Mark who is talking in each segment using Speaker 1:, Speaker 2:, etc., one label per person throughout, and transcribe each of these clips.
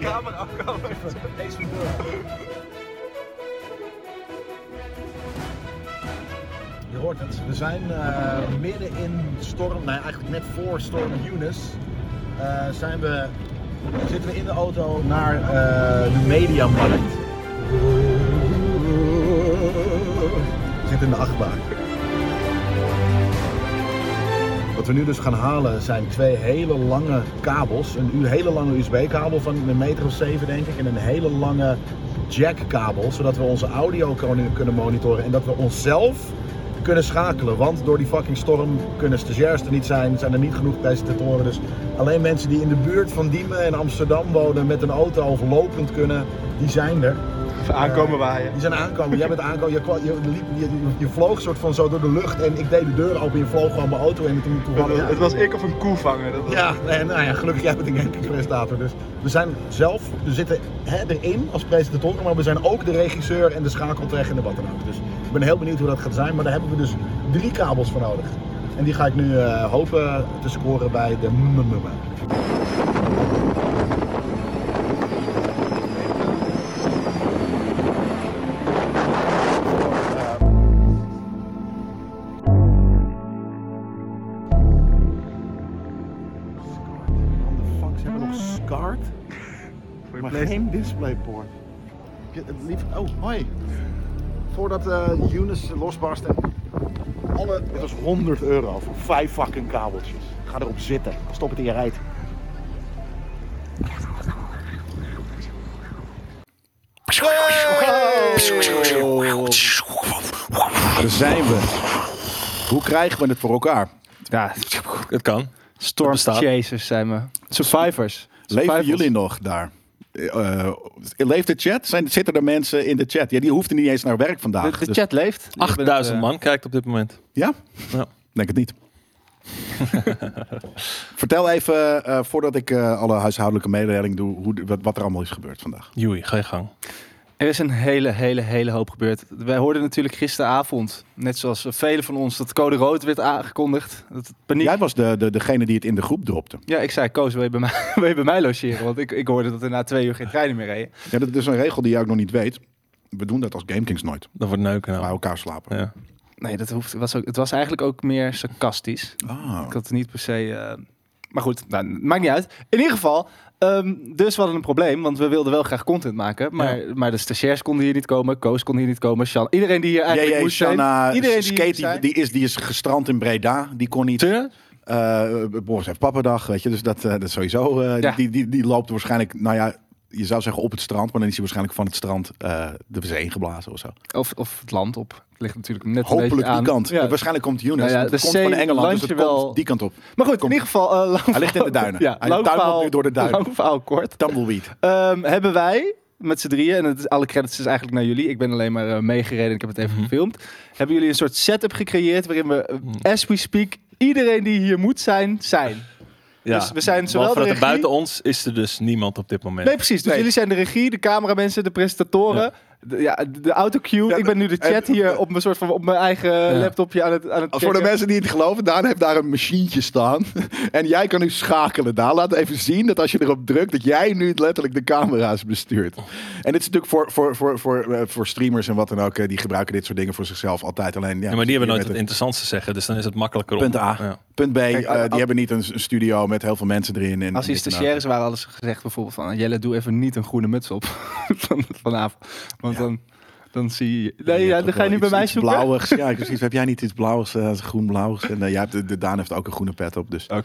Speaker 1: camera afkomen.
Speaker 2: Deze deur.
Speaker 3: Je hoort het, we zijn eh, midden in storm, nou ja, eigenlijk net voor storm Eunice, eh, zijn we, zitten we in de auto naar eh, de Mediamarkt. We Zitten in de achtbaan. Wat we nu dus gaan halen zijn twee hele lange kabels. Een u- hele lange USB-kabel van een meter of zeven, denk ik. En een hele lange jack-kabel. Zodat we onze audio kunnen- kunnen monitoren. En dat we onszelf kunnen schakelen. Want door die fucking storm kunnen stagiairs er niet zijn. Zijn er niet genoeg presentatoren. Dus alleen mensen die in de buurt van Diemen en Amsterdam wonen. met een auto of lopend kunnen, die zijn er.
Speaker 1: Aankomen waaien.
Speaker 3: Die zijn aankomen. Jij bent aankomen. Je, kwa- je, liep, je, je vloog soort van zo door de lucht. En ik deed de deur open. Je vloog gewoon mijn auto in. En toen, toen
Speaker 1: Het was,
Speaker 3: ja.
Speaker 1: het was ik of een koe vangen. Dat was-
Speaker 3: Ja, nee, nou ja, gelukkig jij bent een presentator. Dus we zijn zelf, we zitten hè, erin als presentatoren, maar we zijn ook de regisseur en de schakeltrek en de wat dan ook. Dus ik ben heel benieuwd hoe dat gaat zijn, maar daar hebben we dus drie kabels voor nodig. En die ga ik nu eh, hopen te scoren bij de MMM. Ze hebben nog SCART,
Speaker 1: Voor je
Speaker 3: maar
Speaker 1: place-
Speaker 3: geen DisplayPort. Heb je het lief- Oh, hoi. Voordat eh Eunice losbarst en alle... Het was 100 euro voor vijf fucking kabeltjes. Ga erop zitten. Stop het in je rijt. Daar zijn we. Hoe krijgen we het voor elkaar?
Speaker 4: Ja,
Speaker 5: Het kan.
Speaker 4: storm
Speaker 5: bestaat.
Speaker 4: chasers zijn we. Survivors.
Speaker 3: Leven
Speaker 4: Survivors.
Speaker 3: jullie nog daar? Eh, eh, leeft de chat? Zijn, zitten er mensen in de chat? Ja, die hoefden niet eens naar werk vandaag.
Speaker 4: De, de
Speaker 3: dus-
Speaker 4: chat leeft. Ik ben het,
Speaker 5: 8000
Speaker 4: eh,
Speaker 5: man kijkt op dit moment.
Speaker 3: Ja?
Speaker 5: Ja.
Speaker 3: Denk het niet. Vertel even, eh, voordat ik eh, alle huishoudelijke mededeling doe, hoe, de- wat, wat er allemaal is gebeurd vandaag.
Speaker 5: Joey, ga je gang.
Speaker 4: Er is een hele, hele, hele hoop gebeurd. Wij hoorden natuurlijk gisteravond, net zoals velen van ons, dat code rood werd aangekondigd. Dat het paniek.
Speaker 3: Jij was de, de, degene die het in de groep dropte.
Speaker 4: Ja, ik zei, Koos, wil je bij mij, wil je bij mij logeren? Want ik, ik hoorde dat er na twee uur geen treinen meer reden.
Speaker 3: Ja, dat is een regel die jij ook nog niet weet. We doen dat als GameKings nooit.
Speaker 5: Dat wordt neuken
Speaker 3: Bij
Speaker 5: nou.
Speaker 3: elkaar slapen.
Speaker 5: Ja.
Speaker 4: Nee, dat hoeft, was ook, het was eigenlijk ook meer sarcastisch.
Speaker 3: Ah.
Speaker 4: Ik had het niet per se... eh, maar goed, nou, maakt niet uit. In ieder geval, ehm, dus we hadden een probleem, want we wilden wel graag content maken. Maar, maar de stagiairs konden hier niet komen, Koos kon hier niet komen, Shan, iedereen die hier eigenlijk
Speaker 3: JJ,
Speaker 4: moest zijn,
Speaker 3: Shanna,
Speaker 4: iedereen die
Speaker 3: Skate,
Speaker 4: hier
Speaker 3: die,
Speaker 4: zijn.
Speaker 3: eh, die, is, die is gestrand in Breda. Die kon niet.
Speaker 4: Tuurlijk.
Speaker 3: Eh, Boris heeft pappendag, weet je. Dus dat, eh, dat is sowieso... eh,
Speaker 4: Ja.
Speaker 3: die, die, die loopt waarschijnlijk, nou ja, je zou zeggen op het strand. Maar dan is hij waarschijnlijk van het strand eh, de zee ingeblazen of zo.
Speaker 4: Of, of het land op. Het ligt natuurlijk net een
Speaker 3: Hopelijk
Speaker 4: beetje aan.
Speaker 3: die kant.
Speaker 4: Ja.
Speaker 3: Waarschijnlijk komt Younes.
Speaker 4: Nou ja,
Speaker 3: want het
Speaker 4: de
Speaker 3: komt van
Speaker 4: zee
Speaker 3: Engeland, dus het
Speaker 4: landt je wel-
Speaker 3: komt die kant op.
Speaker 4: Maar goed, in
Speaker 3: Kom.
Speaker 4: ieder geval... eh, lang
Speaker 3: Hij ligt in de
Speaker 4: verhaal-
Speaker 3: duinen.
Speaker 4: Ja,
Speaker 3: Hij
Speaker 4: lang
Speaker 3: tuimelt
Speaker 4: verhaal-
Speaker 3: nu door de duinen.
Speaker 4: Lang verhaal kort.
Speaker 3: Tumbleweed.
Speaker 4: Ehm, hebben wij met z'n drieën, en het, is- alle credits is eigenlijk naar jullie. Ik ben alleen maar eh, meegereden en ik heb het even
Speaker 5: Mhm.
Speaker 4: gefilmd. Hebben jullie een soort setup gecreëerd waarin we, eh, as we speak, iedereen die hier moet zijn, zijn.
Speaker 5: Ja.
Speaker 4: Dus we zijn zowel
Speaker 5: Want
Speaker 4: de
Speaker 5: vanuit-
Speaker 4: regie-
Speaker 5: buiten ons is er dus niemand op dit moment.
Speaker 4: Nee, precies. Dus
Speaker 3: Nee.
Speaker 4: jullie zijn de regie, de cameramensen, de presentatoren.
Speaker 5: Ja.
Speaker 4: De, ja, de autocue.
Speaker 3: Ja,
Speaker 4: ik ben nu de
Speaker 3: en-
Speaker 4: chat hier op mijn, soort van, op mijn eigen laptopje aan het, aan het
Speaker 3: Voor de
Speaker 4: checken.
Speaker 3: mensen die het geloven, Daan heeft daar een machientje staan. En jij kan nu schakelen, Daan. Laat even zien dat als je erop drukt, dat jij nu letterlijk de camera's bestuurt. En dit is natuurlijk voor, voor, voor, voor, eh, voor streamers en wat dan ook. eh, Die gebruiken dit soort dingen voor zichzelf altijd. Alleen, ja,
Speaker 5: Ja, maar die hebben nooit
Speaker 3: hier
Speaker 5: het
Speaker 3: met
Speaker 5: interessantste zeggen, dus dan is het makkelijker om.
Speaker 3: Punt A.
Speaker 5: Ja.
Speaker 3: Punt B, eh,
Speaker 4: al-
Speaker 3: die hebben niet een s- een studio met heel veel mensen erin. En
Speaker 4: Als die
Speaker 3: dit en eh, dat.
Speaker 4: stagiaires waren, hadden ze gezegd bijvoorbeeld van... Jelle, doe even niet een groene muts op van, vanavond. Want dan, dan zie je... Nee,
Speaker 3: Je
Speaker 4: ja,
Speaker 3: hebt
Speaker 4: dan
Speaker 3: ook
Speaker 4: ga je nu
Speaker 3: wel
Speaker 4: bij mij
Speaker 3: iets-
Speaker 4: zoeken.
Speaker 3: iets
Speaker 4: Oké.
Speaker 3: Blauwigs. Ja, precies. Heb jij niet iets blauwigs, eh, groen-blauwigs? En eh, jij hebt, de, de Daan heeft ook een groene pet op. Dus
Speaker 4: nou,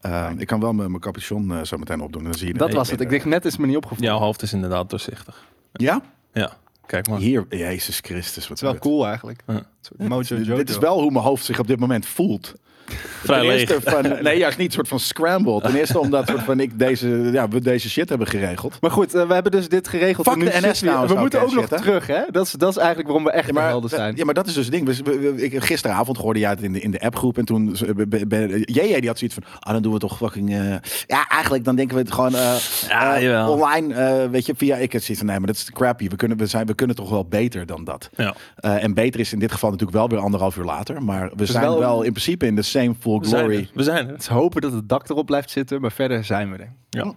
Speaker 3: eh, ik kan wel mijn mijn capuchon eh, zo meteen opdoen. Dan zie je
Speaker 4: dat
Speaker 3: het
Speaker 4: was het. Ik
Speaker 3: minder.
Speaker 4: dacht, net is me niet opgevallen.
Speaker 5: Jouw hoofd is inderdaad doorzichtig.
Speaker 3: Ja?
Speaker 5: Ja, kijk maar.
Speaker 3: Hier, Jezus Christus. Wat
Speaker 4: Het is wel
Speaker 3: kut.
Speaker 4: cool eigenlijk.
Speaker 5: Ja.
Speaker 4: Een soort Mojo
Speaker 3: Dit-
Speaker 4: Jojo.
Speaker 3: Dit is wel hoe mijn hoofd zich op dit moment voelt.
Speaker 5: Vrij
Speaker 3: Ten
Speaker 5: leeg.
Speaker 3: eerste van, nee, juist niet soort van scrambled. Ten eerste omdat soort van ik deze, ja, we deze shit hebben geregeld.
Speaker 4: Maar goed, eh, we hebben dus dit geregeld.
Speaker 3: Fuck
Speaker 4: en nu
Speaker 3: de NS
Speaker 4: zitten we-
Speaker 3: nou,
Speaker 4: We
Speaker 3: zou
Speaker 4: moeten
Speaker 3: ik
Speaker 4: ook nog
Speaker 3: zeggen.
Speaker 4: terug, hè? Dat is, dat is eigenlijk waarom we echt
Speaker 3: Ja
Speaker 4: helder
Speaker 3: maar,
Speaker 4: helden zijn.
Speaker 3: ja, maar dat is dus het ding. We- we- we- ik, gisteravond hoorde jij het in de, in de appgroep. En toen z- be- be- ben- JJ die had zoiets van... Ah, dan doen we toch fucking... eh, ja, eigenlijk dan denken we het gewoon eh,
Speaker 5: Ja,
Speaker 3: eh,
Speaker 5: jawel.
Speaker 3: online. eh, weet je, via... Ik had zoiets van, nee, maar dat is crappy. We kunnen, we, zijn, we kunnen toch wel beter dan dat.
Speaker 5: Ja.
Speaker 3: Eh, en beter is in dit geval natuurlijk wel weer anderhalf uur later. Maar we zijn wel,
Speaker 4: wel-
Speaker 3: in principe in de same full
Speaker 5: Dus We zijn
Speaker 3: glory.
Speaker 5: er. We zijn er.
Speaker 4: Het is hopen dat het dak erop blijft zitten, maar verder zijn we er.
Speaker 5: Ja.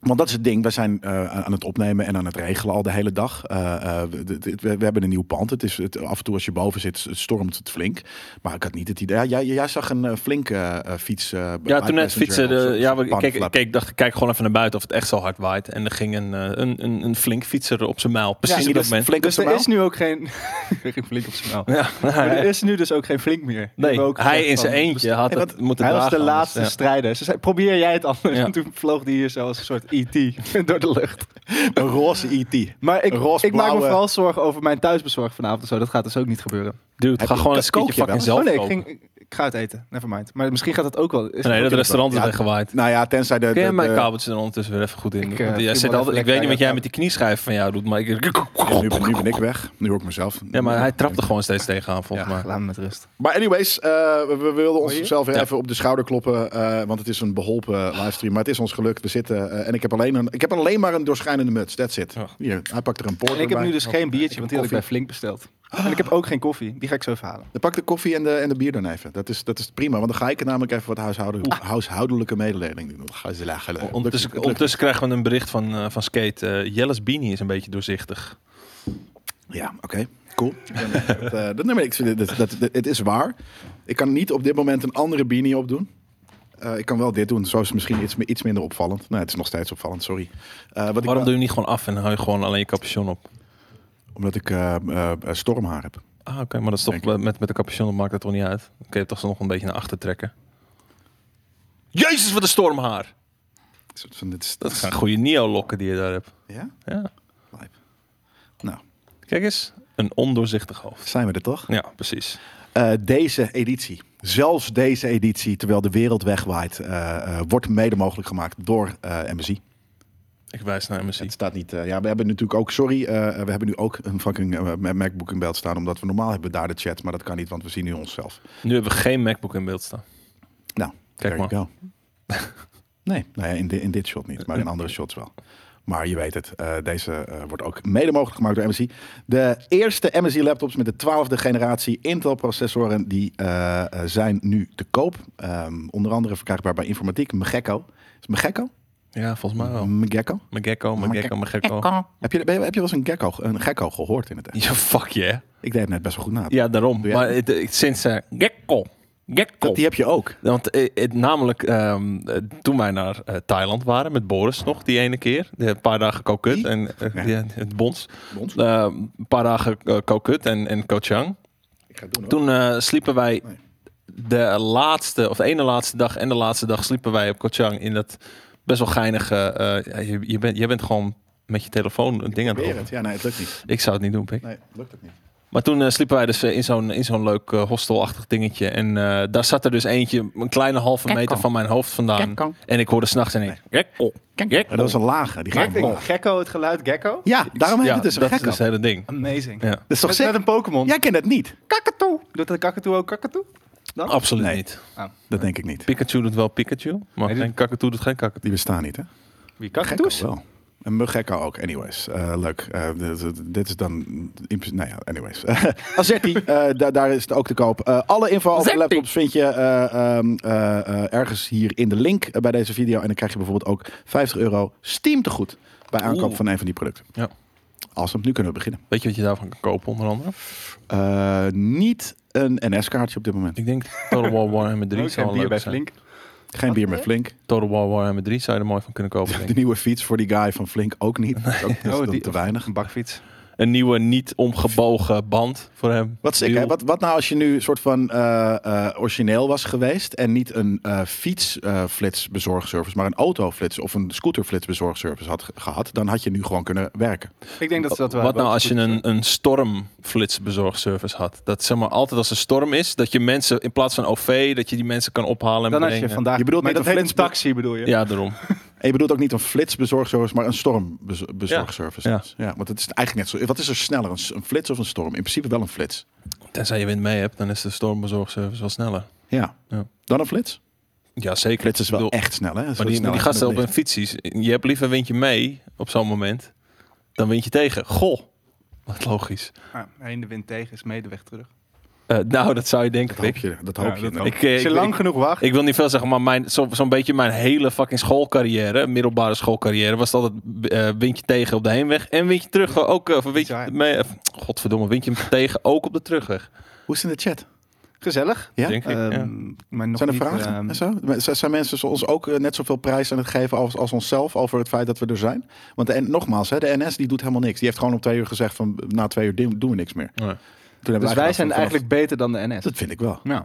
Speaker 2: Want dat is het ding, we zijn eh, aan het opnemen en aan het regelen al de hele dag. Eh, eh, we, we- we- we hebben een nieuw pand. Het is, het, af en toe als je boven zit, het stormt het flink. Maar ik had niet het idee. Ja, jij, jij zag een eh, flinke eh, fiets. eh,
Speaker 5: Ja,
Speaker 2: bij
Speaker 5: toen net
Speaker 2: Passenger
Speaker 5: fietsen.
Speaker 2: op zo'n-
Speaker 5: De, ja, we-
Speaker 2: zo'n
Speaker 5: kijk,
Speaker 2: panflap.
Speaker 5: kijk, dacht, ik, kijk gewoon even naar buiten of het echt zo hard waait. En er ging een, eh, een, een, een flink fietser op zijn mijl. Precies
Speaker 2: Ja,
Speaker 5: op dat
Speaker 2: dus
Speaker 5: moment.
Speaker 2: flink
Speaker 4: Dus
Speaker 2: op
Speaker 4: er
Speaker 2: z'n
Speaker 4: is nu ook geen... geen flink op zijn mouw.
Speaker 5: Ja,
Speaker 4: Maar er
Speaker 5: hij,
Speaker 4: is nu dus ook geen flink meer. Die hebben ook
Speaker 5: nee, hij
Speaker 4: gezegd
Speaker 5: in zijn
Speaker 4: van,
Speaker 5: eentje had
Speaker 4: Hey,
Speaker 5: het
Speaker 4: wat-
Speaker 5: moeten
Speaker 4: Hij was de
Speaker 5: dragen anders.
Speaker 4: laatste
Speaker 5: Ja.
Speaker 4: strijder. Ze zei, probeer jij het anders.
Speaker 5: Ja.
Speaker 4: En toen vloog die hier zo als een soort E.T. door de lucht.
Speaker 2: Een roze E IT.
Speaker 4: Maar ik,
Speaker 2: Roze,
Speaker 4: ik maak me
Speaker 2: blauwe.
Speaker 4: vooral zorgen over mijn thuisbezorg vanavond. en Zo. Dat gaat dus ook niet gebeuren.
Speaker 5: Dude, ga
Speaker 2: je-
Speaker 5: gewoon een
Speaker 2: kook je
Speaker 5: skitje fucking
Speaker 2: wel?
Speaker 5: zelf
Speaker 4: oh nee, ik,
Speaker 5: koken.
Speaker 4: ging, Oh, ik- ik ga het eten. Never mind. Maar misschien gaat dat ook wel. Is
Speaker 5: Nee, dat restaurant is
Speaker 2: Ja.
Speaker 5: weggewaaid.
Speaker 2: Nou ja, tenzij de...
Speaker 5: Kun jij
Speaker 2: de-
Speaker 5: mijn
Speaker 2: de-
Speaker 5: kabeltjes er ondertussen weer even goed in?
Speaker 4: eh, Ik,
Speaker 5: Ik,
Speaker 4: eh, doe
Speaker 5: zit
Speaker 4: maar
Speaker 5: altijd, ik
Speaker 4: even
Speaker 5: weet
Speaker 4: lekker
Speaker 5: niet wat jij
Speaker 4: aan
Speaker 5: met die knieschijf van jou doet, maar ik...
Speaker 2: Ja, nu, nu ben ik weg. Nu hoor ik mezelf.
Speaker 5: Ja, maar hij trapt er gewoon steeds tegenaan, volgens
Speaker 4: Ja,
Speaker 5: mij.
Speaker 4: laat me met rust.
Speaker 2: Maar anyways, eh, we, we wilden onszelf weer
Speaker 5: Ja.
Speaker 2: even op de schouder kloppen. eh, want het is een beholpen eh, livestream. Maar het is ons gelukt. We zitten. eh, en ik heb, alleen een, ik heb alleen maar een doorschijnende muts. That's it.
Speaker 5: Ja.
Speaker 2: Hier, hij pakt er een porter
Speaker 4: En ik heb
Speaker 2: bij.
Speaker 4: nu dus geen biertje, want die had ik
Speaker 2: koffie.
Speaker 4: bij Flink besteld. En ik heb ook geen koffie. Die ga ik zo even halen.
Speaker 2: Dan pak de koffie en de, en de bier dan even. Dat is, dat is prima. Want dan ga ik namelijk even wat huishoudelijk, huishoudelijke mededeling doen. Dan Ah. ga je ze lachen.
Speaker 5: Ondertussen,
Speaker 2: Lukt- lukt-
Speaker 5: ondertussen krijgen we een bericht van, eh, van Skate. eh Jelle's Beanie is een beetje doorzichtig.
Speaker 2: Ja, oké. Cool. Ik ben, eh, dat, eh, dat, nee, maar ik vind dit- dat, dat, dat- het is waar. Ik kan niet op dit moment een andere beanie opdoen. Eh, ik kan wel dit doen. Zo is het misschien iets, iets minder opvallend. Nee, het is nog steeds opvallend, sorry. Eh, wat ik wel-
Speaker 5: Waarom doe je niet gewoon af en hou je gewoon alleen je capuchon op?
Speaker 2: Omdat ik eh, eh, eh, stormhaar heb.
Speaker 5: Ah, oké, maar dat is toch, met, met de capuchon op maakt dat toch niet uit? Dan kun je toch zo nog een beetje naar achter trekken. Jezus, wat een stormhaar!
Speaker 2: Een soort van, dit is,
Speaker 5: Dat zijn goede Neo-lokken die je daar hebt.
Speaker 2: Ja?
Speaker 5: Ja.
Speaker 2: Lijp. Nou,
Speaker 5: Kijk eens, een ondoorzichtig hoofd.
Speaker 2: zijn we er toch?
Speaker 5: Ja, precies.
Speaker 2: Eh, deze editie, zelfs deze editie, terwijl de wereld wegwaait, eh, eh, wordt mede mogelijk gemaakt door eh MSI.
Speaker 5: Ik wijs naar MSI.
Speaker 2: Het staat niet. eh, ja, we hebben natuurlijk ook. Sorry, eh, we hebben nu ook een fucking eh, MacBook in beeld staan. Omdat we normaal hebben daar de chat. Maar dat kan niet, want we zien nu onszelf.
Speaker 5: Nu hebben we geen MacBook in beeld staan.
Speaker 2: Nou,
Speaker 5: Kijk
Speaker 2: there
Speaker 5: maar.
Speaker 2: you go. nee, nou ja, in, di- in dit shot niet. Maar in andere shots wel. Maar je weet het, eh, deze eh, wordt ook mede mogelijk gemaakt door MSI. De eerste MSI laptops met de twaalfde generatie Intel processoren... die eh, eh, zijn nu te koop. Ehm, onder andere verkrijgbaar bij Informatiek, Megekko. Is het Megekko?
Speaker 5: Ja, volgens mij
Speaker 2: Oh.
Speaker 5: wel.
Speaker 2: Megekko?
Speaker 5: Mijn gecko, mijn gecko, mijn gecko.
Speaker 2: Heb je, ben je- heb je wel eens een gecko, een gekko gehoord in het echt?
Speaker 5: Ja, fuck je. hè?
Speaker 2: Ik deed het net best wel goed na.
Speaker 5: Ja, daarom.
Speaker 2: Doe jij
Speaker 5: Maar het, het- sinds eh, gecko. Gecko.
Speaker 2: Dat, die heb je ook.
Speaker 5: Want eh, het, namelijk, ehm, eh, toen wij naar eh, Thailand waren met Boris nog, die ene keer. de- Een paar dagen kokut
Speaker 2: Wie?
Speaker 5: en eh,
Speaker 2: Ja.
Speaker 5: die- het bons.
Speaker 2: Bons?
Speaker 5: Eh, een paar dagen eh, kokut en, en Koh Chang.
Speaker 2: Ik ga het doen hoor.
Speaker 5: Toen eh, sliepen wij
Speaker 2: Nee.
Speaker 5: de laatste, of de ene laatste dag en de laatste dag sliepen wij op Koh Chang in dat best wel geinige... eh, ja, je, je, bent, je bent gewoon met je telefoon een ding aan het
Speaker 2: Probeer
Speaker 5: doen.
Speaker 2: het. Ja, nee, het lukt niet.
Speaker 5: Ik zou het niet doen, Pik.
Speaker 2: Nee, het lukt ook niet.
Speaker 5: Maar toen eh, sliepen wij dus eh, in zo'n, in zo'n leuk eh, hostelachtig dingetje. En eh, daar zat er dus eentje een kleine halve meter van mijn hoofd vandaan. En ik hoorde s'nachts en ik... Gekko.
Speaker 2: Maar dat was een lage. Die ging
Speaker 4: Maakt
Speaker 2: omhoog.
Speaker 4: ik gekko het geluid gekko?
Speaker 2: Ja, daarom heet
Speaker 5: Ja,
Speaker 2: het dus een
Speaker 5: dat is
Speaker 2: gekko.
Speaker 5: dus het hele ding.
Speaker 4: Amazing.
Speaker 5: Ja.
Speaker 2: Dat is toch
Speaker 4: Met,
Speaker 2: sick?
Speaker 4: met een Pokémon.
Speaker 2: Jij kent het niet.
Speaker 4: kakatoe. Doet de kakatoe ook kakatoe?
Speaker 5: Absoluut
Speaker 2: Nee.
Speaker 5: niet.
Speaker 2: Dat denk ik niet.
Speaker 5: Pikachu doet wel Pikachu, maar
Speaker 4: Nee,
Speaker 5: geen kakatoe doet geen kakatoe.
Speaker 2: Die bestaan niet, hè?
Speaker 4: Wie
Speaker 2: Gekko's wel. En muggekko ook. Anyways, eh, leuk. Eh, dit- dit- dit is dan... in principe- Nou ja, anyways. Azetti, eh, da- daar is het ook te koop. Eh, alle info over de laptops vind je eh, ehm, eh, eh, ergens hier in de link eh, bij deze video. En dan krijg je bijvoorbeeld ook 50 euro Steam tegoed bij aankoop
Speaker 5: Oeh.
Speaker 2: van een van die producten.
Speaker 5: Ja.
Speaker 2: Awesome, nu kunnen we beginnen.
Speaker 5: Weet je wat je daarvan kan kopen onder andere?
Speaker 2: Eh, niet een NS-kaartje op dit moment.
Speaker 5: Ik denk Total War Warhammer 3 zou wel
Speaker 4: bier bij
Speaker 5: leuk zijn.
Speaker 4: Flink.
Speaker 2: Geen bier met Flink.
Speaker 5: Total War Warhammer 3 zou je er mooi van kunnen kopen. denk
Speaker 2: De
Speaker 5: ik.
Speaker 2: nieuwe fiets voor die guy van Flink ook niet. Dat is ook dat is
Speaker 4: Oh,
Speaker 2: dan
Speaker 4: die-
Speaker 2: te weinig.
Speaker 4: Een bakfiets.
Speaker 5: Een nieuwe niet omgebogen band voor hem.
Speaker 2: Wat sick,
Speaker 5: Wiel.
Speaker 2: hè? Wat, wat nou als je nu een soort van eh, eh, origineel was geweest en niet een eh, fietsflitsbezorgservice, maar een autoflits of een scooterflitsbezorgservice had ge- gehad, dan had je nu gewoon kunnen werken.
Speaker 4: Ik denk dat ze dat wel
Speaker 5: Wat nou
Speaker 4: wel
Speaker 5: als je
Speaker 4: goed
Speaker 5: een, een stormflitsbezorgservice had? Dat zeg maar altijd als er storm is, dat je mensen in plaats van OV, dat je die mensen kan ophalen en
Speaker 4: Dan als
Speaker 5: brengen.
Speaker 4: je vandaag...
Speaker 2: Je bedoelt
Speaker 4: maar
Speaker 2: met
Speaker 4: dat
Speaker 2: een
Speaker 4: heet een
Speaker 2: flitsbak-
Speaker 4: taxi bedoel je?
Speaker 5: Ja, daarom.
Speaker 2: En je bedoelt ook niet een flitsbezorgservice, maar een stormbezorgservice.
Speaker 5: Ja,
Speaker 2: ja. want het is eigenlijk net zo. Wat is er sneller, een, s- een flits of een storm? In principe wel een flits.
Speaker 5: Tenzij je wind mee hebt, dan is de stormbezorgservice wel sneller.
Speaker 2: Ja.
Speaker 5: Ja.
Speaker 2: Dan een flits?
Speaker 5: Ja, zeker.
Speaker 2: Flits is
Speaker 5: Ik
Speaker 2: wel
Speaker 5: bedoel,
Speaker 2: echt snel, hè? Zo
Speaker 5: Maar die, maar
Speaker 2: snel
Speaker 5: die
Speaker 2: als
Speaker 5: gasten
Speaker 2: het
Speaker 5: op hun
Speaker 2: licht.
Speaker 5: fietsies, je hebt liever wind je mee op zo'n moment, dan wind je tegen. Goh, wat logisch.
Speaker 4: Ah, heen de wind tegen is mede weg terug.
Speaker 5: Eh, nou, dat zou je denken,
Speaker 2: Dat hoop
Speaker 5: Pik.
Speaker 2: je. Dat hoop
Speaker 6: Ja,
Speaker 2: je.
Speaker 6: dat
Speaker 2: Nou,
Speaker 5: Ik, eh,
Speaker 4: Als je
Speaker 5: ik-
Speaker 4: lang
Speaker 5: ik-
Speaker 4: genoeg wacht.
Speaker 5: Ik wil niet veel zeggen, maar mijn, zo, zo'n beetje mijn hele fucking schoolcarrière, middelbare schoolcarrière, was het altijd eh, windje tegen op de heenweg en windje terug ook. eh, Of windje,
Speaker 4: Bizar.
Speaker 5: mee, eh, godverdomme, windje tegen ook op de terugweg.
Speaker 2: Hoe is het in de chat?
Speaker 4: Gezellig.
Speaker 2: Ja? Dus
Speaker 5: Denk
Speaker 4: Ehm,
Speaker 5: ik, ja.
Speaker 4: maar nog
Speaker 2: zijn er
Speaker 4: niet,
Speaker 2: vragen
Speaker 4: ehm,
Speaker 2: en zo? Z- Zijn mensen zo- ons ook eh, net zoveel prijs aan het geven als, als onszelf over het feit dat we er zijn? Want de, N- nogmaals, hè, de NS die doet helemaal niks. Die heeft gewoon om twee uur gezegd van na twee uur doen doen we niks meer.
Speaker 5: Nee.
Speaker 2: Toen hebben
Speaker 4: dus wij zijn
Speaker 2: van,
Speaker 4: eigenlijk beter dan de NS.
Speaker 2: Dat vind ik wel.
Speaker 4: Nou,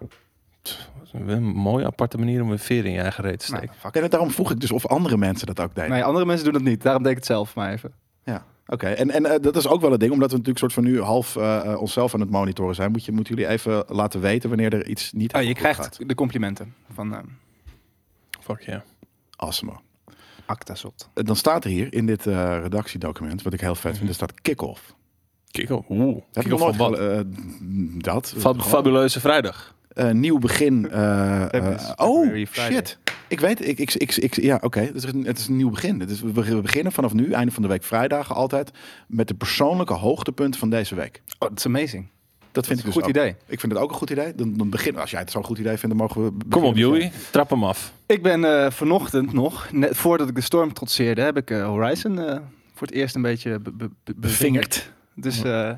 Speaker 5: Wel Een mooie aparte manier om een veer in je eigen reet te
Speaker 4: nou,
Speaker 5: steken.
Speaker 4: fuck. Nou
Speaker 2: En daarom vroeg ik dus of andere mensen dat ook deden.
Speaker 4: Nee, andere mensen doen dat niet. Daarom deed ik het zelf maar even.
Speaker 2: Ja, oké. En, en eh, dat is ook wel het ding, omdat we natuurlijk soort van nu half eh, eh, onszelf aan het monitoren zijn. Moet je, moeten jullie even laten weten wanneer er iets niet
Speaker 4: Oh, je
Speaker 2: helemaal goed gaat.
Speaker 4: krijgt de complimenten van ehm
Speaker 5: Fuck ja.
Speaker 2: Awesome.
Speaker 4: Actasot.
Speaker 2: Eh, Dan staat er hier in dit eh, redactiedocument, wat ik heel vet vind, er staat kick-off.
Speaker 5: Kijk op. Oeh.
Speaker 2: Heb
Speaker 5: Kijk
Speaker 2: je
Speaker 5: op van
Speaker 2: nog
Speaker 5: wat?
Speaker 2: nooit gele- eh, dat?
Speaker 5: Fa-
Speaker 2: Gewoon.
Speaker 5: fabuleuze vrijdag.
Speaker 2: Eh, nieuw begin. eh, eh,
Speaker 4: February,
Speaker 2: oh,
Speaker 4: February, Friday.
Speaker 2: shit. Ik weet, ik, ik, ik, ik- ja, oké. Het, is een- het is een nieuw begin. Het is, we we beginnen vanaf nu, einde van de week, vrijdagen altijd, met de persoonlijke hoogtepunten van deze week.
Speaker 4: Oh, dat is amazing.
Speaker 2: Dat vind
Speaker 4: is
Speaker 2: ik
Speaker 4: een
Speaker 2: dus
Speaker 4: goed
Speaker 2: ook.
Speaker 4: idee.
Speaker 2: Ik vind het ook een goed idee. Dan, dan beginnen, als jij het zo'n goed idee vindt, dan mogen we.
Speaker 5: Kom op,
Speaker 2: beginnen.
Speaker 5: Joey. Trap hem af.
Speaker 4: Ik ben eh, vanochtend nog, net voordat ik de storm trotseerde, heb ik eh, Horizon eh, voor het eerst een beetje be- be- be- bevingerd. Dus eh,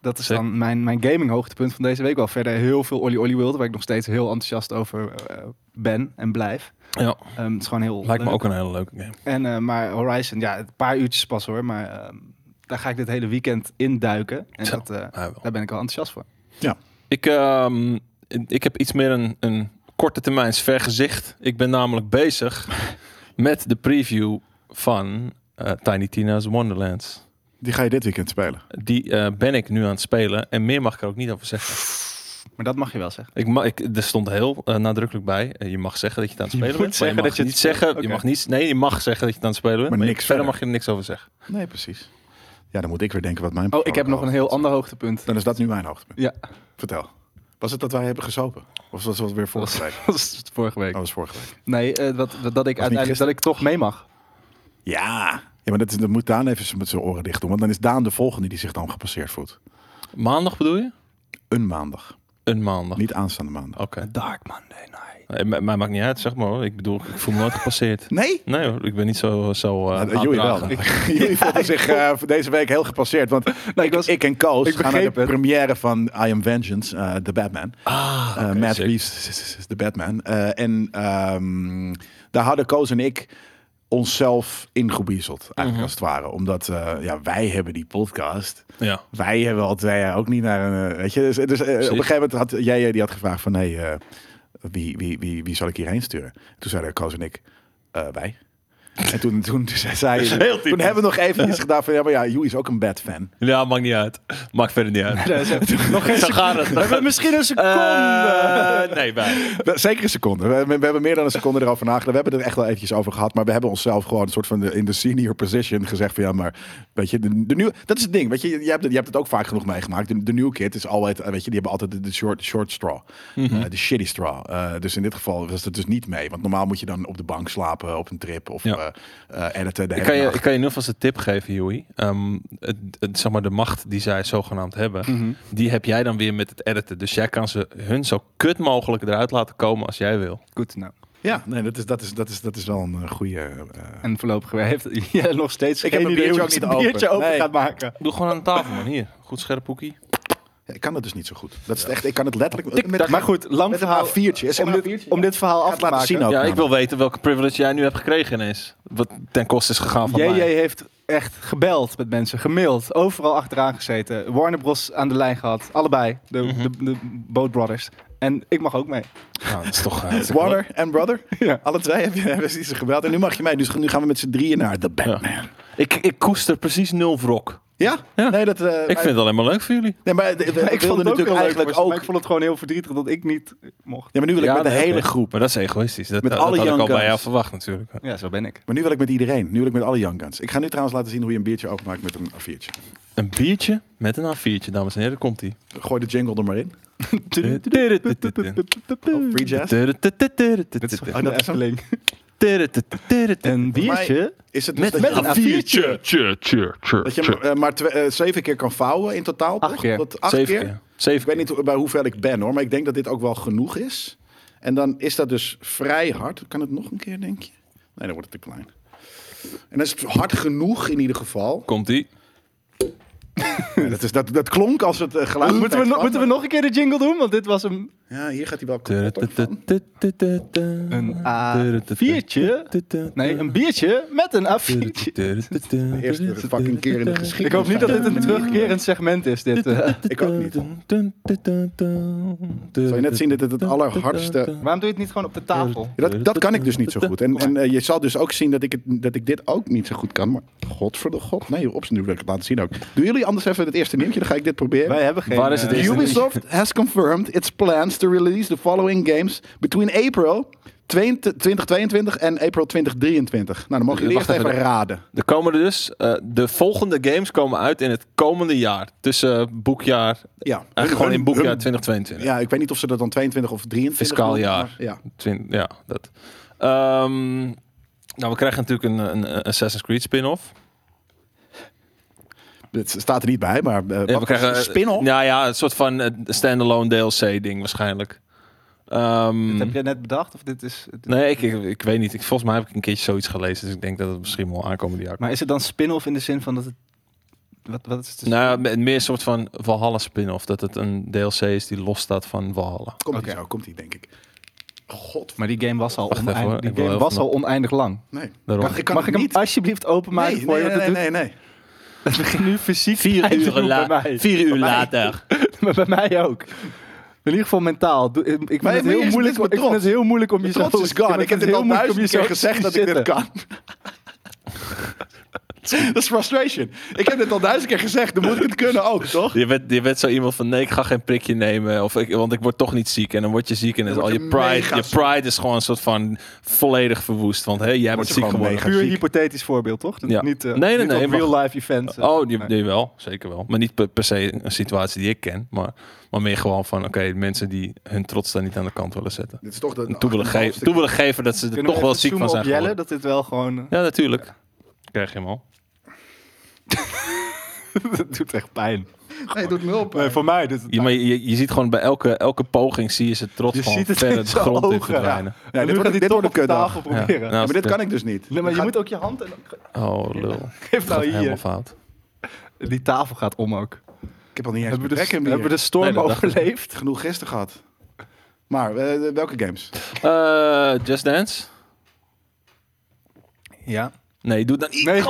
Speaker 4: dat is
Speaker 5: Zeker.
Speaker 4: dan mijn, mijn gaming hoogtepunt van deze week. Wel verder heel veel Olly Olly World, waar ik nog steeds heel enthousiast over eh, ben en blijf.
Speaker 5: Ja,
Speaker 4: Ehm, het is gewoon heel
Speaker 5: lijkt me
Speaker 4: leuk.
Speaker 5: ook een hele leuke game.
Speaker 4: En, eh, maar Horizon, ja, een paar uurtjes pas hoor. Maar ehm, daar ga ik dit hele weekend in duiken. En
Speaker 5: Zo.
Speaker 4: dat, eh,
Speaker 5: Hij wel.
Speaker 4: daar ben ik wel enthousiast voor.
Speaker 5: Ik, ehm, ik heb iets meer een, een korte termijns vergezicht. Ik ben namelijk bezig met de preview van eh, Tiny Tina's Wonderlands.
Speaker 2: Die ga je dit weekend spelen.
Speaker 5: Die eh, ben ik nu aan het spelen en meer mag ik er ook niet over zeggen.
Speaker 4: Maar dat mag je wel zeggen.
Speaker 5: Ik ma- ik, er stond heel eh, nadrukkelijk bij. eh, je mag zeggen dat je het aan het
Speaker 4: Je
Speaker 5: spelen
Speaker 4: moet
Speaker 5: bent.
Speaker 4: zeggen
Speaker 5: maar je mag
Speaker 4: dat je het
Speaker 5: niet
Speaker 4: speelt.
Speaker 5: zeggen. Je
Speaker 4: Oké.
Speaker 5: mag niet. Nee, je mag zeggen dat je het aan het spelen bent.
Speaker 2: Maar
Speaker 5: Maar
Speaker 2: niks
Speaker 5: verder
Speaker 2: verder.
Speaker 5: mag je er niks over zeggen.
Speaker 2: Nee, precies. Ja, dan moet ik weer denken wat mijn.
Speaker 4: Oh, ik heb nog een heel ander hoogtepunt.
Speaker 2: Dan is dat nu mijn hoogtepunt.
Speaker 4: Ja,
Speaker 2: Vertel. Was het dat wij hebben gesopen? Of was dat weer vorige week?
Speaker 4: dat was vorige week. Oh,
Speaker 2: Dat was vorige week.
Speaker 4: Nee, eh, dat, dat, dat ik uiteindelijk dat
Speaker 2: gisteren?
Speaker 4: ik toch mee mag.
Speaker 2: Ja. Ja, maar dat, is, dat moet Daan even z- met zijn oren dicht doen. Want dan is Daan de volgende die zich dan gepasseerd voelt.
Speaker 5: Maandag bedoel je?
Speaker 2: Een maandag.
Speaker 5: Een maandag.
Speaker 2: Niet aanstaande maandag.
Speaker 5: Oké.
Speaker 4: Oh. Dark Monday night.
Speaker 5: Eh, Mij mij maakt niet uit, zeg maar. hoor. Ik bedoel, ik voel me nooit gepasseerd.
Speaker 2: Nee?
Speaker 5: Nee hoor, ik ben niet zo... zo eh,
Speaker 2: Nou, jullie wel.
Speaker 5: aandragen.
Speaker 2: jullie voelden zich eh, voor deze week heel gepasseerd. Want
Speaker 4: Nee, ik was,
Speaker 2: ik en Koos
Speaker 4: ik
Speaker 2: gaan naar de
Speaker 4: begreep het.
Speaker 2: première van I Am Vengeance, eh The Batman.
Speaker 5: Ah,
Speaker 2: Eh,
Speaker 5: oké,
Speaker 2: Matt
Speaker 5: sick.
Speaker 2: Reeves is- is- is de Batman. Eh, en ehm, daar hadden Koos en ik onszelf ingebiezeld, eigenlijk
Speaker 4: Mhm.
Speaker 2: als het ware. Omdat eh, ja, wij hebben die podcast.
Speaker 5: Ja.
Speaker 2: Wij hebben al twee jaar ook niet naar een... eh, Weet je, dus, dus, eh, op een gegeven moment had jij eh, die had gevraagd van... Hey, eh, wie, wie, wie, wie zal ik hierheen sturen? Toen zeiden Koos en ik, eh, wij. En toen, toen zei zij... Toen hebben we nog even iets gedaan van... Ja, maar ja, Joey is ook een Bat-fan.
Speaker 5: ja, maakt niet uit. Maakt verder niet uit.
Speaker 4: nog
Speaker 5: Zo gaat het.
Speaker 4: misschien een seconde.
Speaker 5: Eh, nee, wij.
Speaker 2: Nou, Zeker een seconde. We, we- we hebben meer dan een seconde erover nagedacht. We hebben er echt wel eventjes over gehad. Maar we hebben onszelf gewoon een soort van de, in de senior position gezegd van ja, maar weet je, de, de nieuwe, dat is het ding. Weet je, je hebt, het- je hebt het ook vaak genoeg meegemaakt. De, de nieuwe kid is altijd, eh, weet je, die hebben altijd de, de short, short straw. Eh, de shitty straw. Eh, dus in dit geval was het dus niet mee. Want normaal moet je dan op de bank slapen, op een trip of eh
Speaker 5: Ja.
Speaker 2: eh, editen. De
Speaker 5: Ik
Speaker 2: hele
Speaker 5: kan, je,
Speaker 2: nacht.
Speaker 5: ik kan je nu alvast een tip geven, Joey. Ehm, het, het- zeg maar de macht die zij zogenaamd hebben, die heb jij dan weer met het editen. Dus jij kan ze hun zo kut mogelijk eruit laten komen als jij wil.
Speaker 4: Goed, nou.
Speaker 2: Ja, nee, dat is, dat, is, dat, is, dat is wel een eh, goede... eh,
Speaker 4: En voorlopig weer heeft jij nog steeds
Speaker 2: Ik heb
Speaker 4: geen
Speaker 2: een
Speaker 4: idee hoe
Speaker 2: biertje
Speaker 4: je
Speaker 2: ook
Speaker 4: een
Speaker 2: niet
Speaker 4: biertje
Speaker 2: open.
Speaker 4: open
Speaker 2: Nee.
Speaker 4: gaat maken.
Speaker 5: Doe gewoon aan de tafel, man. Hier, goed scherp hoekie.
Speaker 2: ja, ik kan dat dus niet zo goed. Dat is het echt, ik kan het letterlijk...
Speaker 4: Tik-tak. Maar goed, lang
Speaker 2: met een
Speaker 4: verhaal.
Speaker 2: A4'tje. Is het
Speaker 4: Om
Speaker 2: een
Speaker 4: dit,
Speaker 2: A4'tje?
Speaker 4: om dit verhaal af
Speaker 2: het
Speaker 4: te
Speaker 2: laten
Speaker 4: maken.
Speaker 2: zien ook.
Speaker 5: Ja, ik
Speaker 2: namelijk.
Speaker 5: wil weten welke privilege jij nu hebt gekregen ineens. Wat ten koste is gegaan van
Speaker 4: JJ
Speaker 5: mij.
Speaker 4: heeft echt gebeld met mensen, gemaild, overal achteraan gezeten. Warner Bros. aan de lijn gehad, allebei, de, de, de Boat Brothers. En ik mag ook mee.
Speaker 5: Nou, dat is toch... eh,
Speaker 2: Warner en Brother.
Speaker 4: Ja.
Speaker 2: Alle twee hebben hebben ze iets gebeld. En nu mag je mee. Dus nu gaan we met z'n drieën naar The Batman. Ja?
Speaker 5: ik, ik koester precies nul wrok. Ja.
Speaker 2: Nee, dat... eh,
Speaker 5: Ik vind het alleen maar leuk voor jullie.
Speaker 2: Nee, maar de- we
Speaker 4: ik vond
Speaker 2: wilden
Speaker 4: het ook
Speaker 2: natuurlijk
Speaker 4: wel
Speaker 2: eigenlijk
Speaker 4: leuk, ook.
Speaker 2: ook...
Speaker 4: Maar ik vond het gewoon heel verdrietig dat ik niet mocht.
Speaker 2: Ja, maar nu wil ik
Speaker 5: Ja,
Speaker 2: met de
Speaker 5: nee,
Speaker 2: hele
Speaker 5: oké.
Speaker 2: groep.
Speaker 5: Maar dat is egoïstisch. Dat,
Speaker 2: Met
Speaker 5: dat,
Speaker 2: alle
Speaker 5: dat had
Speaker 2: young
Speaker 5: ik al bij
Speaker 2: guns.
Speaker 5: jou verwacht natuurlijk.
Speaker 4: Ja, zo ben ik.
Speaker 2: Maar nu wil ik met iedereen. Nu wil ik met alle Young Guns. Ik ga nu trouwens laten zien hoe je een biertje openmaakt met een A4'tje.
Speaker 5: Een biertje met een A4'tje, dames en heren. Komt ie.
Speaker 2: Gooi de jingle er maar in. Free jazz.
Speaker 4: Oh,
Speaker 2: dat
Speaker 4: dat is
Speaker 2: is hem.
Speaker 4: een Een biertje?
Speaker 2: Is het dus
Speaker 5: Met,
Speaker 2: dat,
Speaker 5: met
Speaker 2: je,
Speaker 5: een A4'tje.
Speaker 2: dat je hem, eh, maar twee- eh, zeven keer kan vouwen in totaal?
Speaker 4: Acht
Speaker 2: toch?
Speaker 4: keer.
Speaker 2: Dat acht
Speaker 5: Zeven
Speaker 2: keer?
Speaker 5: keer. Zeven
Speaker 2: Ik weet niet hoe- bij hoe ver ik ben hoor, maar ik denk dat dit ook wel genoeg is. En dan is dat dus vrij hard. Kan het nog een keer, denk je? Nee, dan wordt het te klein. En dat is het hard genoeg in ieder geval.
Speaker 5: komt die.
Speaker 2: Ja, dat, is, dat, dat klonk als het eh, geluid.
Speaker 4: Moeten we, no- moeten we nog een keer de jingle doen? Want dit was een,
Speaker 2: Ja, hier gaat hij wel kapot. hoor, van.
Speaker 4: een
Speaker 5: Een
Speaker 4: A4'tje. Nee, een biertje met een A4'tje.
Speaker 5: De
Speaker 2: Eerste fucking keer in de geschiedenis.
Speaker 4: Ik hoop niet dat dit een terugkerend segment is. Dit, eh.
Speaker 2: Ik ook niet. Zou je net zien dat het het allerhardste-
Speaker 4: Waarom doe je het niet gewoon op de tafel?
Speaker 2: Ja, dat, dat kan ik dus niet zo goed. En, en eh, je zal dus ook zien dat ik, het, dat ik dit ook niet zo goed kan. Maar godverdomme god. Nee, op nu wil ik het laten zien ook. Doen jullie anders even het eerste nieuwtje? Dan ga ik dit proberen.
Speaker 4: Wij hebben geen...
Speaker 5: Waar is het
Speaker 4: eh,
Speaker 5: eerste
Speaker 2: Ubisoft has confirmed its plans to release the following games between April 20 2022 en April 2023. Nou, dan mogen jullie
Speaker 5: Wacht
Speaker 2: eerst even,
Speaker 5: even.
Speaker 2: raden.
Speaker 5: Er komen er dus, eh, de volgende games komen uit in het komende jaar. Tussen boekjaar,
Speaker 2: Ja, hun-
Speaker 5: eigenlijk gewoon
Speaker 2: hun-
Speaker 5: in boekjaar
Speaker 2: hun-
Speaker 5: 2022.
Speaker 2: Ja, ik weet niet of ze dat dan 22 of 23
Speaker 5: Fiscaal
Speaker 2: noemen,
Speaker 5: jaar.
Speaker 2: maar Ja.
Speaker 5: Twin- ja, dat. Ehm, nou, we krijgen natuurlijk een, een, een Assassin's Creed spin-off.
Speaker 2: Het staat er niet bij, maar eh,
Speaker 5: Ja,
Speaker 2: wat-
Speaker 5: we krijgen
Speaker 2: een
Speaker 5: eh,
Speaker 2: spin-off.
Speaker 5: Nou ja, een soort van eh, standalone DLC-ding waarschijnlijk. Ehm,
Speaker 4: Dit heb je net bedacht? Of dit is... dit-
Speaker 5: nee, ik, ik, ik weet niet. Ik, volgens mij heb ik een keertje zoiets gelezen. Dus ik denk dat het misschien wel aankomende jaar komt.
Speaker 4: Maar is het dan spin-off in de zin van dat het... Wat, wat is het?
Speaker 5: Nou, me- meer een soort van Valhalla spin-off. Dat het een DLC is die los staat van Valhalla.
Speaker 2: Komt
Speaker 4: Oké.
Speaker 2: die zo, komt die denk ik. God,
Speaker 4: Maar die game was al,
Speaker 5: Wacht even,
Speaker 4: oneindig,
Speaker 5: hoor.
Speaker 4: die
Speaker 5: Ik wil
Speaker 4: game
Speaker 5: even
Speaker 4: was al oneindig lang.
Speaker 2: nee.
Speaker 5: Daarom.
Speaker 2: Mag ik kan
Speaker 4: Mag
Speaker 2: het
Speaker 4: ik hem
Speaker 2: niet?
Speaker 4: alsjeblieft openmaken
Speaker 2: Nee,
Speaker 4: voor
Speaker 2: nee,
Speaker 4: je?
Speaker 2: nee,
Speaker 4: Want
Speaker 2: nee,
Speaker 4: het
Speaker 2: nee, nee.
Speaker 4: doet- Het begint nu fysiek
Speaker 5: Vier
Speaker 4: pijn te
Speaker 5: uur,
Speaker 4: doen
Speaker 5: la-
Speaker 4: bij mij.
Speaker 5: vier uur later.
Speaker 4: Maar bij mij ook. In ieder geval mentaal. Doe- Ik ik vind,
Speaker 2: Maar
Speaker 4: het
Speaker 2: hier
Speaker 4: heel,
Speaker 2: is-
Speaker 4: moeilijk,
Speaker 2: dit is
Speaker 4: ik vind
Speaker 2: trots.
Speaker 4: het heel moeilijk om
Speaker 2: De
Speaker 4: jezelf...
Speaker 2: trots is gone. Ik heb dit al duizend keer gezegd dat ik dit kan. dat is frustration. Ik heb dit al duizend keer gezegd. Dan moet ik het kunnen ook, toch?
Speaker 5: Je bent, je bent zo iemand van nee, ik ga geen prikje nemen. Of ik, want ik word toch niet ziek. En dan word je ziek en dan is
Speaker 2: Dan
Speaker 5: al je
Speaker 2: word je
Speaker 5: pride.
Speaker 2: mega
Speaker 5: Je
Speaker 2: ziek.
Speaker 5: pride is gewoon een soort van volledig verwoest. Want hé, jij
Speaker 2: Word
Speaker 5: wordt
Speaker 2: je
Speaker 5: ziek
Speaker 2: gewoon
Speaker 5: geworden.
Speaker 2: mega
Speaker 4: Puur
Speaker 2: ziek.
Speaker 4: hypothetisch voorbeeld, toch? Dat
Speaker 5: Ja.
Speaker 4: Niet, eh,
Speaker 5: Nee, nee,
Speaker 4: niet
Speaker 5: nee,
Speaker 4: op
Speaker 5: mag-
Speaker 4: real life events. eh.
Speaker 5: Oh, die,
Speaker 4: Nee.
Speaker 5: die wel, zeker wel. Maar niet per, per se een situatie die ik ken. Maar, maar meer gewoon van oké, mensen die hun trots daar niet aan de kant willen zetten.
Speaker 2: Dit is toch de
Speaker 5: En toe willen, ge- toe willen geven dat ze er
Speaker 4: Kunnen we
Speaker 5: toch wel
Speaker 4: even
Speaker 5: ziek van
Speaker 4: zoomen
Speaker 5: zijn
Speaker 4: op Jelle,
Speaker 5: geworden.
Speaker 4: dat dit wel gewoon...
Speaker 5: Ja, natuurlijk. Krijg je hem al.
Speaker 4: eh, dat doet echt pijn.
Speaker 2: Nee, doet me op. eh.
Speaker 4: Nee, voor mij dit...
Speaker 5: Je, maar je, je ziet gewoon bij elke, elke poging zie je ze trots
Speaker 4: Je
Speaker 5: gewoon
Speaker 4: ziet het
Speaker 5: verder
Speaker 4: in
Speaker 5: de
Speaker 4: zijn
Speaker 5: grond in
Speaker 4: ogen, ja.
Speaker 5: verdwijnen.
Speaker 2: Ja,
Speaker 4: En
Speaker 2: dit
Speaker 4: nu
Speaker 2: wordt-
Speaker 4: gaat hij
Speaker 2: dit
Speaker 4: toch
Speaker 2: wordt
Speaker 4: op de
Speaker 2: een kutdag.
Speaker 4: tafel
Speaker 5: Ja.
Speaker 4: proberen.
Speaker 5: Nou,
Speaker 2: Ja, maar dit
Speaker 5: de-
Speaker 2: kan ik dus niet.
Speaker 4: Nee, maar je
Speaker 2: Gaat-
Speaker 4: moet ook je hand... En...
Speaker 5: Oh, lul.
Speaker 4: Geef nou
Speaker 5: Dat gaat helemaal
Speaker 4: hier.
Speaker 5: fout.
Speaker 4: Die tafel gaat om ook.
Speaker 2: Ik heb al niet
Speaker 4: Hebben
Speaker 2: eens mijn
Speaker 4: we de,
Speaker 2: trek in
Speaker 4: hebben we
Speaker 2: bier.
Speaker 4: de storm
Speaker 5: Nee, dat dacht ik.
Speaker 4: overleefd?
Speaker 2: genoeg gisteren gehad. Maar eh, welke games?
Speaker 5: Eh, Just Dance?
Speaker 4: Ja.
Speaker 5: Nee, doe dan niet.
Speaker 4: Nee,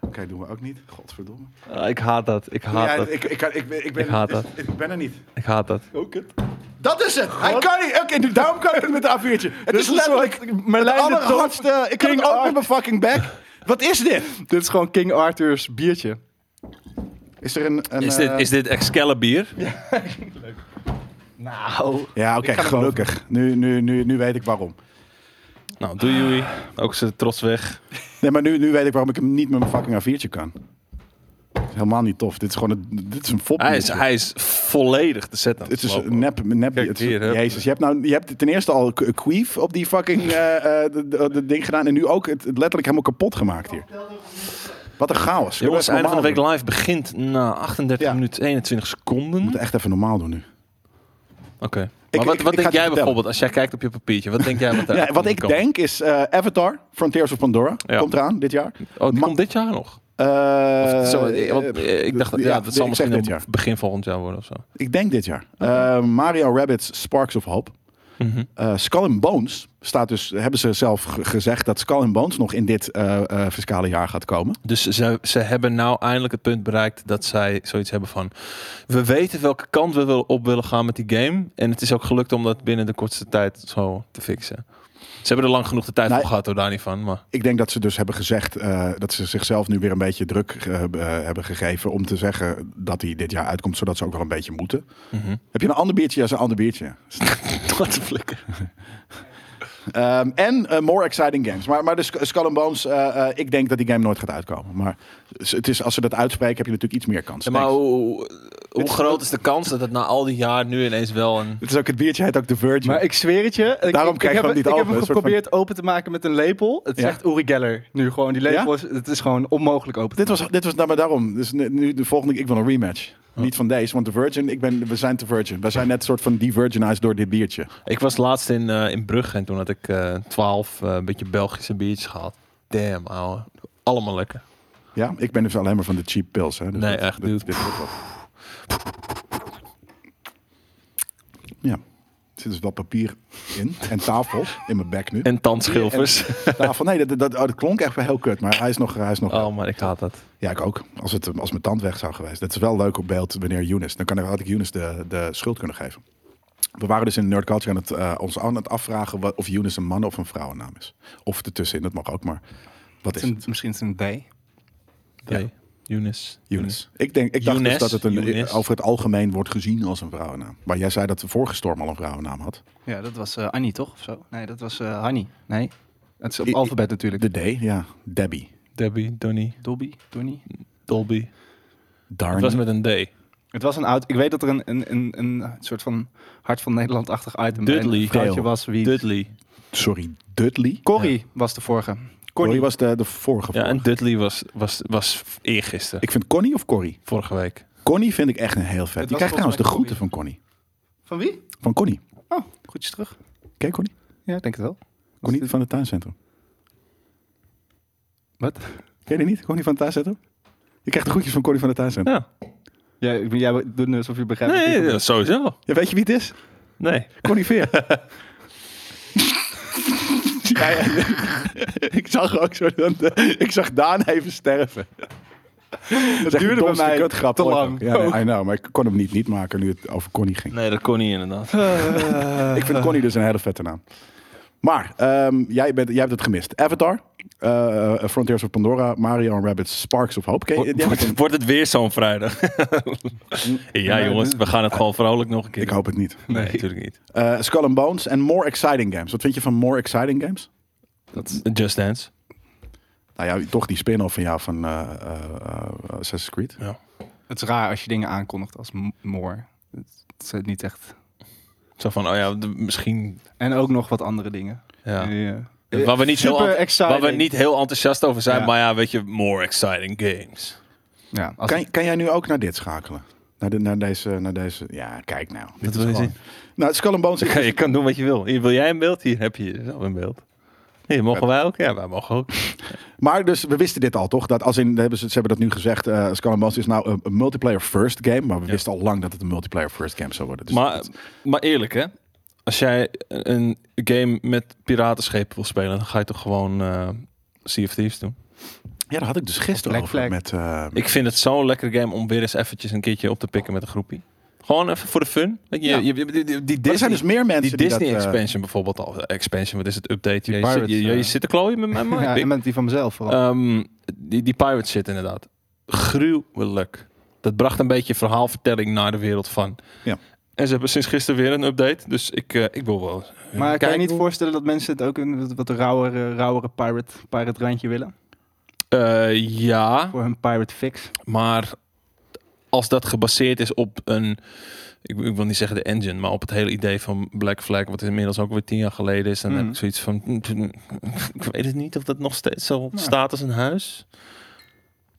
Speaker 2: Oké, doen we ook niet. Godverdomme.
Speaker 5: ik haat dat. Ik haat
Speaker 2: Ja,
Speaker 5: dat.
Speaker 2: ik, ik, kan- ik, ben- ik, ben,
Speaker 5: Ik haat dat.
Speaker 2: ik ben er niet.
Speaker 5: Ik haat dat.
Speaker 2: Dat is het. Hij kan niet. Oké, nu- daarom kan ik het met de A4'tje. Het is
Speaker 4: is een
Speaker 2: letterlijk
Speaker 4: soort Merlijn
Speaker 2: de
Speaker 4: de Toof-
Speaker 2: allerhardste. Ik kan
Speaker 4: King
Speaker 2: het ook
Speaker 4: Arthur.
Speaker 2: met mijn fucking back. Wat is dit?
Speaker 4: dit is gewoon King Arthur's biertje.
Speaker 2: Is er een... een
Speaker 5: Is dit,
Speaker 2: eh,
Speaker 5: is dit Excalibur?
Speaker 4: Nou.
Speaker 2: Ja, oké,
Speaker 4: Ik ga hem
Speaker 2: gelukkig. Nu, nu, nu, nu weet ik waarom.
Speaker 5: Nou, doe Joey. Ook ze trots weg.
Speaker 2: Nee, maar nu, nu weet ik waarom ik hem niet met mijn fucking A4'tje kan. Dat is helemaal niet tof. Dit is gewoon een, dit is een fop.
Speaker 5: Hij is, hij is volledig te zetten. aan
Speaker 2: Het is
Speaker 5: lopen.
Speaker 2: een nep, nep
Speaker 5: Kijk,
Speaker 2: het is-
Speaker 5: hier, hè.
Speaker 2: Jezus, je hebt, nou, je hebt ten eerste al k- queef op die fucking eh, eh, de- de- de ding gedaan. En nu ook het, het letterlijk helemaal kapot gemaakt hier. Wat een chaos. Kunnen we
Speaker 5: Jongens,
Speaker 2: even
Speaker 5: einde van de
Speaker 2: normaal
Speaker 5: week live begint na 38
Speaker 2: Ja.
Speaker 5: minuten 21 seconden.
Speaker 2: doen? We moeten
Speaker 5: Oké.
Speaker 2: echt even normaal doen nu.
Speaker 5: Maar
Speaker 2: Ik-
Speaker 5: wat,
Speaker 2: ik-
Speaker 5: wat
Speaker 2: ik ga het
Speaker 5: denk
Speaker 2: je
Speaker 5: jij
Speaker 2: vertellen.
Speaker 5: bijvoorbeeld als jij kijkt op je papiertje? Wat denk jij wat daar
Speaker 2: Ja, wat ik denk is eh, Avatar, Frontiers of Pandora,
Speaker 5: Ja.
Speaker 2: komt eraan dit jaar.
Speaker 5: Oh, die
Speaker 2: Ma-
Speaker 5: komt dit jaar nog?
Speaker 2: Eh,
Speaker 5: Of zo, eh, want, eh, ik dacht, dat- ja,
Speaker 2: ja,
Speaker 5: dat zal
Speaker 2: ik zeg
Speaker 5: misschien Oh.
Speaker 2: dit jaar.
Speaker 5: op begin volgend jaar worden of zo.
Speaker 2: Ik denk dit jaar. Eh, Mario Rabbits Sparks of Hope.
Speaker 5: Mhm.
Speaker 2: Eh, Skull and Bones staat dus, hebben ze zelf ge- gezegd dat Skull and Bones nog in dit eh, eh, fiscale jaar gaat komen.
Speaker 5: Dus ze, ze hebben nou eindelijk het punt bereikt dat zij zoiets hebben van... We weten welke kant we wil, op willen gaan met die game. En het is ook gelukt om dat binnen de kortste tijd zo te fixen. Ze hebben er lang genoeg de tijd
Speaker 2: Nee.
Speaker 5: voor gehad, hoor, daar niet van. Maar
Speaker 2: Ik denk dat ze dus hebben gezegd eh, dat ze zichzelf nu weer een beetje druk eh, eh, hebben gegeven om te zeggen dat hij dit jaar uitkomt, zodat ze ook wel een beetje moeten. Heb je een ander biertje? Ja, is een ander biertje.
Speaker 5: wat een flikker.
Speaker 2: Ehm, en eh, more exciting games. Maar, maar de Sk- Skull and Bones, eh, eh, ik denk dat die game nooit gaat uitkomen. Maar s- het is, als ze dat uitspreken, heb je natuurlijk iets meer kans.
Speaker 5: maar
Speaker 2: Thanks.
Speaker 5: hoe, Hoe groot is de kans dat het na al die jaar nu ineens wel een...
Speaker 2: Het is ook het biertje, heet ook The Virgin.
Speaker 4: Maar ik zweer het je. Ik,
Speaker 2: Daarom
Speaker 4: ik,
Speaker 2: krijg
Speaker 4: ik
Speaker 2: je
Speaker 4: heb,
Speaker 2: hem niet
Speaker 4: het- Ik heb
Speaker 2: open,
Speaker 4: hem
Speaker 2: een soort van-
Speaker 4: geprobeerd open te maken met een lepel. Het is
Speaker 2: Ja.
Speaker 4: echt Uri Geller nu gewoon. Die lepel is,
Speaker 2: Ja?
Speaker 4: het is gewoon onmogelijk open.
Speaker 2: Dit was, dit was nou maar daarom. Dus nu- nu de volgende, keer, ik wil een rematch. Niet van deze, want The Virgin, ik ben, we zijn The Virgin. We zijn net een soort van de-virginized door dit biertje.
Speaker 5: Ik was laatst in, eh, in Brugge en toen had ik eh, twaalf een beetje Belgische biertjes gehad. Damn, ouwe. Allemaal lekker.
Speaker 2: Ja, ik ben dus alleen maar van de cheap pills. Hè. Dus
Speaker 5: Nee,
Speaker 2: dat-
Speaker 5: echt,
Speaker 2: dat-
Speaker 5: dude.
Speaker 2: dit wordt wat. Ja, er zit dus wel papier in en tafels in mijn bek nu.
Speaker 5: En tandschilfers.
Speaker 2: Tafel, nee, dat, dat, dat klonk echt wel heel kut, maar hij is nog... Hij is nog
Speaker 5: Oh, maar ik haat dat.
Speaker 2: Ja, ik ook. Als, het, als mijn tand weg zou geweest. Dat is wel leuk op beeld wanneer Younes. Dan kan, ik- had ik Younes de, de schuld kunnen geven. We waren dus in Nerd Culture aan het, eh, ons aan het afvragen wat, of Younes een man of een vrouwennaam is. Of ertussenin, dat mag ook, maar wat is
Speaker 4: Het is een-
Speaker 2: het?
Speaker 4: misschien is het een D.
Speaker 5: Nee. Younes.
Speaker 2: Younes. Ik, denk, ik dacht
Speaker 5: Younes,
Speaker 2: dus dat het een,
Speaker 5: Younes.
Speaker 2: over het algemeen wordt gezien als een vrouwennaam. Maar jij zei dat de vorige storm al een vrouwennaam had.
Speaker 4: Ja, dat was eh, Annie toch? Of zo? Nee, dat was eh Hanny. Nee. Het is op
Speaker 2: I- i-
Speaker 4: alfabet natuurlijk.
Speaker 2: De D, ja. Debbie.
Speaker 5: Debbie, Donnie,
Speaker 4: Dobby, Donnie.
Speaker 5: Dolby. Het
Speaker 2: Darnie.
Speaker 5: was met een D.
Speaker 4: Het was een oud. Ik weet dat er een, een, een, een soort van hart van Nederland-achtig item bij
Speaker 5: Dudley.
Speaker 4: een vrouwtje
Speaker 2: Dale.
Speaker 4: was wie.
Speaker 5: Dudley.
Speaker 2: Sorry, Dudley.
Speaker 4: Corrie was de vorige.
Speaker 2: Corrie
Speaker 4: Corrie was.
Speaker 2: was de, de vorige.
Speaker 5: Ja, en
Speaker 2: vorige.
Speaker 5: Dudley was, was, was eergisteren.
Speaker 2: Ik vind Connie of Corrie?
Speaker 5: Vorige week.
Speaker 2: Connie vind ik echt een heel
Speaker 4: Het
Speaker 2: vet. Je
Speaker 4: was
Speaker 2: krijgt trouwens de
Speaker 4: volgens mij
Speaker 2: groeten van Connie.
Speaker 4: Van wie?
Speaker 2: Van Connie.
Speaker 4: Oh, goedjes terug.
Speaker 2: Ken je Connie?
Speaker 4: Ja, ik denk het wel.
Speaker 2: Connie van het tuincentrum.
Speaker 4: Wat?
Speaker 2: Ken je die niet? Connie van het tuincentrum? Je krijgt de groetjes van Connie van het tuincentrum.
Speaker 5: Ja.
Speaker 4: Jij, ik ben- jij doet nu alsof je begrijpt. wat ik
Speaker 5: Nee,
Speaker 4: bedoel.
Speaker 5: ja, sowieso.
Speaker 2: Ja, weet je wie het is?
Speaker 5: Nee.
Speaker 2: Connie Veer. Ja, ja. ik zag ook zo... dat, eh, ik zag Daan even sterven. Dat
Speaker 4: duurde bij mij te lang.
Speaker 2: Ja, nee, I know, maar ik kon hem niet niet maken nu het over Connie ging.
Speaker 5: Nee, dat kon niet inderdaad.
Speaker 2: Ik vind Connie dus een hele vette naam. Maar ehm, jij, bent, jij hebt het gemist. Avatar, eh, eh, Frontiers of Pandora, Mario and Rabbids, Sparks of Hope. Ken je- die heb ik in-
Speaker 5: Wordt, wordt het weer zo'n vrijdag? ja, jongens, we gaan het gewoon vrolijk nog een keer.
Speaker 2: ik hoop het niet.
Speaker 5: Nee, natuurlijk niet.
Speaker 2: Eh, Skull and Bones en More Exciting Games. Wat vind je van More Exciting Games?
Speaker 5: Just Dance.
Speaker 2: Nou ja, toch die spin-off van jou van eh, eh, eh, Assassin's Creed.
Speaker 4: Het is raar als je dingen aankondigt als m- more. Het het is niet echt.
Speaker 5: Zo van, oh ja, de- misschien...
Speaker 4: En ook nog wat andere dingen.
Speaker 5: Ja.
Speaker 4: Ja.
Speaker 5: Waar, we niet heel
Speaker 4: Super
Speaker 5: ent-
Speaker 4: exciting.
Speaker 5: waar we niet heel enthousiast over zijn,
Speaker 4: Ja.
Speaker 5: maar ja, weet je, more exciting games.
Speaker 4: Ja, als
Speaker 2: Kan, kan jij nu ook naar dit schakelen? Naar, de, naar, deze, naar deze... Ja, kijk nou. Dit
Speaker 5: wil je
Speaker 2: gewoon- Nou, Skull and Bones...
Speaker 5: Ja, je kan doen wat je wil. Hier wil jij een beeld, hier heb je zelf een beeld. Hier mogen wij ook, ja, wij mogen ook.
Speaker 2: Maar dus, we wisten dit al, toch? Dat als in, hebben ze, ze hebben dat nu gezegd. eh Skull and Bones is nou een, een multiplayer first game. Maar we wisten al lang dat het een multiplayer first game zou worden. Dus
Speaker 5: Maar,
Speaker 2: dat-
Speaker 5: maar eerlijk, hè? Als jij een game met piratenschepen wil spelen, dan ga je toch gewoon eh Sea of Thieves doen.
Speaker 2: ja, daar had ik dus gisteren
Speaker 4: Black
Speaker 2: over
Speaker 4: Flag.
Speaker 2: met... eh,
Speaker 5: Ik vind het zo'n lekker game om weer eens eventjes een keertje op te pikken met een groepie. Gewoon even voor de fun. Weet je,
Speaker 2: Ja.
Speaker 5: je, je- die, die- die
Speaker 2: maar er
Speaker 5: Disney,
Speaker 2: zijn dus meer mensen
Speaker 5: die
Speaker 2: die dat,
Speaker 5: Disney
Speaker 2: eh,
Speaker 5: expansion bijvoorbeeld al. Expansion, wat is het? Update. Je,
Speaker 4: Pirates,
Speaker 5: zit, je, je- je
Speaker 4: eh.
Speaker 5: zit te klooien met mij, maar
Speaker 4: ja,
Speaker 5: ik-
Speaker 4: en met die van mezelf vooral.
Speaker 5: Ehm, die, die pirate shit inderdaad. Gruwelijk. Dat bracht een beetje verhaalvertelling naar de wereld van.
Speaker 2: Ja.
Speaker 5: En ze hebben sinds gisteren weer een update. Dus ik, eh, ik wil wel. eens
Speaker 4: maar kan je
Speaker 5: kijken
Speaker 4: niet
Speaker 5: hoe-
Speaker 4: voorstellen dat mensen het ook een wat- wat rauwere, rauwere pirate, pirate randje willen?
Speaker 5: Eh, ja,
Speaker 4: Voor hun pirate fix.
Speaker 5: maar als dat gebaseerd is op een. Ik, ik wil niet zeggen de engine, maar op het hele idee van Black Flag, wat inmiddels ook weer tien jaar geleden is. Dan
Speaker 4: Mm.
Speaker 5: heb ik zoiets van. Ik weet het niet of dat nog steeds zo staat als een huis.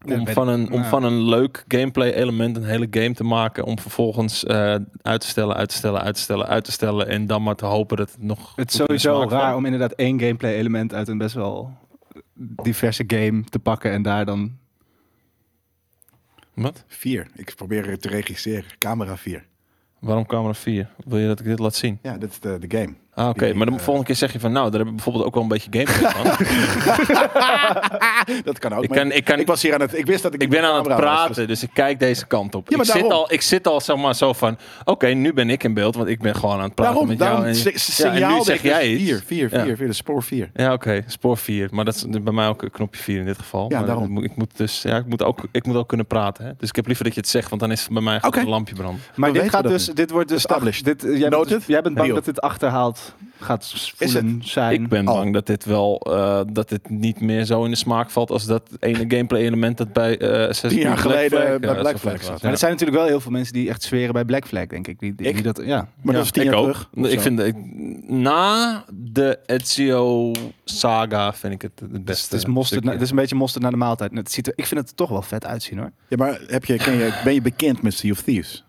Speaker 4: Ja,
Speaker 5: om,
Speaker 4: weet
Speaker 5: van
Speaker 4: ik.
Speaker 5: een, om
Speaker 4: Nou.
Speaker 5: van een leuk gameplay element een hele game te maken. Om vervolgens eh, uit te stellen, uit te stellen, uit te stellen, uit te stellen. En dan maar te hopen dat het nog...
Speaker 4: Het is
Speaker 5: goed in de
Speaker 4: sowieso
Speaker 5: smaak valt.
Speaker 4: raar om inderdaad één gameplay element uit een best wel diverse game te pakken en daar dan...
Speaker 5: Wat?
Speaker 2: Vier. Ik probeer het te regisseren. Camera 4.
Speaker 5: Waarom camera 4? Wil je dat ik dit laat zien?
Speaker 2: Ja, dit is de, de game.
Speaker 5: Ah, oké.
Speaker 2: Die,
Speaker 5: maar de
Speaker 2: eh,
Speaker 5: volgende keer zeg je van... Nou, daar heb ik bijvoorbeeld ook wel een beetje gameplay van.
Speaker 2: Dat kan ook.
Speaker 5: ik,
Speaker 2: maar
Speaker 5: kan, ik, kan,
Speaker 2: ik
Speaker 5: ik,
Speaker 2: was hier aan het... Ik wist dat ik...
Speaker 5: ben aan het
Speaker 2: camera was,
Speaker 5: praten, dus ik kijk deze kant op.
Speaker 2: Ja,
Speaker 5: ik,
Speaker 2: maar
Speaker 5: zit
Speaker 2: daarom.
Speaker 5: al, ik zit al zeg maar, zo van... Oké, nu ben ik in beeld, want ik ben gewoon aan het praten
Speaker 2: Daarom,
Speaker 5: met
Speaker 2: daarom
Speaker 5: jou. en-
Speaker 2: si-
Speaker 5: ja, en nu
Speaker 2: signaalde
Speaker 5: zeg
Speaker 2: ik dus
Speaker 5: jij iets.
Speaker 2: Vier, vier,
Speaker 5: Ja.
Speaker 2: vier, vier. Dus spoor vier.
Speaker 5: Ja, oké. Spoor 4. Maar dat is bij mij ook knopje 4 in dit geval.
Speaker 2: Ja,
Speaker 5: Maar
Speaker 2: daarom.
Speaker 5: Ik moet, ik moet dus, ja, ik moet, ook, ik moet ook kunnen praten. Hè? Dus ik heb liever dat je het zegt, want dan is het bij mij gewoon
Speaker 2: Oké.
Speaker 5: een lampje brand.
Speaker 4: Maar
Speaker 2: weten
Speaker 4: dit,
Speaker 2: we
Speaker 4: gaat
Speaker 2: dat
Speaker 4: dus,
Speaker 2: niet.
Speaker 4: dit wordt dus...
Speaker 2: Established.
Speaker 4: ach- dit, eh, jij, bent,
Speaker 2: Noted.
Speaker 4: jij bent bang
Speaker 2: Deal.
Speaker 4: dat dit achterhaalt dat gaat s- voelen zijn.
Speaker 5: Ik ben
Speaker 2: Al.
Speaker 5: bang dat dit wel eh, dat dit niet meer zo in de smaak valt als dat ene gameplay element dat bij eh Assassin's
Speaker 2: Tien jaar
Speaker 5: Creed Black
Speaker 2: geleden
Speaker 5: Flag,
Speaker 2: bij
Speaker 5: eh,
Speaker 2: Black
Speaker 5: zo vet
Speaker 2: Flag
Speaker 5: was.
Speaker 2: zat.
Speaker 5: Ja.
Speaker 4: maar er zijn natuurlijk wel heel veel mensen die echt zweren bij Black Flag, denk ik. Die, die,
Speaker 2: Ik?
Speaker 4: die dat, ja.
Speaker 2: Maar dat is tien
Speaker 5: ik
Speaker 2: jaar
Speaker 5: ook.
Speaker 2: terug. of
Speaker 5: Ik
Speaker 2: zo.
Speaker 5: vind ik, na de Ezio saga vind ik het het
Speaker 4: Dus het
Speaker 5: beste.
Speaker 4: is, mosterd, na-
Speaker 5: stukje.
Speaker 4: het is een beetje mosterd naar de maaltijd. Het ziet er, ik vind het er toch wel vet uitzien hoor.
Speaker 2: Ja, maar heb je, ken je, ben je bekend met Sea of Thieves?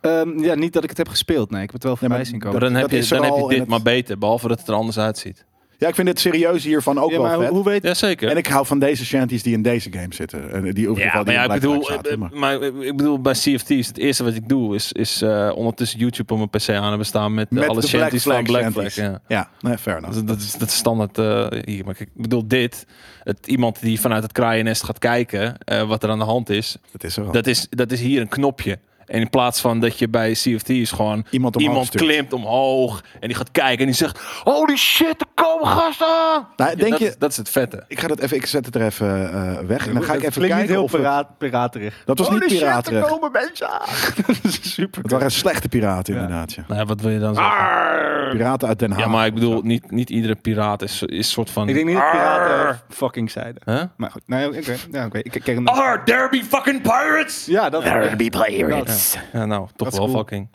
Speaker 4: Ehm, ja, niet dat ik het heb gespeeld. Nee, ik heb het wel voorbij
Speaker 2: maar
Speaker 4: zien
Speaker 5: maar
Speaker 4: komen.
Speaker 5: dan heb
Speaker 2: dat
Speaker 5: je,
Speaker 2: is er
Speaker 5: dan heb
Speaker 2: al
Speaker 5: je
Speaker 2: en
Speaker 5: dit
Speaker 2: het-
Speaker 5: maar beter, behalve dat het er anders uitziet.
Speaker 2: Ja, ik vind het serieus hiervan ook
Speaker 4: Ja,
Speaker 2: wel
Speaker 4: maar hoe,
Speaker 2: vet.
Speaker 4: hoe weet
Speaker 5: Jazeker.
Speaker 2: En ik hou van deze shanties die in deze game zitten. En die over
Speaker 5: Ja, maar ja, ik bedoel, eh,
Speaker 2: zaten, maar-
Speaker 5: maar eh, ik bedoel, bij CFT's, het eerste wat ik doe is, is eh, ondertussen YouTube op mijn PC aan hebben staan met, eh,
Speaker 2: Met
Speaker 5: alle
Speaker 2: de Black
Speaker 5: shanties
Speaker 2: Flag
Speaker 5: van Black
Speaker 2: shanties.
Speaker 5: Flag. Ja.
Speaker 2: Ja, nee, fair enough.
Speaker 5: Dat, dat is, dat is standaard eh, hier. Maar ik ik bedoel, dit, het, iemand die vanuit het kraaiennest gaat kijken eh, wat er aan de hand is,
Speaker 2: Dat is er wel.
Speaker 5: dat is, dat is hier een knopje. En in plaats van dat je bij CFT's gewoon
Speaker 2: Iemand omhoog
Speaker 5: iemand
Speaker 2: stuurt.
Speaker 5: klimt omhoog en die gaat kijken en die zegt: Holy shit, er komen gasten! aan!"
Speaker 2: Nou,
Speaker 5: Ja,
Speaker 2: denk
Speaker 5: dat,
Speaker 2: je-
Speaker 5: is- dat is het vette.
Speaker 2: Ik, ga dat even, ik zet het er even eh, weg. En dan ga ik even
Speaker 4: Klinkt
Speaker 2: kijken
Speaker 4: niet heel
Speaker 2: of we-
Speaker 4: piraat, piraterig.
Speaker 2: Dat was niet piraten.
Speaker 4: er komen mensen aan. Dat is super.
Speaker 2: Het waren slechte piraten inderdaad. Ja.
Speaker 5: Nou, ja, wat wil je dan zeggen?
Speaker 2: Piraten uit Den Haag.
Speaker 5: Ja, maar ik bedoel, niet, niet iedere piraat is, is soort van.
Speaker 4: Ik denk niet dat piraten fucking zeiden.
Speaker 5: Huh?
Speaker 4: Maar goed, nee, oké. Ja, oké. Ik ik ken hem.
Speaker 5: Are there be fucking pirates?
Speaker 4: Ja, dat
Speaker 7: be
Speaker 4: Dat-
Speaker 7: players.
Speaker 5: Ja, nou, toch
Speaker 4: is
Speaker 5: wel
Speaker 4: cool.
Speaker 5: fucking.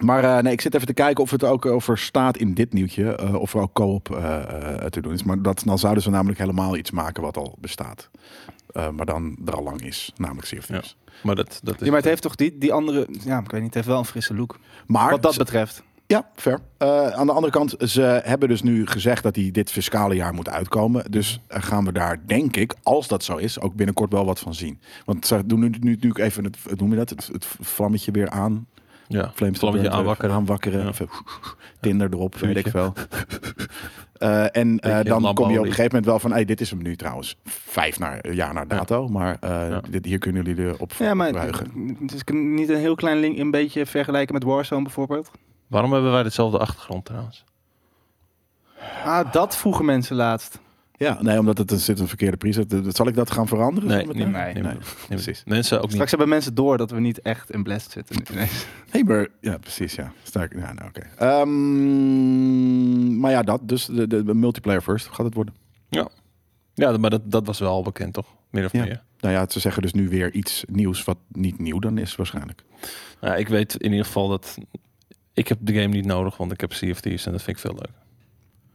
Speaker 2: Maar eh, nee, ik zit even te kijken of het er ook over staat in dit nieuwtje. eh, of er ook co-op eh, eh, te doen is. Maar dat, dan zouden ze namelijk helemaal iets maken wat al bestaat. Eh, maar dan er al lang is. Namelijk Sea of
Speaker 5: Ja.
Speaker 2: Thieves.
Speaker 5: Maar dat, dat is.
Speaker 4: Ja, maar het heeft toch die, die andere... Ja, ik weet niet. Het heeft wel een frisse look.
Speaker 2: Maar
Speaker 4: Wat dat
Speaker 2: ze-
Speaker 4: betreft.
Speaker 2: Ja, fair. Eh, aan de andere kant, ze hebben dus nu gezegd dat die dit fiscale jaar moet uitkomen. Dus eh, gaan we daar, denk ik, als dat zo is, ook binnenkort wel wat van zien. Want ze doen nu nu natuurlijk even het, het- noem je dat, het, het vlammetje weer aan.
Speaker 5: ja,
Speaker 2: Flames
Speaker 5: vlammetje
Speaker 2: even
Speaker 5: aanwakkeren.
Speaker 2: aanwakkeren.
Speaker 5: Ja.
Speaker 2: Even Tinder erop, weet ik
Speaker 5: Vuurtje.
Speaker 2: wel. Eh, en eh,
Speaker 5: Beetje
Speaker 2: dan kom je op
Speaker 5: lampolie.
Speaker 2: een gegeven moment wel van, hey, dit is hem nu trouwens. Vijf naar, jaar naar dato, maar eh,
Speaker 5: Ja.
Speaker 2: dit, hier kunnen jullie er op
Speaker 4: Ja, maar
Speaker 2: buigen.
Speaker 4: het is niet een heel klein link, een beetje vergelijken met Warzone bijvoorbeeld.
Speaker 5: Waarom hebben wij dezelfde achtergrond trouwens?
Speaker 4: Ah, dat vroegen mensen laatst.
Speaker 2: Ja, nee, omdat het er zit een verkeerde preset. Zal ik dat gaan veranderen?
Speaker 5: Nee,
Speaker 2: zometeen?
Speaker 5: niet meer.
Speaker 4: Nee.
Speaker 5: Niet meer.
Speaker 2: Nee,
Speaker 5: Niet meer.
Speaker 2: precies.
Speaker 5: Mensen ook niet.
Speaker 4: Straks hebben mensen door dat we niet echt in Blast zitten. Nee.
Speaker 2: Hey, maar, ja, precies, ja. Sta ik, ja, nou, oké. Ehm, maar ja, dat, dus de, de, de multiplayer first gaat het worden.
Speaker 5: Ja, maar dat, dat was wel al bekend, toch? Meer of
Speaker 2: Ja.
Speaker 5: meer.
Speaker 2: Nou ja, ze zeggen dus nu weer iets nieuws wat niet nieuw dan is waarschijnlijk.
Speaker 5: Nou, ik weet in ieder geval dat. Ik heb de game niet nodig, want ik heb CFT's en dat vind ik veel leuk.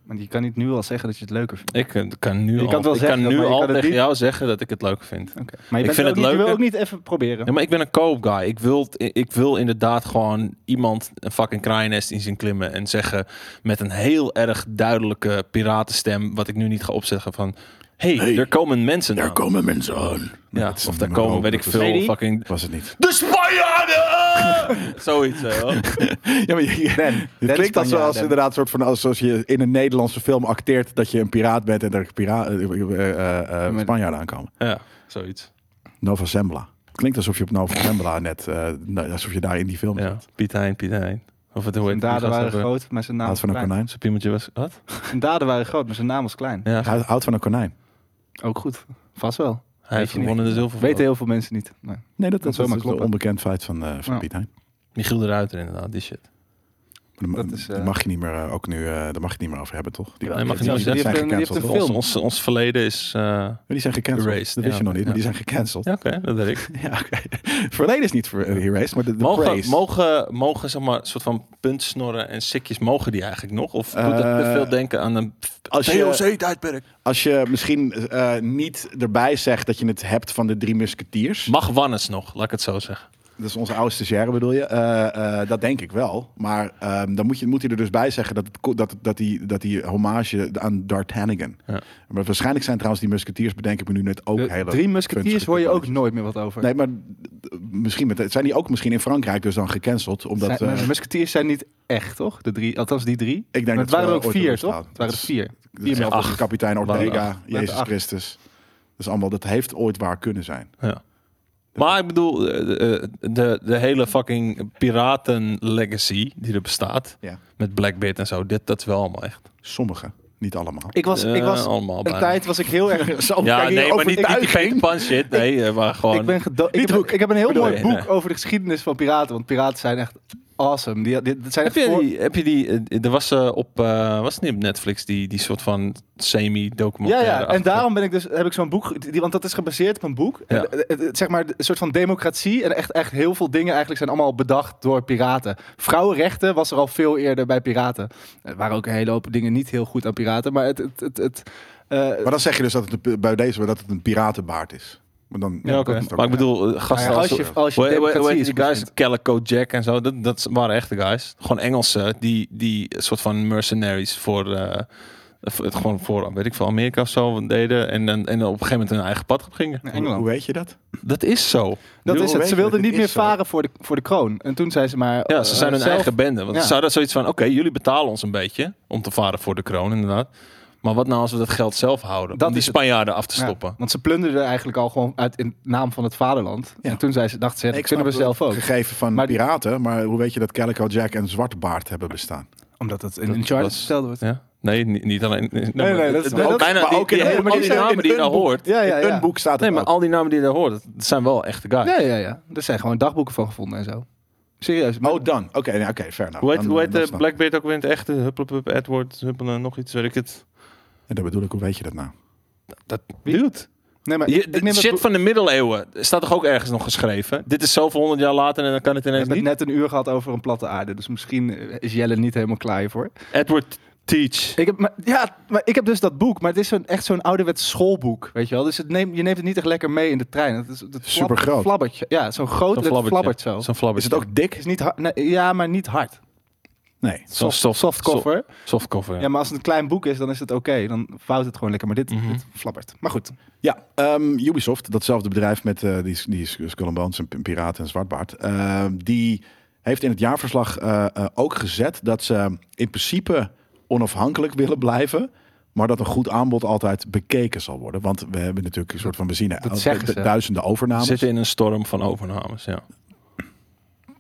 Speaker 4: Want je kan niet nu al zeggen dat je het leuker vindt.
Speaker 5: Ik eh, kan nu
Speaker 4: Je
Speaker 5: al,
Speaker 4: kan het wel
Speaker 5: ik
Speaker 4: zeggen,
Speaker 5: kan nu
Speaker 4: maar je
Speaker 5: al
Speaker 4: kan het
Speaker 5: tegen
Speaker 4: niet-
Speaker 5: jou zeggen dat ik het leuk vind.
Speaker 4: Maar je,
Speaker 5: Ik
Speaker 4: bent
Speaker 5: vind
Speaker 4: ook niet,
Speaker 5: het
Speaker 4: je wil
Speaker 5: leuker.
Speaker 4: ook niet even proberen.
Speaker 5: Ja, maar ik ben een co-op guy. Ik wil, ik wil inderdaad gewoon iemand een fucking kraaiennest in zien klimmen en zeggen met een heel erg duidelijke piratenstem, wat ik nu niet ga opzeggen, van hey,
Speaker 2: Hey,
Speaker 5: er komen mensen
Speaker 2: Daar
Speaker 5: aan.
Speaker 2: komen mensen aan. Dus-
Speaker 5: ja,
Speaker 2: Dat is
Speaker 5: of
Speaker 2: een
Speaker 5: daar
Speaker 2: nummer
Speaker 5: komen,
Speaker 2: ook,
Speaker 5: weet ik
Speaker 2: dat
Speaker 5: veel,
Speaker 2: is-
Speaker 4: Nee, die-
Speaker 5: fucking...
Speaker 2: Was het niet.
Speaker 5: De Spanjaarden! Zoiets, hè, hoor.
Speaker 2: Ja, maar je, het klinkt als,
Speaker 4: Spanjaarden.
Speaker 2: als inderdaad soort van als, als je in een Nederlandse film acteert dat je een piraat bent en er pira- eh, eh, eh, eh,
Speaker 4: Maar-
Speaker 2: Spanjaarden aankomen.
Speaker 5: Ja, zoiets.
Speaker 2: Nova Zembla. Het klinkt alsof je op Nova Zembla net, eh, nou, alsof je daar in die film
Speaker 5: Ja,
Speaker 2: zat.
Speaker 5: Piet Hein, Piet Hein. Of het hoe
Speaker 4: Zijn
Speaker 5: heet die
Speaker 4: daden
Speaker 5: gast
Speaker 4: waren
Speaker 5: ook weer?
Speaker 4: groot, maar zijn naam
Speaker 2: Houdt
Speaker 4: was
Speaker 2: van een
Speaker 4: klein.
Speaker 2: konijn.
Speaker 5: Zijn piemetje was... Wat?
Speaker 4: Zijn daden waren groot, maar zijn naam was klein.
Speaker 5: Ja,
Speaker 2: Houd- Houdt van een konijn.
Speaker 4: Ook goed. Vast wel.
Speaker 5: hij heeft
Speaker 4: je niet.
Speaker 5: gewonnen de zilver.
Speaker 4: Weten heel veel mensen niet. Nee.
Speaker 2: Nee, dat,
Speaker 4: Kan
Speaker 2: dat,
Speaker 4: zomaar
Speaker 2: is een
Speaker 4: kloppen.
Speaker 2: onbekend feit van, eh, van
Speaker 4: Ja.
Speaker 2: Piet Hein.
Speaker 5: Michiel de Ruiter inderdaad, die shit.
Speaker 2: Maar
Speaker 4: Dat
Speaker 2: dat
Speaker 4: is, eh,
Speaker 2: mag je niet meer eh, ook nu, eh, daar mag je het niet meer over hebben, toch? Die,
Speaker 5: Nee, mag je
Speaker 2: die
Speaker 5: niet
Speaker 2: zijn
Speaker 4: zeggen. Die heeft een- die
Speaker 2: gecanceld.
Speaker 4: heeft een
Speaker 2: toch?
Speaker 4: film.
Speaker 5: Ons, ons, ons verleden is... eh,
Speaker 2: Die zijn gecanceld.
Speaker 5: Erased,
Speaker 2: Dat wist
Speaker 5: ja.
Speaker 2: je nog niet, maar
Speaker 5: Ja.
Speaker 2: die zijn gecanceld.
Speaker 5: Ja, oké, dat weet ik.
Speaker 2: Ja, oké. Verleden is niet voor eh, erased, maar de, de
Speaker 5: Mogen,
Speaker 2: praise.
Speaker 5: mogen, mogen zeg maar, soort van puntsnorren en sikjes, mogen die eigenlijk nog? Of doet dat te
Speaker 2: Eh,
Speaker 5: veel denken aan een
Speaker 2: als je-
Speaker 5: POC-tijdperk?
Speaker 2: Als je misschien eh, niet erbij zegt dat je het hebt van de drie musketiers.
Speaker 5: Mag Wannes nog, laat ik het zo zeggen.
Speaker 2: Dat is onze oude stagiaire bedoel je. Eh, eh, dat denk ik wel. Maar ehm, dan moet, je, moet hij er dus bij zeggen dat, het, ko- dat, dat, die, dat die hommage aan D'Artagnan.
Speaker 5: Ja.
Speaker 2: Maar waarschijnlijk zijn trouwens die musketiers, bedenk ik me nu net ook
Speaker 4: De
Speaker 2: hele...
Speaker 4: drie musketiers hoor je
Speaker 2: kunstgetekende-
Speaker 4: ook nooit meer wat over.
Speaker 2: Nee, maar eh, misschien met, zijn die ook misschien in Frankrijk dus dan gecanceld? Omdat,
Speaker 4: Zijn- maar
Speaker 2: eh,
Speaker 4: de musketiers zijn niet echt, toch? De drie, althans die drie.
Speaker 2: denk
Speaker 4: maar
Speaker 2: dat
Speaker 4: het waren
Speaker 2: ze
Speaker 4: er
Speaker 2: wel
Speaker 4: ook
Speaker 2: ooit
Speaker 4: vier,
Speaker 2: hebben
Speaker 4: toch?
Speaker 2: bestaan.
Speaker 4: Het waren er
Speaker 2: Dat is-
Speaker 4: vier.
Speaker 2: dat is
Speaker 5: Acht.
Speaker 2: altijd kapitein
Speaker 5: Waren
Speaker 2: Ortega,
Speaker 4: Waren
Speaker 2: Jezus
Speaker 4: acht.
Speaker 2: Christus. Dus allemaal, dat heeft ooit waar kunnen zijn.
Speaker 5: Maar ik bedoel, eh, eh, de, de hele fucking piraten-legacy die er bestaat,
Speaker 2: Ja.
Speaker 5: met Blackbeard en zo, dit, dat is wel allemaal echt.
Speaker 2: Sommige, niet allemaal.
Speaker 4: Ik was, ik
Speaker 5: Eh,
Speaker 4: was
Speaker 5: allemaal
Speaker 4: een
Speaker 5: bijna.
Speaker 4: tijd was ik heel erg
Speaker 2: Zo,
Speaker 5: Ja,
Speaker 2: kijk, hier
Speaker 5: nee, maar niet, niet die
Speaker 2: overtuiging.
Speaker 5: Peter Pan shit. Nee, eh, maar gewoon...
Speaker 4: Ik, ben gedo- ik, heb,
Speaker 2: Hoek.
Speaker 4: ik heb een heel
Speaker 5: Bedoel
Speaker 4: mooi
Speaker 5: je?
Speaker 4: boek
Speaker 5: Nee.
Speaker 4: over de geschiedenis van piraten. Want piraten zijn echt awesome. Die, die, dat zijn
Speaker 5: Heb
Speaker 4: echt
Speaker 5: je,
Speaker 4: voor-
Speaker 5: die, heb je die, eh, er was eh, op, eh, was het niet op Netflix, die, die soort van
Speaker 4: Ja,
Speaker 5: semi-documentaire.
Speaker 4: ja. En
Speaker 5: achtige-
Speaker 4: daarom ben ik dus, heb ik zo'n boek, ge- die, want dat is gebaseerd op een boek.
Speaker 5: Ja.
Speaker 4: En, eh, het- het- zeg maar een soort van democratie en echt, echt heel veel dingen eigenlijk zijn allemaal bedacht door piraten. Vrouwenrechten was er al veel eerder bij piraten. Er waren ook een hele hoop dingen niet heel goed aan piraten, maar het... het, het, het eh,
Speaker 2: Maar dan zeg je dus dat het een- bij deze dat het een piratenbaard is. Maar dan,
Speaker 5: Ja, oké.
Speaker 2: dat is ook-
Speaker 5: Maar ik bedoel, eh,
Speaker 4: nou ja,
Speaker 5: gasten
Speaker 4: als
Speaker 5: als...
Speaker 4: je, als je
Speaker 5: Hoe- hoe- hoe heet
Speaker 4: democratie is
Speaker 5: die guys,
Speaker 4: goed
Speaker 5: Calico Jack en zo, dat, dat waren echte guys. Gewoon Engelsen, die, die een soort van mercenaries voor, eh, voor het gewoon voor, weet ik veel, Amerika of zo deden. En, dan en op een gegeven moment hun eigen pad op gingen.
Speaker 4: vindt.
Speaker 2: Hoe,
Speaker 4: Engeland.
Speaker 2: hoe weet je dat?
Speaker 5: Dat is zo.
Speaker 4: Dat
Speaker 2: Hoe
Speaker 4: is het.
Speaker 2: weet
Speaker 4: Ze
Speaker 2: je
Speaker 4: wilden
Speaker 2: dat het
Speaker 4: niet meer
Speaker 2: is zo?
Speaker 4: varen voor de, voor de kroon. En toen zijn ze maar...
Speaker 5: Ja, ze
Speaker 4: eh,
Speaker 5: zijn hun
Speaker 4: zelf-
Speaker 5: eigen bende. Want
Speaker 4: ja.
Speaker 5: ze zouden zoiets van, oké, jullie betalen ons een beetje om te varen voor de kroon, inderdaad. Maar wat nou als we dat geld zelf houden?
Speaker 4: Dat
Speaker 5: om die
Speaker 4: is het.
Speaker 5: Spanjaarden af te
Speaker 4: Ja,
Speaker 5: stoppen.
Speaker 4: want ze plunderden eigenlijk al gewoon uit in naam van het vaderland.
Speaker 2: Ja.
Speaker 4: En toen zijn ze, dachten ze, ja, dat
Speaker 2: Ik
Speaker 4: kunnen we
Speaker 2: snap
Speaker 4: zelf ook.
Speaker 2: Gegeven van
Speaker 4: Maar die-
Speaker 2: piraten, maar hoe weet je dat Calico Jack en Zwartbaard hebben bestaan?
Speaker 4: Omdat dat in, in charter
Speaker 5: was-
Speaker 4: gesteld wordt.
Speaker 5: Ja? Nee, niet, niet alleen. Nee,
Speaker 4: nee,
Speaker 5: maar-
Speaker 4: dat is-
Speaker 5: ook
Speaker 4: dat-
Speaker 5: Oh, bijna
Speaker 2: maar
Speaker 5: die-
Speaker 2: ook in
Speaker 5: die-
Speaker 2: een-
Speaker 5: al die
Speaker 2: ook in een-
Speaker 5: namen die je
Speaker 2: in een
Speaker 5: daar hoort.
Speaker 4: Ja, ja,
Speaker 2: In
Speaker 4: ja.
Speaker 2: een boek staat het
Speaker 5: Nee, maar
Speaker 2: ook.
Speaker 5: al die namen die je daar hoort, dat dat zijn wel echte guys.
Speaker 4: Ja, ja, ja. Er zijn gewoon dagboeken van gevonden en zo. Serieus. maar-
Speaker 2: Oh, dan. Oké, nee, oké, fair enough.
Speaker 5: Hoe heet,
Speaker 2: Dan-
Speaker 5: hoe heet
Speaker 2: dan
Speaker 5: eh,
Speaker 2: snap ik.
Speaker 5: Blackbeard ook weer in het echte? Hupplepup, Edward, huppelen, eh, nog iets, weet ik het.
Speaker 2: En dat bedoel ik, hoe weet je dat nou?
Speaker 5: Dat dude.
Speaker 4: nee, maar
Speaker 5: Je-
Speaker 4: ik- ik
Speaker 5: de
Speaker 4: neem dat
Speaker 5: shit
Speaker 4: boek-
Speaker 5: van de middeleeuwen staat toch ook ergens nog geschreven? Dit is zoveel honderd jaar later en dan kan het
Speaker 4: We
Speaker 5: ineens
Speaker 4: hebben
Speaker 5: niet.
Speaker 4: net een uur gehad over een platte aarde, dus misschien eh, is Jelle niet helemaal klaar hiervoor.
Speaker 5: Edward Teach.
Speaker 4: Ik heb, maar, ja, maar ik heb dus dat boek, maar het is zo'n, echt zo'n ouderwets schoolboek, weet je wel. Dus het neemt, je neemt het niet echt lekker mee in de trein. Het is, dat flab-
Speaker 2: Supergroot.
Speaker 4: Flabbertje. Ja, zo'n groot,
Speaker 5: Zo'n
Speaker 4: het
Speaker 5: flabbertje.
Speaker 4: flabbert zo.
Speaker 5: Zo'n flabbertje.
Speaker 2: Is het ook dik?
Speaker 4: Is niet hard, nee, ja, maar niet hard.
Speaker 2: Nee.
Speaker 5: Zo'n soft,
Speaker 4: Softcover.
Speaker 5: soft- softcover, ja.
Speaker 4: Ja, maar als het een klein boek is, dan is het oké. Dan fout het gewoon lekker. Maar dit,
Speaker 5: Mhm.
Speaker 4: dit flabbert. Maar goed.
Speaker 2: Ja, ehm, Ubisoft, datzelfde bedrijf met eh, die, die Skull and Bones en P- Piraten en Zwartbaard. ehm, die heeft in het jaarverslag eh, eh, ook gezet dat ze in principe onafhankelijk willen blijven. Maar dat een goed aanbod altijd bekeken zal worden. Want we hebben natuurlijk een soort van... We zien eh,
Speaker 4: Dat zeggen
Speaker 2: du-
Speaker 4: ze.
Speaker 2: duizenden overnames.
Speaker 5: Zitten in een storm van overnames, ja.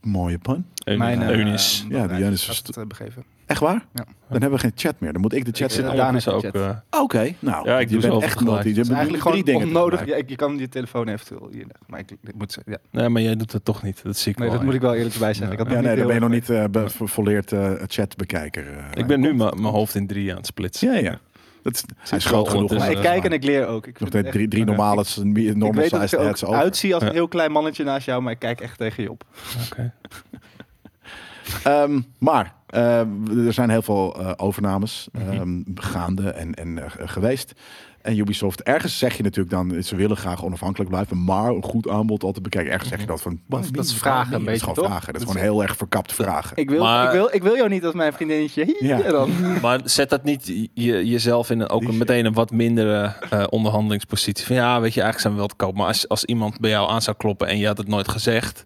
Speaker 2: Mooie pan.
Speaker 5: Mijn,
Speaker 4: eh,
Speaker 5: Unis.
Speaker 2: Ja, die Unis is-
Speaker 4: had het, eh, begeven.
Speaker 2: Echt waar?
Speaker 4: Ja.
Speaker 2: Dan hebben we geen chat meer. Dan moet ik de chat
Speaker 5: zit
Speaker 2: zitten.
Speaker 4: Ja,
Speaker 5: er
Speaker 4: Daan
Speaker 5: Daan
Speaker 4: heeft
Speaker 5: ook.
Speaker 4: chat.
Speaker 5: eh,
Speaker 2: Oké, nou.
Speaker 5: Ja, ik
Speaker 2: je
Speaker 5: doe ze
Speaker 2: bent
Speaker 5: over
Speaker 2: echt multi.
Speaker 5: gelijk.
Speaker 2: Je
Speaker 5: Het
Speaker 4: Het is
Speaker 2: bent
Speaker 4: eigenlijk gewoon
Speaker 2: drie dingen
Speaker 4: onnodig.
Speaker 2: tegelijk.
Speaker 4: Ja, ik- je kan je telefoon eventueel hier leggen, Maar ik, ik moet ze- ja.
Speaker 5: nee, maar jij doet het toch niet. Dat zie ik
Speaker 4: Nee,
Speaker 5: wel.
Speaker 4: dat moet ik wel eerlijk bij zeggen. Ik had
Speaker 2: Ja,
Speaker 4: nog
Speaker 2: nee,
Speaker 4: niet
Speaker 2: dan ben je
Speaker 4: heel
Speaker 2: nog
Speaker 4: erg-
Speaker 2: niet eh be- vo- volleerd eh, chatbekijker. eh.
Speaker 5: Ik ben nu mijn mijn hoofd in drie aan het splitsen.
Speaker 2: Ja, ja. Dat is, hij is
Speaker 5: wel
Speaker 2: groot genoeg.
Speaker 5: ondertussen.
Speaker 4: Maar
Speaker 2: om-
Speaker 4: ik kijk en ik leer ook. Ik vind
Speaker 2: Nog steeds
Speaker 4: het
Speaker 2: drie,
Speaker 4: echt-
Speaker 2: drie normale, s-
Speaker 4: Ik
Speaker 2: normal
Speaker 4: weet dat ik
Speaker 2: sized
Speaker 4: er
Speaker 2: heads
Speaker 4: ook
Speaker 2: over.
Speaker 4: uitzie als een
Speaker 5: Ja.
Speaker 4: heel klein mannetje naast jou, maar ik kijk echt tegen je op.
Speaker 5: Oké.
Speaker 2: Ehm, maar ehm, er zijn heel veel eh, overnames
Speaker 4: Mhm.
Speaker 2: ehm, gaande en, en eh, ge- geweest. En Ubisoft, ergens zeg je natuurlijk dan, ze willen graag onafhankelijk blijven, maar een goed aanbod altijd bekijken. Ergens
Speaker 4: Mhm.
Speaker 2: zeg je dat van,
Speaker 4: Dat is- dat is
Speaker 2: wie-
Speaker 4: vragen,
Speaker 2: wie?
Speaker 4: een
Speaker 2: Dat
Speaker 4: beetje,
Speaker 2: is gewoon
Speaker 4: toch?
Speaker 2: vragen. Dat
Speaker 4: Dat
Speaker 2: is gewoon heel erg verkapt vragen.
Speaker 4: Ik wil,
Speaker 5: Maar-
Speaker 4: ik wil, ik wil jou niet als mijn vriendinnetje. Hi,
Speaker 2: Ja.
Speaker 4: en dan.
Speaker 5: Maar zet dat niet je, jezelf in een, ook een, meteen een wat mindere eh, onderhandelingspositie. Van ja, weet je, eigenlijk zijn we wel te koop. Maar als, als iemand bij jou aan zou kloppen en je had het nooit gezegd...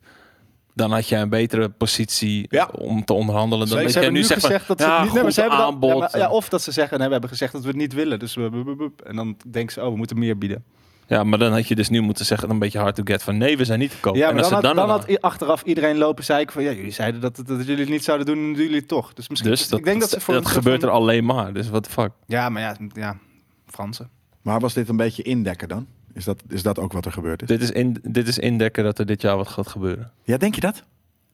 Speaker 5: dan had jij een betere positie eh,
Speaker 2: Ja.
Speaker 5: om te onderhandelen. Dan
Speaker 2: Zeker.
Speaker 5: dat
Speaker 4: Ze
Speaker 5: jij
Speaker 4: hebben
Speaker 5: nu
Speaker 4: nu
Speaker 5: zegt
Speaker 4: gezegd
Speaker 5: van,
Speaker 4: dat ze het
Speaker 5: ja,
Speaker 4: niet... nee, maar
Speaker 5: goed
Speaker 4: ze hebben dan-
Speaker 5: aanbod.
Speaker 4: ja, maar- ja, of dat ze zeggen, nee, we hebben gezegd dat we het niet willen. Dus we, bup, bup, bup. en dan denken ze, oh, we moeten meer bieden.
Speaker 5: Ja, maar dan had je dus nu moeten zeggen, een beetje hard to get, van nee, we zijn niet te koop.
Speaker 4: Ja,
Speaker 5: en
Speaker 4: maar
Speaker 5: als
Speaker 4: dan, had,
Speaker 5: het
Speaker 4: dan
Speaker 5: dan,
Speaker 4: had i- achteraf iedereen lopen zeiken van... Ja, jullie zeiden dat, dat, dat jullie het niet zouden doen en doen jullie het toch. Dus misschien...
Speaker 5: Dus dat,
Speaker 4: ik denk dat, ze voor
Speaker 5: dat
Speaker 4: een soort
Speaker 5: gebeurt
Speaker 4: van-
Speaker 5: er alleen maar, dus what the fuck.
Speaker 4: Ja, maar ja, ja Fransen.
Speaker 2: Maar was dit een beetje indekken dan? Is dat, is dat ook wat er gebeurd is?
Speaker 5: Dit is, in, dit is indekken dat er dit jaar wat gaat gebeuren.
Speaker 2: Ja, denk je dat?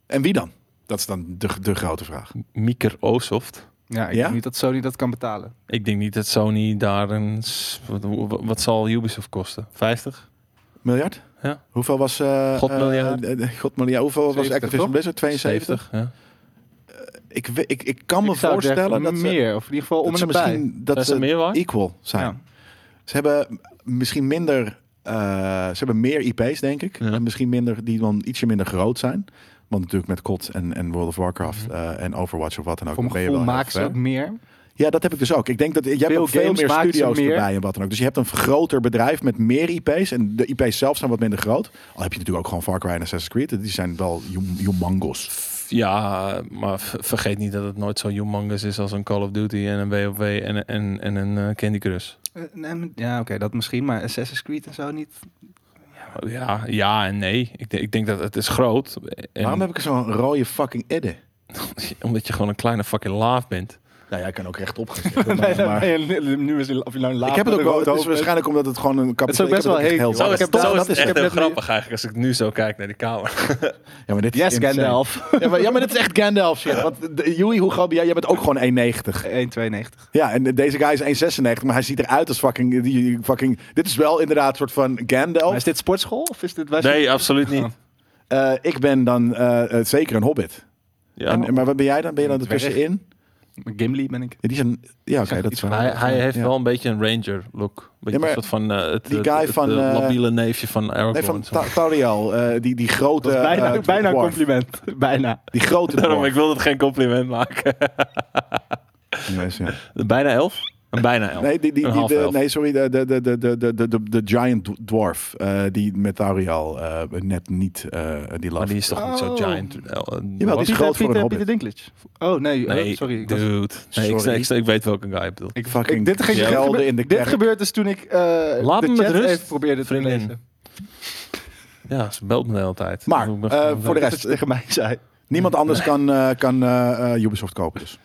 Speaker 2: En wie dan? Dat is dan de, de grote vraag.
Speaker 5: Mieker Osoft.
Speaker 4: Ja, ik
Speaker 2: Ja?
Speaker 4: denk niet dat Sony dat kan betalen.
Speaker 5: Ik denk niet dat Sony daar een... s- Wat, hoe- wat zal Ubisoft kosten? 50?
Speaker 2: Miljard?
Speaker 5: Ja.
Speaker 2: Hoeveel was... eh,
Speaker 5: God
Speaker 2: eh,
Speaker 5: miljard.
Speaker 2: eh, eh, God miljard. Hoeveel
Speaker 4: 70,
Speaker 2: was Activision
Speaker 4: toch?
Speaker 2: Blizzard? 72?
Speaker 5: 70? Ja.
Speaker 2: Ik, we- ik, ik kan me
Speaker 4: Ik zou
Speaker 2: voorstellen
Speaker 4: zeggen
Speaker 2: dat ze,
Speaker 4: meer, of in ieder geval om
Speaker 2: dat
Speaker 4: en
Speaker 2: ze
Speaker 4: nabij.
Speaker 2: misschien dat
Speaker 5: Zijn ze
Speaker 2: ze
Speaker 5: meer waard?
Speaker 2: equal zijn.
Speaker 4: Ja.
Speaker 2: Ze hebben misschien minder... eh, ze hebben meer IP's, denk ik.
Speaker 5: Ja.
Speaker 2: En misschien minder, die dan ietsje minder groot zijn. Want natuurlijk met COD en, en World of Warcraft eh, en Overwatch of wat dan ook.
Speaker 4: Mhm. Voor mijn
Speaker 2: ben je
Speaker 4: gevoel
Speaker 2: wel heel
Speaker 4: maken ze
Speaker 2: ver.
Speaker 4: ook meer.
Speaker 2: Ja, dat heb ik dus ook. Ik denk dat je hebt
Speaker 4: Veel
Speaker 2: ook veel
Speaker 4: games
Speaker 2: meer
Speaker 4: maken ze
Speaker 2: studio's
Speaker 4: meer.
Speaker 2: erbij en wat dan ook. Dus je hebt een groter bedrijf met meer IP's. En de IP's zelf zijn wat minder groot. Al heb je natuurlijk ook gewoon Far Cry en Assassin's Creed. Die zijn wel hum- humongous.
Speaker 5: Ja, maar v- vergeet niet dat het nooit zo humongous is als een Call of Duty en een WoW en, en, en een eh, Candy Crush.
Speaker 4: Eh, nee, maar- Ja, oké, dat misschien, maar Assassin's Creed en zo niet.
Speaker 5: Ja, ja en nee. Ik, denk- ik denk dat het is groot. En,
Speaker 2: Waarom heb ik zo'n rode fucking edde?
Speaker 5: Omdat je gewoon een kleine fucking laaf bent.
Speaker 2: Nou, jij kan ook rechtop gaan
Speaker 4: Nee,
Speaker 2: zitten. maar-
Speaker 4: nee,
Speaker 2: maar-
Speaker 4: nee, nu is het of je nou laat.
Speaker 2: ik heb het ook wel. Het is waarschijnlijk omdat het gewoon een kapitein
Speaker 4: ook best wel heet.
Speaker 5: Zo
Speaker 4: Oh,
Speaker 5: is,
Speaker 4: ik heb dat-
Speaker 5: zo is
Speaker 4: dat
Speaker 5: het
Speaker 4: is- ik
Speaker 5: echt
Speaker 4: heb
Speaker 5: heel
Speaker 4: net die-
Speaker 5: grappig eigenlijk als ik nu zo kijk naar die kamer.
Speaker 2: Ja, maar dit is
Speaker 4: Yes,
Speaker 2: insane.
Speaker 4: Gandalf.
Speaker 2: Ja maar, ja, maar dit is echt Gandalf shit. Want de- Joey, hoe groot ben jij? Jij bent ook gewoon 1,90.
Speaker 4: 1,92.
Speaker 2: Ja, en deze guy is 1,96, maar hij ziet eruit als fucking, die, fucking... Dit is wel inderdaad een soort van Gandalf.
Speaker 4: Is dit sportschool of is dit...
Speaker 5: Nee, absoluut niet.
Speaker 2: Eh, ik ben dan eh, eh, zeker een hobbit.
Speaker 5: Ja.
Speaker 2: En, maar wat ben jij dan? Ben je dan ertussenin?
Speaker 4: Gimli ben ik.
Speaker 2: Ja, die zijn... Ja, oké, dat is waar.
Speaker 5: Hij, hij heeft
Speaker 2: Ja.
Speaker 5: wel een beetje een ranger look.
Speaker 2: Ja,
Speaker 5: Beetje
Speaker 2: maar
Speaker 5: een soort van eh, het,
Speaker 2: die
Speaker 5: het-
Speaker 2: guy
Speaker 5: het,
Speaker 2: van,
Speaker 5: eh,
Speaker 2: eh,
Speaker 5: labiele neefje van Aragorn.
Speaker 2: Nee, van
Speaker 5: zeg maar.
Speaker 2: Ta- Tauriel. eh, die, die grote...
Speaker 4: Dat is bijna,
Speaker 2: eh,
Speaker 4: bijna een
Speaker 2: dwarf.
Speaker 4: compliment. Bijna.
Speaker 2: Die grote
Speaker 5: Daarom, ik
Speaker 2: dwarf.
Speaker 5: wilde het geen compliment maken.
Speaker 2: Anyways, ja.
Speaker 5: bijna elf? Een bijna elf.
Speaker 2: Nee, die, die,
Speaker 5: Oh. Een
Speaker 2: die,
Speaker 5: half
Speaker 2: de,
Speaker 5: elf.
Speaker 2: nee, sorry, de, de, de, de, de, de, de, de giant d- dwarf, eh, die met Tauriel eh, net niet, eh, die
Speaker 5: Maar
Speaker 2: love.
Speaker 5: die is toch niet zo
Speaker 4: Oh.
Speaker 5: giant? eh,
Speaker 2: Jawel, die is groot voor een hobbit.
Speaker 4: Pieter Dinklage. Oh, nee. oh,
Speaker 5: Nee,
Speaker 4: sorry. ik was-
Speaker 5: dude. Nee, ik,
Speaker 2: Sorry.
Speaker 5: ik, ik weet welke guy ik bedoel.
Speaker 2: Ik fucking
Speaker 4: Ik- dit ging
Speaker 2: gelden
Speaker 4: gebe-
Speaker 2: in de
Speaker 4: dit
Speaker 2: kerk.
Speaker 4: gebeurt dus toen ik eh
Speaker 5: Laat
Speaker 4: de
Speaker 5: me met
Speaker 4: chat
Speaker 5: rust,
Speaker 4: even probeerde te
Speaker 5: vriendin.
Speaker 4: lezen. Eh,
Speaker 5: Ja, ze belt me de hele tijd.
Speaker 2: Maar,
Speaker 5: Ik moet nog-
Speaker 2: eh, voor de
Speaker 4: Dat
Speaker 2: rest,
Speaker 4: ze tegen mij zei.
Speaker 2: niemand anders kan, eh, kan eh, eh, Ubisoft kopen dus.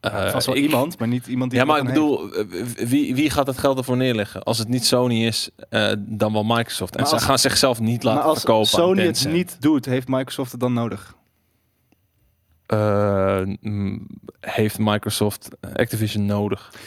Speaker 5: eh,
Speaker 4: Het was wel
Speaker 5: ik-
Speaker 4: iemand, maar niet iemand die...
Speaker 5: ja, maar
Speaker 4: dat
Speaker 5: ik
Speaker 4: dan
Speaker 5: bedoel, eh, wie, wie gaat het geld ervoor neerleggen? Als het niet Sony is, eh, dan wel Microsoft. En
Speaker 4: Maar
Speaker 5: ze
Speaker 4: als-
Speaker 5: gaan zichzelf niet
Speaker 4: heeft.
Speaker 5: laten
Speaker 4: Maar als
Speaker 5: verkopen. aan
Speaker 4: Sony het
Speaker 5: Tencent.
Speaker 4: niet doet, heeft Microsoft het dan nodig?
Speaker 5: Eh, mm, heeft Microsoft Activision nodig?
Speaker 4: Oh,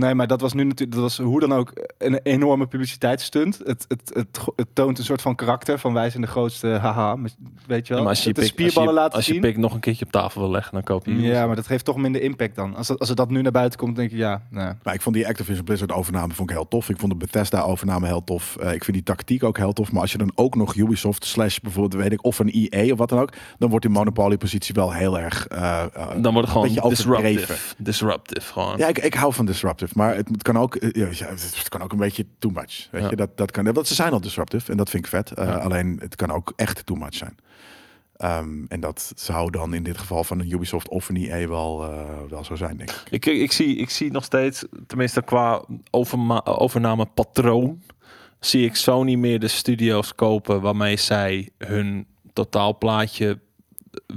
Speaker 4: Nee, maar dat was nu natuurlijk, dat was hoe dan ook een enorme publiciteitsstunt. Het, het, het, go- het toont een soort van karakter van wij zijn de grootste, haha, weet je wel.
Speaker 5: maar als je, je
Speaker 4: het is
Speaker 5: pik, als je,
Speaker 4: spierballen laten
Speaker 5: als je
Speaker 4: zien.
Speaker 5: pik nog een keertje op tafel wil leggen, dan koop je
Speaker 4: ja, maar dat geeft toch minder impact dan. Als, dat, als het dat nu naar buiten komt, denk ik ja. nou, Nee.
Speaker 2: Maar Nou, ik vond die Activision Blizzard overname vond ik heel tof. Ik vond de Bethesda overname heel tof. Eh, ik vind die tactiek ook heel tof. Maar als je dan ook nog Ubisoft slash bijvoorbeeld weet ik of een EA of wat dan ook, dan wordt die monopoly positie wel heel erg. eh, eh,
Speaker 5: Dan wordt het gewoon
Speaker 2: Beetje overdreven.
Speaker 5: disruptive. Disruptive gewoon.
Speaker 2: ja, ik, ik hou van disruptive, maar het moet- kan ook, eh, ja, ja, het kan ook een beetje too much. Weet
Speaker 5: Ja.
Speaker 2: je, dat, dat kan, want ze zijn al disruptive en dat vind ik vet. Eh, Alleen het kan ook echt too much zijn. Ehm, en dat zou dan in dit geval van een Ubisoft of een EA wel, eh, wel zo zijn, denk ik.
Speaker 5: Ik, ik, zie, ik zie nog steeds, tenminste qua overma- overnamepatroon, zie ik Sony meer de studio's kopen waarmee zij hun totaalplaatje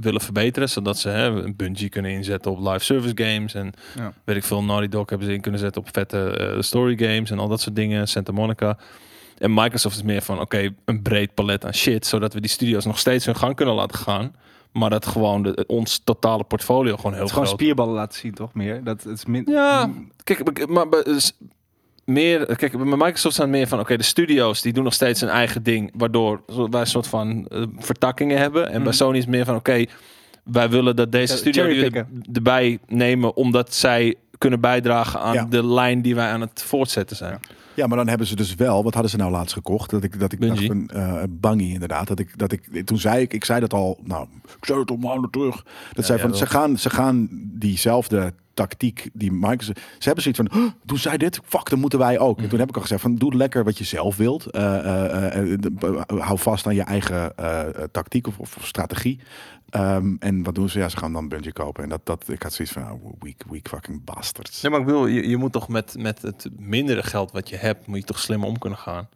Speaker 5: willen verbeteren. Zodat ze hè, een Bungie kunnen inzetten op live service games. En
Speaker 4: Ja.
Speaker 5: weet ik veel, Naughty Dog hebben ze in kunnen zetten op vette eh, story games en al dat soort dingen. Santa Monica. En Microsoft is meer van, oké, een breed palet aan shit. Zodat we die studio's nog steeds hun gang kunnen laten gaan. Maar dat gewoon de, ons totale portfolio gewoon heel
Speaker 4: Het is gewoon
Speaker 5: groot
Speaker 4: spierballen laten zien, toch meer? Dat het is min.
Speaker 5: ja, kijk, maar- maar maar is meer, kijk, bij Microsoft zijn het meer van, oké, de studio's die doen nog steeds hun eigen ding, waardoor wij een soort van eh, vertakkingen hebben. En bij Sony is het meer van, oké, wij willen dat deze
Speaker 4: Ja,
Speaker 5: studio die we er-
Speaker 4: cherrypicken.
Speaker 5: erbij nemen, omdat zij kunnen bijdragen aan
Speaker 2: Ja.
Speaker 5: de lijn die wij aan het voortzetten zijn.
Speaker 2: Ja, maar dan hebben ze dus wel. Wat hadden ze nou laatst gekocht? Dat ik, dat ik dacht
Speaker 5: Bungie.
Speaker 2: een eh Bungie inderdaad. Dat ik, dat ik, toen zei ik, ik zei dat al. Nou, ik zei het al maanden terug. Dat zei
Speaker 5: ja,
Speaker 2: van,
Speaker 5: wel.
Speaker 2: ze gaan, ze gaan diezelfde tactiek die Microsoft. Ze hebben zoiets van, "Huh, toen zij dit, fuck, dan moeten wij ook. En
Speaker 5: Mhm.
Speaker 2: toen heb ik al gezegd van, doe lekker wat je zelf wilt. Eh, eh, eh, de- b- hou vast aan je eigen eh, eh, tactiek of, of, of strategie. Ehm, en wat doen ze? Ja, ze gaan dan Bungie kopen. En dat, dat, ik had zoiets van, nou, weak, weak fucking bastards.
Speaker 5: Nee, maar ik bedoel, je, je moet toch met, met het mindere geld wat je hebt, moet je toch slimmer om kunnen gaan.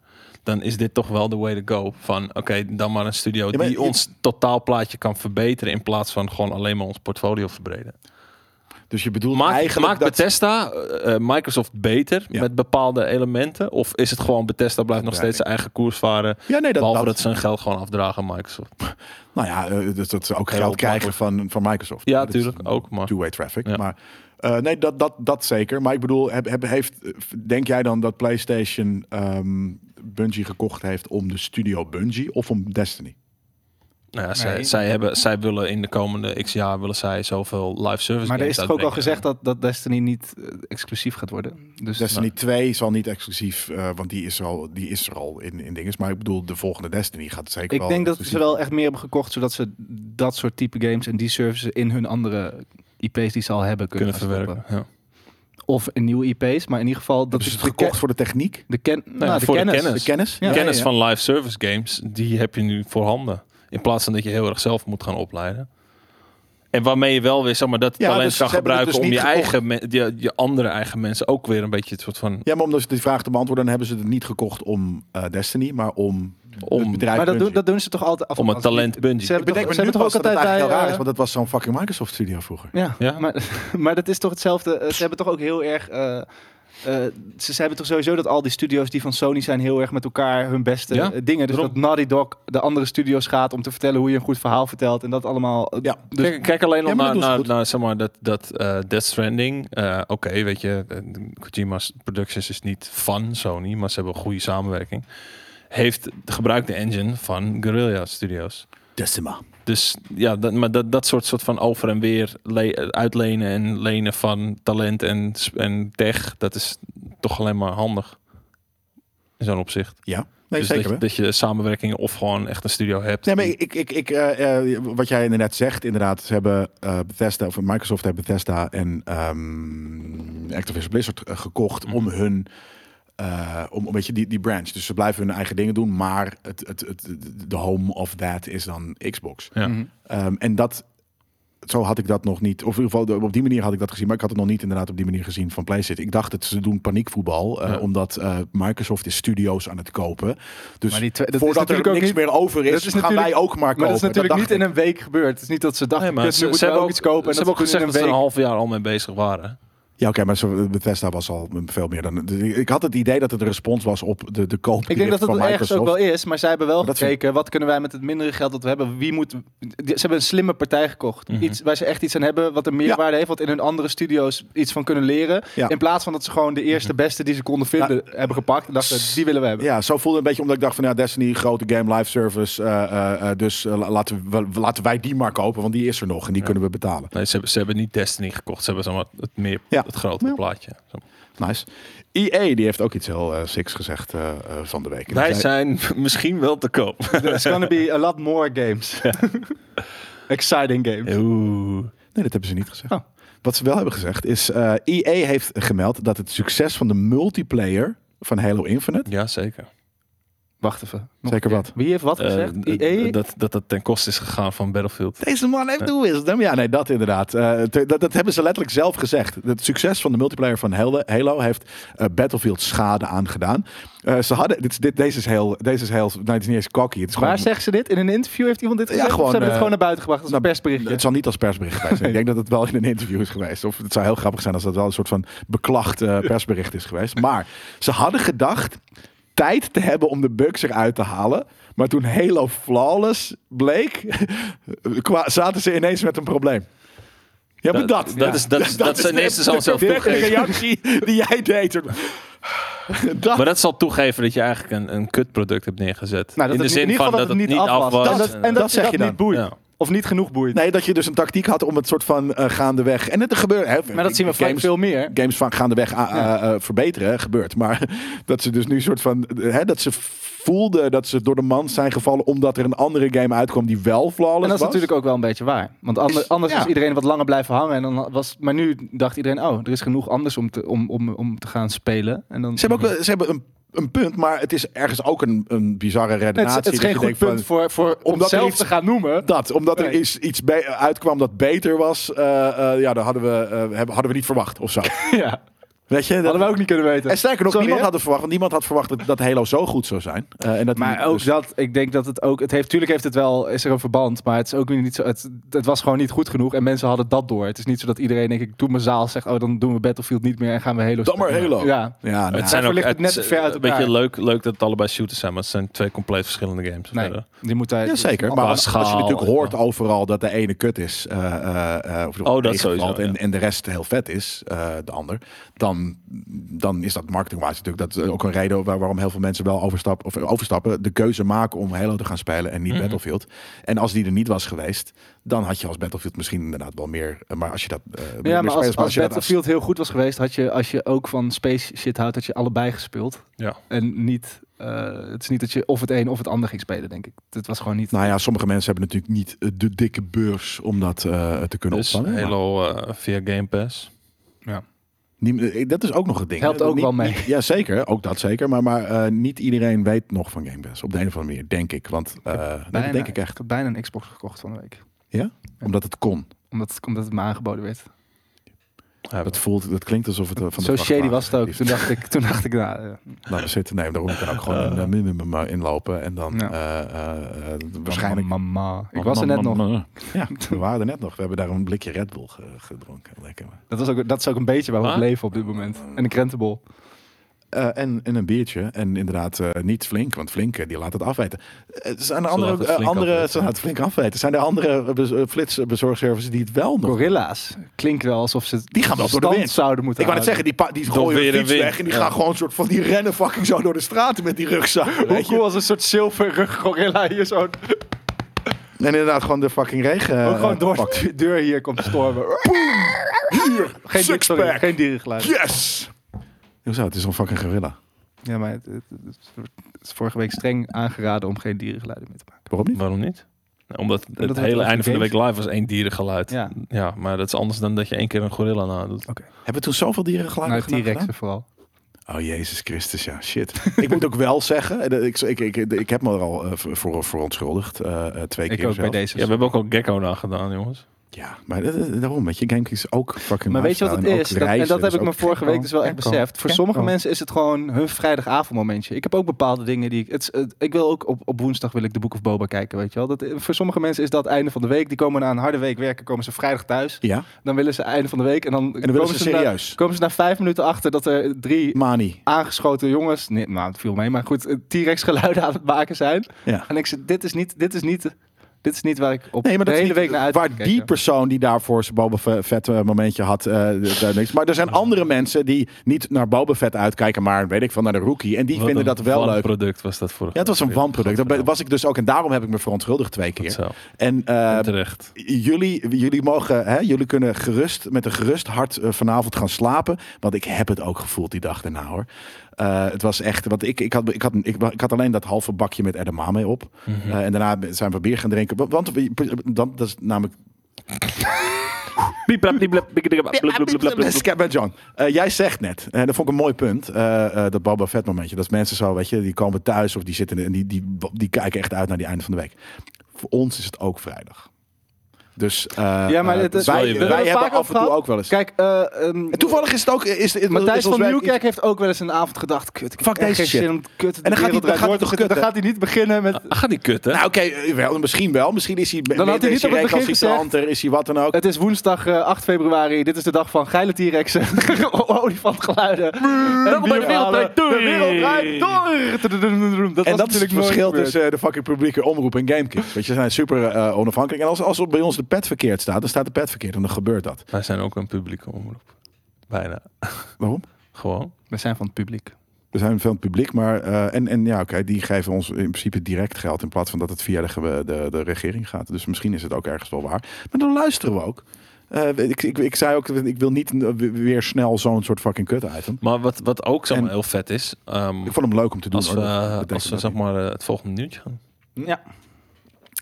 Speaker 5: Dan is dit toch wel de way to go. Van oké, dan maar een studio
Speaker 2: Ja, maar
Speaker 5: die
Speaker 2: je-
Speaker 5: ons totaalplaatje kan verbeteren. In plaats van gewoon alleen maar ons portfolio verbreden.
Speaker 2: Dus je bedoelt
Speaker 5: Maakt
Speaker 2: eigenlijk
Speaker 5: maakt
Speaker 2: dat-
Speaker 5: Bethesda eh, eh, Microsoft beter
Speaker 2: Ja.
Speaker 5: met bepaalde elementen? Of is het gewoon Bethesda blijft nog steeds zijn eigen koers varen?
Speaker 2: Ja, nee, dat-
Speaker 5: behalve
Speaker 2: dat-
Speaker 5: dat, ze hun geld gewoon afdragen aan Microsoft.
Speaker 2: Nou ja, eh, dat, dat ze ook
Speaker 5: Heel
Speaker 2: geld krijgen van, van Microsoft.
Speaker 5: Ja,
Speaker 2: Dat is
Speaker 5: tuurlijk, ook, maar-
Speaker 2: Two-way traffic.
Speaker 5: Ja.
Speaker 2: Maar eh, nee, dat, dat, dat zeker. Maar ik bedoel, heb, heb, heeft, eh, denk jij dan dat PlayStation ehm Bungie gekocht heeft om de studio Bungie of om Destiny?
Speaker 5: Nou ja, zij,
Speaker 4: Nee.
Speaker 5: zij, hebben, zij willen in de komende x jaar willen zij zoveel live service
Speaker 4: Maar er
Speaker 5: games
Speaker 4: is toch ook al
Speaker 5: uitbrengen.
Speaker 4: gezegd dat, dat Destiny niet eh, exclusief gaat worden. Dus
Speaker 2: Destiny 2 zal niet exclusief, eh, want die is er al, die is er al in, in dinges. Maar ik bedoel, de volgende Destiny gaat zeker
Speaker 4: ik
Speaker 2: wel...
Speaker 4: denk dat ze
Speaker 2: exclusief-
Speaker 4: wel echt meer hebben gekocht, zodat ze dat soort type games en die services in hun andere IP's die ze al hebben kunnen,
Speaker 5: kunnen verwerken.
Speaker 4: verwerken.
Speaker 5: Ja.
Speaker 4: Of in nieuwe IP's, maar in ieder geval dat
Speaker 2: Hebben ze
Speaker 4: is
Speaker 2: het
Speaker 4: de
Speaker 2: gekocht
Speaker 4: ken-
Speaker 2: voor de techniek?
Speaker 4: De, ken, nou,
Speaker 5: ja,
Speaker 4: de
Speaker 5: voor de
Speaker 4: kennis.
Speaker 5: kennis.
Speaker 2: De kennis?
Speaker 4: Ja.
Speaker 5: kennis
Speaker 2: ja, ja.
Speaker 5: van live service games, die heb je nu voorhanden. In plaats van dat je heel erg zelf moet gaan opleiden. En waarmee je wel weer zeg maar, dat
Speaker 2: Ja,
Speaker 5: talent
Speaker 2: dus
Speaker 5: kan
Speaker 2: ze hebben het
Speaker 5: gebruiken
Speaker 2: dus
Speaker 5: om je,
Speaker 2: niet gekocht.
Speaker 5: eigen, men- je, je andere eigen mensen ook weer een beetje het soort van...
Speaker 2: Ja, maar om dus die vraag te beantwoorden, dan hebben ze het niet gekocht om eh, Destiny, maar om,
Speaker 5: Om-
Speaker 2: het bedrijf.
Speaker 4: Maar dat doen,
Speaker 2: Bungie.
Speaker 4: dat doen ze toch altijd af en
Speaker 5: Om
Speaker 4: toe
Speaker 5: het
Speaker 4: als-
Speaker 5: talent
Speaker 4: Ze
Speaker 5: Bungie.
Speaker 2: Ik
Speaker 4: hebben
Speaker 2: bedenk
Speaker 4: toch,
Speaker 2: me
Speaker 4: ze
Speaker 2: nu
Speaker 4: hebben toch
Speaker 2: pas
Speaker 4: ook
Speaker 2: dat het
Speaker 4: altijd bij...
Speaker 2: eigenlijk heel raar
Speaker 4: eh,
Speaker 2: is, want dat was zo'n fucking Microsoft studio vroeger.
Speaker 4: Ja,
Speaker 5: Ja.
Speaker 4: Maar, maar dat is toch hetzelfde. eh, Ze hebben toch ook heel erg. eh, eh, ze, ze hebben toch sowieso dat al die studio's die van Sony zijn heel erg met elkaar hun beste
Speaker 5: Ja,
Speaker 4: eh, dingen. Dus
Speaker 5: daarom.
Speaker 4: dat Naughty Dog de andere studio's gaat om te vertellen hoe je een goed verhaal vertelt en dat allemaal. eh,
Speaker 2: Ja.
Speaker 4: dus-
Speaker 5: kijk, kijk alleen al
Speaker 2: Ja, maar dat
Speaker 5: naar,
Speaker 2: doen ze
Speaker 5: naar,
Speaker 2: goed.
Speaker 5: naar, zeg maar, dat, dat eh, Death Stranding. Eh, Oké, weet je, eh, Kojima's Productions is niet van Sony, maar ze hebben een goede samenwerking. Heeft gebruikt de engine van Guerrilla Studios.
Speaker 2: Decima.
Speaker 5: Dus ja, dat, maar dat, dat soort, soort van over en weer le- uitlenen en lenen van talent en, sp- en tech, dat is toch alleen maar handig. In zo'n opzicht.
Speaker 2: Ja, nee,
Speaker 5: dus
Speaker 2: zeker.
Speaker 5: dat,
Speaker 2: hè?
Speaker 5: je, dat je samenwerkingen of gewoon echt een studio hebt.
Speaker 2: Nee, maar ik, ik, ik, eh, eh, wat jij inderdaad zegt, inderdaad, ze hebben eh, Bethesda, of Microsoft heeft Bethesda en ehm, Activision Blizzard eh, gekocht om hun, eh, om een beetje die, die branch. Dus ze blijven hun eigen dingen doen, maar het, het, het, de home of that is dan Xbox.
Speaker 5: Ja.
Speaker 2: Ehm, en dat, zo had ik dat nog niet, of in ieder geval op die manier had ik dat gezien, maar ik had het nog niet inderdaad op die manier gezien van PlayStation. Ik dacht dat ze doen paniekvoetbal, eh,
Speaker 5: Ja.
Speaker 2: omdat eh, Microsoft is studio's aan het kopen. Dus
Speaker 4: Maar die twee- dat is
Speaker 2: voordat er
Speaker 4: natuurlijk ook
Speaker 2: niks
Speaker 4: niet-
Speaker 2: meer over
Speaker 4: dat
Speaker 2: is,
Speaker 4: is
Speaker 2: gaan wij
Speaker 4: natuurlijk-
Speaker 2: ook maar kopen.
Speaker 4: Maar dat is natuurlijk
Speaker 2: dacht
Speaker 4: niet in
Speaker 2: ik.
Speaker 4: een week gebeurd. Het is niet dat ze dachten,
Speaker 5: Nee,
Speaker 4: nee,
Speaker 5: maar
Speaker 4: ze, moeten ook iets kopen. en
Speaker 5: Ze hebben ook
Speaker 4: dat
Speaker 5: gezegd
Speaker 4: toen
Speaker 5: dat
Speaker 4: in
Speaker 5: ze een
Speaker 4: een
Speaker 5: half jaar al mee bezig waren.
Speaker 2: Ja, oké, maar zo- Bethesda was al veel meer dan. dus Ik had het idee dat het een respons was op de, de koop
Speaker 4: Ik denk dat dat
Speaker 2: van
Speaker 4: het ergens
Speaker 2: Microsoft.
Speaker 4: ook wel is, maar zij hebben wel
Speaker 2: Maar dat
Speaker 4: gekeken wat kunnen wij met het mindere geld dat we hebben. Wie moet, ze hebben een slimme partij gekocht,
Speaker 5: Mhm.
Speaker 4: iets waar ze echt iets aan hebben, wat een meerwaarde heeft, wat in hun andere studio's iets van kunnen leren,
Speaker 2: Ja. Mhm.
Speaker 4: in plaats van dat ze gewoon de eerste beste die ze konden vinden hebben gepakt en dachten die willen we hebben.
Speaker 2: Ja, zo voelde het een beetje omdat ik dacht van ja, Destiny, grote game live service. eh, eh, eh, dus eh, la- laten, we, laten wij die maar kopen, want die is er nog en die kunnen we betalen.
Speaker 5: Nee, ze, hebben, ze hebben niet Destiny gekocht. Ze hebben zeg maar, het, meer,
Speaker 2: Ja.
Speaker 5: het grotere
Speaker 2: Ja.
Speaker 5: plaatje. Zo.
Speaker 2: Nice. EA die heeft ook iets heel eh, siks gezegd eh, eh, van de week. En
Speaker 5: Wij
Speaker 2: die zei-
Speaker 5: zijn misschien wel te koop.
Speaker 4: There's gonna be a lot more games. Exciting games.
Speaker 5: Oeh.
Speaker 2: Nee, dat hebben ze niet gezegd.
Speaker 4: Oh.
Speaker 2: Wat ze wel hebben gezegd is, eh EA heeft gemeld dat het succes van de multiplayer van Halo Infinite,
Speaker 5: Ja, zeker.
Speaker 4: Wacht even. Nog
Speaker 2: zeker
Speaker 4: een
Speaker 2: wat,
Speaker 4: keer. Wie heeft wat
Speaker 5: Eh,
Speaker 4: gezegd? E
Speaker 5: d-
Speaker 4: EA?
Speaker 5: d- dat, dat dat ten koste is gegaan van Battlefield.
Speaker 2: Deze man heeft de wisdom. Ja, nee, dat inderdaad. Eh, te- dat, dat hebben ze letterlijk zelf gezegd. Het succes van de multiplayer van Halo, Halo heeft eh, Battlefield schade aangedaan. Eh, ze hadden, dit, is- dit, deze is heel, deze is heel, nou, het is niet eens cocky. Het is
Speaker 4: Waar
Speaker 2: gewoon,
Speaker 4: zegt ze dit? In een interview heeft iemand dit gezegd? of
Speaker 2: gewoon,
Speaker 4: ze hebben
Speaker 2: eh,
Speaker 4: het gewoon naar buiten gebracht als een
Speaker 2: nou,
Speaker 4: persberichtje.
Speaker 2: het zal niet als persbericht geweest zijn. Ik denk dat het wel in een interview is geweest. Of het zou heel grappig zijn als dat wel een soort van beklacht eh, persbericht is geweest. Maar ze hadden gedacht tijd te hebben om de bugs eruit te halen. Maar toen Halo flawless bleek, kwa- zaten ze ineens met een probleem. Ja, maar dat.
Speaker 5: Dat, dat is, dat, is- dat, is ten
Speaker 2: net
Speaker 5: eerste zal
Speaker 2: de
Speaker 5: zelf
Speaker 2: directe
Speaker 5: toegeven.
Speaker 2: reactie die jij deed. Dat,
Speaker 5: Maar dat zal toegeven dat je eigenlijk een, een kutproduct hebt neergezet.
Speaker 4: Nou, dat
Speaker 5: in de
Speaker 4: het in
Speaker 5: zin
Speaker 4: ieder
Speaker 5: van
Speaker 4: geval
Speaker 5: dat het niet af was.
Speaker 4: En dat, en dat,
Speaker 2: dat zeg
Speaker 4: je dat
Speaker 2: je dan.
Speaker 4: niet boeit.
Speaker 5: Ja.
Speaker 4: Of niet genoeg boeit.
Speaker 2: nee, dat je dus een tactiek had om het soort van eh, gaandeweg. En het gebeurt. Hè,
Speaker 4: Maar dat zien we vaak
Speaker 2: games,
Speaker 4: veel meer.
Speaker 2: games van gaandeweg ah, eh, eh, verbeteren hè, gebeurt. Maar dat ze dus nu soort van. eh, Hè, dat ze voelden dat ze door de mand zijn gevallen. omdat er een andere game uitkwam die wel
Speaker 4: En
Speaker 2: flawless
Speaker 4: dat is
Speaker 2: was.
Speaker 4: natuurlijk ook wel een beetje waar. Want ander-
Speaker 2: Is-
Speaker 4: anders
Speaker 2: ja.
Speaker 4: is iedereen wat langer blijven hangen. En dan was, maar nu dacht iedereen, oh, er is genoeg anders om te, om, om, om te gaan spelen. En dan,
Speaker 2: Ze hebben, ook, wel- ze hebben een, een punt, maar het is ergens ook een, een bizarre
Speaker 4: Nee, het,
Speaker 2: redenatie.
Speaker 4: is, het is
Speaker 2: dat
Speaker 4: geen
Speaker 2: je
Speaker 4: goed
Speaker 2: denkt van-
Speaker 4: punt voor, voor om
Speaker 2: Omdat er
Speaker 4: zelf
Speaker 2: iets-
Speaker 4: te gaan noemen.
Speaker 2: Dat, omdat er
Speaker 4: Nee.
Speaker 2: is iets be- uitkwam dat beter was, eh, eh, ja, dat hadden we, eh, hebben- hadden we niet verwacht of zo.
Speaker 4: ja,
Speaker 2: Weet je? dat-
Speaker 4: hadden we ook niet kunnen weten.
Speaker 2: En sterker nog,
Speaker 4: Sorry,
Speaker 2: niemand
Speaker 4: hè?
Speaker 2: had het verwacht, want niemand had verwacht dat, dat Halo zo goed zou zijn. Eh, en dat die-
Speaker 4: Maar ook
Speaker 2: dus-
Speaker 4: dat, ik denk dat het ook, het heeft, tuurlijk heeft het wel, is er een verband, maar het is ook weer niet zo, het, het was gewoon niet goed genoeg en mensen hadden dat door. Het is niet zo dat iedereen, denk ik, toen mijn zaal zegt, oh, dan doen we Battlefield niet meer en gaan we Halo
Speaker 2: Dan maar
Speaker 4: spelen.
Speaker 2: Halo.
Speaker 4: Ja.
Speaker 2: Ja, nou,
Speaker 5: Het zijn ook
Speaker 4: ligt het net
Speaker 5: het-
Speaker 4: ver uit
Speaker 5: een
Speaker 4: elkaar.
Speaker 5: beetje leuk, leuk dat het allebei shooters zijn, maar het zijn twee compleet verschillende games.
Speaker 4: Nee,
Speaker 5: verder.
Speaker 4: die moet hij...
Speaker 2: ja, zeker. Maar
Speaker 5: qua
Speaker 2: als, als je
Speaker 5: Oh, schaal,
Speaker 2: natuurlijk hoort
Speaker 5: ja.
Speaker 2: overal dat de ene kut is, eh, eh, eh, of
Speaker 5: Oh, dat
Speaker 2: tegenvalt
Speaker 5: sowieso,
Speaker 2: en,
Speaker 5: ja.
Speaker 2: en de rest heel vet is, eh, de ander, dan, dan is dat marketingwise natuurlijk dat is ook een reden waar- waarom heel veel mensen wel overstappen, of overstappen, de keuze maken om Halo te gaan spelen en niet
Speaker 5: Mhm.
Speaker 2: Battlefield. En als die er niet was geweest, dan had je als Battlefield misschien inderdaad wel meer, eh, maar als je dat, eh, meer
Speaker 4: Ja, maar
Speaker 2: spelers-
Speaker 4: als, als
Speaker 2: je dat
Speaker 4: Battlefield heel goed was geweest, had je, als je ook van space shit houdt, had je allebei gespeeld.
Speaker 5: Ja.
Speaker 4: En niet, eh, het is niet dat je of het een of het ander ging spelen, denk ik. Het was gewoon niet...
Speaker 2: Nou ja, sommige mensen hebben natuurlijk niet eh, de dikke beurs om dat eh, te kunnen
Speaker 5: Dus
Speaker 2: opvangen. maar
Speaker 5: Halo eh, via Game Pass.
Speaker 2: niet- eh, dat is ook nog het ding.
Speaker 4: Helpt
Speaker 2: hè?
Speaker 4: ook
Speaker 2: Niet-
Speaker 4: wel mee.
Speaker 2: niet- ja, zeker. Ook dat zeker. Maar, maar eh, niet iedereen weet nog van Game Pass. Op de een of andere manier, denk ik. Want eh, nee, dat
Speaker 4: bijna-
Speaker 2: denk ik echt.
Speaker 4: Ik heb bijna een Xbox gekocht van de week.
Speaker 2: Omdat het kon.
Speaker 4: Omdat, omdat het me aangeboden werd.
Speaker 5: Ja,
Speaker 2: Dat, voelt, dat klinkt alsof het eh, van de
Speaker 4: Zo shady
Speaker 2: vrachtwagen
Speaker 4: was het ook.
Speaker 2: is.
Speaker 4: Toen dacht ik, toen dacht ik nou, eh,
Speaker 2: Laten we zitten. Nee, daarom kan ik gewoon een eh, minimum eh, inlopen. En dan
Speaker 4: Ja.
Speaker 2: eh, eh, eh, waarschijnlijk...
Speaker 4: Mama. Ik was er net nog.
Speaker 5: Oh,
Speaker 2: Ja, we waren er net nog. We hebben daar een blikje Red Bull ge- gedronken. Lekker man.
Speaker 4: Dat, was ook, dat is ook een beetje waar we op
Speaker 5: Huh?
Speaker 4: leven op dit moment. En een krentenbol.
Speaker 2: Eh, en, en een biertje. En inderdaad, eh, niet flink, want flink eh, die laat het afweten. Eh, zijn er andere,
Speaker 5: laten het
Speaker 2: eh,
Speaker 5: flink
Speaker 2: andere
Speaker 5: afweten.
Speaker 2: ze laten het flink afweten. Zijn er andere bez- eh, flitsbezorgservices die het wel nog...
Speaker 4: Gorilla's. Klinkt wel alsof ze
Speaker 2: Die gaan wel door de
Speaker 4: stand
Speaker 2: wind.
Speaker 4: zouden moeten
Speaker 2: Ik wou net zeggen, die, pa- die gooien
Speaker 5: weer
Speaker 2: hun
Speaker 5: een
Speaker 2: fiets
Speaker 5: wind,
Speaker 2: weg en die
Speaker 5: ja.
Speaker 2: gaan gewoon een soort van... Die rennen fucking zo door de straten met die rugzak.
Speaker 4: Hoe
Speaker 2: Weet je?
Speaker 4: cool als een soort zilverrug gorilla hier zo
Speaker 2: En inderdaad gewoon de fucking regen eh,
Speaker 4: gewoon door
Speaker 2: pakt.
Speaker 4: de deur hier komt stormen. Geen, dier, sorry,
Speaker 2: Sixpack.
Speaker 4: geen dierengeluid.
Speaker 2: Yes! Hoezo? Het is een fucking gorilla.
Speaker 4: Ja, maar het, het- het- het is vorige week streng aangeraden om geen dierengeluiden meer te maken.
Speaker 2: Waarom niet?
Speaker 5: Waarom niet? Nou, Omdat het
Speaker 4: Omdat we
Speaker 5: hele
Speaker 4: het
Speaker 5: einde van de
Speaker 4: games-
Speaker 5: week live was één dierengeluid.
Speaker 4: Ja.
Speaker 5: maar dat is anders dan dat je één keer een gorilla nadoet.
Speaker 2: Hebben we toen zoveel dieren geluiden
Speaker 4: Nou,
Speaker 2: gedaan?
Speaker 4: T-Rexen vooral.
Speaker 2: Oh, Jezus Christus, ja, shit. ik moet ook wel zeggen, eh, ik, ik, ik, ik heb me er al eh, voor, voor onschuldigd, eh, eh, twee
Speaker 4: Ik
Speaker 2: keer
Speaker 4: ook bij
Speaker 2: zelfs.
Speaker 4: deze.
Speaker 5: Ja, we hebben ook al Gecko na gedaan, jongens.
Speaker 2: Ja, maar dat- dat- daarom, weet je, GameKings is ook fucking
Speaker 4: Maar weet je wat het
Speaker 2: lifestyle
Speaker 4: is?
Speaker 2: ook
Speaker 4: Dat, en
Speaker 2: reizen,
Speaker 4: dat heb
Speaker 2: dus
Speaker 4: ik me
Speaker 2: ook-
Speaker 4: vorige week dus wel echt
Speaker 2: Gekko,
Speaker 4: beseft. Voor
Speaker 2: gekko.
Speaker 4: sommige mensen is het gewoon hun vrijdagavondmomentje. Ik heb ook bepaalde dingen die ik... Het, is- het- ik wil ook op, op woensdag wil ik de Boek of Boba kijken, weet je wel. Dat, voor sommige mensen is dat einde van de week. Die komen na een harde week werken, komen ze vrijdag thuis.
Speaker 2: Ja, en
Speaker 4: Dan willen ze einde van de week. En dan,
Speaker 2: dan willen
Speaker 4: komen,
Speaker 2: ze
Speaker 4: na,
Speaker 2: serieus.
Speaker 4: komen ze na vijf minuten achter dat er drie
Speaker 2: Mani.
Speaker 4: aangeschoten jongens... Nee, nou, het viel mee, maar goed. eh, T-Rex geluiden aan het maken zijn.
Speaker 2: Ja.
Speaker 4: En ik zeg, dit is niet... Dit is niet dit is niet waar ik op
Speaker 2: Nee, maar
Speaker 4: de
Speaker 2: dat is
Speaker 4: hele
Speaker 2: niet-
Speaker 4: week naar uit heb
Speaker 2: Waar
Speaker 4: gekeken.
Speaker 2: die persoon die daarvoor zijn Boba Fe- Fett eh, momentje had, eh, daar niks. Maar er zijn andere mensen die niet naar Boba Fett uitkijken, maar weet ik van naar de rookie. En die
Speaker 5: Wat
Speaker 2: vinden
Speaker 5: een
Speaker 2: dat wel leuk.
Speaker 5: product was dat vorig
Speaker 2: Ja, het was een
Speaker 5: jaar.
Speaker 2: wanproduct. Dat be- was ik dus ook. En daarom heb ik me verontschuldigd twee keer.
Speaker 5: Zo,
Speaker 2: En eh,
Speaker 5: terecht.
Speaker 2: jullie, jullie, mogen, hè, jullie kunnen gerust, met een gerust hart eh, vanavond gaan slapen. Want ik heb het ook gevoeld die dag daarna hoor. Eh, het was echt, want ik, ik, had, ik, had, ik, ik had alleen dat halve bakje met edamame op. Eh, en daarna zijn we bier gaan drinken. Wa- Want we- dan, dat is namelijk Scabba John, eh, jij zegt net, en dat vond ik een mooi punt, eh, eh, dat Boba Fett momentje. Dat mensen zo, weet je, die komen thuis of die zitten en die, die, die kijken echt uit naar die einde van de week. Voor ons is het ook vrijdag. Dus eh,
Speaker 4: Ja, maar
Speaker 2: eh,
Speaker 4: het- het-
Speaker 5: Wel, je
Speaker 2: wij,
Speaker 5: wil-
Speaker 2: wij
Speaker 4: We hebben
Speaker 2: hebben
Speaker 4: vaak
Speaker 2: af en toe
Speaker 4: gehad.
Speaker 2: ook wel eens.
Speaker 4: Kijk, eh, ehm,
Speaker 2: en toevallig is het ook... Is, is, is
Speaker 4: Matthijs
Speaker 2: ons
Speaker 4: van
Speaker 2: werk-
Speaker 4: Nieuwkerk heeft ook wel eens een avond gedacht: kut, ik heb
Speaker 2: Fuck
Speaker 4: echt
Speaker 2: deze
Speaker 4: geen
Speaker 2: shit.
Speaker 4: zin om kut. de
Speaker 2: dan gaat
Speaker 4: wereld
Speaker 2: hij- dan gaat hij
Speaker 4: draait door
Speaker 2: toch
Speaker 4: te-
Speaker 2: kutten?
Speaker 4: dan gaat hij niet beginnen met.
Speaker 5: Gaat die kutten?
Speaker 2: Nou oké, eh, wel, misschien wel. Misschien is hij...
Speaker 4: had hij
Speaker 2: is
Speaker 4: niet op het begin
Speaker 2: recalcitranter, Is hij wat dan ook.
Speaker 4: Het is woensdag eh, 8 februari. Dit is de dag van geile T-Rexen, olifantgeluiden. en
Speaker 5: bij de wereld draait
Speaker 4: bierhalen.
Speaker 5: door.
Speaker 4: De wereld draait door. Dat was
Speaker 2: En dat is het
Speaker 4: natuurlijk nooit
Speaker 2: verschil
Speaker 4: gebeurd.
Speaker 2: tussen eh, de fucking publieke omroep en GameKings. Weet je, ze zijn super eh, onafhankelijk. En als, als er bij ons de pet verkeerd staat, dan staat de pet verkeerd en dan gebeurt dat.
Speaker 5: Wij zijn ook een publieke omroep. Bijna.
Speaker 2: Waarom?
Speaker 5: Gewoon.
Speaker 4: We zijn van het publiek.
Speaker 2: Er zijn veel publiek, maar eh, en, en ja, oké, die geven ons in principe direct geld in plaats van dat het via de, ge- de, de regering gaat. Dus misschien is het ook ergens wel waar. Maar dan luisteren we ook. Eh, ik, ik, ik zei ook, ik wil niet eh, weer snel zo'n soort fucking kut item.
Speaker 5: Maar wat, wat ook zeg maar,
Speaker 2: En-
Speaker 5: heel vet is, ehm,
Speaker 2: Ik vond hem leuk om te doen.
Speaker 5: als
Speaker 2: hoor.
Speaker 5: we,
Speaker 2: Dat
Speaker 5: eh,
Speaker 2: betekent
Speaker 5: als we
Speaker 2: dat
Speaker 5: zeg
Speaker 2: niet.
Speaker 5: maar, eh, het volgende nieuwtje gaan.
Speaker 4: Ja.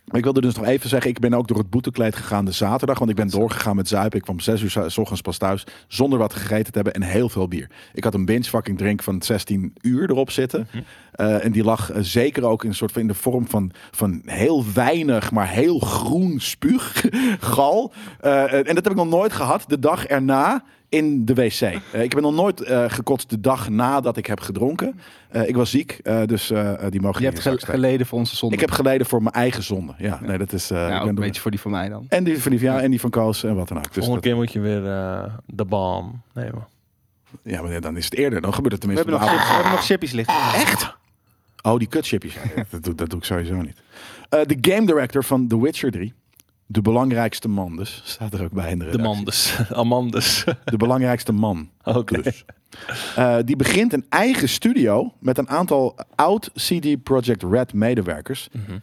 Speaker 2: Maar Ik wilde dus nog even zeggen, ik ben ook door het boetekleed gegaan de zaterdag. Want ik ben doorgegaan met zuipen. Ik kwam om zes uur s ochtends pas thuis zonder wat gegeten te hebben en heel veel bier. Ik had een binge fucking drink van 16 uur erop zitten.
Speaker 4: Mhm.
Speaker 2: Eh, en die lag eh, zeker ook in, een soort van, in de vorm van, van heel weinig, maar heel groen spuug, gal. Eh, eh, en dat heb ik nog nooit gehad. De dag erna in de wc. Eh, ik ben nog nooit eh, gekotst de dag nadat ik heb gedronken. Eh, ik was ziek, eh, dus eh, eh, die mogen
Speaker 4: Je
Speaker 2: niet
Speaker 4: hebt
Speaker 2: in de
Speaker 4: ge-
Speaker 2: zak steken.
Speaker 4: geleden voor onze zonde.
Speaker 2: Ik heb geleden voor mijn eigen zonde. Ja, nee, dat is. eh, ik
Speaker 4: ja,
Speaker 2: ben
Speaker 4: ook een
Speaker 2: door-
Speaker 4: beetje voor die van mij dan.
Speaker 2: En die van die ja, en die van Koos en wat dan ook. Dus
Speaker 5: Volgende
Speaker 2: dat,
Speaker 5: keer moet je weer eh, de bom nemen.
Speaker 2: ja, maar dan is het eerder. Dan gebeurt het
Speaker 4: We
Speaker 2: tenminste.
Speaker 4: hebben nog,
Speaker 2: op de
Speaker 4: chips, we hebben nog chippies liggen.
Speaker 2: Echt? Oh, die kutchipjes. Ja, ja, dat, doe, dat doe ik sowieso niet. Eh, de game director van The Witcher 3. De belangrijkste man dus. Staat er ook bij in de
Speaker 5: De
Speaker 2: redactie.
Speaker 5: mandes. Amandus.
Speaker 2: De belangrijkste man.
Speaker 4: Oh,
Speaker 5: Oké.
Speaker 2: Dus. Eh, die begint een eigen studio met een aantal oud CD Projekt Red medewerkers.
Speaker 4: Mhm.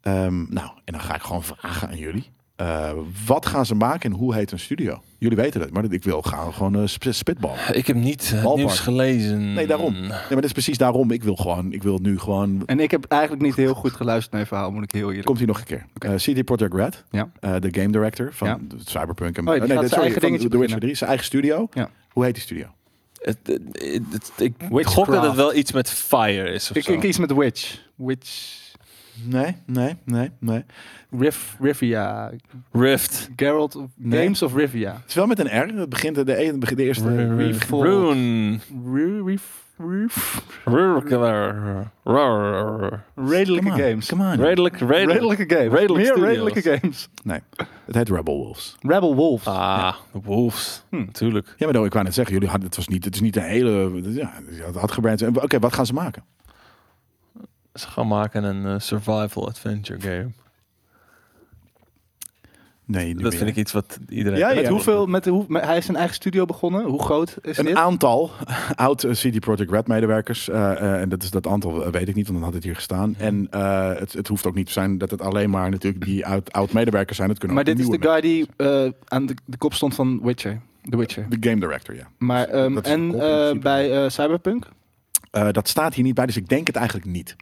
Speaker 2: Ehm, nou, en dan ga ik gewoon vragen aan jullie. Eh, wat gaan ze maken en hoe heet hun studio? Jullie weten het, maar ik wil gaan gewoon eh, sp- spitballen.
Speaker 5: Ik heb niet eh,
Speaker 2: Ballpark.
Speaker 5: nieuws gelezen.
Speaker 4: Mm.
Speaker 2: Nee, daarom. Nee, maar dat is precies daarom. Ik wil gewoon, ik wil nu gewoon.
Speaker 4: En ik heb eigenlijk niet heel goed geluisterd naar je verhaal, moet ik heel eerlijk
Speaker 2: Komt hier nog een keer. Eh CD Projekt Red,
Speaker 4: Ja.
Speaker 2: eh, de game director van
Speaker 4: Ja.
Speaker 2: Cyberpunk en
Speaker 4: Oh ja, die gaat zijn eigen
Speaker 2: van
Speaker 4: dingetje
Speaker 2: The Witcher
Speaker 4: beginnen.
Speaker 2: 3, zijn eigen studio.
Speaker 4: Ja.
Speaker 2: Hoe heet die studio?
Speaker 5: Het, het- het- het- ik
Speaker 4: Witchcraft.
Speaker 5: gok dat het wel iets met fire is of
Speaker 4: Ik,
Speaker 5: zo.
Speaker 4: ik iets met Witch. Witch.
Speaker 2: Nee, nee, nee, nee.
Speaker 4: Riff, Rivia.
Speaker 5: Rift.
Speaker 4: Geralt of
Speaker 2: Nee.
Speaker 4: Games of Rivia.
Speaker 2: Het is wel met een R. Het begint de, de, de, de eerste.
Speaker 4: Revolt.
Speaker 5: Rune.
Speaker 4: Ru- Rif- Rif-
Speaker 5: Rurkler. Rurr.
Speaker 4: Redelijke
Speaker 2: Come on,
Speaker 4: games.
Speaker 2: Come on.
Speaker 5: Redelijk, redelijk.
Speaker 4: Redelijke games.
Speaker 5: Redelijk
Speaker 4: Meer
Speaker 5: studios.
Speaker 4: redelijke games.
Speaker 2: Nee, het heet Rebel Wolves.
Speaker 4: Rebel Wolves.
Speaker 5: Ah, de Wolves.
Speaker 2: Hm.
Speaker 5: Natuurlijk.
Speaker 2: Ja, maar dan, ik wou net zeggen, jullie hadden, het, was niet, het is niet een hele... Ja, het had gebreid. Oké, wat gaan ze maken?
Speaker 5: Ze gaan maken een eh, survival adventure game.
Speaker 2: Nee, niet
Speaker 5: Dat
Speaker 2: meer.
Speaker 5: vind ik iets wat iedereen...
Speaker 2: Ja,
Speaker 4: met
Speaker 2: ja.
Speaker 4: hoeveel, met, hoe, met- hij is zijn eigen studio begonnen. Hoe groot is
Speaker 2: Een
Speaker 4: dit?
Speaker 2: aantal oud eh, CD Projekt Red medewerkers. eh, eh, en dat, is, dat aantal eh, weet ik niet, want dan had het hier gestaan. En eh, het, het hoeft ook niet te zijn dat het alleen maar natuurlijk die oud, oud medewerkers zijn. Het kunnen
Speaker 4: Maar
Speaker 2: ook
Speaker 4: dit is de guy
Speaker 2: nieuwe
Speaker 4: die eh, aan de, de kop stond van Witcher. The Witcher.
Speaker 2: mensen. De game director, ja.
Speaker 4: Maar, ehm,
Speaker 2: dat is
Speaker 4: en
Speaker 2: de kop in
Speaker 4: eh,
Speaker 2: principe.
Speaker 4: bij eh, Cyberpunk? Oké.
Speaker 2: Eh, dat staat hier niet bij, dus ik denk het eigenlijk niet.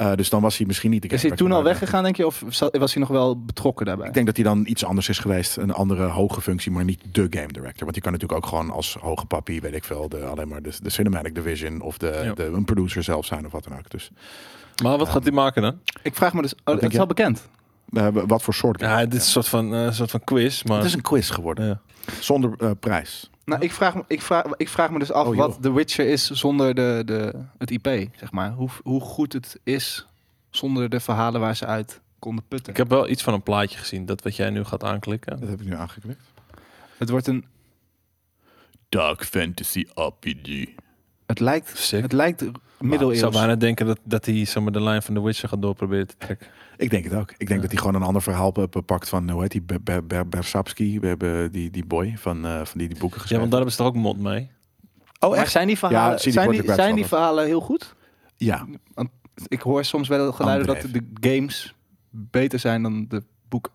Speaker 2: Eh, dus dan was hij misschien niet de game
Speaker 4: Is hij toen al
Speaker 2: director.
Speaker 4: weggegaan, denk je? Of za- was hij nog wel betrokken daarbij?
Speaker 2: Ik denk dat hij dan iets anders is geweest. Een andere hoge functie, maar niet de game director. Want die kan natuurlijk ook gewoon als hoge papi, weet ik veel, de, alleen maar de, de cinematic division of de,
Speaker 5: Ja.
Speaker 2: de, een producer zelf zijn of wat dan ook. Dus
Speaker 5: Maar wat gaat die maken dan?
Speaker 4: Ik vraag me dus... Oh,
Speaker 2: denk
Speaker 4: het is
Speaker 2: je?
Speaker 4: al bekend.
Speaker 2: eh, wat voor soort game?
Speaker 5: Ja, dit is een soort van, eh, soort van quiz, maar...
Speaker 2: Het is een quiz geworden,
Speaker 5: Ja.
Speaker 2: zonder eh, prijs.
Speaker 4: Nou, ik vraag, me- ik, vraag, ik vraag me dus af
Speaker 2: Oh, joh.
Speaker 4: wat The Witcher is zonder de, de, het IP, zeg maar. Hoe, hoe goed het is zonder de verhalen waar ze uit konden putten.
Speaker 5: Ik heb wel iets van een plaatje gezien, dat wat jij nu gaat aanklikken.
Speaker 2: Dat heb ik nu aangeklikt.
Speaker 4: Het wordt een...
Speaker 2: Dark Fantasy RPG.
Speaker 4: Het lijkt,
Speaker 5: Sick.
Speaker 4: het lijkt
Speaker 5: Ik
Speaker 4: middeleeuws.
Speaker 5: zou bijna denken dat, dat hij zomaar de lijn van The Witcher gaat doorproberen te trekken.
Speaker 2: Ik denk het ook. Ik denk
Speaker 5: Ja.
Speaker 2: dat hij gewoon een ander verhaal be- bepakt van, hoe heet die, Be- Be- Be- Bersapski, Be- Be- die, die boy van, eh, van die, die boeken
Speaker 5: Ja,
Speaker 2: geschreven.
Speaker 5: want daar hebben ze toch ook mod mee?
Speaker 2: Oh,
Speaker 4: Maar
Speaker 2: echt?
Speaker 4: zijn die verhalen,
Speaker 2: CD
Speaker 4: zijn
Speaker 2: Projekt
Speaker 4: die, zijn die
Speaker 2: Red
Speaker 4: verhalen heel goed?
Speaker 2: Ja,
Speaker 4: Ik hoor soms wel geluiden dat
Speaker 2: Andreef.
Speaker 4: de games beter zijn dan de boeken.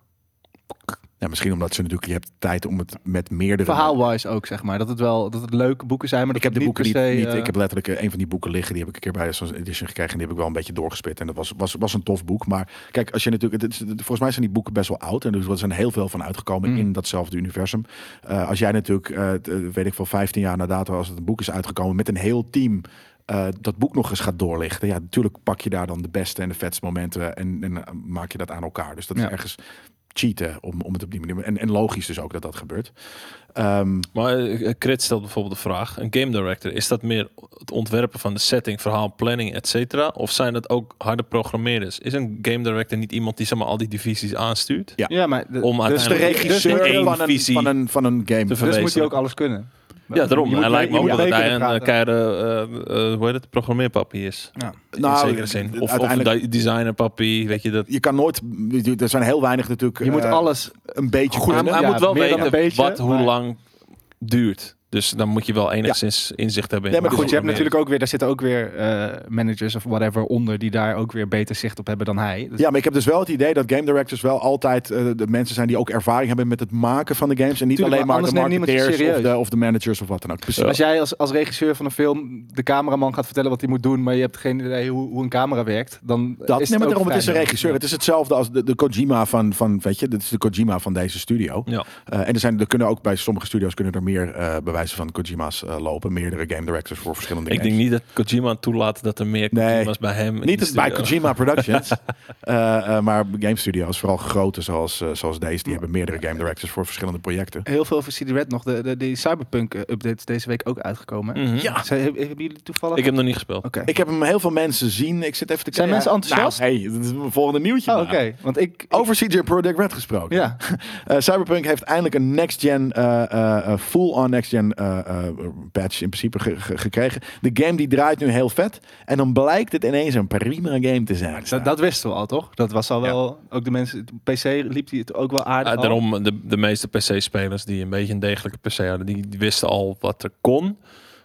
Speaker 2: Ja, misschien omdat ze natuurlijk, je hebt tijd om het met meerdere...
Speaker 4: Verhaalwise ook, zeg maar. Dat het wel dat het leuke boeken zijn, maar dat
Speaker 2: Ik heb de
Speaker 4: het
Speaker 2: boeken
Speaker 4: niet
Speaker 2: niet,
Speaker 4: per se...
Speaker 2: niet-
Speaker 4: eh,
Speaker 2: ik heb letterlijk eh, een van die boeken liggen. Die heb ik een keer bij zo'n edition gekregen. En die heb ik wel een beetje doorgespit. En dat was, was, was een tof boek. Maar kijk, als je natuurlijk. Het, is- het- volgens mij zijn die boeken best wel oud. En dus er zijn heel veel van uitgekomen
Speaker 4: Mm.
Speaker 2: in datzelfde universum. Eh, als jij natuurlijk, eh, t- eh, weet ik veel, 15 jaar na dato, als het een boek is uitgekomen met een heel team. eh, dat boek nog eens gaat doorlichten. Ja, natuurlijk pak je daar dan de beste en de vetste momenten. En, en eh, maak je dat aan elkaar. Dus dat
Speaker 4: Ja.
Speaker 2: is ergens cheaten om, om het op die manier. En, en logisch dus ook dat dat gebeurt. Ehm,
Speaker 5: Maar eh, eh, Crit stelt bijvoorbeeld de vraag, een game director, is dat meer het ontwerpen van de setting, verhaal, planning, et cetera? Of zijn dat ook harde programmeerders? Is een game director niet iemand die zomaar al die divisies aanstuurt?
Speaker 2: Ja.
Speaker 4: Ja, maar... de-
Speaker 5: Om
Speaker 2: Dus de
Speaker 5: uiteindelijk
Speaker 2: regisseur
Speaker 5: één
Speaker 2: van, een,
Speaker 5: visie
Speaker 2: van, een, van een game.
Speaker 5: te
Speaker 4: dus moet hij
Speaker 5: verwezenlijken.
Speaker 4: ook alles kunnen.
Speaker 5: Ja, daarom.
Speaker 4: Je moet mee-
Speaker 5: Hij lijkt me
Speaker 4: je
Speaker 5: ook
Speaker 4: moet
Speaker 5: dat
Speaker 4: mee
Speaker 5: hij
Speaker 4: kunnen
Speaker 5: een eh,
Speaker 4: praten.
Speaker 5: keiharde, eh, eh, hoe heet het, programmeerpappie is.
Speaker 2: Nou,
Speaker 5: in zekere zin. Of, of een
Speaker 2: uiteindelijk-
Speaker 5: di- designerpappie, weet je dat.
Speaker 2: je kan nooit. Er zijn heel weinig natuurlijk.
Speaker 4: Je moet
Speaker 2: eh,
Speaker 4: alles...
Speaker 2: een beetje
Speaker 5: Goed,
Speaker 2: goed.
Speaker 5: hij, hij
Speaker 4: ja,
Speaker 5: moet wel
Speaker 4: meer dan
Speaker 5: weten
Speaker 4: een beetje,
Speaker 5: wat hoe
Speaker 4: maar-
Speaker 5: lang duurt. Dus dan moet je wel enigszins inzicht hebben in
Speaker 2: Nee,
Speaker 4: Maar
Speaker 5: hoe
Speaker 4: goed, je hebt
Speaker 5: programmeren.
Speaker 4: natuurlijk ook weer, daar zitten ook weer eh, managers of whatever onder die daar ook weer beter zicht op hebben dan hij. Dus
Speaker 2: Ja, maar ik heb dus wel het idee dat game directors wel altijd eh, de mensen zijn die ook ervaring hebben met het maken van de games. En niet
Speaker 4: Tuurlijk,
Speaker 2: alleen
Speaker 4: maar
Speaker 2: maar, de
Speaker 4: anders neemt niemand je
Speaker 2: marketeers of
Speaker 4: serieus.
Speaker 2: de, of de managers of wat dan ook. Precies.
Speaker 4: Als jij als, als regisseur van een film de cameraman gaat vertellen wat hij moet doen, maar je hebt geen idee hoe, hoe een camera werkt, dan
Speaker 2: Dat,
Speaker 4: is
Speaker 2: nee, maar
Speaker 4: het ook
Speaker 2: daarom, het is een
Speaker 4: vrij
Speaker 2: regisseur. Het is hetzelfde als de, de Kojima van, van, weet je, dit is de Kojima van deze studio.
Speaker 5: Ja.
Speaker 2: Eh, en er, zijn, er kunnen ook bij sommige studio's kunnen er meer eh, bewijzen van Kojima's eh, lopen. Meerdere game directors voor verschillende
Speaker 5: Ik
Speaker 2: games.
Speaker 5: denk niet dat Kojima toelaat dat er meer
Speaker 2: Nee.
Speaker 5: Kojima's bij hem in
Speaker 2: Niet
Speaker 5: de
Speaker 2: het bij
Speaker 5: studio-
Speaker 2: Kojima Productions, eh, eh, maar game studios, vooral grote zoals, eh, zoals deze, die hebben meerdere game directors voor verschillende projecten.
Speaker 4: Heel veel voor CD Red nog. De, de, die Cyberpunk-updates deze week ook uitgekomen.
Speaker 5: Mhm.
Speaker 2: Ja.
Speaker 4: Zijn, heb- hebben jullie toevallig...
Speaker 5: Ik heb nog niet gespeeld.
Speaker 4: Oké.
Speaker 2: Ik heb hem heel veel mensen zien. Ik zit even te
Speaker 4: Zijn mensen enthousiast?
Speaker 2: Nou, hey, dat is mijn volgende nieuwtje.
Speaker 4: Oh,
Speaker 2: maar.
Speaker 4: oké. Want ik... ik-
Speaker 2: Over CJ Projekt Red gesproken.
Speaker 4: ja.
Speaker 2: Eh, Cyberpunk heeft eindelijk een next-gen, eh, eh, eh, full-on next-gen eh, eh, patch in principe ge- ge- gekregen. De game die draait nu heel vet. En dan blijkt het ineens een prima game te zijn.
Speaker 4: Dat, dat wisten we al, toch? Dat was al wel... Ook de mensen... de PC liep die het ook wel aardig
Speaker 5: Ah,
Speaker 4: al.
Speaker 5: daarom, de, de meeste PC-spelers die een beetje een degelijke PC hadden, die, die wisten al wat er kon.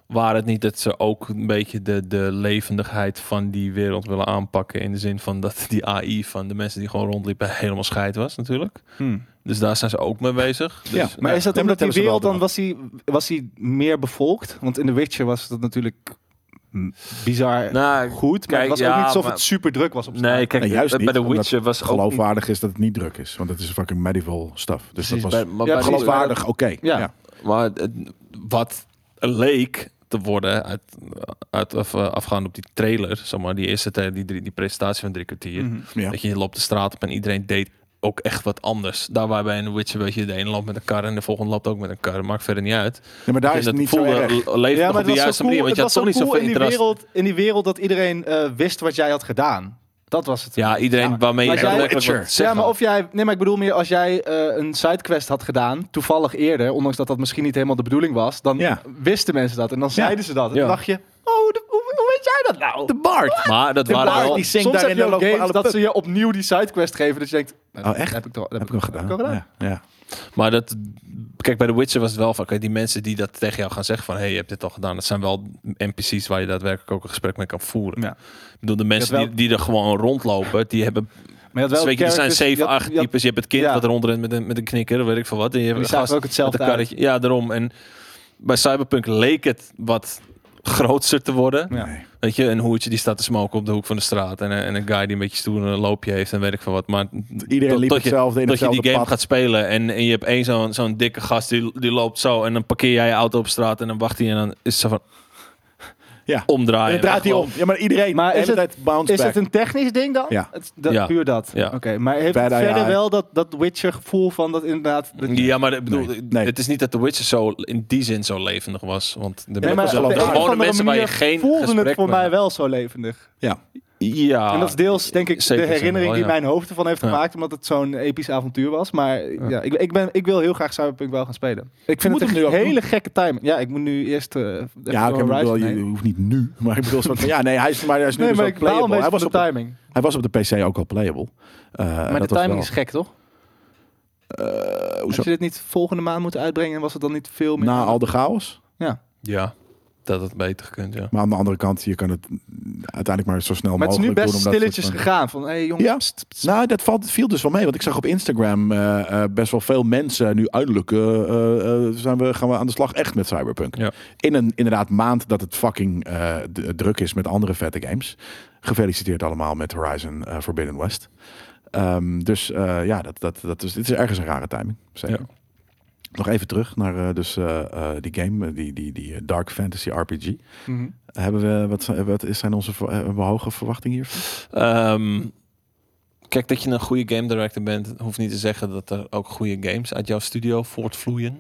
Speaker 5: Waar het niet dat ze ook een beetje de, de levendigheid van die wereld willen aanpakken. In de zin van dat die AI van de mensen die gewoon rondliepen helemaal scheid was natuurlijk.
Speaker 4: Hmm.
Speaker 5: Dus daar zijn ze ook mee bezig. Dus,
Speaker 2: Ja,
Speaker 4: Maar is dat
Speaker 2: Ja, maar
Speaker 4: omdat
Speaker 2: dat
Speaker 4: die
Speaker 2: hebben ze wel
Speaker 4: wereld dan... Was die, was die meer bevolkt? Want in The Witcher was dat natuurlijk... mm, Bizar
Speaker 5: Nou,
Speaker 4: goed. Maar
Speaker 5: kijk,
Speaker 4: het was
Speaker 5: ja,
Speaker 4: ook niet alsof
Speaker 5: maar-
Speaker 4: het super druk was op straat.
Speaker 5: Nee, kijk,
Speaker 2: Nee, juist
Speaker 5: bij
Speaker 2: niet,
Speaker 5: de
Speaker 2: omdat
Speaker 5: Witcher was ook niet-
Speaker 2: geloofwaardig is dat het niet druk is. Want het is fucking medieval stuff. Dus
Speaker 5: Precies,
Speaker 2: dat was
Speaker 5: bij- maar bij de-
Speaker 4: precies.
Speaker 2: geloofwaardig, oké.
Speaker 4: Ja.
Speaker 2: Ja.
Speaker 5: Maar het- wat leek te worden uit, uit, of, eh, afgaand op die trailer, zeg maar, die eerste trailer, die, drie- die presentatie van drie kwartier.
Speaker 4: Mhm.
Speaker 2: Ja.
Speaker 5: Dat je loopt de straat op en iedereen deed ook echt wat anders. Daar waar bij een Witcher weet je, de ene loopt met een kar en de volgende loopt ook met een kar. Maakt verder niet uit.
Speaker 2: Ja, maar daar
Speaker 5: En
Speaker 2: is
Speaker 5: dat
Speaker 2: het niet zo
Speaker 5: voelde
Speaker 2: erg.
Speaker 5: le- leefde nog op de juiste manier, want je had
Speaker 4: het
Speaker 5: toch
Speaker 4: was
Speaker 5: niet
Speaker 4: zo cool
Speaker 5: zoveel
Speaker 4: in die,
Speaker 5: interesse.
Speaker 4: wereld, in die wereld dat iedereen eh, wist wat jij had gedaan. Dat was het.
Speaker 5: Ja, iedereen
Speaker 4: Ja,
Speaker 5: waarmee je
Speaker 4: maar jij-
Speaker 5: daadwerkelijk
Speaker 2: Witcher.
Speaker 5: wat te zeggen
Speaker 4: ja, maar
Speaker 5: had.
Speaker 4: of jij. Nee, maar ik bedoel meer als jij eh, een sidequest had gedaan, toevallig eerder, ondanks dat dat misschien niet helemaal de bedoeling was, dan
Speaker 2: Ja.
Speaker 4: wisten mensen dat en dan zeiden ze dat. En
Speaker 5: Ja.
Speaker 4: dan dacht je, oh, de- hoe, hoe weet jij dat nou?
Speaker 2: De Bart!
Speaker 5: Maar dat waren
Speaker 4: Soms
Speaker 5: wel...
Speaker 2: die zingt daar
Speaker 4: heb
Speaker 2: in
Speaker 4: je
Speaker 2: de
Speaker 4: ook
Speaker 2: lokale
Speaker 4: games dat
Speaker 2: pub.
Speaker 4: ze je opnieuw die sidequest geven, dat je denkt, nou,
Speaker 2: Oh,
Speaker 4: dat
Speaker 2: echt?
Speaker 4: Heb ik toch? Dat
Speaker 2: Heb ik al gedaan.
Speaker 4: ik al gedaan.
Speaker 2: Ja, ja.
Speaker 5: Maar dat, kijk, bij The Witcher was het wel van, oké, die mensen die dat tegen jou gaan zeggen van, hé, hey, je hebt dit al gedaan, dat zijn wel NPC's waar je daadwerkelijk ook een gesprek mee kan voeren.
Speaker 4: Ja.
Speaker 5: Ik bedoel, de mensen
Speaker 4: wel-
Speaker 5: die, die er gewoon rondlopen, die hebben,
Speaker 4: Maar je had
Speaker 5: dus
Speaker 4: wel
Speaker 5: weet je, er zijn
Speaker 4: characters- je
Speaker 5: zeven,
Speaker 4: had-
Speaker 5: acht
Speaker 4: je had-
Speaker 5: types, je hebt het kind
Speaker 4: ja.
Speaker 5: wat eronder rent met een, met een knikker, weet ik veel wat, en je hebt
Speaker 4: die
Speaker 5: een
Speaker 4: zagen
Speaker 5: gast
Speaker 4: er ook hetzelfde
Speaker 5: met een karretje. Ja, daarom. En bij Cyberpunk leek het wat grootser te worden.
Speaker 4: Ja.
Speaker 2: Nee.
Speaker 5: Weet je, een hoertje die staat te smoken op de hoek van de straat. En, eh, en een guy die een beetje stoer een loopje heeft en weet ik veel wat. Maar
Speaker 2: Iedereen liep
Speaker 5: tot je-
Speaker 2: hetzelfde in
Speaker 5: dat je die
Speaker 2: hetzelfde
Speaker 5: game
Speaker 2: pad.
Speaker 5: gaat spelen en, en je hebt één zo'n zo'n dikke gast die, die loopt zo en dan parkeer jij je auto op straat en dan wacht hij en dan is het zo van
Speaker 2: Ja.
Speaker 5: omdraaien.
Speaker 2: En dan draait hij om. Ja, maar iedereen.
Speaker 4: Maar
Speaker 2: de
Speaker 4: is
Speaker 2: hele
Speaker 4: het-
Speaker 2: tijd bounce
Speaker 4: Is
Speaker 2: back.
Speaker 4: het een technisch ding dan?
Speaker 2: Ja.
Speaker 4: Het, dat,
Speaker 5: Ja.
Speaker 4: Puur dat.
Speaker 5: Ja.
Speaker 4: Oké, maar heeft
Speaker 2: Bad
Speaker 4: het
Speaker 2: AI.
Speaker 4: verder wel dat, dat Witcher gevoel van dat inderdaad... dat-
Speaker 5: Ja, maar ik bedoel,
Speaker 2: Nee, nee.
Speaker 5: het is niet dat The Witcher zo in die zin zo levendig was. Want
Speaker 4: Nee,
Speaker 5: de,
Speaker 4: maar
Speaker 5: mensen-
Speaker 4: op
Speaker 2: geloof
Speaker 4: de
Speaker 5: de
Speaker 2: ik.
Speaker 4: een of
Speaker 5: gewone
Speaker 4: andere
Speaker 5: mensen waar je
Speaker 4: manier
Speaker 5: geen
Speaker 4: voelden
Speaker 5: gesprek
Speaker 4: het voor
Speaker 5: mee-
Speaker 4: mij wel zo levendig.
Speaker 5: Ja.
Speaker 4: en dat is deels, denk ik, de
Speaker 5: zeker
Speaker 4: herinnering
Speaker 5: wel,
Speaker 4: die
Speaker 5: ja.
Speaker 4: mijn hoofd ervan heeft
Speaker 5: Ja.
Speaker 4: gemaakt. Omdat het zo'n episch avontuur was. Maar ja, ik, ik, ben, ik wil heel graag Cyberpunk wel gaan spelen. Ik vind
Speaker 2: moet
Speaker 4: het
Speaker 2: hem
Speaker 4: een
Speaker 2: nu ook
Speaker 4: hele gekke timing. Ja, ik moet nu eerst... eh, even
Speaker 2: Ja, oké, maar ik
Speaker 4: Horizon
Speaker 2: bedoel, je
Speaker 4: heen.
Speaker 2: hoeft niet nu. Maar ik bedoel, soort van, ja, nee, hij is, maar hij is nu
Speaker 4: Nee,
Speaker 2: dus
Speaker 4: maar
Speaker 2: ook
Speaker 4: ik baal een
Speaker 2: playable. Hij
Speaker 4: beetje
Speaker 2: was,
Speaker 4: van
Speaker 2: op
Speaker 4: de
Speaker 2: de,
Speaker 4: timing.
Speaker 2: hij was op de PC ook al playable. Eh,
Speaker 4: Maar de
Speaker 2: dat was
Speaker 4: timing
Speaker 2: wel-
Speaker 4: is gek, toch?
Speaker 2: Eh,
Speaker 4: Als
Speaker 2: hoezo?
Speaker 4: je dit niet volgende maand moeten uitbrengen, was het dan niet veel meer...
Speaker 2: Na al de chaos.
Speaker 5: Ja, dat het beter gekund, ja.
Speaker 2: Maar aan de andere kant, je kan het uiteindelijk maar zo snel
Speaker 4: Maar het is nu
Speaker 2: mogelijk
Speaker 4: best
Speaker 2: doen. omdat het
Speaker 4: stilletjes
Speaker 2: soort van-
Speaker 4: gegaan. Van, hey, jongens,
Speaker 2: Ja. Nou, dat valt, viel dus wel mee. Want ik zag op Instagram eh, eh, best wel veel mensen nu uiterlijk eh, eh, eh, zijn we, gaan we aan de slag echt met Cyberpunk.
Speaker 5: Ja.
Speaker 2: In een inderdaad maand dat het fucking eh, d- druk is met andere vette games. Gefeliciteerd allemaal met Horizon eh, Forbidden West. Ehm, dus eh, ja, dat, dat, dat is, dit is ergens een rare timing. Zeker.
Speaker 5: Ja.
Speaker 2: Nog even terug naar eh, dus, eh, eh, die game, eh, die, die, die eh, Dark Fantasy RPG.
Speaker 4: Mhm.
Speaker 2: Hebben we, wat, zijn- wat is- zijn onze ver- eh, hebben we hoge verwachtingen hier?
Speaker 5: Ehm, kijk, dat je een goede game director bent, hoeft niet te zeggen dat er ook goede games uit jouw studio voortvloeien.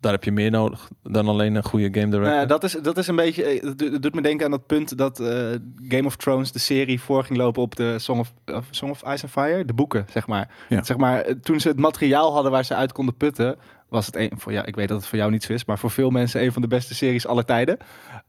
Speaker 5: Daar heb je meer nodig dan alleen een goede game director.
Speaker 4: Nou ja, dat, is, dat is een beetje. eh, Het doet- het doet me denken aan dat punt dat eh, Game of Thrones, de serie, voor ging lopen op de Song of, of Song of Ice and Fire. De boeken, zeg maar.
Speaker 2: Ja.
Speaker 4: zeg maar. eh, Toen ze het materiaal hadden waar ze uit konden putten, was het een. Voor, ja, ik weet dat het voor jou niet zo is, maar voor veel mensen een van de beste series aller tijden.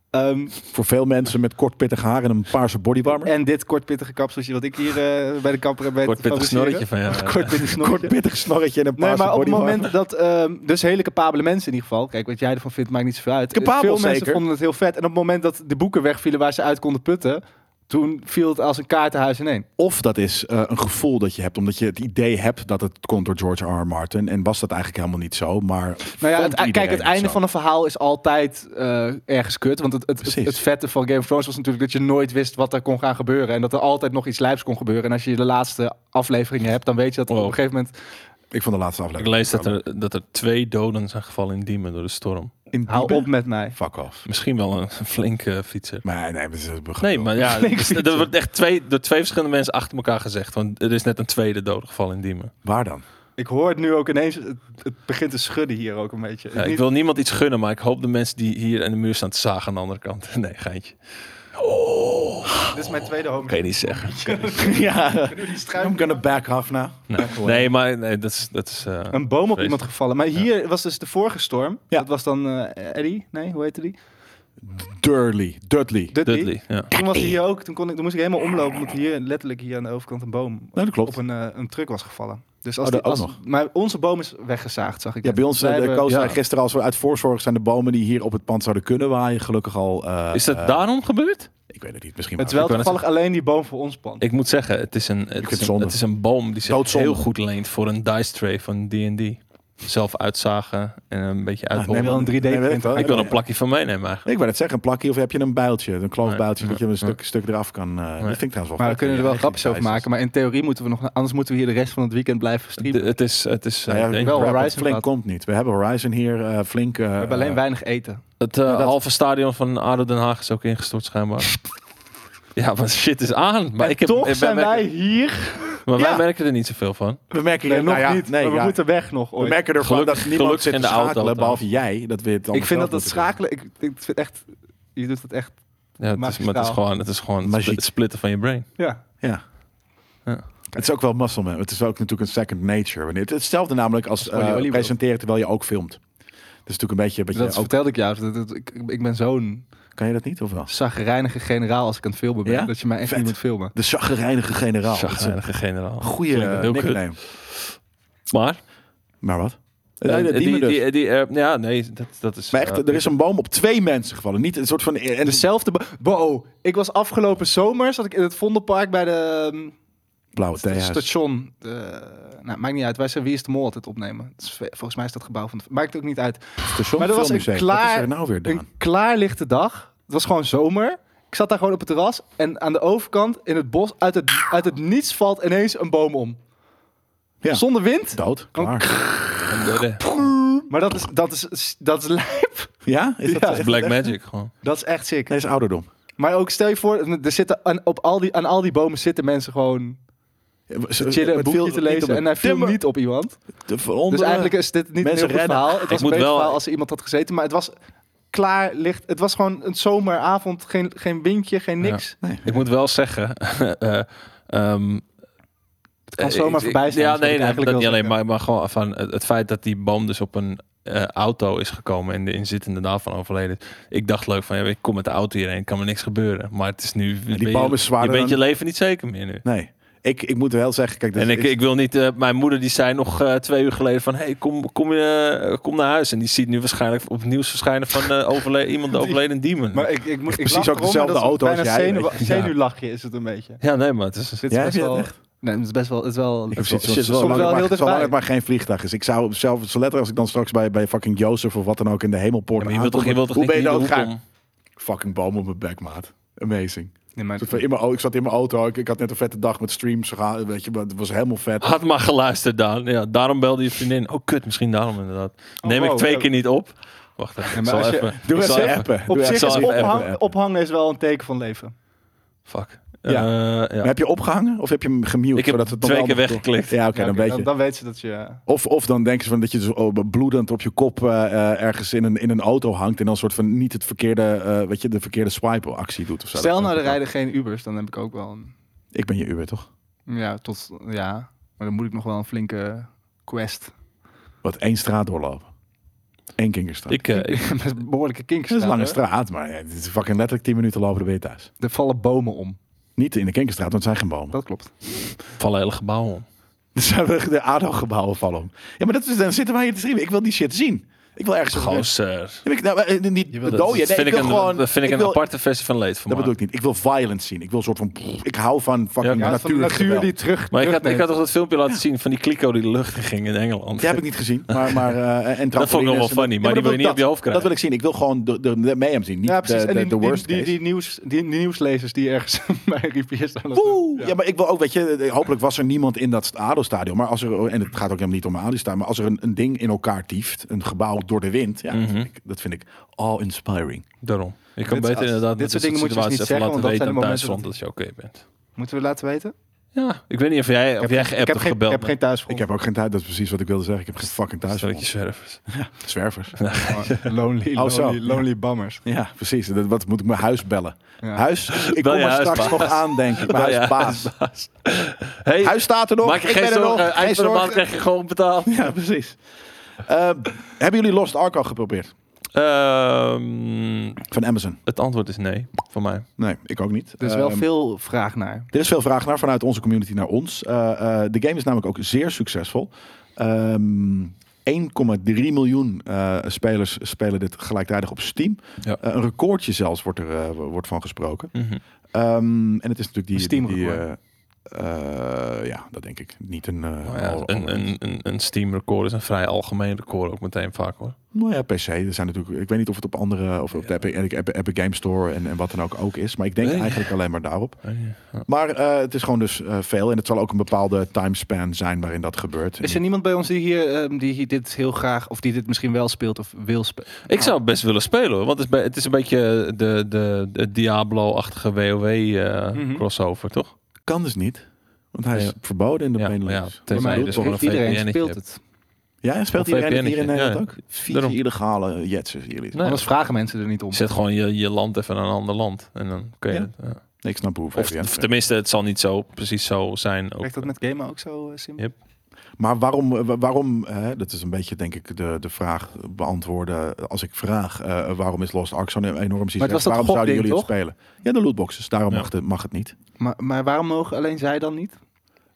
Speaker 4: Ehm,
Speaker 2: Voor veel mensen met kort pittig haar en een paarse bodywarmer.
Speaker 4: en dit kortpittige kapseltje wat ik hier eh, bij de kapper heb weten
Speaker 5: Kort
Speaker 4: te
Speaker 5: pittig
Speaker 4: fabriceren.
Speaker 5: snorretje van jou.
Speaker 4: Kortpittig snorretje.
Speaker 2: Kort pittig snorretje en een
Speaker 4: Nee,
Speaker 2: eh, paarse
Speaker 4: maar op het
Speaker 2: bodywarmer.
Speaker 4: moment dat... ehm, dus hele capabele mensen in ieder geval. Kijk, wat jij ervan vindt maakt niet zoveel uit. Eh,
Speaker 2: Capabel,
Speaker 4: Veel mensen
Speaker 2: zeker.
Speaker 4: vonden het heel vet. En op het moment dat de boeken wegvielen waar ze uit konden putten... toen viel het als een kaartenhuis ineen.
Speaker 2: Of dat is eh, een gevoel dat je hebt, omdat je het idee hebt dat het komt door George R. R. Martin. En was dat eigenlijk helemaal niet zo, maar
Speaker 4: Nou ja,
Speaker 2: vond
Speaker 4: het, kijk,
Speaker 2: iedereen
Speaker 4: het einde
Speaker 2: zo.
Speaker 4: van een verhaal is altijd eh, ergens kut. Want het, het, het,
Speaker 2: Precies.
Speaker 4: het vette van Game of Thrones was natuurlijk... dat je nooit wist wat er kon gaan gebeuren. En dat er altijd nog iets lijps kon gebeuren. En als je de laatste afleveringen hebt... dan weet je dat er
Speaker 5: Wow.
Speaker 4: op een gegeven moment...
Speaker 2: Ik vond de laatste
Speaker 5: Ik
Speaker 2: aflevering...
Speaker 5: lees dat er, dat er twee doden zijn gevallen in Diemen door de storm.
Speaker 2: In
Speaker 4: hou
Speaker 2: diepe-
Speaker 4: op met mij.
Speaker 2: Fuck off.
Speaker 5: Misschien wel een flinke fietser.
Speaker 2: Maar nee, dat is een begrip.
Speaker 5: Nee, maar ja,
Speaker 4: Flinke
Speaker 5: dus er wordt echt twee, door twee verschillende mensen achter elkaar gezegd. Want er is net een tweede dood gevallen in Diemen.
Speaker 2: Waar dan?
Speaker 4: Ik hoor het nu ook ineens... het, het begint te schudden hier ook een beetje.
Speaker 5: Ja, ik
Speaker 4: Niet-
Speaker 5: wil niemand iets gunnen, maar ik hoop de mensen die hier aan de muur staan te zagen aan de andere kant. Nee, geintje.
Speaker 4: Dit is mijn tweede home.
Speaker 5: Kan je niet zeggen.
Speaker 2: ja,
Speaker 4: Die struikel-
Speaker 2: I'm gonna back off now.
Speaker 5: Nee, nee maar nee, dat is... Dat is eh,
Speaker 4: Een boom op
Speaker 5: Feest.
Speaker 4: iemand gevallen. Maar hier was dus de vorige storm.
Speaker 2: Ja.
Speaker 4: Dat was dan eh Eddie. Nee, hoe heette die?
Speaker 2: Dudley. Dudley.
Speaker 4: Dudley.
Speaker 5: Dudley, ja.
Speaker 4: Toen was hij hier ook. Toen, kon ik, toen moest ik helemaal omlopen. Omdat hier letterlijk hier aan de overkant een boom
Speaker 2: Nou, dat
Speaker 4: op
Speaker 2: klopt.
Speaker 4: een, eh, een truck was gevallen. Dus als
Speaker 2: Oh,
Speaker 4: die,
Speaker 2: dat
Speaker 4: als,
Speaker 2: ook
Speaker 4: Maar onze boom is weggezaagd, zag ik.
Speaker 2: Ja,
Speaker 4: net.
Speaker 2: bij ons,
Speaker 4: Wij
Speaker 2: eh, de
Speaker 4: hebben-
Speaker 2: Koos
Speaker 5: ja.
Speaker 2: zei gisteren als we uit voorzorg zijn de bomen die hier op het pand zouden kunnen waaien, gelukkig al... eh,
Speaker 5: is dat
Speaker 2: eh,
Speaker 5: daarom gebeurd?
Speaker 2: Ik weet het niet, misschien
Speaker 4: Het is
Speaker 2: maar-
Speaker 4: wel
Speaker 5: wou net
Speaker 4: toevallig alleen die boom voor ons pand.
Speaker 5: Ik moet zeggen, het is een, het
Speaker 2: vind
Speaker 5: is een,
Speaker 2: zonde.
Speaker 5: het is een boom die zich
Speaker 2: Doodzonde.
Speaker 5: heel goed leent voor een dice tray van D&D. Zelf uitzagen en een beetje
Speaker 2: Ah,
Speaker 5: uitbollen.
Speaker 2: nee,
Speaker 4: wil een
Speaker 2: maar-
Speaker 4: 3D
Speaker 2: nee, weet
Speaker 4: printer.
Speaker 2: wel.
Speaker 5: ik wil een plakje van meenemen eigenlijk.
Speaker 2: Nee, Ik wou net zeggen, een plakje of heb je een bijltje, een kloofbijltje,
Speaker 5: Nee.
Speaker 2: dat je een stuk, stuk eraf kan. eh, Dat vind ik trouwens
Speaker 4: maar
Speaker 2: wel
Speaker 4: we
Speaker 2: vet.
Speaker 4: kunnen er wel
Speaker 2: Ja,
Speaker 4: grapjes over
Speaker 2: die
Speaker 4: maken. Maar in theorie moeten we nog... Anders moeten we hier de rest van het weekend blijven streamen.
Speaker 5: De- het is, het is eh,
Speaker 2: Nou ja,
Speaker 5: denk-
Speaker 4: wel
Speaker 2: Rapid
Speaker 4: Horizon
Speaker 2: Flink
Speaker 4: gehad.
Speaker 2: komt niet. We hebben Horizon hier eh, flink. eh,
Speaker 4: we hebben alleen
Speaker 2: eh,
Speaker 4: weinig eten.
Speaker 5: Het eh,
Speaker 2: dat-
Speaker 5: halve stadion van ADO Den Haag is ook ingestort schijnbaar. ja, maar shit is aan. Maar ik heb,
Speaker 4: Toch
Speaker 5: ik-
Speaker 4: zijn wij
Speaker 5: merken,
Speaker 4: hier.
Speaker 5: maar wij
Speaker 2: Ja.
Speaker 5: merken er niet zoveel van.
Speaker 2: We merken
Speaker 4: Nee,
Speaker 2: hier-
Speaker 4: nog
Speaker 2: nou ja,
Speaker 4: niet.
Speaker 2: Nee,
Speaker 4: maar we
Speaker 2: ja.
Speaker 4: moeten weg nog
Speaker 2: we
Speaker 4: ooit.
Speaker 2: merken ervan
Speaker 5: Gelukkig-
Speaker 2: dat niemand
Speaker 5: gelukkig
Speaker 2: zit
Speaker 5: in
Speaker 2: te
Speaker 5: de auto
Speaker 2: schakelen,
Speaker 5: dan.
Speaker 2: behalve jij. Dat we het
Speaker 4: Ik
Speaker 2: allemaal
Speaker 4: vind
Speaker 2: zelf
Speaker 4: dat dat
Speaker 2: moeten doen.
Speaker 4: schakelen... Ik, ik vind echt... Je doet het echt...
Speaker 5: Ja, het, is, maar het is
Speaker 4: Magistraal.
Speaker 5: gewoon, het is gewoon het
Speaker 2: Magiek.
Speaker 5: split- splitten van je brain.
Speaker 4: Ja.
Speaker 2: Ja.
Speaker 5: Ja.
Speaker 2: Het is ook wel muscle man. Het is ook natuurlijk een second nature. Wanneer- Het is hetzelfde namelijk als
Speaker 4: Olie
Speaker 2: eh,
Speaker 4: Oliver.
Speaker 2: presenteren terwijl je ook filmt. Dat is natuurlijk een beetje... Wat
Speaker 4: Dat
Speaker 2: je ook,
Speaker 4: vertelde ik jou. Dat, dat- ik, ik ben zo'n
Speaker 2: kan je dat niet of wel?
Speaker 4: zagrijnige generaal als ik aan het filmen ben.
Speaker 2: Ja?
Speaker 4: Dat je mij echt
Speaker 2: Vet.
Speaker 4: niet moet filmen.
Speaker 2: De chagrijnige generaal.
Speaker 5: Zagrijnige generaal.
Speaker 2: Goeie
Speaker 5: Klinkt heel kut.
Speaker 2: nickname.
Speaker 5: Maar?
Speaker 2: Maar wat?
Speaker 5: eh,
Speaker 2: Nee, dat
Speaker 5: die,
Speaker 2: diemen dus.
Speaker 5: die, die, eh, ja, nee, dat, dat is...
Speaker 2: maar echt,
Speaker 5: eh,
Speaker 2: er is een boom op twee mensen gevallen. Niet een soort van... En
Speaker 4: Dezelfde... bo- Wow. Ik was afgelopen zomer... zat ik in het Vondelpark bij de... ehm,
Speaker 2: blauwe
Speaker 4: Het
Speaker 2: theehuis.
Speaker 4: station. eh, nou, maakt niet uit. Wij zijn Wie is de Mol altijd opnemen. Het is- volgens mij is dat gebouw van... het- Maakt ook niet uit.
Speaker 2: Station
Speaker 4: Maar er was een
Speaker 2: Filmmuseum. Wat is
Speaker 4: klaar-
Speaker 2: er nou weer
Speaker 4: Een
Speaker 2: dan?
Speaker 4: klaarlichte dag. Het was gewoon zomer. Ik zat daar gewoon op het terras. En aan de overkant, in het bos, uit het, uit het niets valt ineens een boom om.
Speaker 2: Ja.
Speaker 4: Zonder wind.
Speaker 2: Dood, klaar.
Speaker 5: eh,
Speaker 4: Maar dat is, dat is, dat is lijp.
Speaker 2: Ja? Is dat
Speaker 4: Ja.
Speaker 2: echt-
Speaker 5: Black Magic gewoon.
Speaker 4: Dat is echt sick.
Speaker 2: Nee, is ouderdom. Eh,
Speaker 4: Maar ook stel je voor, er zitten aan, op al die, aan al die bomen zitten mensen gewoon te chillen, een boekje te lezen. En hij viel niet op iemand. Dus eigenlijk is dit niet
Speaker 2: eh, Mensen
Speaker 4: een heel goed
Speaker 2: rennen.
Speaker 4: verhaal. Het was
Speaker 5: moet
Speaker 4: een beter
Speaker 5: wel-
Speaker 4: verhaal als er iemand had gezeten. Maar het was klaar licht. Het was gewoon een zomeravond. Geen, geen windje, geen
Speaker 5: Ja.
Speaker 4: niks.
Speaker 5: Ik moet wel zeggen. eh, ehm, eh,
Speaker 4: Het kan zomaar voorbij zijn, is
Speaker 5: Ja,
Speaker 4: wat
Speaker 5: nee,
Speaker 4: ik
Speaker 5: nee
Speaker 4: eigenlijk
Speaker 5: dat niet
Speaker 4: wil
Speaker 5: alleen. Maar,
Speaker 4: zeggen.
Speaker 5: maar gewoon van het, het feit dat die boom dus op een eh, auto is gekomen en de inzittende daarvan overleden. is. Ik dacht leuk van, ja, ik kom met de auto hierheen, kan me niks gebeuren. Maar het is nu. ben je-
Speaker 2: boom is zwaarder
Speaker 5: Je bent
Speaker 2: dan-
Speaker 5: je leven niet zeker meer nu.
Speaker 2: Nee. Ik, ik moet wel
Speaker 4: Dus
Speaker 2: zeggen, kijk, dus dit
Speaker 5: en ik,
Speaker 2: is-
Speaker 5: ik wil niet, eh, mijn moeder die zei nog eh, twee uur geleden van, hey, kom, kom, je, eh, kom naar huis. En die ziet nu waarschijnlijk op het nieuws verschijnen van eh, overle- iemand de overleden demon.
Speaker 4: Maar ik, ik, moet ik
Speaker 2: Precies
Speaker 4: lach
Speaker 2: ook
Speaker 4: erom,
Speaker 2: dezelfde
Speaker 4: maar dat is
Speaker 2: auto als
Speaker 4: bijna
Speaker 2: jij,
Speaker 4: zenuw-
Speaker 2: weet
Speaker 5: je. Ja.
Speaker 4: Zenuwlachje is het een beetje.
Speaker 5: ja, nee, maar het is,
Speaker 4: Dit
Speaker 2: Ja,
Speaker 4: is
Speaker 2: heb
Speaker 4: best
Speaker 2: je dat
Speaker 4: wel...
Speaker 2: echt?
Speaker 4: Nee, het is best wel... Het is wel
Speaker 2: Ik zit
Speaker 5: shit,
Speaker 2: zo-
Speaker 5: wel
Speaker 2: zolang,
Speaker 4: heel
Speaker 2: het maar,
Speaker 4: dichtbij.
Speaker 2: zolang het maar geen vliegtuig is. Ik zou zelf, zo letterlijk als ik dan straks bij, bij fucking Jozef of wat dan ook in de hemelpoort
Speaker 5: Maar je wilt toch, je
Speaker 2: aankom,
Speaker 5: wilt toch
Speaker 2: Hoe
Speaker 5: niet
Speaker 2: ben je
Speaker 5: in de hoek
Speaker 2: doodgaan?
Speaker 5: om-
Speaker 2: Fucking boom op mijn bek, maat. Amazing.
Speaker 4: Nee, maar-
Speaker 2: Een soort van in mijn au- ik zat in mijn auto, ik, ik had net een vette dag met streams, gegaan, weet je, maar het was helemaal vet.
Speaker 5: Had maar geluisterd, Daan. Ja, daarom belde je vriendin. Oh, kut, misschien daarom inderdaad. Neem ik
Speaker 4: Oh, wow,
Speaker 5: twee
Speaker 4: ja.
Speaker 5: keer niet op. Wacht even, ik
Speaker 4: maar
Speaker 5: zal
Speaker 4: als je-
Speaker 5: even...
Speaker 2: Doe
Speaker 5: ik zal
Speaker 2: even
Speaker 5: even-
Speaker 2: appen. Doe
Speaker 4: Op
Speaker 2: even
Speaker 4: zich is
Speaker 2: appen,
Speaker 4: ophang-
Speaker 2: appen.
Speaker 4: ophangen is wel een teken van leven.
Speaker 5: Fuck.
Speaker 2: Ja.
Speaker 5: Ja. ja.
Speaker 2: Maar heb je opgehangen of heb je hem gemute?
Speaker 5: Ik heb
Speaker 2: zodat het nog
Speaker 5: twee
Speaker 2: wel
Speaker 5: keer
Speaker 2: nog-
Speaker 5: weggeklikt.
Speaker 2: Ja, oké,
Speaker 4: Ja,
Speaker 2: dan
Speaker 4: oké,
Speaker 2: weet
Speaker 4: dan,
Speaker 2: je.
Speaker 4: dan weet ze dat je...
Speaker 2: Of, of dan denken ze van dat je zo oh, bloedend op je kop eh, eh, ergens in een, in een auto hangt en dan soort van niet het verkeerde, eh, weet je, de verkeerde swipe actie doet of zo.
Speaker 4: Stel
Speaker 2: Dat-
Speaker 4: nou, er rijden geen Ubers, dan heb ik ook wel een...
Speaker 2: Ik ben je Uber toch?
Speaker 4: Ja, tot... Ja, maar dan moet ik nog wel een flinke quest.
Speaker 2: Wat één straat doorlopen. Eén kinkerstraat.
Speaker 5: Ik, eh, ik-
Speaker 4: Met behoorlijke kinks.
Speaker 2: dat is een lange
Speaker 4: hè?
Speaker 2: straat, maar het is fucking letterlijk 10 minuten lopen, dan ben je thuis.
Speaker 4: Er vallen bomen om.
Speaker 2: Niet in de Kinkerstraat, want het zijn geen bomen.
Speaker 4: Dat klopt.
Speaker 5: val hele gebouw om.
Speaker 2: Er zijn Dus we de ADO-gebouwen vallen om. Ja, maar dat is, dan zitten wij hier te streamen. Ik wil die shit zien. Ik wil ergens
Speaker 5: Gozer.
Speaker 2: Ja, maar ik- nou, eh, niet
Speaker 4: Je wil dat-
Speaker 2: dooien.
Speaker 5: Dat
Speaker 2: Nee,
Speaker 5: vind
Speaker 2: ik
Speaker 5: ik
Speaker 2: wil
Speaker 5: een,
Speaker 2: gewoon...
Speaker 5: dat vind ik een
Speaker 2: wil-
Speaker 5: aparte versie van leed
Speaker 2: Dat bedoel ik niet. Ik wil violence zien. Ik wil een soort van... Ik hou van fucking
Speaker 5: Ja,
Speaker 4: Ja, van de
Speaker 2: natuur.
Speaker 4: natuur die terug...
Speaker 5: Maar ik had, ik
Speaker 4: terugneemt.
Speaker 5: had toch dat filmpje laten zien van die kliko die de lucht in ging in Engeland.
Speaker 2: Die heb ik niet gezien. Maar, maar, eh, en
Speaker 5: Dat vond ik nog wel
Speaker 2: trampolines en-
Speaker 5: funny,
Speaker 2: Ja,
Speaker 5: maar die wil je niet
Speaker 2: dat-
Speaker 5: op je hoofd
Speaker 2: Dat
Speaker 5: krijgen.
Speaker 2: wil ik zien. Ik wil gewoon de, de, de mayhem zien. Niet
Speaker 4: ja, precies.
Speaker 2: de,
Speaker 4: en
Speaker 2: de,
Speaker 4: die,
Speaker 2: de
Speaker 4: die-
Speaker 2: worst
Speaker 4: die,
Speaker 2: case.
Speaker 4: die, nieuws, die nieuwslezers die ergens bij een rivier staan. of zo.
Speaker 2: Woe! Ja. maar ik wil ook, weet je, eh, hopelijk was er niemand in dat ADO-stadion. Maar als er, en het gaat ook helemaal niet om ADO-stadion, maar als er een, een ding in elkaar tieft, een gebouw door de wind, ja,
Speaker 5: Mhm.
Speaker 2: dat, vind ik, dat vind ik all-inspiring.
Speaker 5: Daarom. Je kan
Speaker 4: Dit-
Speaker 5: beter
Speaker 4: als-
Speaker 5: inderdaad
Speaker 4: dit soort
Speaker 5: met dit
Speaker 4: dingen moet je
Speaker 5: situaties
Speaker 4: dus
Speaker 5: even
Speaker 4: niet zeggen,
Speaker 5: laten
Speaker 4: want dat
Speaker 5: weten
Speaker 4: zijn
Speaker 5: aan
Speaker 4: de momenten
Speaker 5: Duitsland dat je oké bent.
Speaker 4: Moeten we laten weten?
Speaker 5: Ja, ik weet niet of jij, of jij
Speaker 4: ik
Speaker 5: geappt
Speaker 4: heb
Speaker 5: of
Speaker 4: geen,
Speaker 5: gebeld
Speaker 4: Ik heb geen
Speaker 5: bent.
Speaker 4: thuis.
Speaker 2: Ik heb ook geen tijd, dat is precies wat ik wilde zeggen. Ik heb geen fucking thuis.
Speaker 5: Zodat je zwervers.
Speaker 2: Zwervers.
Speaker 4: lonely,
Speaker 2: Oh, zo.
Speaker 4: lonely, lonely bammers.
Speaker 2: Ja, precies. Dat, wat moet ik mijn huis bellen?
Speaker 4: Ja.
Speaker 2: Huis, ik
Speaker 5: Bel
Speaker 2: kom
Speaker 5: je
Speaker 2: er straks
Speaker 5: huisbaas.
Speaker 2: nog aan, denk ik. Mijn
Speaker 5: Bel je
Speaker 2: huisbaas.
Speaker 5: huisbaas. Hey,
Speaker 2: Huis staat er nog.
Speaker 5: maak je
Speaker 2: ik
Speaker 5: geen
Speaker 2: ben er nog.
Speaker 5: zorgen. eh,
Speaker 2: Geen
Speaker 5: Eind van de maand
Speaker 2: zorgen.
Speaker 5: krijg je gewoon betaald.
Speaker 2: Ja, precies. Eh, hebben jullie Lost Ark al geprobeerd?
Speaker 5: Ehm,
Speaker 2: Van Amazon?
Speaker 5: het antwoord is nee, voor mij.
Speaker 2: Nee, ik ook niet.
Speaker 4: Er is wel
Speaker 2: Ehm,
Speaker 4: veel vraag naar.
Speaker 2: Er is veel vraag naar vanuit onze community naar ons. Eh, eh, de game is namelijk ook zeer succesvol. Ehm, 1,3 miljoen eh, spelers spelen dit gelijktijdig op Steam.
Speaker 5: Ja.
Speaker 2: Eh, een recordje zelfs wordt er eh, wordt van gesproken.
Speaker 5: Mhm.
Speaker 2: Ehm, en het is natuurlijk die...
Speaker 4: Een Steam
Speaker 2: die, die,
Speaker 4: record.
Speaker 2: eh, Eh, ja, dat denk ik. Niet een... eh,
Speaker 5: Nou ja,
Speaker 2: al-
Speaker 5: een, een, een, een Steam record is een vrij algemeen record ook meteen vaak hoor.
Speaker 2: Nou ja, per se. Er zijn natuurlijk, ik weet niet of het op andere, of op de Epic, Epic, Epic Game Store en, en wat dan ook ook is. Maar ik denk
Speaker 5: Nee.
Speaker 2: eigenlijk alleen maar daarop.
Speaker 5: Ja.
Speaker 2: Maar eh, het is gewoon dus eh, veel. En het zal ook een bepaalde timespan zijn waarin dat gebeurt.
Speaker 4: Is er niemand bij ons die hier, ehm, die hier dit heel graag, of die dit misschien wel speelt of wil spelen?
Speaker 5: Ik zou het best willen spelen hoor, want het is, bij- het is een beetje de, de, de Diablo-achtige WoW eh,
Speaker 4: Mhm.
Speaker 5: crossover toch?
Speaker 2: Kan dus niet. Want hij is
Speaker 5: Ja.
Speaker 2: verboden in de
Speaker 5: Ja, ja,
Speaker 2: Nederlands.
Speaker 5: tenzij
Speaker 2: Maar
Speaker 5: je
Speaker 2: doet
Speaker 5: dus
Speaker 2: toch
Speaker 5: gewoon
Speaker 2: nog-
Speaker 5: een
Speaker 4: Iedereen
Speaker 5: VPN -etje
Speaker 4: speelt
Speaker 5: hebt.
Speaker 4: het.
Speaker 2: Ja speelt
Speaker 5: of
Speaker 2: iedereen het hier in
Speaker 5: VPN -etje,
Speaker 2: Nederland
Speaker 5: ja.
Speaker 2: ook? Vier
Speaker 5: Daarom.
Speaker 2: illegale jetsen jullie.
Speaker 5: Nee.
Speaker 4: Anders vragen mensen er niet om.
Speaker 5: Je zet gewoon je, je land even naar een ander land en dan kun je
Speaker 2: Ja.
Speaker 5: het, ja.
Speaker 2: Ik snap hoe
Speaker 5: Of
Speaker 2: VPN
Speaker 5: of tenminste, het zal niet zo precies zo zijn. Ook.
Speaker 4: Werkt dat met gamen ook zo, eh, Sim?
Speaker 5: Ja.
Speaker 2: Maar waarom, wa- waarom eh, dat is een beetje denk ik de, de vraag beantwoorden als ik vraag eh, waarom is Lost Ark zo'n enorm succes?
Speaker 4: was dat
Speaker 2: waarom zouden
Speaker 4: gokding,
Speaker 2: jullie het spelen? Ja, de lootboxes. Daarom
Speaker 5: Ja.
Speaker 2: mag, het, mag het niet.
Speaker 4: Maar, maar waarom mogen alleen zij dan niet?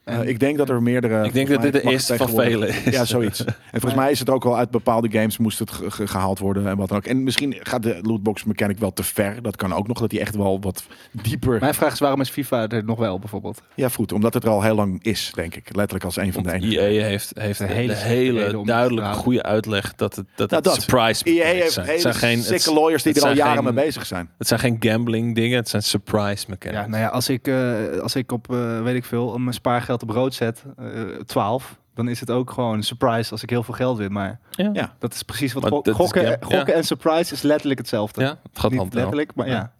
Speaker 2: Eh, ik denk dat er meerdere...
Speaker 5: Ik denk
Speaker 2: volgens
Speaker 5: dat dit
Speaker 2: mij
Speaker 5: de
Speaker 2: mag
Speaker 5: eerste van
Speaker 2: tegenwoordig-
Speaker 5: velen is.
Speaker 2: Ja, zoiets. En volgens mij is het ook wel uit bepaalde games moest het ge- ge- gehaald worden en wat dan ook. En misschien gaat de lootbox mechanic wel te ver. Dat kan ook nog, dat die echt wel wat dieper...
Speaker 4: Mijn vraag is, waarom is FIFA er nog wel, bijvoorbeeld?
Speaker 2: Ja, goed. Omdat het er al heel lang is, denk ik. Letterlijk als een van de
Speaker 5: Want
Speaker 2: enige.
Speaker 5: EA E heeft, heeft
Speaker 4: Een
Speaker 5: de
Speaker 4: hele
Speaker 5: hele,
Speaker 4: slechte reden om
Speaker 5: hele
Speaker 4: het
Speaker 5: duidelijke
Speaker 4: te halen.
Speaker 5: goede uitleg dat het, dat
Speaker 2: Nou,
Speaker 5: het
Speaker 2: dat.
Speaker 5: surprise
Speaker 2: EA
Speaker 5: mechanics
Speaker 2: heeft
Speaker 5: zijn.
Speaker 2: hele
Speaker 5: Het zijn geen, het,
Speaker 2: sikke lawyers die
Speaker 5: het
Speaker 2: er al
Speaker 5: zijn
Speaker 2: jaren
Speaker 5: geen-
Speaker 2: mee bezig zijn.
Speaker 5: het zijn geen gambling dingen, het zijn surprise mechanics.
Speaker 4: Ja, nou ja, als ik, eh, als ik op, eh, weet ik veel, mijn spaargeld op rood zet, eh 12, dan is het ook gewoon een surprise als ik heel veel geld win. Maar
Speaker 5: Ja.
Speaker 2: Ja.
Speaker 4: dat is precies wat
Speaker 5: Maar
Speaker 4: go-
Speaker 5: dat is
Speaker 4: gokken,
Speaker 5: gam-
Speaker 4: gokken
Speaker 5: ja.
Speaker 4: en surprise is letterlijk hetzelfde.
Speaker 5: Ja, het gaat
Speaker 4: Niet
Speaker 5: hand in hand.
Speaker 4: letterlijk, maar ja.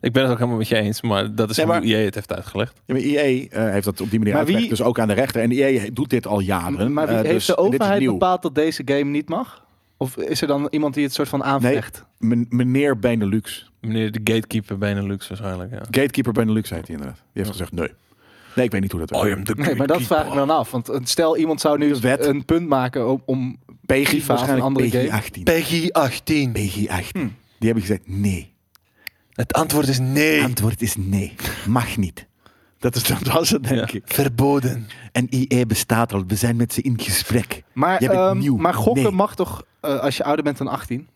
Speaker 5: Ik ben het ook helemaal met je eens, maar dat is
Speaker 2: Nee, maar-
Speaker 5: hoe EA het heeft uitgelegd.
Speaker 2: Ja, maar EA eh, heeft dat op die manier
Speaker 4: Maar
Speaker 2: uitgelegd,
Speaker 4: wie-
Speaker 2: dus ook aan de rechter. En EA doet dit al jaren.
Speaker 4: Maar wie-
Speaker 2: eh,
Speaker 4: heeft
Speaker 2: dus-
Speaker 4: de
Speaker 2: en dit is
Speaker 4: overheid
Speaker 2: nieuw.
Speaker 4: bepaald dat deze game niet mag? Of is er dan iemand die het soort van aanvecht?
Speaker 2: Men- meneer Benelux,
Speaker 5: Meneer de gatekeeper Benelux waarschijnlijk, ja.
Speaker 2: gatekeeper Benelux heet hij inderdaad. Die heeft gezegd nee. Nee, ik weet niet hoe dat werkt.
Speaker 4: Nee, maar dat vraag ik me dan af. Want eh, stel, iemand zou nu
Speaker 2: De wet.
Speaker 4: een punt maken om, om
Speaker 2: PEGI
Speaker 4: FIFA of een andere
Speaker 2: PEGI
Speaker 4: game.
Speaker 2: 18.
Speaker 5: Peggy 18.
Speaker 2: PEGI 18. Die hebben gezegd nee.
Speaker 5: Het antwoord is nee.
Speaker 2: Antwoord is nee. Mag niet. Dat, is, dat was het, denk ik.
Speaker 5: Verboden.
Speaker 2: En EA bestaat al. We zijn met ze in gesprek.
Speaker 4: Maar,
Speaker 2: Jij bent
Speaker 4: ehm,
Speaker 2: nieuw.
Speaker 4: maar gokken
Speaker 2: Nee.
Speaker 4: mag toch eh, als je ouder bent dan 18?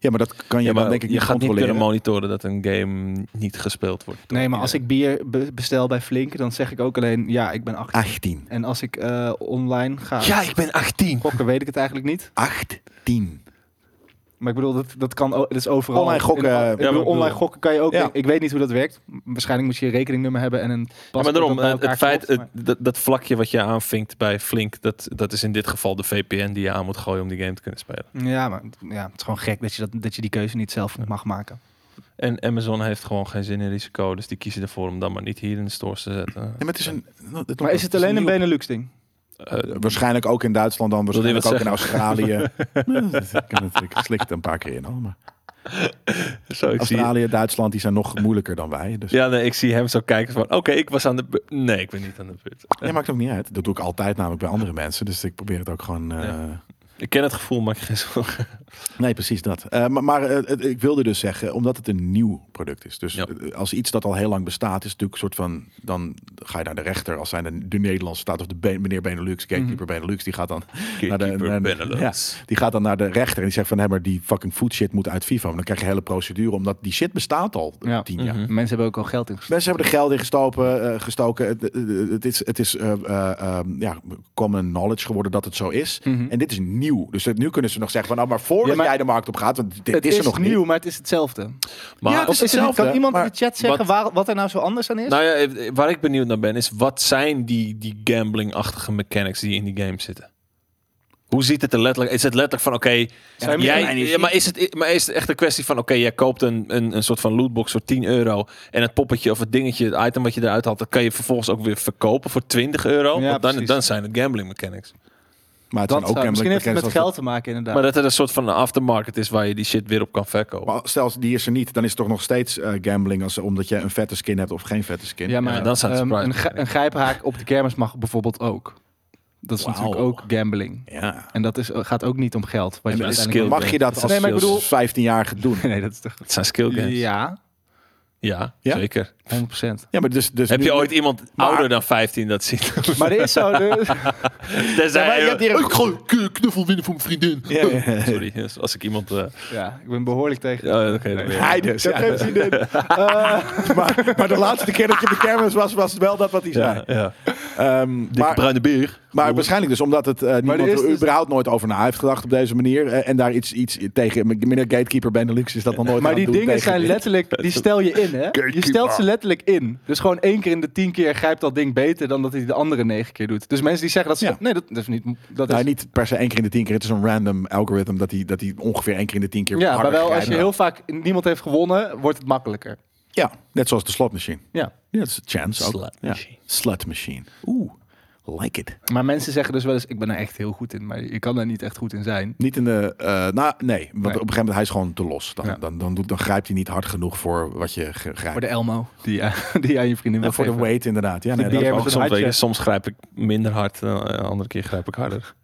Speaker 2: Ja, maar dat kan je
Speaker 5: Ja, maar
Speaker 2: dan denk ik
Speaker 5: je
Speaker 2: niet
Speaker 5: gaat niet
Speaker 2: controleren.
Speaker 5: kunnen monitoren dat een game niet gespeeld wordt. door
Speaker 4: nee, maar als
Speaker 5: iedereen.
Speaker 4: ik bier be- bestel bij Flink, dan zeg ik ook alleen ja, ik ben 18.
Speaker 2: 18.
Speaker 4: En als ik eh, online ga
Speaker 5: Ah. Ja, ik ben 18.
Speaker 4: gokken, weet ik het eigenlijk niet.
Speaker 2: 18.
Speaker 4: Maar ik bedoel, dat, dat kan o- dat is overal.
Speaker 2: Online gokken,
Speaker 4: In-
Speaker 2: eh,
Speaker 4: ik bedoel,
Speaker 5: ja, maar ik
Speaker 4: online
Speaker 5: bedoel-
Speaker 4: gokken kan je ook.
Speaker 2: Ja.
Speaker 4: Ik, ik weet niet hoe dat werkt. Waarschijnlijk moet je een rekeningnummer hebben en een
Speaker 5: Ja,
Speaker 4: paspoort.
Speaker 5: maar
Speaker 4: dat
Speaker 5: daarom,
Speaker 4: bij
Speaker 5: eh, het
Speaker 4: elkaar
Speaker 5: feit,
Speaker 4: klopt, maar-
Speaker 5: het- dat, dat vlakje wat je aanvinkt bij Flink, dat, dat is in dit geval de VPN die je aan moet gooien om die game te kunnen spelen.
Speaker 4: Ja, maar ja, het is gewoon gek dat je, dat, dat je die keuze niet zelf mag maken.
Speaker 5: En Amazon heeft gewoon geen zin in risico, dus die kiezen ervoor om dan maar niet hier in de stores te zetten.
Speaker 2: Ja, maar het is een, nou, het-
Speaker 4: Maar is het alleen
Speaker 2: nieuw-
Speaker 4: een Benelux ding?
Speaker 5: Eh,
Speaker 2: Waarschijnlijk ook in Duitsland dan,
Speaker 5: je
Speaker 2: waarschijnlijk
Speaker 5: wat
Speaker 2: ook in Australië. Nou, dat- ik, heb het- ik slik het een paar keer in al, maar
Speaker 5: Dus zo, ik zie,
Speaker 2: Australië, Duitsland, die zijn nog moeilijker dan wij. Dus
Speaker 5: ja, nee, ik zie hem zo kijken van, oké, ik was aan de bu- Nee, ik ben niet aan de put.
Speaker 2: ja, maakt ook niet uit. Dat doe ik altijd namelijk bij andere mensen, dus ik probeer het ook gewoon... eh,
Speaker 5: Ik ken het gevoel, maar ik geen zorgen.
Speaker 2: Nee, precies dat. Eh, maar maar eh, het- ik wilde dus zeggen, omdat het een nieuw product is. Dus
Speaker 5: Ja.
Speaker 2: eh, als iets dat al heel lang bestaat, is het natuurlijk een soort van... Dan ga je naar de rechter, als zijn de, de Nederlandse staat of de ben- meneer Benelux, gatekeeper Benelux, die gaat dan naar de, naar de- ja, die gaat dan naar de rechter en die zegt van... hé, maar die fucking food shit moet uit FIFA. Maar dan krijg je een hele procedure, omdat die shit bestaat al
Speaker 4: Ja. Mhm.
Speaker 2: tien jaar.
Speaker 5: Mhm.
Speaker 4: Mensen hebben ook al geld ingestoken.
Speaker 2: Mensen hebben er geld in gestoken. eh, gestoken. Het, het- het is, het is eh, eh, eh, ja, common knowledge geworden dat het zo is. En dit is nieuw. Dus dat, nu kunnen ze nog zeggen van... nou, maar voordat
Speaker 4: Mhm. Ja, maar-
Speaker 2: jij de markt op gaat, want dit,
Speaker 4: Het
Speaker 2: is, er nog
Speaker 4: nieuw,
Speaker 2: niet.
Speaker 4: maar het is hetzelfde.
Speaker 5: Maar
Speaker 2: Ja, het
Speaker 4: Of is het niet-
Speaker 2: hetzelfde,
Speaker 4: kan iemand
Speaker 2: maar
Speaker 4: in de chat zeggen waar, wat er nou zo anders aan is?
Speaker 5: Nou ja, eh, waar ik benieuwd naar ben is wat zijn die, die gambling-achtige mechanics die in die game zitten? Hoe ziet het er letterlijk? Is het letterlijk van oké,
Speaker 4: Zijn
Speaker 5: jij,
Speaker 4: mechanics-
Speaker 5: ja, maar, is het, maar is het echt een kwestie van oké, jij koopt een, een, een soort van lootbox voor 10 euro en het poppetje of het dingetje, het item wat je eruit haalt, dat kan je vervolgens ook weer verkopen voor 20 euro?
Speaker 4: Ja,
Speaker 5: Want dan,
Speaker 4: precies.
Speaker 5: dan zijn het gambling mechanics.
Speaker 2: Maar het
Speaker 4: Dat
Speaker 2: zijn ook
Speaker 4: zou- misschien
Speaker 2: namelijk
Speaker 4: heeft het met
Speaker 2: bekend als
Speaker 4: geld te maken, inderdaad.
Speaker 5: Maar dat er een soort van aftermarket is waar je die shit weer op kan verkopen.
Speaker 2: dat- Maar stel, die is er niet, dan is het toch nog steeds eh, gambling... Als, omdat je een vette skin hebt of geen vette skin.
Speaker 4: ja, maar
Speaker 5: Ja, dan staat het
Speaker 4: ehm,
Speaker 5: surprise.
Speaker 4: een, gri- een grijphaak op de kermis mag bijvoorbeeld ook. Dat is
Speaker 2: Wauw.
Speaker 4: natuurlijk ook gambling.
Speaker 2: Ja.
Speaker 4: En dat is, gaat ook niet om geld. Wat
Speaker 5: Ja,
Speaker 4: je
Speaker 5: maar dat is
Speaker 4: uiteindelijk-
Speaker 2: Mag je dat als
Speaker 4: Nee, maar ik bedoel-
Speaker 2: 15-jarige doen?
Speaker 4: Nee, dat is toch...
Speaker 5: Het zijn skill games.
Speaker 4: Ja,
Speaker 5: Ja,
Speaker 2: Ja?
Speaker 5: zeker.
Speaker 4: 100%.
Speaker 2: Ja, maar dus, dus
Speaker 5: Heb
Speaker 2: nu-
Speaker 5: je ooit iemand ouder dan 15 dat ziet?
Speaker 4: Maar er is zo. Dus,
Speaker 5: Tenzij-
Speaker 4: maar je hebt hier-
Speaker 5: Ik ga een knuffel winnen voor mijn vriendin.
Speaker 2: Ja, ja, ja.
Speaker 5: Sorry, dus als ik iemand... eh,
Speaker 4: ja, ik ben behoorlijk tegen.
Speaker 5: ja, oké. dan weer.
Speaker 2: Hij dus. ja. maar, maar de laatste keer dat je op de kermis was, was wel dat wat hij zei.
Speaker 5: Ja, ja.
Speaker 2: Ehm,
Speaker 5: Dikke
Speaker 2: maar,
Speaker 5: bruine beer.
Speaker 2: maar waarschijnlijk dus omdat het eh niemand
Speaker 4: er is
Speaker 2: er
Speaker 4: dus-
Speaker 2: überhaupt nooit over na heeft gedacht op deze manier. eh, en daar iets, iets tegen. Meneer Gatekeeper Benelux is dat nog nooit
Speaker 4: Maar
Speaker 2: aan
Speaker 4: die
Speaker 2: het doen
Speaker 4: dingen
Speaker 2: tegen-
Speaker 4: zijn letterlijk, die stel je in, hè? Je stelt ze letterlijk in. Dus gewoon één keer in de tien keer grijpt dat ding beter dan dat hij de andere negen keer doet. Dus mensen die zeggen dat ze.
Speaker 2: Ja.
Speaker 4: Nee, dat, dat is niet. Dat
Speaker 2: Nou,
Speaker 4: is,
Speaker 2: niet per se één keer in de tien keer. Het is een random algoritme dat hij dat die ongeveer één keer in de tien keer
Speaker 4: ja,
Speaker 2: harder
Speaker 4: maar wel als
Speaker 2: grijpt.
Speaker 4: je heel vaak niemand heeft gewonnen, wordt het makkelijker.
Speaker 2: Ja, net zoals de slotmachine.
Speaker 4: Ja.
Speaker 2: Ja, dat is chance ook.
Speaker 5: Slot
Speaker 2: Ja.
Speaker 5: machine.
Speaker 2: Slut machine. Oeh, like it.
Speaker 4: Maar mensen zeggen dus wel eens: ik ben er echt heel goed in, maar je kan daar niet echt goed in zijn.
Speaker 2: Niet in de. eh, nou, nee. Want op een gegeven moment hij is gewoon te los. Dan,
Speaker 4: Ja.
Speaker 2: dan, dan, doet, dan grijpt hij niet hard genoeg voor wat je ge- grijpt.
Speaker 4: Voor de Elmo die, je- die je aan je vriendin
Speaker 2: En
Speaker 4: wil
Speaker 2: voor de
Speaker 4: geven.
Speaker 2: weight inderdaad. Ja, nee,
Speaker 4: bier
Speaker 2: dat is
Speaker 4: met
Speaker 5: Ook
Speaker 2: ook
Speaker 4: een
Speaker 2: zo'n
Speaker 5: soms, weet je,
Speaker 4: hartje.
Speaker 5: soms grijp ik minder hard, eh, een andere keer grijp ik harder.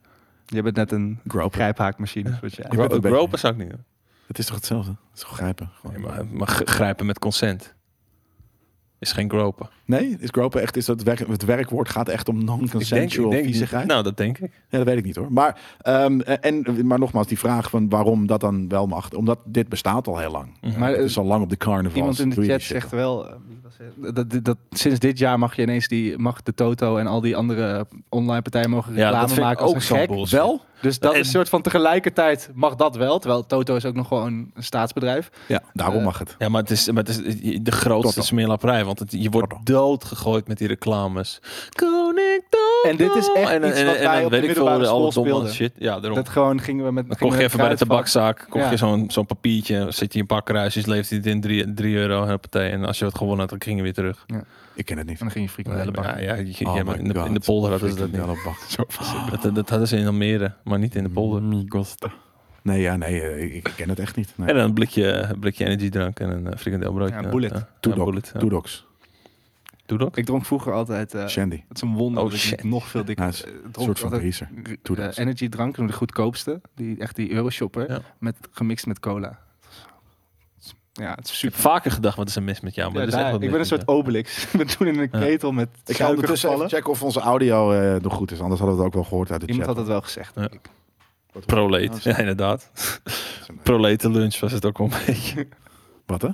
Speaker 4: Je bent net een
Speaker 2: grope.
Speaker 4: grijphaakmachine. zoals jij.
Speaker 2: Je bent een beetje-
Speaker 5: Ropen zou ik niet doen.
Speaker 2: Het is toch hetzelfde? Het is toch grijpen? Gewoon.
Speaker 5: Nee, maar, maar g- grijpen met consent. Is geen gropen.
Speaker 2: Nee, is gropen echt... Is dat werk, het werkwoord gaat echt om non-consensual viezigheid?
Speaker 5: Nou, dat denk ik.
Speaker 2: Ja, dat weet ik niet hoor. Maar, ehm, en, maar nogmaals, die vraag van waarom dat dan wel mag. Omdat dit bestaat al heel lang.
Speaker 5: Mhm.
Speaker 4: Maar, eh,
Speaker 2: Maar, het is al lang op de carnaval.
Speaker 4: Iemand in de chat zegt wel, eh, wie was het? dat, dat, dat sinds dit jaar mag je ineens die, mag de Toto en al die andere online partijen mogen
Speaker 5: Ja,
Speaker 4: reclame
Speaker 5: dat vind ik
Speaker 4: maken als
Speaker 5: ook
Speaker 4: een
Speaker 5: zo'n
Speaker 4: gek.
Speaker 5: bullshit. Wel?
Speaker 4: Dus dat
Speaker 5: En-
Speaker 4: is een soort van tegelijkertijd mag dat wel, terwijl Toto is ook nog gewoon een staatsbedrijf.
Speaker 2: Ja, daarom
Speaker 4: eh,
Speaker 2: mag het.
Speaker 5: Ja, maar het is, maar het is de grootste
Speaker 2: Toto.
Speaker 5: smeerlapperij. Want het, je wordt
Speaker 2: Toto.
Speaker 5: doodgegooid met die reclames. Koning Toto.
Speaker 4: En dit is echt iets wat wij op de middelbare school
Speaker 5: alle domme
Speaker 4: speelden.
Speaker 5: shit. Ja, daarom.
Speaker 4: Dat gewoon gingen we met.
Speaker 5: dan
Speaker 4: gingen
Speaker 5: kocht
Speaker 4: we
Speaker 5: je even bij de
Speaker 4: kruid van-
Speaker 5: tabakzaak, kocht
Speaker 4: Ja.
Speaker 5: je zo'n zo'n papiertje, zet je in een paar kruisjes, leefde dit in 3 euro en partij. En als je het gewonnen had, dan ging je weer terug.
Speaker 2: Ik ken het niet.
Speaker 4: En dan ging je frikandellen
Speaker 5: Ja,
Speaker 4: bakken.
Speaker 5: ja, je- je-
Speaker 2: Oh
Speaker 5: ja, maar
Speaker 2: my
Speaker 5: in, de, in de
Speaker 2: God.
Speaker 5: polder hadden ze dat niet.
Speaker 2: Frikandellen bakken.
Speaker 5: Dat, dat hadden ze in Almere, maar niet in de polder.
Speaker 2: Nee, ja, nee, eh, ik ik ken het echt niet. Nee.
Speaker 5: En dan een blikje, blikje energiedrank en een eh, frikandelbrood.
Speaker 4: Ja, bullet.
Speaker 5: Ja, ja,
Speaker 2: Toedoc.
Speaker 5: bullet, ja.
Speaker 2: Toedocs.
Speaker 5: Toedoc?
Speaker 4: Ik dronk vroeger altijd. eh,
Speaker 2: Shandy.
Speaker 4: het is een wonder
Speaker 5: Oh,
Speaker 4: dat ik
Speaker 5: shit.
Speaker 4: niet nog veel dikker
Speaker 2: Ja, het is
Speaker 4: eh, dronk.
Speaker 2: Een soort van
Speaker 4: altijd
Speaker 2: racer.
Speaker 4: r-
Speaker 2: Doe dat.
Speaker 4: eh, energy drank, de goedkoopste, die echt die euroshopper,
Speaker 5: Ja.
Speaker 4: met gemixt met cola. Ja, het is
Speaker 5: Ik heb
Speaker 4: super.
Speaker 5: vaker gedacht, wat is er mis met jou? Maar
Speaker 4: Ja,
Speaker 5: er is
Speaker 4: daar-
Speaker 5: echt wat
Speaker 4: ik
Speaker 5: mis
Speaker 4: ben een soort
Speaker 5: met jou.
Speaker 4: Obelix. Ik ben toen in een
Speaker 5: Ja.
Speaker 4: ketel met
Speaker 2: Ik ga
Speaker 4: suiker
Speaker 2: ondertussen even
Speaker 4: gevallen.
Speaker 2: checken of onze audio eh, nog goed is. Anders hadden we het ook wel gehoord uit de
Speaker 4: Iemand
Speaker 2: chat.
Speaker 4: had dat wel gezegd.
Speaker 5: Ja. proleet. Ja, inderdaad. Proletenlunch was het ook wel een beetje.
Speaker 2: Wat hè?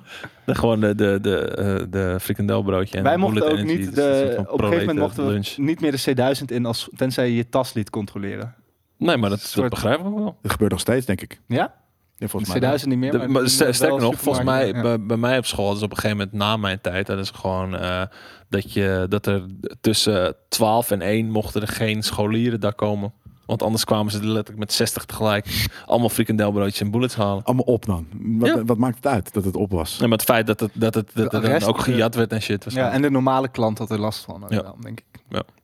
Speaker 5: De, gewoon de, de, de, eh, de frikandelbroodje. En
Speaker 4: Wij
Speaker 5: de
Speaker 4: mochten
Speaker 5: bullet
Speaker 4: ook
Speaker 5: energy,
Speaker 4: niet,
Speaker 5: dus dat is een
Speaker 4: de,
Speaker 5: soort van
Speaker 4: op een gegeven moment mochten we
Speaker 5: proletenlunch.
Speaker 4: niet meer de C1000 in, als, tenzij je je tas liet controleren.
Speaker 5: Nee, maar dat, dat
Speaker 4: soort-
Speaker 5: begrijp ik ook wel.
Speaker 2: Dat gebeurt nog steeds, denk ik.
Speaker 4: Ja?
Speaker 2: Ja, volgens mij. wel.
Speaker 4: C1000 niet meer.
Speaker 5: De-
Speaker 4: maar
Speaker 5: maar
Speaker 4: toen eh,
Speaker 5: ster-
Speaker 4: wel
Speaker 5: sterker nog, volgens mij,
Speaker 4: supermarkten, ja.
Speaker 5: bij, bij mij op school hadden ze op een gegeven moment na mijn tijd, dat is gewoon eh, dat, je, dat er tussen 12 en 1 mochten er geen scholieren daar komen. Want anders kwamen ze er letterlijk met 60 tegelijk allemaal frikandelbroodjes en bullets halen.
Speaker 2: Allemaal op dan. Wat,
Speaker 5: Ja.
Speaker 2: wat maakt het uit dat het op was?
Speaker 5: Nee, maar het feit dat het, dat het, dat
Speaker 4: De
Speaker 5: er dan
Speaker 4: rest,
Speaker 5: ook
Speaker 4: eh,
Speaker 5: gejat werd en shit.
Speaker 4: Ja, en de normale klant had er last van. ook
Speaker 5: Ja.
Speaker 4: wel, denk ik.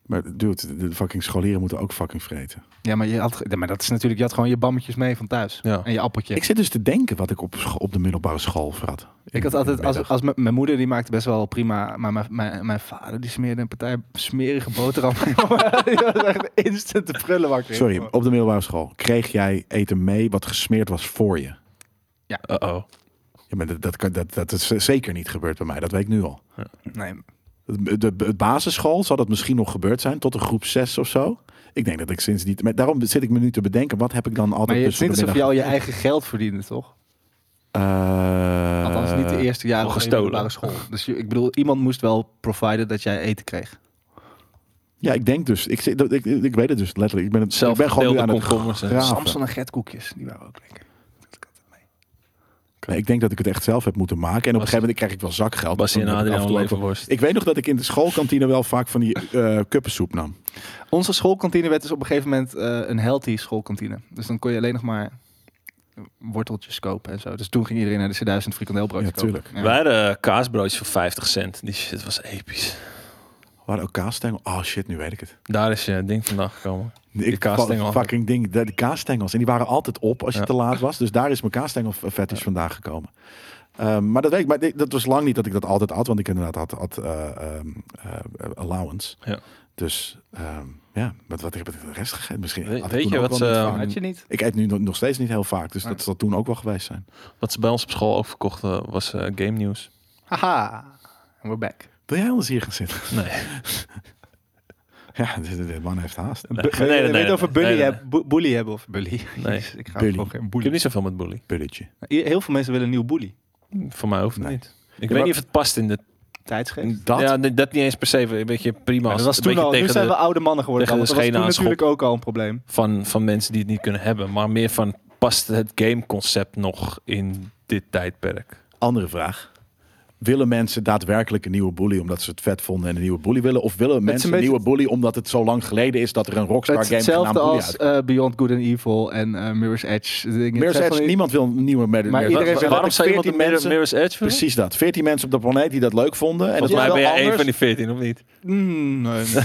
Speaker 2: Maar dude, de fucking scholieren moeten ook fucking vreten.
Speaker 4: Ja, maar, je had, ge- ja, maar dat is natuurlijk, je had gewoon je bammetjes mee van thuis.
Speaker 5: Ja.
Speaker 4: En je appeltje.
Speaker 2: Ik zit dus te denken wat ik op, scho- op de middelbare school vrat.
Speaker 4: Ik had altijd, als, als mijn- mijn moeder die maakte best wel prima, maar mijn, mijn, mijn vader die smeerde een partij smerige boterham. die was echt instant te prullen wakker.
Speaker 2: Sorry, op de middelbare school kreeg jij eten mee wat gesmeerd was voor je.
Speaker 5: Uh-oh.
Speaker 2: Ja, maar dat, dat, kan- dat, dat is zeker niet gebeurd bij mij, dat weet ik nu al.
Speaker 4: Nee,
Speaker 2: De, de, de basisschool zal dat misschien nog gebeurd zijn, tot een groep 6 of zo. Ik denk dat ik sinds niet. Maar daarom zit ik me nu te bedenken, wat heb ik dan altijd.
Speaker 4: maar je, het
Speaker 2: dus
Speaker 4: is niet
Speaker 2: voor de
Speaker 4: alsof je
Speaker 2: middag-
Speaker 4: al je eigen geld verdiende, toch?
Speaker 2: Eh,
Speaker 4: Althans, niet de eerste jaren
Speaker 5: al
Speaker 4: van je
Speaker 5: gestolen.
Speaker 4: middelbare school. Dus je- ik bedoel, iemand moest wel providen dat jij eten kreeg.
Speaker 2: Ja, ik denk dus. Ik, zit- ik, ik, ik weet het dus letterlijk. Ik ben, het,
Speaker 5: Zelf
Speaker 2: ik ben gewoon nu aan het
Speaker 5: komkommers. en-
Speaker 2: graven.
Speaker 4: Samson en Gert koekjes, die waren ook lekker.
Speaker 2: Nee, ik denk dat ik het echt zelf heb moeten maken. En op een
Speaker 5: Was-
Speaker 2: gegeven moment krijg ik wel zakgeld.
Speaker 5: Bas en
Speaker 2: Dan heb ik af
Speaker 5: Adriaan
Speaker 2: en toe ook wel-
Speaker 5: Leverworst.
Speaker 2: Ik weet nog dat ik in de schoolkantine wel vaak van die eh kuppensoep nam.
Speaker 4: Onze schoolkantine werd dus op een gegeven moment eh, een healthy schoolkantine. Dus dan kon je alleen nog maar worteltjes kopen en zo. Dus toen ging iedereen naar de C1000 frikandelbroodjes
Speaker 2: Ja, tuurlijk.
Speaker 4: kopen.
Speaker 5: Wij hadden eh, kaasbroodjes voor 50 cent. Die shit was episch.
Speaker 2: We hadden ook kaasstengel. Oh shit, nu weet ik het.
Speaker 5: Daar is je ding vandaan gekomen.
Speaker 2: Ik
Speaker 5: kaasstengel.
Speaker 2: Fucking ding. De, de kaasstengels. En die waren altijd op als je
Speaker 5: Ja.
Speaker 2: te laat was. Dus daar is mijn kaasstengel fetish vandaan gekomen. Ehm, maar dat weet ik. Maar dit- dat was lang niet dat ik dat altijd had. Want ik inderdaad had, had eh, ehm, eh, allowance.
Speaker 5: Ja.
Speaker 2: Dus ehm, ja, wat, wat heb ik de rest gegeten? Misschien
Speaker 5: We-
Speaker 2: had ik
Speaker 5: weet
Speaker 2: toen
Speaker 5: je
Speaker 2: ook
Speaker 5: wat
Speaker 2: wel
Speaker 5: ze- eh,
Speaker 2: niet vaak.
Speaker 4: Had je niet?
Speaker 2: Ik eet nu nog- nog steeds niet heel vaak. Dus dat zal toen ook wel geweest zijn.
Speaker 5: Wat ze bij ons op school ook verkochten was eh, game news.
Speaker 4: Haha. We're back.
Speaker 2: Wil jij anders hier gaan zitten?
Speaker 5: Nee.
Speaker 2: Ja, de, de man heeft haast.
Speaker 5: Nee,
Speaker 4: Wil je- wil je het over bully,
Speaker 5: nee, nee.
Speaker 4: hebben- bo- bully hebben of bully?
Speaker 5: Nee.
Speaker 4: Jezus, ik ga
Speaker 2: Bully.
Speaker 4: gewoon geen
Speaker 5: Ik
Speaker 4: bully.
Speaker 5: heb niet zoveel met bully.
Speaker 2: Bulletje.
Speaker 4: Heel veel mensen willen een nieuw bully.
Speaker 5: Voor mij hoeft het
Speaker 2: Nee.
Speaker 5: niet. Ik weet niet of het past in de...
Speaker 4: Tijdschrift.
Speaker 5: in dat? Ja, nee, dat niet eens per se. Een beetje prima.
Speaker 4: Maar
Speaker 5: als
Speaker 4: dat was
Speaker 5: het een
Speaker 4: toen al.
Speaker 5: beetje
Speaker 4: Nu
Speaker 5: tegen
Speaker 4: zijn
Speaker 5: de-
Speaker 4: we oude mannen geworden.
Speaker 5: tegen
Speaker 4: Dan.
Speaker 5: de
Speaker 4: Dat was toen
Speaker 5: schenen aan
Speaker 4: natuurlijk ook al een probleem.
Speaker 5: van, van mensen die het niet kunnen hebben. Maar meer van past het gameconcept nog in dit tijdperk?
Speaker 2: Andere vraag. Willen mensen daadwerkelijk een nieuwe bully omdat ze het vet vonden en een nieuwe bully willen? Of willen mensen een,
Speaker 4: beetje-
Speaker 2: nieuwe bully omdat het zo lang geleden is dat er een Rockstar
Speaker 4: Het is
Speaker 2: game genaamd
Speaker 4: hetzelfde
Speaker 2: Bully
Speaker 4: als
Speaker 2: uitkomt?
Speaker 4: eh, Beyond Good and Evil en eh, Mirror's Edge. Dingen. Het
Speaker 2: Mirror's
Speaker 4: zijn
Speaker 2: Edge,
Speaker 4: van die-
Speaker 2: niemand wil een nieuwe Mirror's
Speaker 4: Maar iedereen
Speaker 2: Edge.
Speaker 4: zegt
Speaker 5: Waarom
Speaker 4: dat ik
Speaker 5: zei iemand een
Speaker 4: 14
Speaker 5: Mirror- Mirror's Edge willen?
Speaker 2: Precies dat. 14 mensen op de planeet die dat leuk vonden. En
Speaker 5: Volgens mij
Speaker 2: dat
Speaker 5: ben
Speaker 2: is wel
Speaker 5: jij één
Speaker 2: anders.
Speaker 5: van die veertien, of niet?
Speaker 4: Mm, nee, nee.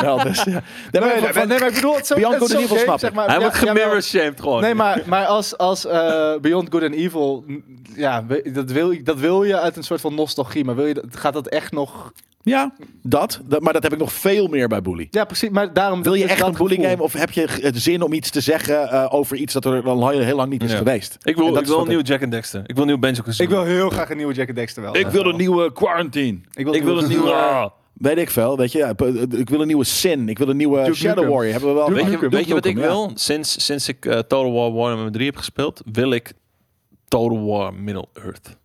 Speaker 2: Wel, dus, ja. Nee, maar-
Speaker 4: Nee, nee, nee, maar ik bedoel, het zo,
Speaker 2: Beyond
Speaker 4: het is
Speaker 2: Good and
Speaker 4: zo'n
Speaker 2: Evil
Speaker 4: game,
Speaker 2: snap
Speaker 4: zeg
Speaker 2: ik.
Speaker 4: maar.
Speaker 5: Hij
Speaker 4: Ja,
Speaker 5: wordt
Speaker 4: jawel.
Speaker 5: gemirror-shamed gewoon.
Speaker 4: Nee, maar, maar als, als eh, Beyond Good and Evil, n- ja, we- dat wil, je- dat wil je uit een soort van nostalgie. Maar wil je, dat- gaat dat echt nog...
Speaker 2: Ja, dat, dat. Maar dat heb ik nog veel meer bij bully.
Speaker 4: Ja, precies, maar daarom...
Speaker 2: Wil je echt een bully
Speaker 4: bullying
Speaker 2: game of heb je het zin om iets te zeggen eh, over iets dat er al heel, heel lang niet is
Speaker 5: Ja.
Speaker 2: geweest?
Speaker 5: Ik
Speaker 2: En
Speaker 5: wil,
Speaker 2: dat
Speaker 5: ik
Speaker 2: is
Speaker 5: wil een
Speaker 2: wat
Speaker 5: nieuw Jack and Dexter. Ik wil een nieuw Benjo
Speaker 4: Ik wil heel graag een nieuwe Jack and Dexter wel.
Speaker 2: Ik wil een nieuwe quarantine.
Speaker 5: ik wil een nieuwe... Ah.
Speaker 2: Weet ik veel. Weet je, ja, p- ik wil een nieuwe Sin. Ik wil een nieuwe Shadow
Speaker 4: Nukem.
Speaker 2: Warrior. Hebben we wel.
Speaker 5: Weet
Speaker 2: Duke
Speaker 5: je, weet je wat ik
Speaker 2: Nukem, ja.
Speaker 5: wil? Sinds, sinds ik eh, Total War Warhammer 3 heb gespeeld, wil ik Total War Middle-earth.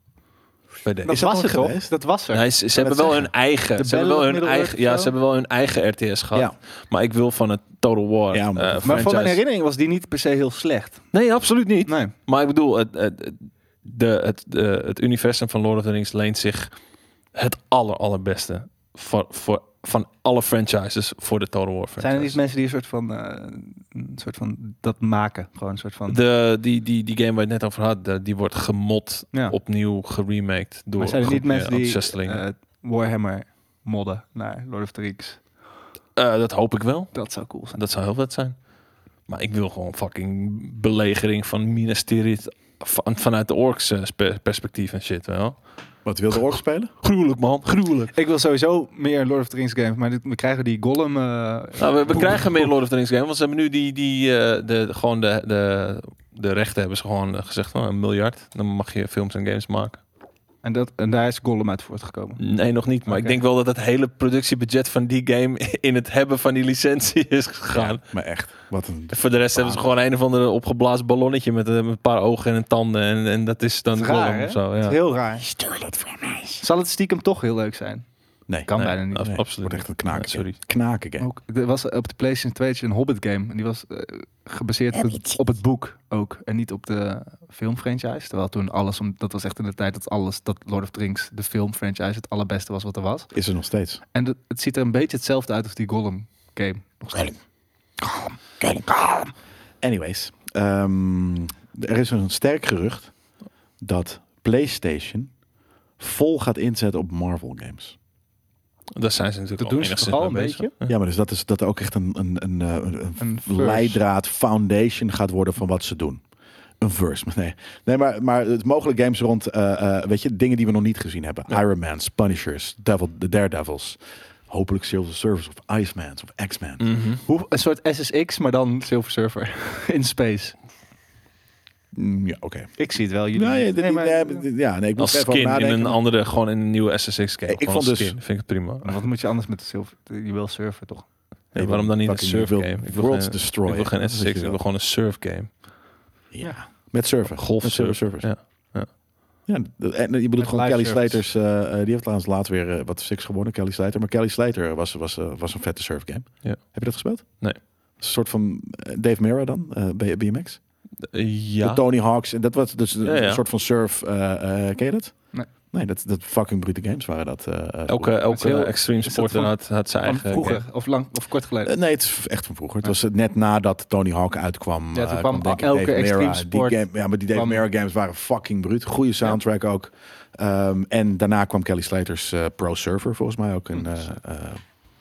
Speaker 5: Bij deze.
Speaker 4: Dat
Speaker 2: dat
Speaker 4: was
Speaker 2: al
Speaker 4: het toch?
Speaker 2: geweest?
Speaker 4: Dat was er.
Speaker 5: Nee, ze, ze hebben wel hun eigen,
Speaker 4: De
Speaker 5: ze
Speaker 4: Battle
Speaker 5: hebben wel
Speaker 4: of
Speaker 5: hun
Speaker 4: Middle-earth
Speaker 5: eigen, ja,
Speaker 4: of
Speaker 5: ze
Speaker 4: zo?
Speaker 5: hebben wel hun eigen RTS gehad.
Speaker 2: Ja.
Speaker 5: Maar ik wil van het Total War.
Speaker 2: Ja,
Speaker 5: Ja,
Speaker 2: maar- Maar
Speaker 4: maar van mijn herinnering was die niet per se heel slecht.
Speaker 5: Nee, absoluut niet.
Speaker 4: Nee.
Speaker 5: Maar ik bedoel, het, het, het- de, het, de- het universum van Lord of the Rings leent zich het aller, allerbeste voor, voor, van alle franchises voor de Total War franchise.
Speaker 4: Zijn er niet mensen die een soort van, eh, een soort van dat maken? Gewoon een soort van...
Speaker 5: de, die, die, die game waar je het net over had, de- die wordt gemod
Speaker 4: ja.
Speaker 5: opnieuw geremaked door
Speaker 4: maar zijn er niet
Speaker 5: groepen
Speaker 4: mensen die
Speaker 5: enthousiastelingen.
Speaker 4: eh, Warhammer modden naar Lord of the Rings?
Speaker 5: Eh, dat hoop ik wel.
Speaker 4: Dat zou cool zijn.
Speaker 5: Dat zou heel vet zijn. Maar ik wil gewoon fucking belegering van Minas Tirith van, vanuit de orks eh, spe- perspectief en shit wel.
Speaker 2: Wat wil de ork spelen?
Speaker 5: Gruwelijk man, gruwelijk.
Speaker 4: Ik wil sowieso meer Lord of the Rings games, maar dit- we krijgen die Gollum... eh,
Speaker 5: Nou, we, we krijgen meer Lord of the Rings game, want ze hebben nu die, die eh, de, de- gewoon de, de, de rechten hebben ze gewoon eh, gezegd van een miljard. Dan mag je films en games maken.
Speaker 4: en, dat, en daar is Gollum uit voortgekomen.
Speaker 5: Nee, nog niet. Maar ik
Speaker 4: Oké.
Speaker 5: denk wel dat het hele productiebudget van die game in het hebben van die licentie is gegaan.
Speaker 2: Maar echt. Wat een...
Speaker 5: Voor de rest hebben ze gewoon een of andere opgeblazen ballonnetje met eh, een paar ogen en een tanden. En, en dat is dan
Speaker 4: Dat is raar,
Speaker 5: Gollum
Speaker 4: hè?
Speaker 5: of zo.
Speaker 4: Dat
Speaker 5: Ja.
Speaker 4: is heel raar.
Speaker 2: Stuur dat voor mij.
Speaker 4: Zal het stiekem toch heel leuk zijn?
Speaker 2: Nee.
Speaker 4: Kan
Speaker 5: Nee,
Speaker 4: bijna niet.
Speaker 5: af-
Speaker 2: Nee,
Speaker 5: absoluut
Speaker 2: Wordt echt een knaken.
Speaker 5: Nee, sorry.
Speaker 2: game. Knaken game.
Speaker 4: Ook, er was op de PlayStation 2 had je een Hobbit game. En die was eh, gebaseerd op, het- op het boek ook. En niet op de filmfranchise. Terwijl toen alles, om, dat was echt in de tijd dat alles, dat Lord of the Rings, de filmfranchise, het allerbeste was wat er was.
Speaker 2: Is er nog steeds.
Speaker 4: En dat- het ziet er een beetje hetzelfde uit als die Gollum game. Nog steeds.
Speaker 2: Anyways. ehm, er is een sterk gerucht dat PlayStation vol gaat inzetten op Marvel games.
Speaker 5: Daar zijn ze natuurlijk
Speaker 4: Dat
Speaker 5: al
Speaker 4: doen ze
Speaker 5: enigszins
Speaker 4: toch al
Speaker 5: mee
Speaker 4: een
Speaker 5: bezig.
Speaker 4: beetje?
Speaker 2: Ja, maar dus dat is dat er ook echt een, een, een, eh, een, een
Speaker 4: Een verse.
Speaker 2: leidraad, foundation gaat worden van wat ze doen. Een verse, maar nee. Nee, maar, maar het mogelijke games rond, eh, eh, weet je, dingen die we nog niet gezien hebben. Iron Man's, Punishers, Devil, The Daredevils. Hopelijk Silver Surfers of Iceman's of X-Men.
Speaker 5: Mhm.
Speaker 4: Hoe, een soort SSX, maar dan Silver Surfer in space.
Speaker 2: Mm, ja, oké.
Speaker 4: Ik zie het wel. Jullie
Speaker 2: Nee,
Speaker 4: niet.
Speaker 2: dit- dit-
Speaker 4: maar-
Speaker 2: nee, dit- ja, nee, ik moet
Speaker 5: Als
Speaker 2: even over
Speaker 5: skin in
Speaker 2: nadenken.
Speaker 5: een andere, gewoon in een nieuwe SSX game.
Speaker 2: Ik
Speaker 5: Gewoon
Speaker 2: vond
Speaker 5: als
Speaker 2: dus-
Speaker 5: skin. Vind ik het prima.
Speaker 4: Maar Wat moet je anders met de silver? Je wil surfen toch?
Speaker 5: Nee, waarom dan niet een
Speaker 2: Fucking
Speaker 5: surf
Speaker 2: wil
Speaker 5: game? Ik wil,
Speaker 2: Worlds
Speaker 5: geen,
Speaker 2: Destroy.
Speaker 5: ik wil geen SSX, ik wil gewoon een surf game.
Speaker 2: Ja. Met surfen.
Speaker 5: Golf
Speaker 2: Met
Speaker 5: surf.
Speaker 2: surfers.
Speaker 5: Ja.
Speaker 2: Ja, d- en eh, je bedoelt
Speaker 4: Met
Speaker 2: gewoon
Speaker 4: live
Speaker 2: Kelly
Speaker 4: service.
Speaker 2: Slaters. eh, eh, die heeft laatst laat weer eh, wat six gewonnen, Kelly Slater. Maar Kelly Slater was, was, eh, was een vette surfgame.
Speaker 5: Ja.
Speaker 2: Heb je dat gespeeld?
Speaker 5: Nee.
Speaker 2: Een soort van eh, Dave Mera dan, eh, B- BMX.
Speaker 5: Eh,
Speaker 2: De
Speaker 5: ja.
Speaker 2: Tony Hawks. En dat was dus een
Speaker 5: Ja, ja.
Speaker 2: soort van surf. eh, eh, ken je dat?
Speaker 4: Nee.
Speaker 2: Nee, dat, dat fucking brute games waren dat. eh, eh,
Speaker 5: Elke,
Speaker 4: Het is
Speaker 5: elke
Speaker 4: heel-
Speaker 5: extreme
Speaker 4: dat
Speaker 5: sporter
Speaker 4: van-
Speaker 5: had, had zijn
Speaker 4: Van
Speaker 5: eigen
Speaker 4: vroeger
Speaker 5: game.
Speaker 4: of lang of kort geleden.
Speaker 2: Eh, Nee, het is echt van vroeger. Het was eh, net nadat Tony Hawk uitkwam.
Speaker 4: Ja, toen
Speaker 2: eh,
Speaker 4: kwam
Speaker 2: denk ik
Speaker 4: elke
Speaker 2: Dave Mera.
Speaker 4: extreme
Speaker 2: Die
Speaker 4: sport
Speaker 2: game- ja, maar die Dave
Speaker 4: kwam-
Speaker 2: Mera games waren fucking bruut. Goede soundtrack ook. Ehm, en daarna kwam Kelly Slater's eh, Pro Surfer volgens mij ook. Een, eh, eh,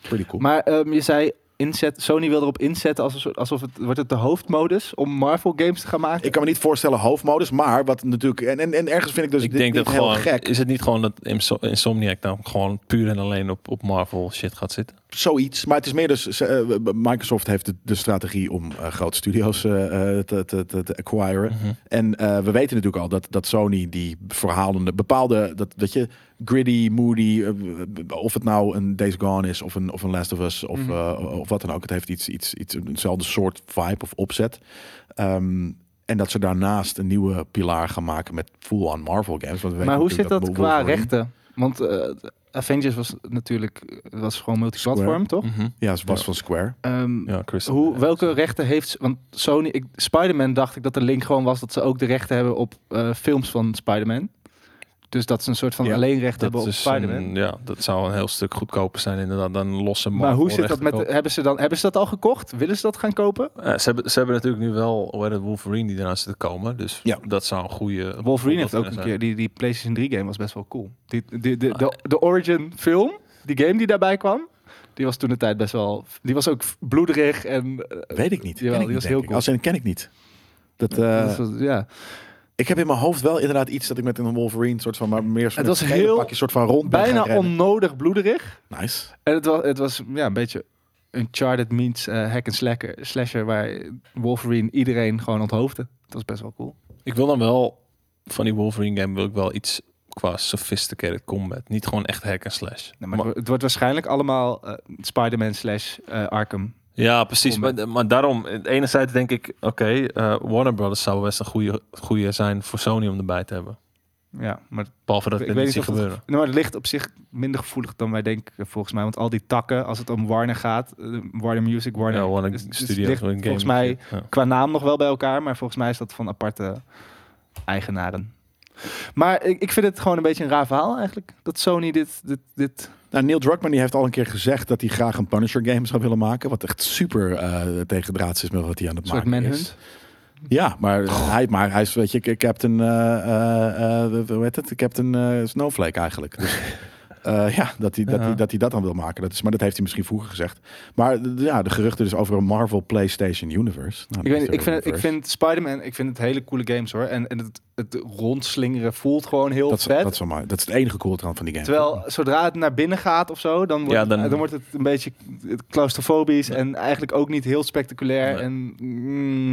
Speaker 2: pretty cool.
Speaker 4: Maar ehm, je zei inzet, Sony wil erop inzetten als een soort, alsof het wordt het de hoofdmodus om Marvel games te gaan maken.
Speaker 2: ik kan me niet voorstellen hoofdmodus, maar wat natuurlijk... En, en, en ergens vind ik dus
Speaker 5: Ik
Speaker 2: dit
Speaker 5: denk
Speaker 2: niet
Speaker 5: dat
Speaker 2: heel
Speaker 5: gewoon,
Speaker 2: gek.
Speaker 5: is het niet gewoon dat Inso- Insomniac nou gewoon puur en alleen op, op Marvel shit gaat zitten?
Speaker 2: Zoiets. Maar het is meer dus... ze- eh, Microsoft heeft de, de strategie om eh, grote studio's eh, eh, te, te, te, te acquiren.
Speaker 4: Mhm.
Speaker 2: En eh, we weten natuurlijk al dat, dat Sony die verhalende... Bepaalde, dat, dat je, gritty, moody... eh, of het nou een Days Gone is of een, of een Last of Us of,
Speaker 4: Mhm.
Speaker 2: eh, of wat dan ook. Het heeft iets, iets, iets, eenzelfde soort vibe of opzet. Ehm, en dat ze daarnaast een nieuwe pilaar gaan maken met full-on Marvel games. Want we
Speaker 4: Maar
Speaker 2: weten
Speaker 4: hoe zit
Speaker 2: natuurlijk
Speaker 4: dat qua
Speaker 2: Wolverine-
Speaker 4: rechten? Want eh, Avengers was natuurlijk was gewoon multiplatform,
Speaker 2: Square.
Speaker 4: toch?
Speaker 5: Mhm.
Speaker 2: Ja, ze was van Square.
Speaker 4: Ehm,
Speaker 5: Ja, Chris.
Speaker 4: Hoe, welke rechten heeft... Want Sony... Ik, Spider-Man dacht ik dat de link gewoon was dat ze ook de rechten hebben op eh, films van Spider-Man. Dus dat ze een soort van
Speaker 2: Ja,
Speaker 4: alleen recht hebben
Speaker 5: dat
Speaker 4: op
Speaker 5: is
Speaker 4: Spider-Man.
Speaker 5: een, ja, dat zou een heel stuk goedkoper zijn inderdaad dan losse
Speaker 4: maar hoe zit dat
Speaker 5: Marvel-rechten
Speaker 4: met...
Speaker 5: kopen.
Speaker 4: Hebben ze, dan, hebben ze dat al gekocht? Willen ze dat gaan kopen?
Speaker 5: Eh, ze, hebben, ze hebben natuurlijk nu wel hoe heet het, Wolverine die eraan zit te komen. Dus
Speaker 2: Ja.
Speaker 5: dat zou een goede...
Speaker 4: Wolverine heeft ook
Speaker 5: voorbeeld
Speaker 4: een keer...
Speaker 5: kunnen
Speaker 4: Die, die PlayStation 3 game was best wel cool. Die, die, de, de, de, de Origin film, die game die daarbij kwam... Die was toen de tijd best wel... Die was ook bloederig en... eh,
Speaker 2: Weet ik niet.
Speaker 4: Jawel,
Speaker 2: ken ik
Speaker 4: die was heel
Speaker 2: niet, denk ik.
Speaker 4: cool.
Speaker 2: Als in ken ik niet. Dat, eh,
Speaker 4: dat was- ja.
Speaker 2: ik heb in mijn hoofd wel inderdaad iets dat ik met een Wolverine soort van, maar meer zo'n
Speaker 4: Het was
Speaker 2: gele
Speaker 4: heel-
Speaker 2: pakje soort van rond ben gaan
Speaker 4: Bijna
Speaker 2: rennen.
Speaker 4: onnodig bloederig.
Speaker 2: Nice.
Speaker 4: En het was, het was ja, een beetje Uncharted meets eh hack and slacker, slasher, waar Wolverine iedereen gewoon onthoofde. Dat was best wel cool.
Speaker 5: zijn. Ik wil dan wel... Van die Wolverine game wil ik wel iets qua sophisticated combat. Niet gewoon echt hack en slash.
Speaker 4: maar het, wo- het wordt waarschijnlijk allemaal eh, Spider-Man slash eh, Arkham.
Speaker 5: Ja, precies.
Speaker 4: Combat.
Speaker 5: Maar, maar daarom, eh, enerzijds denk ik, oké, eh, Warner Brothers zou best een goede, goede zijn voor Sony om erbij te hebben.
Speaker 4: Ja, maar,
Speaker 5: Behalve dat
Speaker 4: Ik
Speaker 5: ik dit
Speaker 4: weet
Speaker 5: niet
Speaker 4: niet
Speaker 5: zie
Speaker 4: of dat-
Speaker 5: gebeuren.
Speaker 4: nou, maar het ligt op zich minder gevoelig dan wij denken, volgens mij. Want al die takken, als het om Warner gaat, eh, Warner Music, Warner,
Speaker 5: ja, Warner
Speaker 4: dus- dus het
Speaker 5: Studios,
Speaker 4: ligt
Speaker 5: Warner Games,
Speaker 4: volgens mij
Speaker 5: ja.
Speaker 4: qua naam nog wel bij elkaar, maar volgens mij is dat van aparte eigenaren. Maar ik, ik vind het gewoon een beetje een raar verhaal eigenlijk. Dat Sony dit, dit, dit
Speaker 2: Nou, Neil Druckmann die heeft al een keer gezegd dat hij graag een Punisher game zou willen maken, wat echt super eh tegendraads is met wat hij aan het
Speaker 4: soort
Speaker 2: maken
Speaker 4: manhunt. Oh.
Speaker 2: is. Ja, maar hij, maar hij is, weet je, Captain, eh eh, eh, hoe heet het? Captain eh, Snowflake eigenlijk. Dus, eh, ja, dat hij, dat,
Speaker 5: Ja.
Speaker 2: Hij, dat hij dat dan wil maken. Dat is, maar dat heeft hij misschien vroeger gezegd. Maar eh, ja, de geruchten dus over een Marvel PlayStation Universe.
Speaker 4: Ik,
Speaker 2: Nou, dat
Speaker 4: weet,
Speaker 2: is
Speaker 4: niet,
Speaker 2: er
Speaker 4: ik, vind, het- ik
Speaker 2: universe.
Speaker 4: vind Spider-Man, ik vind het hele coole games hoor. En, en het, het rondslingeren voelt gewoon heel
Speaker 2: dat is,
Speaker 4: vet.
Speaker 2: dat, is wel mooi. dat is het enige coole trant van die game.
Speaker 4: Terwijl zodra het naar binnen gaat of zo, dan wordt,
Speaker 5: Ja,
Speaker 4: dan,
Speaker 5: dan-
Speaker 4: dan wordt het een beetje claustrofobisch en eigenlijk ook niet heel spectaculair.
Speaker 5: Nee.
Speaker 4: En,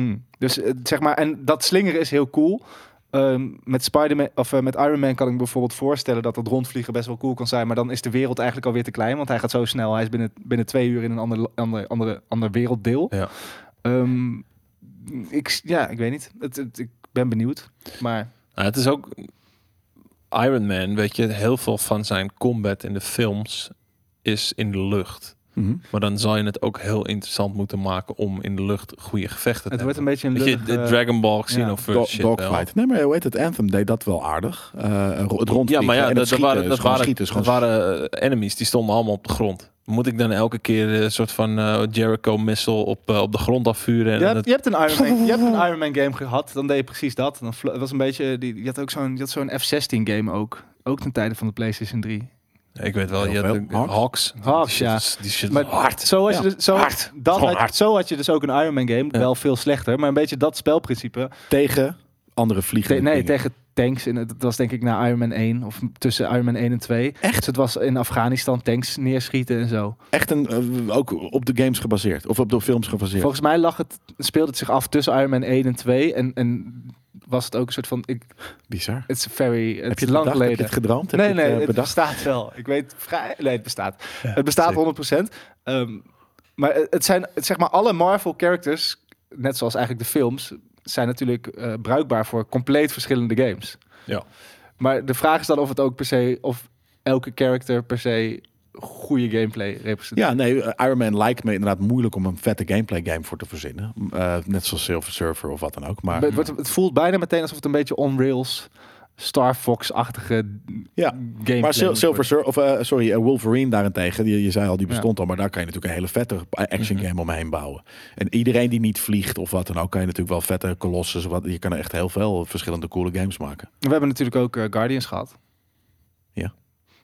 Speaker 4: mm, dus eh, zeg maar, en dat slingeren is heel cool. Ehm, met Spider-Man of eh, met Iron Man kan ik me bijvoorbeeld voorstellen dat dat rondvliegen best wel cool kan zijn. Maar dan is de wereld eigenlijk alweer te klein, want hij gaat zo snel. Hij is binnen, binnen twee uur in een ander, ander, andere, ander werelddeel.
Speaker 5: Ja.
Speaker 4: Ehm, ik, s- ja, ik weet niet. Het, het- ik ben benieuwd. Maar
Speaker 5: Nou, het is ook Iron Man, weet je, heel veel van zijn combat in de films is in de lucht.
Speaker 2: Mhm.
Speaker 5: Maar dan zal je het ook heel interessant moeten maken om in de lucht goede gevechten te
Speaker 4: het wordt een
Speaker 5: hebben.
Speaker 4: beetje een
Speaker 5: Weet je,
Speaker 4: lullige-
Speaker 5: de Dragon Ball Xenoverse
Speaker 2: Do-
Speaker 5: shit wel.
Speaker 2: dogfight. Nee, maar hoe heet het? Anthem deed dat wel aardig. Eh, ro- het
Speaker 5: Ja,
Speaker 2: rondvliegen
Speaker 5: maar ja,
Speaker 2: en
Speaker 5: dat,
Speaker 2: het
Speaker 5: dat
Speaker 2: schieten.
Speaker 5: waren,
Speaker 2: is
Speaker 5: dat
Speaker 2: gewoon
Speaker 5: waren,
Speaker 2: schieten, is
Speaker 5: dat
Speaker 2: gewoon
Speaker 5: waren eh, enemies, die stonden allemaal op de grond. Moet ik dan elke keer eh, een soort van eh, Jericho-missile op, eh, op de grond afvuren? En
Speaker 4: Je hebt,
Speaker 5: dat-
Speaker 4: je, hebt een Iron Man, je hebt een Iron Man game gehad, dan deed je precies dat. Dan vlo- het was een beetje, die, je had ook zo'n je had zo'n F-16 game ook. Ook ten tijde van de PlayStation 3.
Speaker 5: ik weet wel,
Speaker 2: Heel
Speaker 5: je hebt
Speaker 2: veel.
Speaker 5: de- Hawks.
Speaker 4: Hawks,
Speaker 5: Die shit
Speaker 4: ja.
Speaker 5: is- Die shit
Speaker 4: Maar
Speaker 5: is hard.
Speaker 4: Zo had,
Speaker 2: Ja,
Speaker 4: je, dus, zo,
Speaker 2: hard.
Speaker 4: Dat
Speaker 2: Gewoon
Speaker 4: had,
Speaker 2: hard.
Speaker 4: zo had je dus ook een Iron Man game,
Speaker 5: Ja.
Speaker 4: wel veel slechter. Maar een beetje dat spelprincipe.
Speaker 2: tegen andere
Speaker 4: Te-
Speaker 2: vliegen.
Speaker 4: nee, tegen tanks. In, het dat was denk ik na Iron Man 1 of tussen Iron Man 1 en 2. Echt? Dus het was in Afghanistan tanks neerschieten en zo.
Speaker 2: Echt een, eh, ook op de games gebaseerd. Of op de films gebaseerd.
Speaker 4: Volgens mij lag het, speelde het zich af tussen Iron Man 1 en 2. En, en was het ook een soort van... Ik,
Speaker 2: Bizar.
Speaker 4: it's very, it's
Speaker 2: Heb je het
Speaker 4: lang
Speaker 2: bedacht?
Speaker 4: geleden.
Speaker 2: Heb je het gedroomd? Heb
Speaker 4: nee,
Speaker 2: je het,
Speaker 4: nee,
Speaker 2: eh,
Speaker 4: het
Speaker 2: bedacht?
Speaker 4: bestaat wel. Ik weet vrij... Nee, het bestaat. het bestaat
Speaker 2: zeker.
Speaker 4: 100%. Ehm, maar het- het zijn, het, zeg maar, alle Marvel-characters, net zoals eigenlijk de films, zijn natuurlijk eh, bruikbaar voor compleet verschillende games.
Speaker 5: Ja.
Speaker 4: Maar de vraag is dan of het ook per se, of elke character per se goede gameplay representeert.
Speaker 2: Ja, nee, eh, Iron Man lijkt me inderdaad moeilijk om een vette gameplay game voor te verzinnen. Eh, net zoals Silver Surfer of wat dan ook. Maar
Speaker 4: Maar Het, wordt, het voelt bijna meteen alsof het een beetje on-rails, Star Fox-achtige
Speaker 2: Ja,
Speaker 4: gameplay
Speaker 2: Maar Sil-
Speaker 4: wordt.
Speaker 2: Silver Sur of eh, sorry, eh, Wolverine daarentegen, je, je zei al, die bestond al, maar daar kan je natuurlijk een hele vette eh, action game omheen bouwen. En iedereen die niet vliegt of wat dan ook, kan je natuurlijk wel vette kolosses. Wat, je kan er echt heel veel verschillende coole games maken.
Speaker 4: We hebben natuurlijk ook eh, Guardians gehad.
Speaker 2: Ja.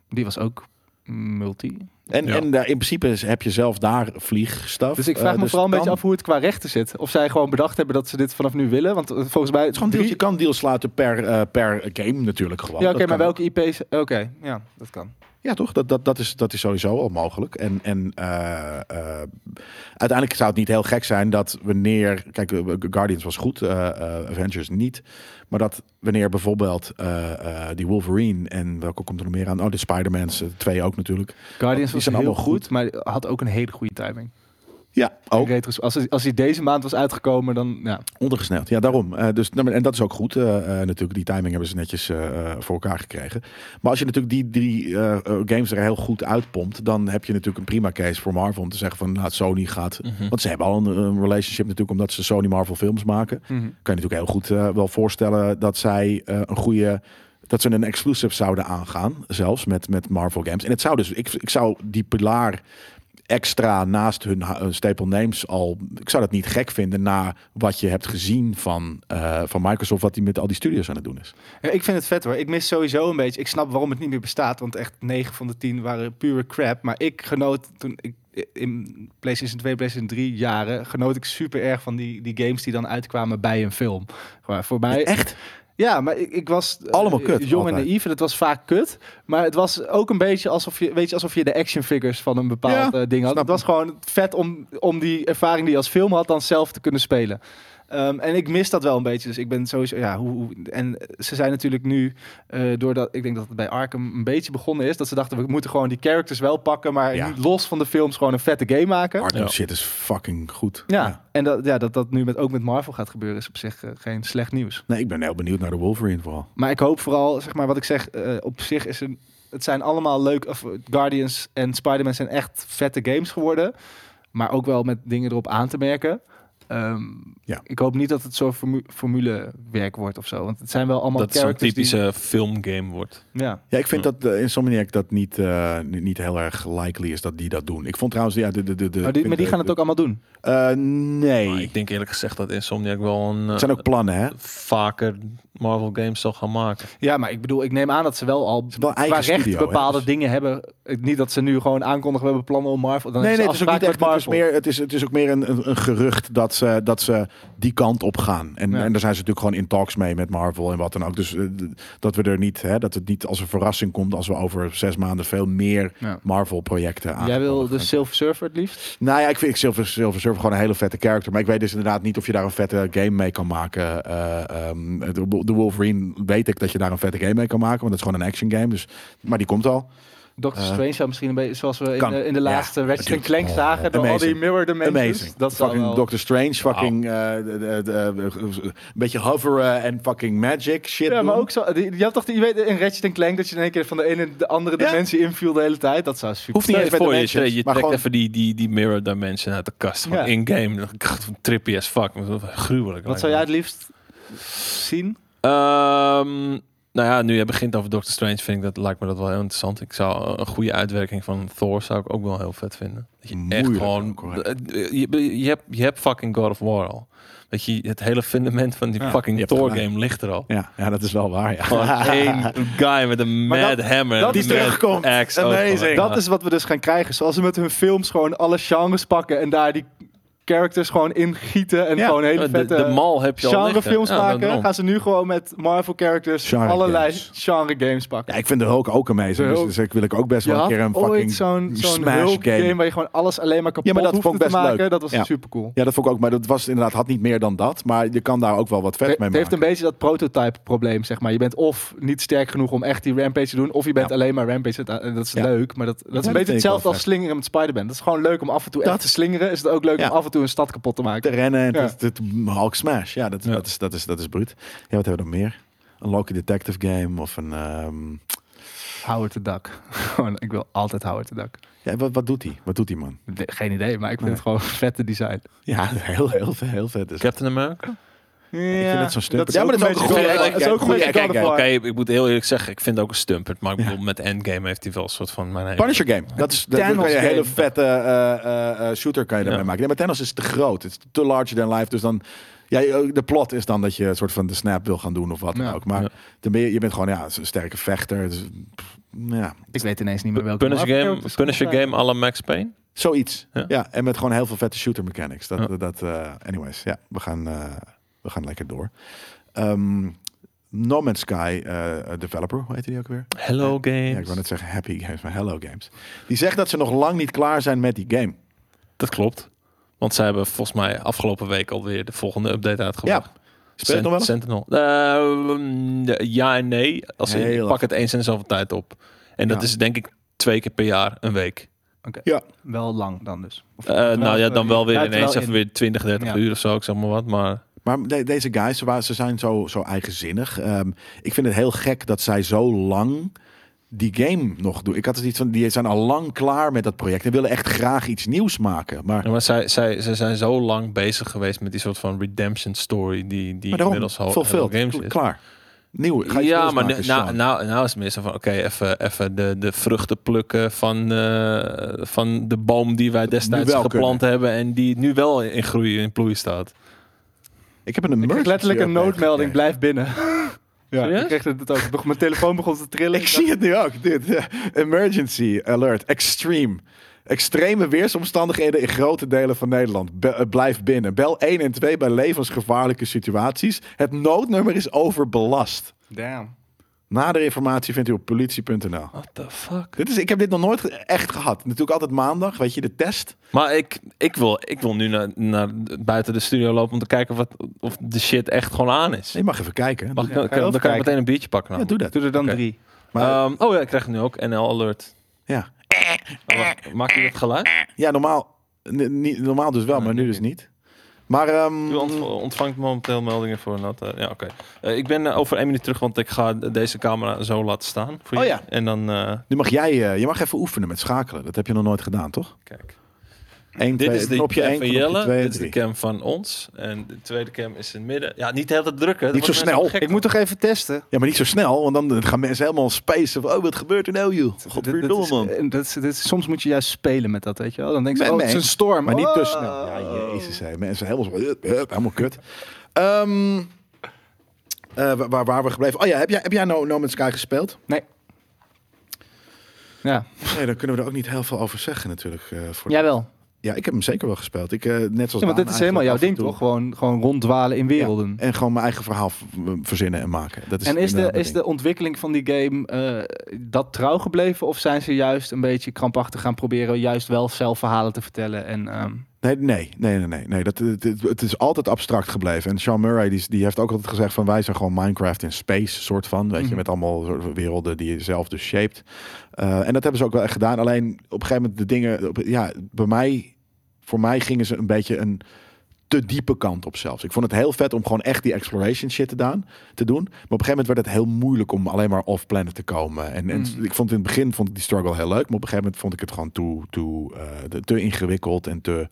Speaker 4: Die was ook multi.
Speaker 2: En,
Speaker 5: Ja.
Speaker 2: en daar- in principe is- heb je zelf daar vliegstaf.
Speaker 4: Dus ik vraag
Speaker 2: Eh,
Speaker 4: me vooral een
Speaker 2: het
Speaker 4: beetje
Speaker 2: kan-
Speaker 4: af hoe het qua rechten zit. Of zij gewoon bedacht hebben dat ze dit vanaf nu willen. Want eh, volgens mij...
Speaker 2: Het is gewoon deals. Je kan deals sluiten per, eh, per game natuurlijk gewoon.
Speaker 4: Ja,
Speaker 2: Dat
Speaker 4: oké, maar
Speaker 2: kan ook.
Speaker 4: welke IP's... Oké, ja, dat kan.
Speaker 2: Ja, toch? Dat, dat, dat, is, dat is sowieso al mogelijk. En, en eh, eh, uiteindelijk zou het niet heel gek zijn dat wanneer. Kijk, eh, Guardians was goed, eh, eh, Avengers niet. Maar dat wanneer bijvoorbeeld eh, eh, die Wolverine en welke komt er nog meer aan? Oh, de Spider-Mans, eh, twee ook natuurlijk.
Speaker 4: Guardians
Speaker 2: Die
Speaker 4: was
Speaker 2: zijn
Speaker 4: heel goed,
Speaker 2: allemaal goed. Oh.
Speaker 4: maar had ook een hele goede timing.
Speaker 2: Ja, ook.
Speaker 4: Retros- als, als hij deze maand was uitgekomen, dan... Ja.
Speaker 2: Ondergesneld, ja, daarom. Eh, dus, nou, maar- en dat is ook goed. eh, eh, natuurlijk, die timing hebben ze netjes eh, eh, voor elkaar gekregen. Maar als je natuurlijk die drie eh, eh, games er heel goed uitpompt, dan heb je natuurlijk een prima case voor Marvel om te zeggen van nou, Sony gaat. Want ze hebben al een, een relationship natuurlijk, omdat ze Sony Marvel films maken. Kan je natuurlijk heel goed eh, wel voorstellen dat zij eh, een goede. Dat ze een exclusive zouden aangaan, zelfs met, met Marvel Games. En het zou dus, ik, ik zou die pilaar extra naast hun ha- eh, staple names al. Ik zou dat niet gek vinden na wat je hebt gezien van, eh, van Microsoft, wat die met al die studios aan het doen is.
Speaker 4: Ja, ik vind het vet hoor. Ik mis sowieso een beetje. Ik snap waarom het niet meer bestaat. Want echt 9 van de 10 waren pure crap. Maar ik genoot toen ik in PlayStation 2, PlayStation 3 jaren. genoot ik super erg van die, die games die dan uitkwamen bij een film. Maar voor mij.
Speaker 2: Echt?
Speaker 4: Ja, maar ik, ik was eh,
Speaker 2: Allemaal kut,
Speaker 4: jong en
Speaker 2: altijd.
Speaker 4: naïef en het was vaak kut. Maar het was ook een beetje alsof je, weet je, alsof je de action figures van een bepaald
Speaker 2: Ja,
Speaker 4: eh, ding had.
Speaker 2: snap
Speaker 4: Het was gewoon vet om, om die ervaring die je als film had dan zelf te kunnen spelen. Ehm, en ik mis dat wel een beetje. Dus ik ben sowieso. Ja, hoe, hoe- en ze zijn natuurlijk nu. eh, doordat ik denk dat het bij Arkham een beetje begonnen is. Dat ze dachten we moeten gewoon die characters wel pakken. Maar
Speaker 2: Ja.
Speaker 4: niet los van de films gewoon een vette game maken.
Speaker 2: Arkham
Speaker 5: Ja.
Speaker 2: shit is fucking goed.
Speaker 4: ja. en dat, ja, dat dat nu met, ook met Marvel gaat gebeuren. is op zich eh, geen slecht nieuws.
Speaker 2: Nee, ik ben heel benieuwd naar de Wolverine vooral.
Speaker 4: Maar ik hoop vooral, zeg maar, wat ik zeg, eh, op zich is een, het zijn allemaal leuk. Of eh, Guardians en Spider-Man zijn echt vette games geworden. Maar ook wel met dingen erop aan te merken. Ehm,
Speaker 2: Ja.
Speaker 4: Ik hoop niet dat het zo'n formu formulewerk wordt of zo. Want het zijn wel allemaal
Speaker 5: Dat het zo'n
Speaker 4: characters
Speaker 5: typische filmgame wordt.
Speaker 4: Die, ja.
Speaker 2: Ja, ik vind dat uh, Insomniac dat niet, eh, niet, niet heel erg likely is dat die dat doen. Ik vond trouwens, ja, de... de, de, de
Speaker 4: maar, die, maar die gaan het ook allemaal doen.
Speaker 2: Eh, nee.
Speaker 5: Maar ik denk eerlijk gezegd dat Insomniac wel een eh,
Speaker 2: het zijn ook plannen, hè?
Speaker 5: vaker Marvel games zal gaan maken.
Speaker 4: Ja, maar ik bedoel, ik neem aan dat ze wel al
Speaker 2: hebben wel een eigen
Speaker 4: qua recht
Speaker 2: studio, hè,
Speaker 4: bepaalde
Speaker 2: dus-
Speaker 4: dingen hebben. Eh, Niet dat ze nu gewoon aankondigen, we hebben plannen om Marvel. Dan
Speaker 2: Nee, nee, het
Speaker 4: hebben
Speaker 2: is
Speaker 4: ze
Speaker 2: ook niet echt.
Speaker 4: afspraken
Speaker 2: Het is,
Speaker 4: met Marvel.
Speaker 2: meer, het, is, het is ook meer een, een, een gerucht dat ze, dat ze die kant op gaan. En,
Speaker 4: Ja.
Speaker 2: en daar zijn ze natuurlijk gewoon in talks mee met Marvel en wat dan ook. Dus eh, d- dat we er niet, hè, dat het niet als een verrassing komt als we over zes maanden veel meer
Speaker 4: Ja.
Speaker 2: Marvel-projecten aan.
Speaker 4: Jij wil de Silver Surfer het liefst?
Speaker 2: Nou ja, ik vind ik Silver, Silver Surfer gewoon een hele vette character. Maar ik weet dus inderdaad niet of je daar een vette game mee kan maken. Eh, ehm, de, de Wolverine weet ik dat je daar een vette game mee kan maken. Want het is gewoon een action game. Dus, maar die komt al.
Speaker 4: Doctor
Speaker 2: Eh,
Speaker 4: Strange zou misschien een beetje zoals we in,
Speaker 2: kan.
Speaker 4: de, in de
Speaker 2: Ja,
Speaker 4: laatste Ratchet
Speaker 2: natuurlijk. Oh,
Speaker 4: Clank zagen. door al die
Speaker 2: amazing.
Speaker 4: mirror dimensions.
Speaker 2: Amazing.
Speaker 4: Dat zou
Speaker 2: fucking
Speaker 4: wel...
Speaker 2: Doctor Strange, fucking eh, de- de- de- de- een beetje hoveren en fucking magic shit.
Speaker 4: ja, maar
Speaker 2: doen.
Speaker 4: ook zo. die- Je had toch die- je weet, in Ratchet Clank dat je in één keer van de ene de andere
Speaker 2: Ja.
Speaker 4: dimensie inviel de hele tijd. Dat zou super.
Speaker 2: Hoeft niet
Speaker 5: Stel
Speaker 2: eens
Speaker 5: je
Speaker 2: met
Speaker 5: voor,
Speaker 2: de
Speaker 5: je, je
Speaker 2: matches,
Speaker 5: trekt
Speaker 2: maar gewoon-
Speaker 5: even die, die, die Mirror Dimension uit de kast.
Speaker 4: Ja.
Speaker 5: Gewoon in-game. Dan- Trippy as fuck. Dat is
Speaker 4: Wat
Speaker 5: Gruwelijk. lijkt
Speaker 4: zou
Speaker 5: me.
Speaker 4: jij het liefst zien?
Speaker 5: Ehm, nou ja, nu je begint over Doctor Strange, vind ik dat lijkt me dat wel heel interessant. Ik zou een goede uitwerking van Thor zou ik ook wel heel vet vinden. Dat je echt
Speaker 2: Moeilijk
Speaker 5: gewoon eh,
Speaker 2: ook, hoor.
Speaker 5: je, je, hebt, je hebt fucking God of War al. Dat je het hele fundament van die
Speaker 4: Ja,
Speaker 2: je
Speaker 5: fucking
Speaker 2: hebt
Speaker 5: Thor
Speaker 2: gelijk.
Speaker 5: game ligt er al.
Speaker 2: Ja, ja, dat is wel waar. Ja.
Speaker 5: Gewoon één guy met een
Speaker 4: Maar
Speaker 5: mad
Speaker 4: dat-
Speaker 5: hammer.
Speaker 4: dat
Speaker 5: en
Speaker 4: is
Speaker 5: een mad
Speaker 2: terugkomt.
Speaker 5: axe ook.
Speaker 2: Amazing.
Speaker 5: Ja.
Speaker 4: Dat is wat we dus gaan krijgen. Zoals ze met hun films gewoon alle genres pakken en daar die characters gewoon ingieten. En
Speaker 2: Ja.
Speaker 4: gewoon hele
Speaker 5: de,
Speaker 4: vette
Speaker 5: de mal heb je al liggen.
Speaker 4: genrefilms
Speaker 5: Ja,
Speaker 4: maken.
Speaker 5: daarom.
Speaker 4: gaan ze nu gewoon met Marvel characters
Speaker 2: Genre
Speaker 4: allerlei
Speaker 2: games.
Speaker 4: genre games pakken.
Speaker 2: Ja, ik vind de Hulk ook
Speaker 4: De
Speaker 2: amazing. Dus,
Speaker 4: Hulk.
Speaker 2: dus ik wil ik ook best wel een keer een
Speaker 4: had ooit
Speaker 2: fucking
Speaker 4: zo'n zo'n
Speaker 2: smash
Speaker 4: Hulk
Speaker 2: game.
Speaker 4: waar je gewoon alles alleen maar kapot
Speaker 2: Ja, maar dat
Speaker 4: hoefde
Speaker 2: vond ik
Speaker 4: te
Speaker 2: best
Speaker 4: maken.
Speaker 2: leuk.
Speaker 4: Dat was
Speaker 2: Ja.
Speaker 4: super cool.
Speaker 2: Ja, dat vond ik ook. Maar dat was inderdaad had niet meer dan dat. Maar je kan daar ook wel wat vet mee
Speaker 4: Het
Speaker 2: maken.
Speaker 4: heeft een beetje dat prototype probleem, zeg maar. Je bent of niet sterk genoeg om echt die rampage te doen, of je bent
Speaker 2: Ja.
Speaker 4: alleen maar rampage. aan het- En dat is
Speaker 2: Ja.
Speaker 4: leuk, maar dat, dat is
Speaker 2: dat
Speaker 4: een
Speaker 2: vind
Speaker 4: beetje
Speaker 2: ik
Speaker 4: hetzelfde
Speaker 2: wel
Speaker 4: als
Speaker 2: vet.
Speaker 4: slingeren met Spider-Man. Dat is gewoon leuk om af en toe echt
Speaker 2: Dat-
Speaker 4: te slingeren. Is het ook leuk
Speaker 2: Ja.
Speaker 4: om af en toe een stad kapot te maken.
Speaker 2: te rennen en
Speaker 4: Ja.
Speaker 2: het, het Hulk smash. Ja, dat,
Speaker 5: Ja.
Speaker 2: Dat, is, dat, is, dat is bruut. Ja, wat hebben we nog meer? Een Loki Detective game of een... ehm,
Speaker 4: Howard the Duck. Gewoon, ik wil altijd Howard the Duck.
Speaker 2: Ja, wat, wat doet hij? Wat doet die man?
Speaker 4: Nee, Geen idee, maar ik vind
Speaker 2: Nee.
Speaker 4: het gewoon een vette design.
Speaker 2: Ja, heel, heel, heel vet is het.
Speaker 5: Captain America?
Speaker 2: Ik vind het zo'n stuk.
Speaker 4: Ja, maar dat is ook een goede
Speaker 5: Ja,
Speaker 4: Dat is ook een
Speaker 5: kijk,
Speaker 4: goede
Speaker 5: kijk,
Speaker 4: Godfather.
Speaker 5: Oké, ik moet heel eerlijk zeggen, ik vind het ook een stumpert. Maar ik bedoel, met Endgame heeft hij wel een soort van... Mijn hele-
Speaker 2: Punisher game. Dat is dat, dat
Speaker 4: Thanos
Speaker 2: kan je een hele
Speaker 4: game.
Speaker 2: vette eh, eh, eh, shooter kan je daarmee
Speaker 5: Ja.
Speaker 2: maken. Nee, maar Thanos is te groot. Het is te larger than life. Dus dan ja, je- de plot is dan dat je een soort van de snap wil gaan doen of wat dan ook. Maar
Speaker 5: Ja.
Speaker 2: dan ben je, je bent gewoon ja, een sterke vechter. Dus, pff, ja,
Speaker 4: Ik weet ineens niet meer welke.
Speaker 5: Punisher
Speaker 4: maar-
Speaker 5: game, Punisher game à la Max Payne?
Speaker 2: zoiets. Ja.
Speaker 5: Ja.
Speaker 2: en met gewoon heel veel vette shooter mechanics. Dat,
Speaker 5: Ja.
Speaker 2: dat eh, anyways, ja, we gaan, eh, we gaan lekker door. Ehm, no Man's Sky eh, developer, hoe heet die ook weer?
Speaker 5: Hello Games.
Speaker 2: Ja, ik wou net zeggen Happy Games, maar Hello Games. Die zegt dat ze nog lang niet klaar zijn met die game.
Speaker 5: Dat klopt. Want zij hebben volgens mij afgelopen week alweer de volgende update uitgebracht.
Speaker 2: Ja. Speelt het nog wel eens?
Speaker 5: Sentinel. Eh, mm, ja en nee. Als in,
Speaker 2: Heel
Speaker 5: ik pak het eens en zoveel tijd op. En dat
Speaker 2: Ja.
Speaker 5: is denk ik twee keer per jaar een week.
Speaker 4: Wel lang dan dus. Of-
Speaker 5: Eh, nou ja, dan wel weer
Speaker 4: Ja,
Speaker 5: ineens
Speaker 4: terwijl
Speaker 5: even
Speaker 4: in-
Speaker 5: weer 20, 30
Speaker 4: Ja.
Speaker 5: uur of zo, ik zeg maar wat. Maar
Speaker 2: Maar de- deze guys, ze, wa- ze zijn zo, zo eigenzinnig. Ehm, ik vind het heel gek dat zij zo lang die game nog doen. Ik had het iets van, die zijn al lang klaar met dat project en willen echt graag iets nieuws maken. Maar,
Speaker 5: Ja, maar zij, zij, zij zijn zo lang bezig geweest met die soort van redemption story die,
Speaker 2: maar
Speaker 5: die
Speaker 2: daarom,
Speaker 5: inmiddels al
Speaker 2: fulfilled,
Speaker 5: Hello games is.
Speaker 2: klaar. Nieuw, ga iets
Speaker 5: ja,
Speaker 2: nieuws
Speaker 5: maar
Speaker 2: maken,
Speaker 5: nu- nou,
Speaker 2: Sean.
Speaker 5: nou, nou is het meer zo van, oké, even, even de, de vruchten plukken van, eh, van de boom die wij destijds
Speaker 2: wel
Speaker 5: geplant hebben en die nu wel in groei in ploei staat.
Speaker 2: ik heb een
Speaker 4: Ik kreeg
Speaker 2: emergency
Speaker 4: letterlijk een
Speaker 2: update
Speaker 4: noodmelding,
Speaker 2: gekregen.
Speaker 4: blijf binnen. ja,
Speaker 5: Serieus?
Speaker 4: ik kreeg het ook. Nog- Mijn telefoon begon te trillen.
Speaker 2: Ik zie het nu ook, dit. eh, Emergency alert, extreme. Extreme weersomstandigheden in grote delen van Nederland. Be- eh, blijf binnen. Bel 1 en 2 bij levensgevaarlijke situaties. Het noodnummer is overbelast.
Speaker 4: Damn.
Speaker 2: Nadere informatie vindt u op politie.nl.
Speaker 5: What the fuck?
Speaker 2: Dit is, ik heb dit nog nooit ge- echt gehad. Natuurlijk altijd maandag, weet je, de test.
Speaker 5: Maar ik, ik, wil, ik wil nu naar, naar buiten de studio lopen om te kijken wat, of de shit echt gewoon aan is.
Speaker 2: Je mag even kijken.
Speaker 5: Mag ik, nou-
Speaker 4: ga je
Speaker 5: dan kan ik
Speaker 4: kijken?
Speaker 5: meteen een biertje pakken.
Speaker 2: Ja, doe dat.
Speaker 4: Doe er dan
Speaker 5: Oké.
Speaker 4: drie.
Speaker 2: Maar,
Speaker 5: Ehm, oh ja, ik krijg nu ook NL Alert.
Speaker 2: ja.
Speaker 5: Oh, wacht, Maakt u dat geluid?
Speaker 2: ja, normaal, n- niet- normaal dus wel,
Speaker 5: Ja,
Speaker 2: maar nu
Speaker 5: nu
Speaker 2: dus niet. Maar ehm,
Speaker 5: U ont- ontvangt momenteel meldingen voor een later- Ja, oké. Eh, ik ben eh, over één minuut terug, want ik ga deze camera zo laten staan. Voor
Speaker 2: Oh
Speaker 5: je.
Speaker 2: ja.
Speaker 5: En dan, eh,
Speaker 2: nu mag jij, eh, je mag even oefenen met schakelen. Dat heb je nog nooit gedaan, toch?
Speaker 5: kijk.
Speaker 2: 1,
Speaker 5: Dit is de
Speaker 2: knopje
Speaker 5: cam
Speaker 2: 1,
Speaker 5: van Jelle. Dit is de cam van ons. En de tweede cam is in het midden. Ja, niet de hele tijd drukken. dat
Speaker 2: Niet
Speaker 5: wordt
Speaker 2: zo
Speaker 5: mensen
Speaker 2: snel.
Speaker 5: gek.
Speaker 4: Ik moet toch even testen?
Speaker 2: Ja, maar niet zo snel, want dan gaan mensen helemaal spacen. Van, oh, wat gebeurt er nou, joh? Godverdomme,
Speaker 4: Dit- dit
Speaker 2: man.
Speaker 4: is- eh, dat is- dit is- Soms moet je juist spelen met dat, weet je wel. Dan denk je,
Speaker 2: Nee,
Speaker 4: oh, het is
Speaker 2: nee.
Speaker 4: een storm.
Speaker 2: Maar niet
Speaker 4: Oh.
Speaker 2: te snel. Ja, jezus, hè. mensen helemaal, zo, hup, hup, helemaal kut. Ehm, eh, wa- waar waren we gebleven? Oh ja, heb jij, heb jij no, no Man's Sky gespeeld?
Speaker 4: Nee. Ja,
Speaker 2: Nee, dan kunnen we er ook niet heel veel over zeggen natuurlijk. eh, voor de-
Speaker 4: jawel.
Speaker 2: Ja, ik heb hem zeker wel gespeeld. Ik, eh, net zoals
Speaker 4: Ja, want
Speaker 2: Daan
Speaker 4: dit is helemaal
Speaker 2: eigenlijk
Speaker 4: jouw
Speaker 2: af en
Speaker 4: ding,
Speaker 2: toe.
Speaker 4: toch? Gewoon, gewoon ronddwalen in werelden.
Speaker 2: Ja, en gewoon mijn eigen verhaal v- verzinnen en maken. Dat is
Speaker 4: en is de,
Speaker 2: inderdaad mijn
Speaker 4: is de ontwikkeling van die game eh, dat trouw gebleven? Of zijn ze juist een beetje krampachtig gaan proberen juist wel zelf verhalen te vertellen? En, ehm,
Speaker 2: Nee, nee, nee, nee, nee. nee. Dat, het, het- het is altijd abstract gebleven. En Sean Murray die, die heeft ook altijd gezegd van wij zijn gewoon Minecraft in space, soort van. Weet je,
Speaker 4: Mhm.
Speaker 2: met allemaal soort van werelden die je zelf dus shaped. Eh, en dat hebben ze ook wel echt gedaan. Alleen op een gegeven moment de dingen, op- ja, bij mij, voor mij gingen ze een beetje een te diepe kant op zelfs. Ik vond het heel vet om gewoon echt die exploration shit te, daan, te doen. Maar op een gegeven moment werd het heel moeilijk om alleen maar off-planet te komen. En, en
Speaker 4: Mm.
Speaker 2: ik vond in het begin vond ik die struggle heel leuk. Maar op een gegeven moment vond ik het gewoon toe, toe, eh, de- te ingewikkeld en te,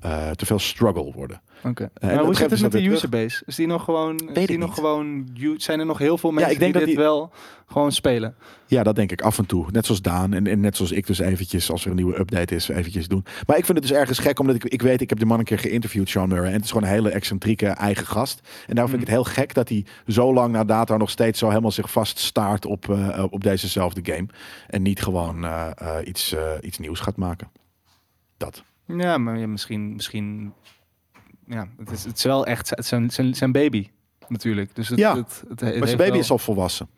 Speaker 2: eh, te veel struggle worden.
Speaker 4: oké.
Speaker 2: en
Speaker 4: maar
Speaker 2: dat
Speaker 4: hoe
Speaker 2: geven
Speaker 4: zit het
Speaker 2: ze
Speaker 4: met
Speaker 2: dat
Speaker 4: de
Speaker 2: weer
Speaker 4: userbase? Is die nog gewoon. Is
Speaker 2: ik
Speaker 4: die nog
Speaker 2: niet.
Speaker 4: gewoon ju- zijn er nog heel veel mensen
Speaker 2: ik denk
Speaker 4: die
Speaker 2: dat
Speaker 4: dit
Speaker 2: die-
Speaker 4: wel gewoon spelen?
Speaker 2: Ja, dat denk ik af en toe. Net zoals Daan en, en net zoals ik dus eventjes, als er een nieuwe update is, eventjes doen. Maar ik vind het dus ergens gek, omdat ik, ik weet, ik heb de man een keer geïnterviewd, Sean Murray. En het is gewoon een hele excentrieke eigen gast. En daarom vind ik het heel gek dat hij zo lang na data nog steeds zo helemaal zich vaststaart op, eh, op dezezelfde game. En niet gewoon eh, eh, iets, eh, iets nieuws gaat maken. Dat.
Speaker 4: Ja, maar ja, misschien. misschien ja, het, is, het is wel echt het zijn, zijn, zijn baby natuurlijk. Dus het,
Speaker 2: Ja,
Speaker 4: het, het, het
Speaker 2: Maar
Speaker 4: heeft
Speaker 2: zijn baby
Speaker 4: wel-
Speaker 2: is al volwassen.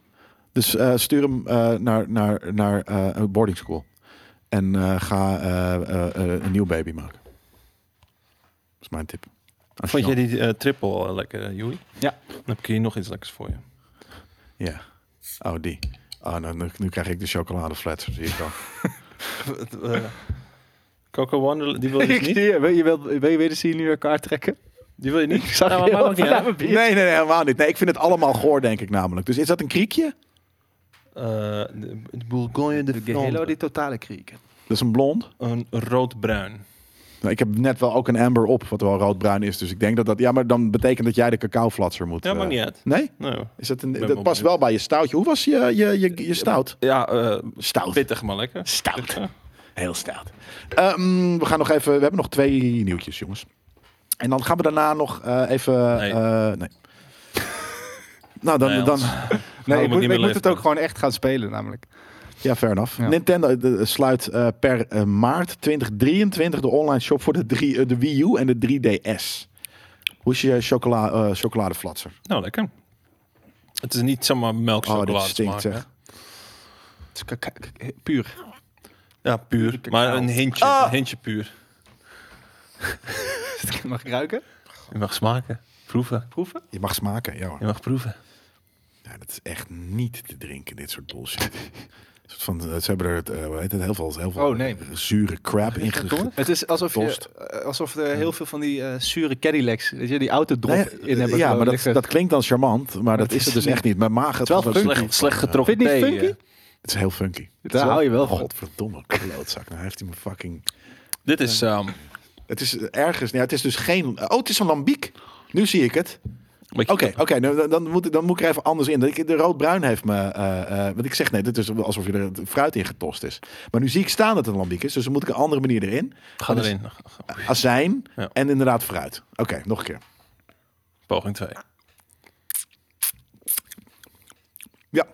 Speaker 2: Dus eh, stuur hem eh, naar, naar, naar eh, een boarding school. En eh, ga eh, eh, eh, een nieuw baby maken. Dat is mijn tip. Als
Speaker 5: Vond
Speaker 2: je
Speaker 5: jij die eh, triple eh, lekker, eh, Joey?
Speaker 4: Ja.
Speaker 5: Dan heb ik hier nog iets lekkers voor je.
Speaker 2: dan- Ja. Oh, die. Oh, nou, nu, nu krijg ik de chocoladeflats. Zie ik al.
Speaker 5: Eh, Coco Wonderland, die wil je dus
Speaker 4: Ik
Speaker 5: niet?
Speaker 4: zie je, wil, je wil, wil je weer de senior elkaar trekken?
Speaker 5: Die wil je niet?
Speaker 4: Ik zag
Speaker 5: Nou,
Speaker 4: je
Speaker 5: maar maakt
Speaker 4: heel
Speaker 5: niet uit.
Speaker 4: vanuit mijn
Speaker 2: nee,
Speaker 4: bier.
Speaker 2: nee, nee, helemaal niet. Nee, ik vind het allemaal goor, denk ik namelijk. Dus is dat een kriekje?
Speaker 5: Eh, de, de Bourgogne de
Speaker 4: De Halo
Speaker 5: Flandre.
Speaker 4: die totale krieken.
Speaker 2: Dat is een blond.
Speaker 5: Een roodbruin.
Speaker 2: Nou, ik heb net wel ook een amber op, wat wel roodbruin is. Dus ik denk dat dat... Ja, maar dan betekent dat jij de cacaoflatser moet...
Speaker 5: Ja,
Speaker 2: eh,
Speaker 5: maakt niet uit.
Speaker 2: Nee?
Speaker 5: Nou,
Speaker 2: Is dat, een,
Speaker 5: ben
Speaker 2: dat
Speaker 5: wel
Speaker 2: past wel bij je stoutje. Hoe was je, je, je, je stout?
Speaker 5: ja, eh,
Speaker 2: Stout.
Speaker 5: pittig maar lekker.
Speaker 2: Stout. Heel stout. Ehm, we gaan nog even... We hebben nog twee nieuwtjes, jongens. En dan gaan we daarna nog eh, even...
Speaker 5: Nee.
Speaker 2: eh, nee. nou, dan...
Speaker 5: Nee,
Speaker 2: dan
Speaker 5: Hans.
Speaker 4: Nee,
Speaker 5: Waarom
Speaker 4: ik
Speaker 5: het
Speaker 4: moet, ik
Speaker 5: Nou, niet meer
Speaker 4: moet het
Speaker 5: leeft,
Speaker 4: ook gewoon echt gaan spelen namelijk.
Speaker 2: ja, fair enough.
Speaker 4: Ja.
Speaker 2: Nintendo eh, sluit eh, per eh, maart 2023 de online shop voor de, drie, eh, de Wii U en de 3DS. Hoe is je chocola, eh, chocoladeflatser?
Speaker 5: Nou, lekker. Het is niet zomaar
Speaker 2: Oh,
Speaker 5: melkchocolade
Speaker 2: dit stinkt,
Speaker 5: smaak, hè?
Speaker 2: zeg.
Speaker 4: Het is kaka- Dus k- puur.
Speaker 5: Ja, puur. Maar een hintje.
Speaker 4: Ah!
Speaker 5: Een hintje puur.
Speaker 4: Mag ik ruiken?
Speaker 5: Je mag smaken. Proeven. Proeven?
Speaker 2: Je mag smaken, ja hoor.
Speaker 5: Je mag proeven.
Speaker 2: Ja, Nou, dat is echt niet te drinken, dit soort bullshit. Een soort van, eh, ze hebben er het, eh, hoe heet het, heel veel, heel veel
Speaker 4: Oh, nee.
Speaker 2: zure crap in gegooid.
Speaker 4: Het is alsof,
Speaker 2: Tost.
Speaker 4: je, eh, alsof er heel veel van die eh zure Cadillacs, weet je, die autodrop in hebben.
Speaker 2: ja,
Speaker 4: gewoon
Speaker 2: maar dat,
Speaker 4: liggen.
Speaker 2: dat klinkt dan charmant, maar, dat is het dus echt niet. Mijn maag het
Speaker 4: wel
Speaker 2: was ook
Speaker 4: funky.
Speaker 2: niet
Speaker 5: Slecht, slecht
Speaker 2: van, eh,
Speaker 5: getrokken
Speaker 4: Vind je het niet
Speaker 5: thee,
Speaker 4: funky?
Speaker 5: eh.
Speaker 2: Het is heel funky.
Speaker 4: Daar hou je wel van.
Speaker 2: Godverdomme, klootzak. Nou heeft hij me fucking...
Speaker 5: Dit is... ehm,
Speaker 2: Het is ergens... Ja, het is dus geen... Oh, het is een lambiek. Nu zie ik het.
Speaker 5: een beetje-
Speaker 2: Oké, oké. nou, dan- dan, moet, ik- dan moet ik er even anders in. Ik- De rood-bruin heeft me... eh, eh, want ik zeg, nee, dit is alsof je er het fruit in getost is. Maar nu zie ik staan dat het een lambiek is. Dus dan moet ik een andere manier erin.
Speaker 5: Ga
Speaker 2: Dan is-
Speaker 5: erin.
Speaker 2: Azijn
Speaker 5: Ja.
Speaker 2: en inderdaad fruit. Oké, nog een keer.
Speaker 5: Poging 2.
Speaker 2: Ja,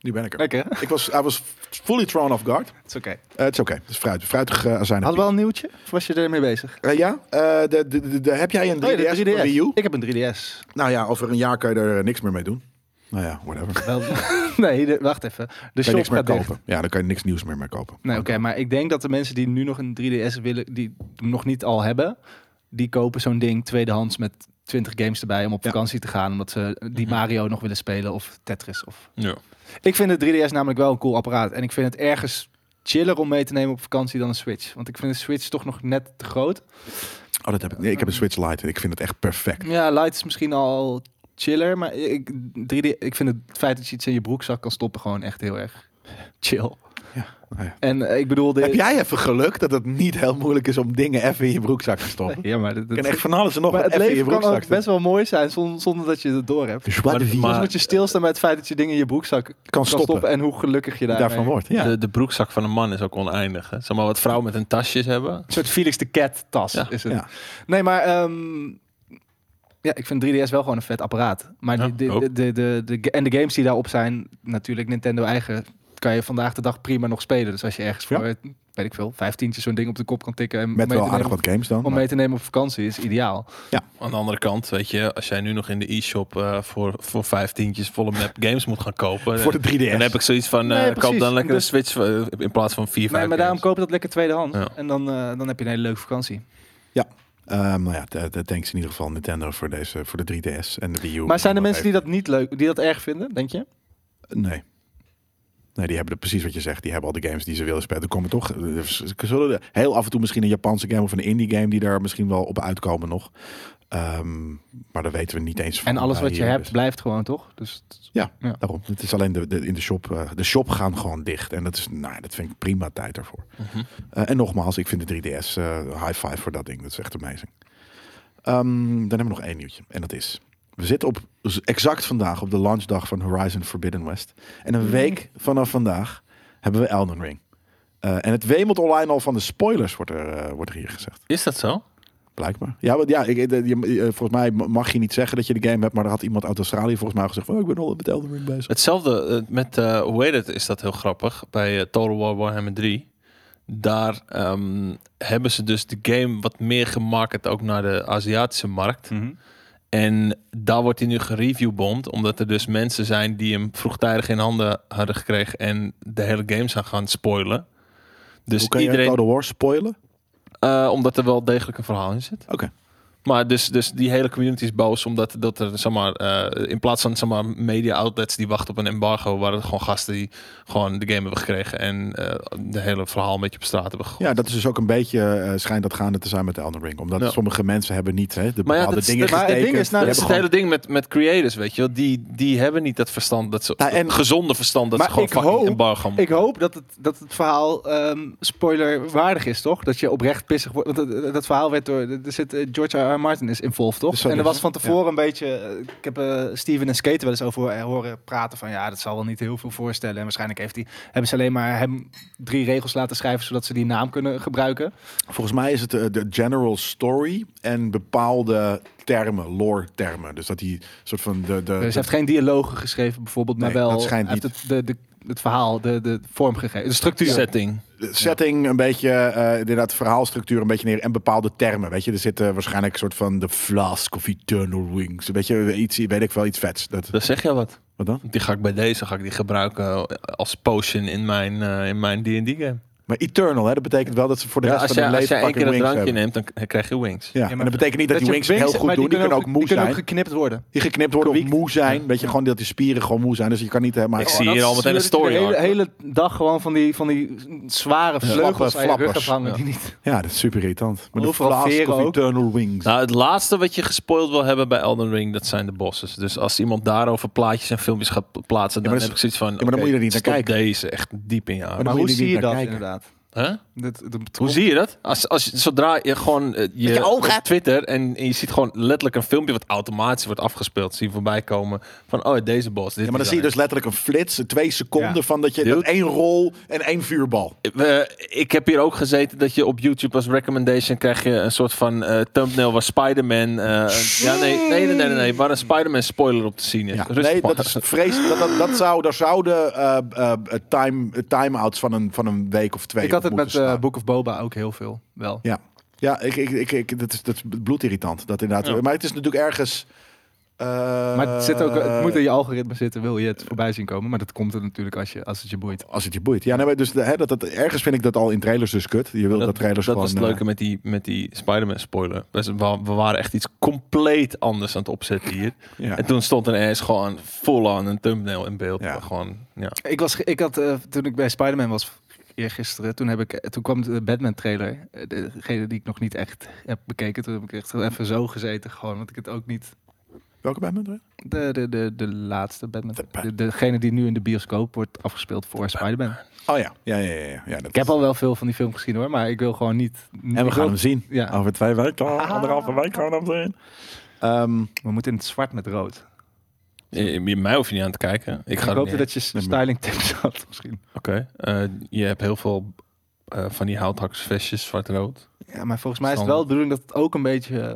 Speaker 2: nu ben ik er.
Speaker 4: Lekker, hè?
Speaker 2: Ik was, I was fully thrown off guard.
Speaker 4: Het is oké.
Speaker 2: Eh, het is oké. Het is fruit. Fruitige eh, azijn. heb
Speaker 4: Had wel een nieuwtje? Of was je ermee bezig?
Speaker 2: je. Eh, ja, eh, de, de, de, de- heb jij een 3DS,
Speaker 4: Oh ja, de
Speaker 2: of een Wii U?
Speaker 4: Ik heb een 3DS.
Speaker 2: Nou ja, over een jaar kan je er eh, niks meer mee doen. Nou ja, whatever. Kan
Speaker 4: Wel, nee, de- wacht even. De
Speaker 2: je
Speaker 4: shop
Speaker 2: niks meer
Speaker 4: gaat
Speaker 2: kopen.
Speaker 4: dicht.
Speaker 2: Ja, dan kan je niks nieuws meer meer kopen.
Speaker 4: Nee, oké, maar ik denk dat de mensen die nu nog een 3DS willen, die hem nog niet al hebben, die kopen zo'n ding tweedehands met 20 games erbij om op
Speaker 2: Ja.
Speaker 4: vakantie te gaan, omdat ze die Mario nog willen spelen of Tetris. Of...
Speaker 5: Ja.
Speaker 4: Ik vind de 3DS namelijk wel een cool apparaat en ik vind het ergens chiller om mee te nemen op vakantie dan een Switch, want ik vind de Switch toch nog net te groot.
Speaker 2: Oh, dat heb ik. Nee, ik heb een Switch Lite en ik vind het echt perfect.
Speaker 4: Ja, Light is misschien al chiller, maar ik, 3D, ik vind het feit dat je iets in je broekzak kan stoppen gewoon echt heel erg chill.
Speaker 2: Nou ja.
Speaker 4: En eh, ik bedoel, de...
Speaker 2: Heb jij even geluk dat het niet heel moeilijk is om dingen even in je broekzak te stoppen?
Speaker 4: Ja, maar dat,
Speaker 2: Ik
Speaker 4: dat,
Speaker 2: kan echt van alles en nog
Speaker 4: Maar
Speaker 2: wat
Speaker 4: het
Speaker 2: even in je
Speaker 4: leven kan
Speaker 2: broekzak
Speaker 4: ook
Speaker 2: stoppen.
Speaker 4: best wel mooi zijn zonder, zonder dat je het door hebt.
Speaker 2: Dus wat
Speaker 5: Maar-
Speaker 2: de wie
Speaker 5: maar-
Speaker 4: Soms moet je stilstaan bij het feit dat je dingen in je broekzak kan
Speaker 2: kan
Speaker 4: stoppen,
Speaker 2: stoppen
Speaker 4: en hoe gelukkig je daarmee...
Speaker 2: daarvan wordt. Ja.
Speaker 5: De, de broekzak van een man is ook oneindig. Hè. Zeg maar wat vrouwen met hun tasjes hebben.
Speaker 4: Een soort Felix de Cat tas
Speaker 5: Ja,
Speaker 4: is het.
Speaker 2: ja.
Speaker 4: Nee, maar ehm, ja, ik vind 3DS wel gewoon een vet apparaat. Maar
Speaker 5: Ja,
Speaker 4: die- de,
Speaker 5: ook.
Speaker 4: de, de, de, de- en de games die daarop zijn, natuurlijk Nintendo eigen, kan je vandaag de dag prima nog spelen. Dus als je ergens
Speaker 2: Ja.
Speaker 4: voor, eh, weet ik veel, vijftientjes zo'n ding op de kop kan tikken en
Speaker 2: Met
Speaker 4: mee
Speaker 2: wel
Speaker 4: te
Speaker 2: aardig
Speaker 4: nemen,
Speaker 2: wat games dan.
Speaker 4: om
Speaker 2: maar-
Speaker 4: mee te nemen op vakantie is ideaal.
Speaker 5: Aan de andere kant, weet je, als jij nu nog in de e-shop eh, voor, voor vijf tientjes volle map games moet gaan kopen.
Speaker 2: Voor de 3DS.
Speaker 5: Dan heb ik zoiets van, eh,
Speaker 4: Nee,
Speaker 5: koop
Speaker 4: precies.
Speaker 5: dan lekker
Speaker 4: Dus-
Speaker 5: een Switch eh, in plaats van vier,
Speaker 4: Nee,
Speaker 5: vijf
Speaker 4: maar daarom
Speaker 5: games.
Speaker 4: koop je dat lekker tweedehands.
Speaker 5: Ja.
Speaker 4: En dan, eh, dan heb je een hele leuke vakantie.
Speaker 2: Ehm, nou ja, th- th- thanks in ieder geval Nintendo voor, deze, voor de 3DS en de Wii U.
Speaker 4: Maar zijn er
Speaker 2: Wat
Speaker 4: mensen die dat niet leuk, die dat erg vinden, denk je?
Speaker 2: heeft- Nee. Nee, die hebben er precies wat je zegt. Die hebben al de games die ze willen spelen. Er komen toch... er zullen er heel af en toe misschien een Japanse game of een indie game... die daar misschien wel op uitkomen nog. Ehm, maar daar weten we niet eens van.
Speaker 4: En alles
Speaker 2: bij
Speaker 4: wat je
Speaker 2: hier,
Speaker 4: hebt
Speaker 2: dus-
Speaker 4: blijft gewoon, toch? Dus het is-
Speaker 2: Ja,
Speaker 4: Ja.
Speaker 2: daarom. Het is alleen de, de, in de shop. eh, de shop gaan gewoon dicht. En dat, is, nou, ja, dat vind ik prima tijd daarvoor. Eh, en nogmaals, ik vind de 3DS eh, high five voor dat ding. Dat is echt amazing. Ehm, dan hebben we nog één nieuwtje. En dat is... We zitten op, dus exact vandaag op de launchdag van Horizon Forbidden West. En een week vanaf vandaag hebben we Elden Ring. Eh, en het wemelt online al van de spoilers, wordt er, eh, wordt er hier gezegd.
Speaker 5: Is dat zo?
Speaker 2: Blijkbaar. Ja, want ja ik, eh, je- eh, volgens mij mag je niet zeggen dat je de game hebt. Maar er had iemand uit Australië volgens mij al gezegd... Oh, ik ben al met Elden Ring bezig.
Speaker 5: Hetzelfde eh, met, eh hoe heet het, is dat heel grappig. Bij eh, Total War Warhammer 3. Daar ehm, hebben ze dus de game wat meer gemarket ook naar de Aziatische markt.
Speaker 4: Mhm.
Speaker 5: En daar wordt hij nu gereviewbomd, omdat er dus mensen zijn die hem vroegtijdig in handen hadden gekregen en de hele game zijn gaan spoilen. Dus
Speaker 2: Hoe kan
Speaker 5: iedereen,
Speaker 2: je Total War spoilen?
Speaker 4: nou
Speaker 5: eh, omdat er wel degelijk een verhaal in zit.
Speaker 2: Oké.
Speaker 5: Maar dus, dus die hele community is boos omdat dat er, zeg maar, eh, in plaats van zeg maar, media outlets die wachten op een embargo, waren het gewoon gasten die gewoon de game hebben gekregen en eh de hele verhaal een beetje op straat hebben gegooid.
Speaker 2: Ja, dat is dus ook een beetje eh, schijnt dat gaande te zijn met Elden Ring. Omdat
Speaker 5: Ja.
Speaker 2: sommige mensen hebben niet hè, de
Speaker 5: Maar ja,
Speaker 2: bepaalde
Speaker 5: dat is-
Speaker 2: dingen
Speaker 4: maar het ding
Speaker 2: getekend.
Speaker 4: is nou-
Speaker 2: Die
Speaker 5: dat is
Speaker 2: hebben
Speaker 5: het
Speaker 2: gewoon-
Speaker 5: hele ding met, met creators, weet je wel. Die, die hebben niet dat verstand, dat ze,
Speaker 2: Nou, en-
Speaker 5: dat gezonde verstand, dat ze
Speaker 4: Maar
Speaker 5: gewoon
Speaker 4: ik
Speaker 5: fucking
Speaker 4: hoop-
Speaker 5: embargo moeten.
Speaker 4: Ik hoop dat het, dat het verhaal ehm, spoilerwaardig is, toch? Dat je oprecht pissig wordt. Want dat, dat verhaal werd door... Er zit, eh, George R. R. Martin is involved, toch?
Speaker 2: Dus zo
Speaker 4: en er
Speaker 2: dus.
Speaker 4: was van tevoren een beetje... eh, Ik heb eh, Steven en Skate wel eens over ho- horen praten van... Ja, dat zal wel niet heel veel voorstellen. En waarschijnlijk heeft hij, hebben ze alleen maar hem drie regels laten schrijven... zodat ze die naam kunnen gebruiken.
Speaker 2: Volgens mij is het eh, de general story en bepaalde termen, lore termen. Dus dat die soort van de, de,
Speaker 4: dus hij heeft geen dialogen geschreven bijvoorbeeld, maar
Speaker 2: Nee,
Speaker 4: wel...
Speaker 2: dat schijnt
Speaker 4: hij heeft Het, de, de, het verhaal, de, de vorm gegeven. De structuur.
Speaker 5: Setting.
Speaker 2: de setting, een beetje eh inderdaad verhaalstructuur een beetje neer en bepaalde termen. Weet je, er zitten waarschijnlijk een soort van de flask of eternal wings. Weet je, iets, weet ik wel, iets vets. Dat,
Speaker 5: Dat zeg je wat.
Speaker 2: wat dan?
Speaker 5: Die ga ik bij deze ga ik die gebruiken eh, als potion in mijn eh, in mijn D&D game.
Speaker 2: Maar eternal, hè, dat betekent wel dat ze voor de
Speaker 5: Ja,
Speaker 2: rest
Speaker 5: als
Speaker 2: van
Speaker 5: jij
Speaker 2: hun
Speaker 5: als
Speaker 2: leven
Speaker 5: jij één
Speaker 2: fucking
Speaker 5: keer een
Speaker 2: wings
Speaker 5: drankje
Speaker 2: hebben.
Speaker 5: neemt, dan k- dan krijg je wings.
Speaker 2: Ja, en dat betekent niet dat, die
Speaker 4: je
Speaker 2: wings het heel
Speaker 4: wings-
Speaker 2: goed
Speaker 4: maar
Speaker 2: doen. Die kunnen ook
Speaker 4: die
Speaker 2: moe
Speaker 4: kunnen
Speaker 2: zijn.
Speaker 4: ook geknipt worden.
Speaker 2: Die geknipt worden of
Speaker 4: Gewiekt.
Speaker 2: moe zijn. Weet je, gewoon dat die spieren gewoon moe zijn. Dus je kan niet helemaal...
Speaker 5: Ik
Speaker 2: Oh,
Speaker 5: zie
Speaker 4: dat
Speaker 5: hier al meteen een
Speaker 4: slurpt hij
Speaker 5: story
Speaker 4: De hele,
Speaker 5: arc.
Speaker 4: hele dag gewoon van die, van die zware vleugels aan je rug
Speaker 2: flappers.
Speaker 4: afhangen. Die niet.
Speaker 2: Ja, dat is super irritant. Maar de
Speaker 4: Overal
Speaker 2: flask
Speaker 4: veren
Speaker 2: of
Speaker 4: ook.
Speaker 2: eternal wings.
Speaker 5: Nou, het laatste wat je gespoild wil hebben bij Elden Ring, dat zijn de bosses. Dus als iemand daarover plaatjes en filmpjes gaat pl- plaatsen, dan
Speaker 2: maar dat
Speaker 5: heb ik
Speaker 2: is-
Speaker 5: zoiets van...
Speaker 2: maar dan
Speaker 5: oké,
Speaker 2: moet je er niet naar
Speaker 5: stop
Speaker 2: kijken.
Speaker 5: deze echt diep in je
Speaker 2: Maar
Speaker 5: adem.
Speaker 2: dan
Speaker 4: Maar
Speaker 2: moet
Speaker 4: hoe
Speaker 2: je er
Speaker 4: zie
Speaker 2: niet
Speaker 4: je
Speaker 2: naar
Speaker 4: dat
Speaker 2: kijken.
Speaker 4: inderdaad?
Speaker 5: Huh?
Speaker 4: Dat, dat,
Speaker 5: Hoe zie je dat? Als, als, je- zodra je gewoon eh, je,
Speaker 4: je oog
Speaker 5: op Twitter en, en je ziet gewoon letterlijk een filmpje wat automatisch wordt afgespeeld, zie je voorbij komen van oh deze boss. Dit
Speaker 2: Ja, maar dan zie je dus letterlijk een flits, twee seconden
Speaker 4: Ja.
Speaker 2: van dat je
Speaker 5: Dude.
Speaker 2: dat één rol en één vuurbal.
Speaker 5: We- ik heb hier ook gezeten dat je op YouTube als recommendation krijg je een soort van eh, thumbnail waar Spider-Man. eh, een- ja, nee, nee, nee, nee, nee, nee, waar een Spider-Man spoiler op te zien is.
Speaker 2: Ja.
Speaker 5: Rustig
Speaker 2: Nee,
Speaker 5: maar.
Speaker 2: dat is vrees. Dat, dat, dat zou, daar zouden eh, eh, time, time-outs van een, van een week of twee
Speaker 4: Ik had het
Speaker 2: op
Speaker 4: met
Speaker 2: moeten
Speaker 4: eh,
Speaker 2: staan.
Speaker 4: Book of Boba ook heel veel. Wel.
Speaker 2: Ja, ja ik, ik, ik, ik- dat, is, dat is bloedirritant. Dat inderdaad.
Speaker 5: Ja.
Speaker 2: Maar het is natuurlijk ergens... eh,
Speaker 4: Maar het, zit ook, het moet in je algoritme zitten, wil je het voorbij zien komen. Maar dat komt er natuurlijk als, je, als het je boeit.
Speaker 2: Als het je boeit. Ja, nee, maar dus, hè, dat, dat, ergens vind ik dat al in trailers dus kut. Je wil dat, trailers
Speaker 5: dat
Speaker 2: gewoon...
Speaker 5: was het
Speaker 2: eh,
Speaker 5: leuke met die, met die Spider-Man spoiler. Dus we, we waren echt iets compleet anders aan het opzetten hier.
Speaker 2: Ja.
Speaker 5: En toen stond er ineens gewoon vol aan een thumbnail in beeld.
Speaker 2: Ja.
Speaker 5: Gewoon, ja.
Speaker 4: Ik was, ge- ik had, eh, toen ik bij Spider-Man was eergisteren, toen, heb ik, eh, toen kwam de Batman-trailer. eh, Degene die ik nog niet echt heb bekeken. Toen heb ik echt even zo gezeten gewoon, want ik het ook niet...
Speaker 2: eh, Welke bij me?
Speaker 4: De, de, de, de laatste Batman.
Speaker 2: De Bat-
Speaker 4: De, degene die nu in de bioscoop wordt afgespeeld voor Spider-Man.
Speaker 2: Oh ja. Ja, ja, ja. ja, ja dat
Speaker 4: Ik heb al wel veel van die film gezien hoor, maar ik wil gewoon niet...
Speaker 2: En we gaan hem zien.
Speaker 4: Ja.
Speaker 2: Over twee weken. Anderhalve week gaan we hem zien. Ehm,
Speaker 4: We moeten in het zwart met rood.
Speaker 5: Je- je- Mij hoef je niet aan te kijken. Ik
Speaker 4: Ik,
Speaker 5: ga er
Speaker 4: hoopte
Speaker 5: niet
Speaker 4: dat je s-
Speaker 2: Nee, maar-
Speaker 4: styling tips had misschien.
Speaker 5: heen. Oké. Eh, je hebt heel veel eh, van die houthakkersvestjes, zwart-rood.
Speaker 4: Ja, maar volgens mij is het wel de bedoeling dat het ook een beetje... eh,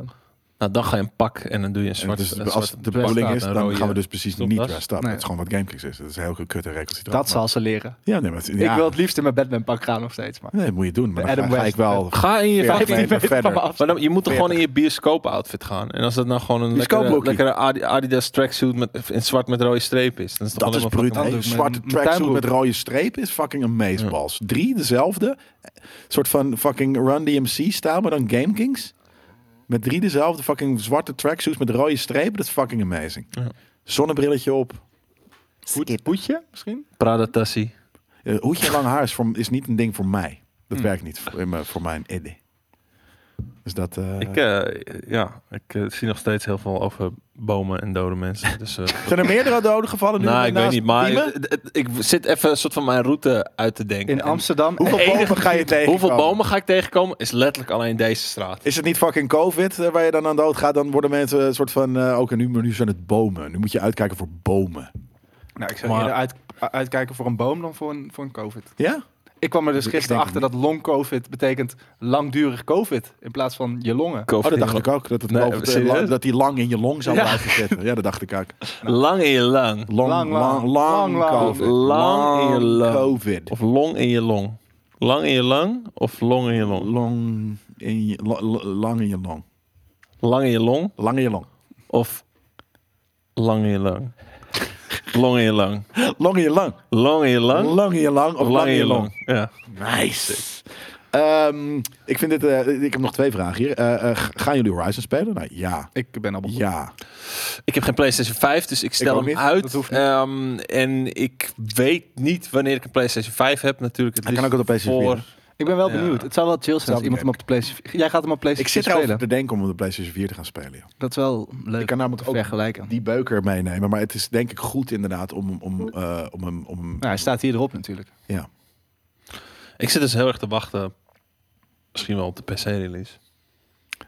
Speaker 5: Nou, dan ga je een pak en dan doe je een
Speaker 2: en het
Speaker 5: zwart.
Speaker 2: is-
Speaker 5: een
Speaker 2: dus als
Speaker 5: zwart-
Speaker 2: de
Speaker 5: dress
Speaker 2: bedoeling
Speaker 5: staat,
Speaker 2: is,
Speaker 5: een
Speaker 2: dan
Speaker 5: rode-
Speaker 2: gaan we dus precies
Speaker 5: stopdas.
Speaker 2: niet dress up.
Speaker 4: Nee.
Speaker 2: Dat is gewoon wat Gamekings is. Dat is heel kut en recalcitrant.
Speaker 4: dat zal ze leren.
Speaker 2: Ja, nee, maar het-
Speaker 4: Ik
Speaker 2: ja,
Speaker 4: wil het liefst in mijn Batman pak gaan nog steeds, maar...
Speaker 2: Nee, dat moet je doen. Maar dan
Speaker 4: Adam
Speaker 2: ga, ga
Speaker 4: West.
Speaker 2: ik wel...
Speaker 5: Ga in je
Speaker 2: dus- Ja,
Speaker 5: 15
Speaker 2: nee,
Speaker 4: meter van
Speaker 2: verder.
Speaker 4: me af.
Speaker 5: Maar dan, je moet er gewoon in je bioscoop-outfit gaan. En als dat nou gewoon een lekkere,
Speaker 2: Bioscoop-broekie.
Speaker 5: lekkere Adi- Adidas tracksuit met, in zwart met rode streep is. Dan is het toch
Speaker 2: Dat is
Speaker 5: alleen maar
Speaker 2: brutaal.
Speaker 4: fucking-
Speaker 2: Een zwarte
Speaker 4: Mijn- mijn
Speaker 2: tracksuit
Speaker 4: tuinbroek.
Speaker 2: met rode strepen is fucking amazing balls. Drie dezelfde. eh, soort van fucking Run DMC-stijl, maar dan Gamekings. Met drie dezelfde fucking zwarte tracksuits met rode strepen. Dat is fucking amazing.
Speaker 5: Ja.
Speaker 2: Zonnebrilletje op.
Speaker 4: Poetje misschien?
Speaker 5: Prada tassie.
Speaker 2: Eh, hoedje en lang haar is, voor, is niet een ding voor mij. Dat
Speaker 5: Hmm.
Speaker 2: werkt niet voor, in mijn- voor mijn idee. Dus dat... eh,
Speaker 5: Ik, eh, ja, ik eh, zie nog steeds heel veel over bomen en dode mensen. Dus, eh,
Speaker 2: Zijn er meerdere doden gevallen nu?
Speaker 5: nou, ik weet
Speaker 2: naast
Speaker 5: niet. Maar
Speaker 2: Diemen?
Speaker 5: het- het- ik zit even een soort van mijn route uit te denken.
Speaker 4: In
Speaker 5: En
Speaker 4: Amsterdam.
Speaker 2: Hoeveel
Speaker 5: enige-
Speaker 2: bomen ga je tegenkomen?
Speaker 5: Hoeveel bomen ga ik tegenkomen? Is letterlijk alleen deze straat.
Speaker 2: Is het niet fucking COVID eh, waar je dan aan dood gaat? Dan worden mensen een soort van... eh, Oké, nu, maar nu zijn het bomen. Nu moet je uitkijken voor bomen.
Speaker 4: Nou, ik zou
Speaker 5: Maar-
Speaker 4: eerder uit, uitkijken voor een boom dan voor een, voor een covid.
Speaker 2: Ja?
Speaker 4: Ik kwam er dus
Speaker 2: Ik
Speaker 4: gisteren
Speaker 2: denk
Speaker 4: achter dat long covid betekent langdurig covid in plaats van je longen.
Speaker 2: Oh, dat dacht ik ook. Dat, het
Speaker 5: Nee,
Speaker 2: COVID, eh,
Speaker 5: serieus?
Speaker 2: lang- dat die lang in je long zou
Speaker 5: Ja.
Speaker 2: blijven zitten. Ja, dat dacht ik ook.
Speaker 5: Lang in je lang.
Speaker 2: Long, lang,
Speaker 4: Lang,
Speaker 2: lang,
Speaker 4: lang. Lang, lang.
Speaker 2: COVID.
Speaker 5: Lang in je lang.
Speaker 2: COVID.
Speaker 5: Of long in je long. Lang in je lang of long in je long?
Speaker 2: Long in je, lo- lo- lang in je long.
Speaker 5: Lang in je long
Speaker 2: Lang in je long.
Speaker 5: of lang in je lang? Long in je lang.
Speaker 2: Long in je lang.
Speaker 5: Long in je lang
Speaker 2: Lang in je lang. Of
Speaker 5: of lang in je long? Ja.
Speaker 2: Nice. Ehm, ik, vind dit, eh, ik heb nog twee vragen hier. Eh, eh, g- gaan jullie Horizon spelen? Nou, ja.
Speaker 4: Ik ben al begonnen.
Speaker 2: Ja.
Speaker 5: Ik heb geen PlayStation 5, dus ik stel
Speaker 2: ook
Speaker 5: hem
Speaker 2: niet.
Speaker 5: uit.
Speaker 2: Dat hoeft niet.
Speaker 5: Ehm, en ik weet niet wanneer ik een PlayStation 5 heb, natuurlijk. Het
Speaker 2: Hij kan
Speaker 5: liefst
Speaker 2: ook op de PlayStation 4.
Speaker 5: voor-
Speaker 4: Ik ben wel
Speaker 5: Ja.
Speaker 4: benieuwd. Het zou wel chill zijn als
Speaker 2: Zou
Speaker 4: iemand hem op de PlayStation... Jij gaat hem op
Speaker 2: Ik
Speaker 4: PlayStation
Speaker 2: zit erover
Speaker 4: spelen.
Speaker 2: te denken om op de PlayStation 4 te gaan spelen. joh.
Speaker 4: Dat is wel leuk.
Speaker 2: Ik kan namelijk ook
Speaker 4: vergelijken.
Speaker 2: die beuker meenemen. Maar het is denk ik goed inderdaad om, om, eh, om hem... Om,
Speaker 4: Nou, hij staat hier erop natuurlijk.
Speaker 2: ja.
Speaker 5: Ik zit dus heel erg te wachten. Misschien wel op de PC-release.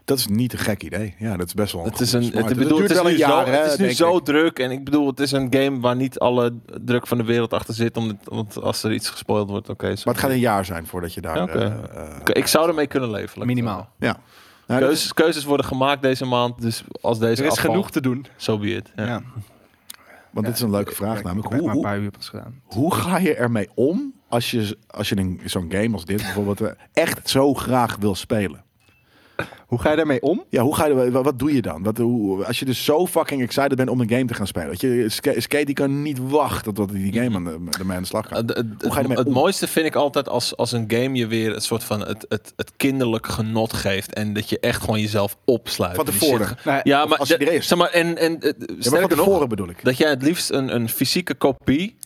Speaker 2: Dat is niet een gek idee. Ja, dat is best wel een
Speaker 5: Het is,
Speaker 2: goed
Speaker 5: een,
Speaker 2: smart.
Speaker 5: het, bedoel, het
Speaker 2: duurt
Speaker 5: is
Speaker 2: wel
Speaker 5: nu,
Speaker 2: een jaar,
Speaker 5: zo,
Speaker 2: hè,
Speaker 5: het is nu
Speaker 2: denk
Speaker 5: zo
Speaker 2: ik.
Speaker 5: druk. En ik bedoel, het is een game waar niet alle druk van de wereld achter zit. Omdat, want als er iets gespoild wordt, oké. zo.
Speaker 2: Maar het gaat een jaar zijn voordat je daar...
Speaker 5: Ja, oké.
Speaker 2: eh, eh,
Speaker 5: Oké, ik zou ermee kunnen leven. laat ik
Speaker 4: Minimaal.
Speaker 2: ja. Nou, dat is-
Speaker 5: Keuzes, keuzes worden gemaakt deze maand, dus als deze
Speaker 4: Er is
Speaker 5: afvalt,
Speaker 4: genoeg te doen.
Speaker 5: Zo be it. Ja.
Speaker 4: Ja.
Speaker 2: want dit is een leuke vraag namelijk. Hoe,
Speaker 4: maar een
Speaker 2: hoe,
Speaker 4: paar uur pas gedaan.
Speaker 2: hoe ga je ermee om als je, als je een- zo'n game als dit bijvoorbeeld eh, echt zo graag wil spelen?
Speaker 4: Hoe ga je daarmee om?
Speaker 2: Ja, hoe ga je, wa- wat doe je dan? Wat, hoe, als je dus zo fucking excited bent om een game te gaan spelen. Weet je, Ska- Skate die kan niet wachten tot hij die game aan de, ermee aan de slag
Speaker 5: Eh,
Speaker 2: gaat.
Speaker 5: d- d-
Speaker 2: Hoe ga je ermee
Speaker 5: het
Speaker 2: om?
Speaker 5: mooiste vind ik altijd als, als een game je weer een soort van het, het, het kinderlijk genot geeft. En dat je echt gewoon jezelf opsluit.
Speaker 2: Van
Speaker 5: En die
Speaker 2: tevoren.
Speaker 5: shit ge-
Speaker 4: Nee,
Speaker 5: ja, maar,
Speaker 2: als je
Speaker 5: dat-
Speaker 2: er is.
Speaker 5: Zeg maar, en, en, eh,
Speaker 2: Ja, maar van
Speaker 5: sterker nog,
Speaker 2: tevoren bedoel ik.
Speaker 5: dat jij het liefst een, een fysieke kopie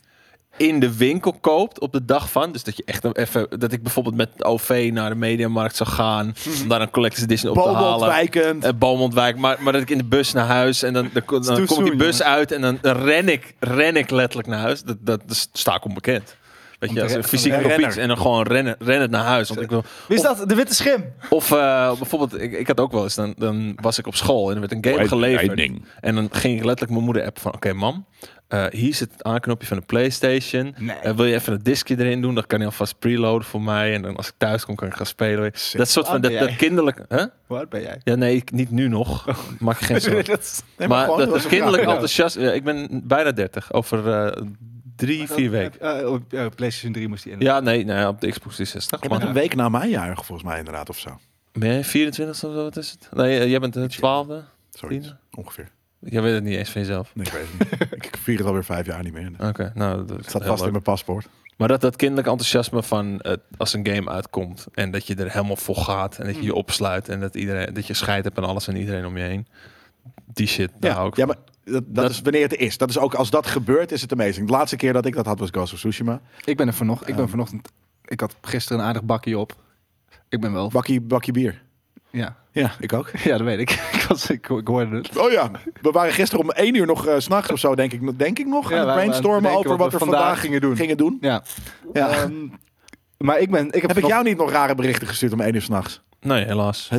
Speaker 5: in de winkel koopt op de dag van. Dus dat je echt even, dat ik bijvoorbeeld met OV naar de mediamarkt zou gaan. Om daar een collector's edition op te halen.
Speaker 2: Bobontwijkend.
Speaker 5: Eh, Beaumontwijk, maar, maar dat ik in de bus naar huis en dan, dan, dan,
Speaker 4: too
Speaker 5: kom ik die
Speaker 4: soon,
Speaker 5: bus uit en dan, dan ren, ik, ren ik letterlijk naar huis. Dat, dat, dat sta ik onbekend. Weet je, als een fysieke
Speaker 2: een renner.
Speaker 5: kopiet en dan gewoon rennen, rennen naar huis. Want ik wil,
Speaker 4: Wie is dat? De witte schim.
Speaker 5: of eh, bijvoorbeeld, ik, ik had ook wel eens, dan, dan was ik op school en er werd een game geleverd. En dan ging ik letterlijk mijn moeder appen van, oké mam, eh, hier zit het aanknopje van de Playstation.
Speaker 4: Nee.
Speaker 5: Eh, wil je even een diskje erin doen? Dat kan hij alvast preloaden voor mij. En dan als ik thuis kom, kan ik gaan spelen. Dat soort van,
Speaker 4: Ah,
Speaker 5: dat,
Speaker 4: ben
Speaker 5: dat
Speaker 4: jij.
Speaker 5: kinderlijke... Hè?
Speaker 4: Hoe oud ben jij?
Speaker 5: Ja, nee, ik, niet nu nog. Maak je geen zorgen.
Speaker 2: Nee,
Speaker 5: maar
Speaker 2: gewoon,
Speaker 5: dat, dat
Speaker 2: was een
Speaker 5: kinderlijk
Speaker 2: vraag.
Speaker 5: enthousiast. Ja, ik ben bijna 30. Over eh, drie, vier weken.
Speaker 4: Eh, op eh, PlayStation 3 moest hij in.
Speaker 5: Ja, nee, nee, op de Xbox 360.
Speaker 2: Je bent
Speaker 5: Maar,
Speaker 2: een week na mijn jaar volgens mij inderdaad of zo.
Speaker 5: ben jij 24 of zo? Wat is het? Nee, eh, jij bent de 12e.
Speaker 2: Zoiets,
Speaker 5: Tien?
Speaker 2: ongeveer.
Speaker 5: Jij weet het niet eens van jezelf.
Speaker 2: Nee, ik weet het niet. ik vier het alweer vijf jaar niet meer. Het
Speaker 5: Oké, nou, dat is
Speaker 2: staat
Speaker 5: heel
Speaker 2: vast in
Speaker 5: leuk.
Speaker 2: mijn paspoort.
Speaker 5: Maar dat, dat kinderlijk enthousiasme van eh, als een game uitkomt en dat je er helemaal voor gaat en dat je je opsluit en dat, iedereen, dat je scheid hebt aan alles en iedereen om je heen. Die shit, daar hou
Speaker 2: Ja,
Speaker 5: ik
Speaker 2: ja
Speaker 5: van.
Speaker 2: maar dat, dat,
Speaker 5: Dat-
Speaker 2: is wanneer het is. Dat is ook, als dat gebeurt, is het amazing. De laatste keer dat ik dat had was Ghost of Tsushima.
Speaker 4: Ik ben er vanochtend. Ik ben vanochtend. Ik had gisteren een aardig bakje op. Ik ben wel.
Speaker 2: Bakkie, bakkie bier.
Speaker 4: Ja.
Speaker 2: Ja, ik ook.
Speaker 4: ja, dat weet ik. ik, was, ik, ik hoorde het.
Speaker 2: Oh ja, we waren gisteren om één uur nog eh, s s'nachts of zo, denk ik, denk ik
Speaker 4: Ja,
Speaker 2: nog. aan het
Speaker 4: wij- wij
Speaker 2: brainstormen
Speaker 4: denken
Speaker 2: over wat we vandaag, gingen doen.
Speaker 4: Ja.
Speaker 2: Ja.
Speaker 4: Ehm, maar ik ben. Ik heb,
Speaker 2: Heb ik
Speaker 4: vanochtend-
Speaker 2: jou niet nog rare berichten gestuurd om één uur s'nachts?
Speaker 5: Nee, helaas.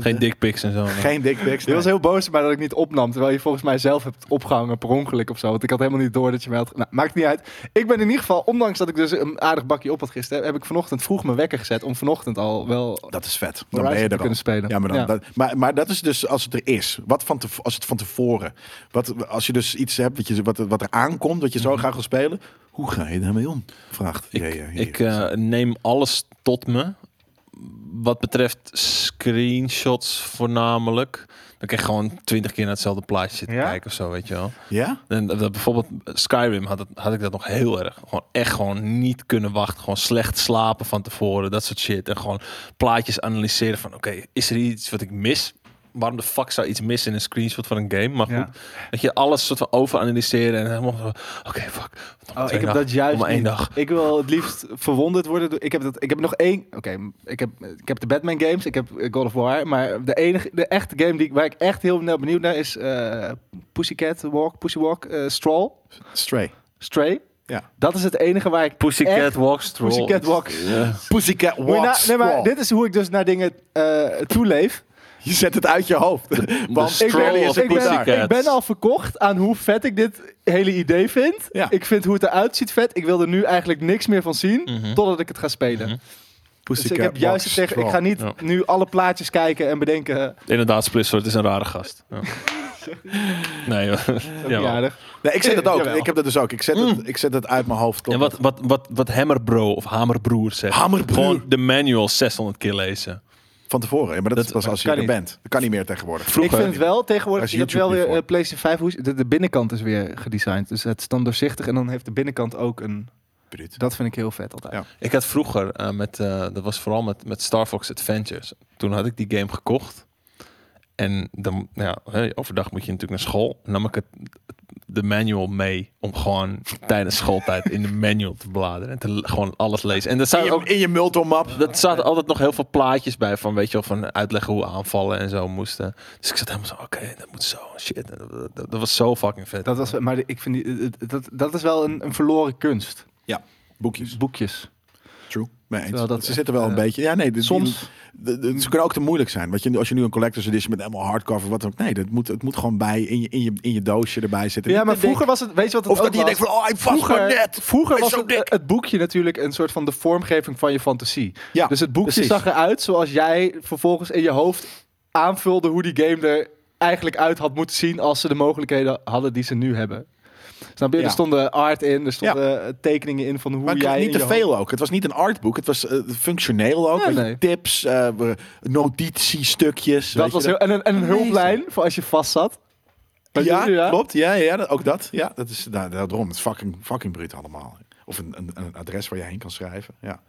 Speaker 5: Geen dickpics en zo. nee.
Speaker 2: Geen dickpics.
Speaker 4: Je
Speaker 2: nee.
Speaker 4: was heel boos maar dat ik niet opnam. Terwijl je volgens mij zelf hebt opgehangen per ongeluk of zo. Want ik had helemaal niet door dat je mij had... Nou, maakt niet uit. Ik ben in ieder geval, ondanks dat ik dus een aardig bakje op had gisteren... heb ik vanochtend vroeg mijn wekker gezet om vanochtend al wel...
Speaker 2: Dat is vet. Dan
Speaker 4: Horizon
Speaker 2: ben je
Speaker 4: te
Speaker 2: er al.
Speaker 4: kunnen spelen.
Speaker 2: Ja, maar, dan,
Speaker 4: Ja.
Speaker 2: Dat, maar, maar dat is dus als het er is. Wat van tev- als het van tevoren. Wat, als je dus iets hebt wat, je, wat, wat er aankomt, wat je
Speaker 4: Mhm.
Speaker 2: zo graag wil spelen. Hoe ga je daarmee om? Vraagt
Speaker 5: Ik,
Speaker 2: JJ hier.
Speaker 5: ik eh, neem alles tot me. Wat betreft screenshots voornamelijk. Dan kan je gewoon twintig keer naar hetzelfde plaatje zitten
Speaker 4: Ja?
Speaker 5: kijken of zo, weet je wel.
Speaker 2: ja?
Speaker 5: En dat, dat bijvoorbeeld Skyrim had, het, had ik dat nog heel erg. Gewoon echt gewoon niet kunnen wachten. Gewoon slecht slapen van tevoren, dat soort shit. En gewoon plaatjes analyseren van oké, is er iets wat ik mis? Waarom de fuck zou iets missen in een screenshot van een game? Maar goed,
Speaker 4: Ja.
Speaker 5: dat je alles soort van overanalyseren en helemaal zo, oké, fuck. nog
Speaker 4: Oh,
Speaker 5: twee
Speaker 4: ik heb
Speaker 5: dagen,
Speaker 4: dat juist
Speaker 5: nog maar één
Speaker 4: niet.
Speaker 5: dag.
Speaker 4: Ik wil het liefst verwonderd worden. door- Ik heb, dat, ik heb nog één... Oké, ik, heb, ik heb de Batman games, ik heb eh, God of War. Maar de enige, de echte game die, ik- waar ik echt heel naar benieuwd naar is... eh, Pussycat Walk, Pussy Walk, eh, Stroll,
Speaker 2: Stray.
Speaker 4: Stray.
Speaker 2: Ja.
Speaker 4: Dat is het enige waar ik
Speaker 5: Pussycat
Speaker 4: echt-
Speaker 5: Walks Troll.
Speaker 4: Pussycat Walk.
Speaker 2: Pussycat
Speaker 4: Hoe je na-
Speaker 2: walks.
Speaker 4: nee, maar
Speaker 2: Stroll.
Speaker 4: dit is hoe ik dus naar dingen eh toeleef.
Speaker 2: Je zet het uit je hoofd. Want
Speaker 5: Stroll
Speaker 2: Stray
Speaker 5: of
Speaker 2: is een
Speaker 4: ik, ben,
Speaker 5: Pussycat.
Speaker 2: pussycat.
Speaker 4: ik ben al verkocht aan hoe vet ik dit hele idee vind.
Speaker 2: Ja.
Speaker 4: Ik vind hoe het eruit ziet vet. Ik wil er nu eigenlijk niks meer van zien, totdat ik het ga spelen. Dus ik heb juist het tegen, ik ga niet
Speaker 5: Ja.
Speaker 4: nu alle plaatjes kijken en bedenken, eh,
Speaker 5: Inderdaad, Splitsword is een rare gast. Ja. nee, joh.
Speaker 4: ja,
Speaker 5: Jawel.
Speaker 4: aardig.
Speaker 2: Nee, ik zet het ook.
Speaker 4: Jawel.
Speaker 2: Ik heb dat dus ook. Ik zet het, ik zet het uit mijn hoofd.
Speaker 5: En wat, wat, wat, wat Hammerbro of Hamerbroer zegt.
Speaker 2: Hamerbroer.
Speaker 5: Gewoon de manual 600 keer lezen.
Speaker 2: Van tevoren. Ja, maar dat,
Speaker 5: Dat-
Speaker 2: is pas als je
Speaker 4: kan
Speaker 2: er
Speaker 4: niet.
Speaker 2: bent. Dat kan niet meer tegenwoordig.
Speaker 4: Ik
Speaker 5: Vroeger.
Speaker 4: vind het wel tegenwoordig,
Speaker 2: Als
Speaker 4: je hebt wel
Speaker 2: YouTube
Speaker 4: weer
Speaker 2: hiervoor.
Speaker 4: eh, PlayStation 5, hoes- de, de binnenkant is weer gedesigned. Dus het is dan doorzichtig en dan heeft de binnenkant ook een
Speaker 2: Absoluut.
Speaker 4: Dat vind ik heel vet altijd.
Speaker 2: Ja.
Speaker 5: Ik had vroeger, eh, met, eh, dat was vooral met, met Star Fox Adventures. Toen had ik die game gekocht. En dan, nou ja, hè, overdag moet je natuurlijk naar school. En nam ik het, de manual mee om gewoon tijdens schooltijd in de manual te bladeren. En te, l- gewoon alles lezen. En dat
Speaker 2: In
Speaker 5: staat
Speaker 2: je,
Speaker 5: ook
Speaker 2: in je multomap.
Speaker 5: Dat zaten altijd nog heel veel plaatjes bij van, weet je wel, van uitleggen hoe aanvallen en zo moesten. Dus ik zat helemaal zo, oké, dat moet zo, shit. En Dat, dat, dat was zo fucking vet.
Speaker 4: Dat was, maar ik vind die, dat, dat is wel een, een verloren kunst.
Speaker 2: Boekjes.
Speaker 4: Boekjes.
Speaker 2: True. Mee eens.
Speaker 4: Terwijl dat
Speaker 2: ze zitten wel een
Speaker 4: echt, eh,
Speaker 2: beetje. Ja, nee. de-
Speaker 4: Soms.
Speaker 2: de- de- ze kunnen ook te moeilijk zijn. Wat je, nu- als je nu een collector's edition met helemaal hardcover, wat dan ook. Nee, dat moet, het moet gewoon bij in je, in je, in je doosje erbij zitten.
Speaker 4: Ja,
Speaker 2: Niet
Speaker 4: maar
Speaker 2: te dik.
Speaker 4: vroeger was het, weet je wat het
Speaker 2: Of
Speaker 4: ook
Speaker 2: dat je
Speaker 4: was?
Speaker 2: denkt van, oh, hij vast maar
Speaker 4: Vroeger,
Speaker 2: net.
Speaker 4: vroeger
Speaker 2: Hij is
Speaker 4: was
Speaker 2: zo
Speaker 4: het, eh,
Speaker 2: dik.
Speaker 4: het boekje natuurlijk een soort van de vormgeving van je fantasie.
Speaker 2: Ja,
Speaker 4: dus het boekje
Speaker 2: precies.
Speaker 4: zag eruit zoals jij vervolgens in je hoofd aanvulde hoe die game er eigenlijk uit had moeten zien als ze de mogelijkheden hadden die ze nu hebben. Snap je?
Speaker 2: Ja.
Speaker 4: Er stonden art in, er stonden eh, tekeningen in van hoe
Speaker 2: Maar het
Speaker 4: jij
Speaker 2: was niet
Speaker 4: in
Speaker 2: te
Speaker 4: je hoofd-
Speaker 2: veel ook. Het was niet een artboek. Het was eh, functioneel ook.
Speaker 4: Ja,
Speaker 2: Weet je,
Speaker 4: nee.
Speaker 2: Tips, eh, we- notitiestukjes. weet
Speaker 4: Dat
Speaker 2: je,
Speaker 4: was heel, en een, en een hulplijn voor als je vast zat. Weet
Speaker 2: Ja,
Speaker 4: je,
Speaker 2: klopt. Ja, ja, dat- ook dat. Ja, dat is nou, daarom. Het is fucking, fucking bruut allemaal. Of een, een, een adres waar je heen kan schrijven. Ja.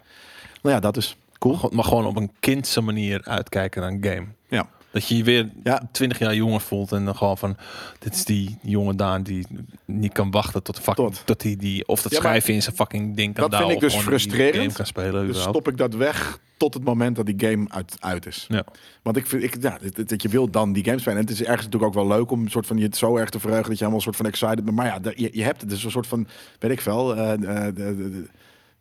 Speaker 2: Nou ja, dat is cool.
Speaker 5: Gewoon- maar gewoon op een kindse manier uitkijken naar een game.
Speaker 2: Ja.
Speaker 5: Dat je je weer
Speaker 2: Ja.
Speaker 5: 20 jaar jonger voelt en dan gewoon van, dit is die jongen daar die niet kan wachten tot, fucking,
Speaker 2: Tot.
Speaker 5: tot. hij die, of dat
Speaker 2: Ja, maar
Speaker 5: schrijven in zijn fucking ding kan
Speaker 2: dat vind
Speaker 5: douwen
Speaker 2: ik
Speaker 5: of
Speaker 2: dus
Speaker 5: gewoon die
Speaker 2: frustrerend.
Speaker 5: game kan spelen.
Speaker 2: Dus
Speaker 5: überhaupt.
Speaker 2: stop ik dat weg tot het moment dat die game uit, uit is.
Speaker 5: Ja.
Speaker 2: Want ik vind, ik, ja, dat- dat- dat je wil dan die games spelen. En het is ergens natuurlijk ook wel leuk om een soort van je zo erg te verheugen dat je helemaal een soort van excited bent. Maar ja, dat- je, je hebt het. Dus een soort van, weet ik veel, eh, eh, de- de- de-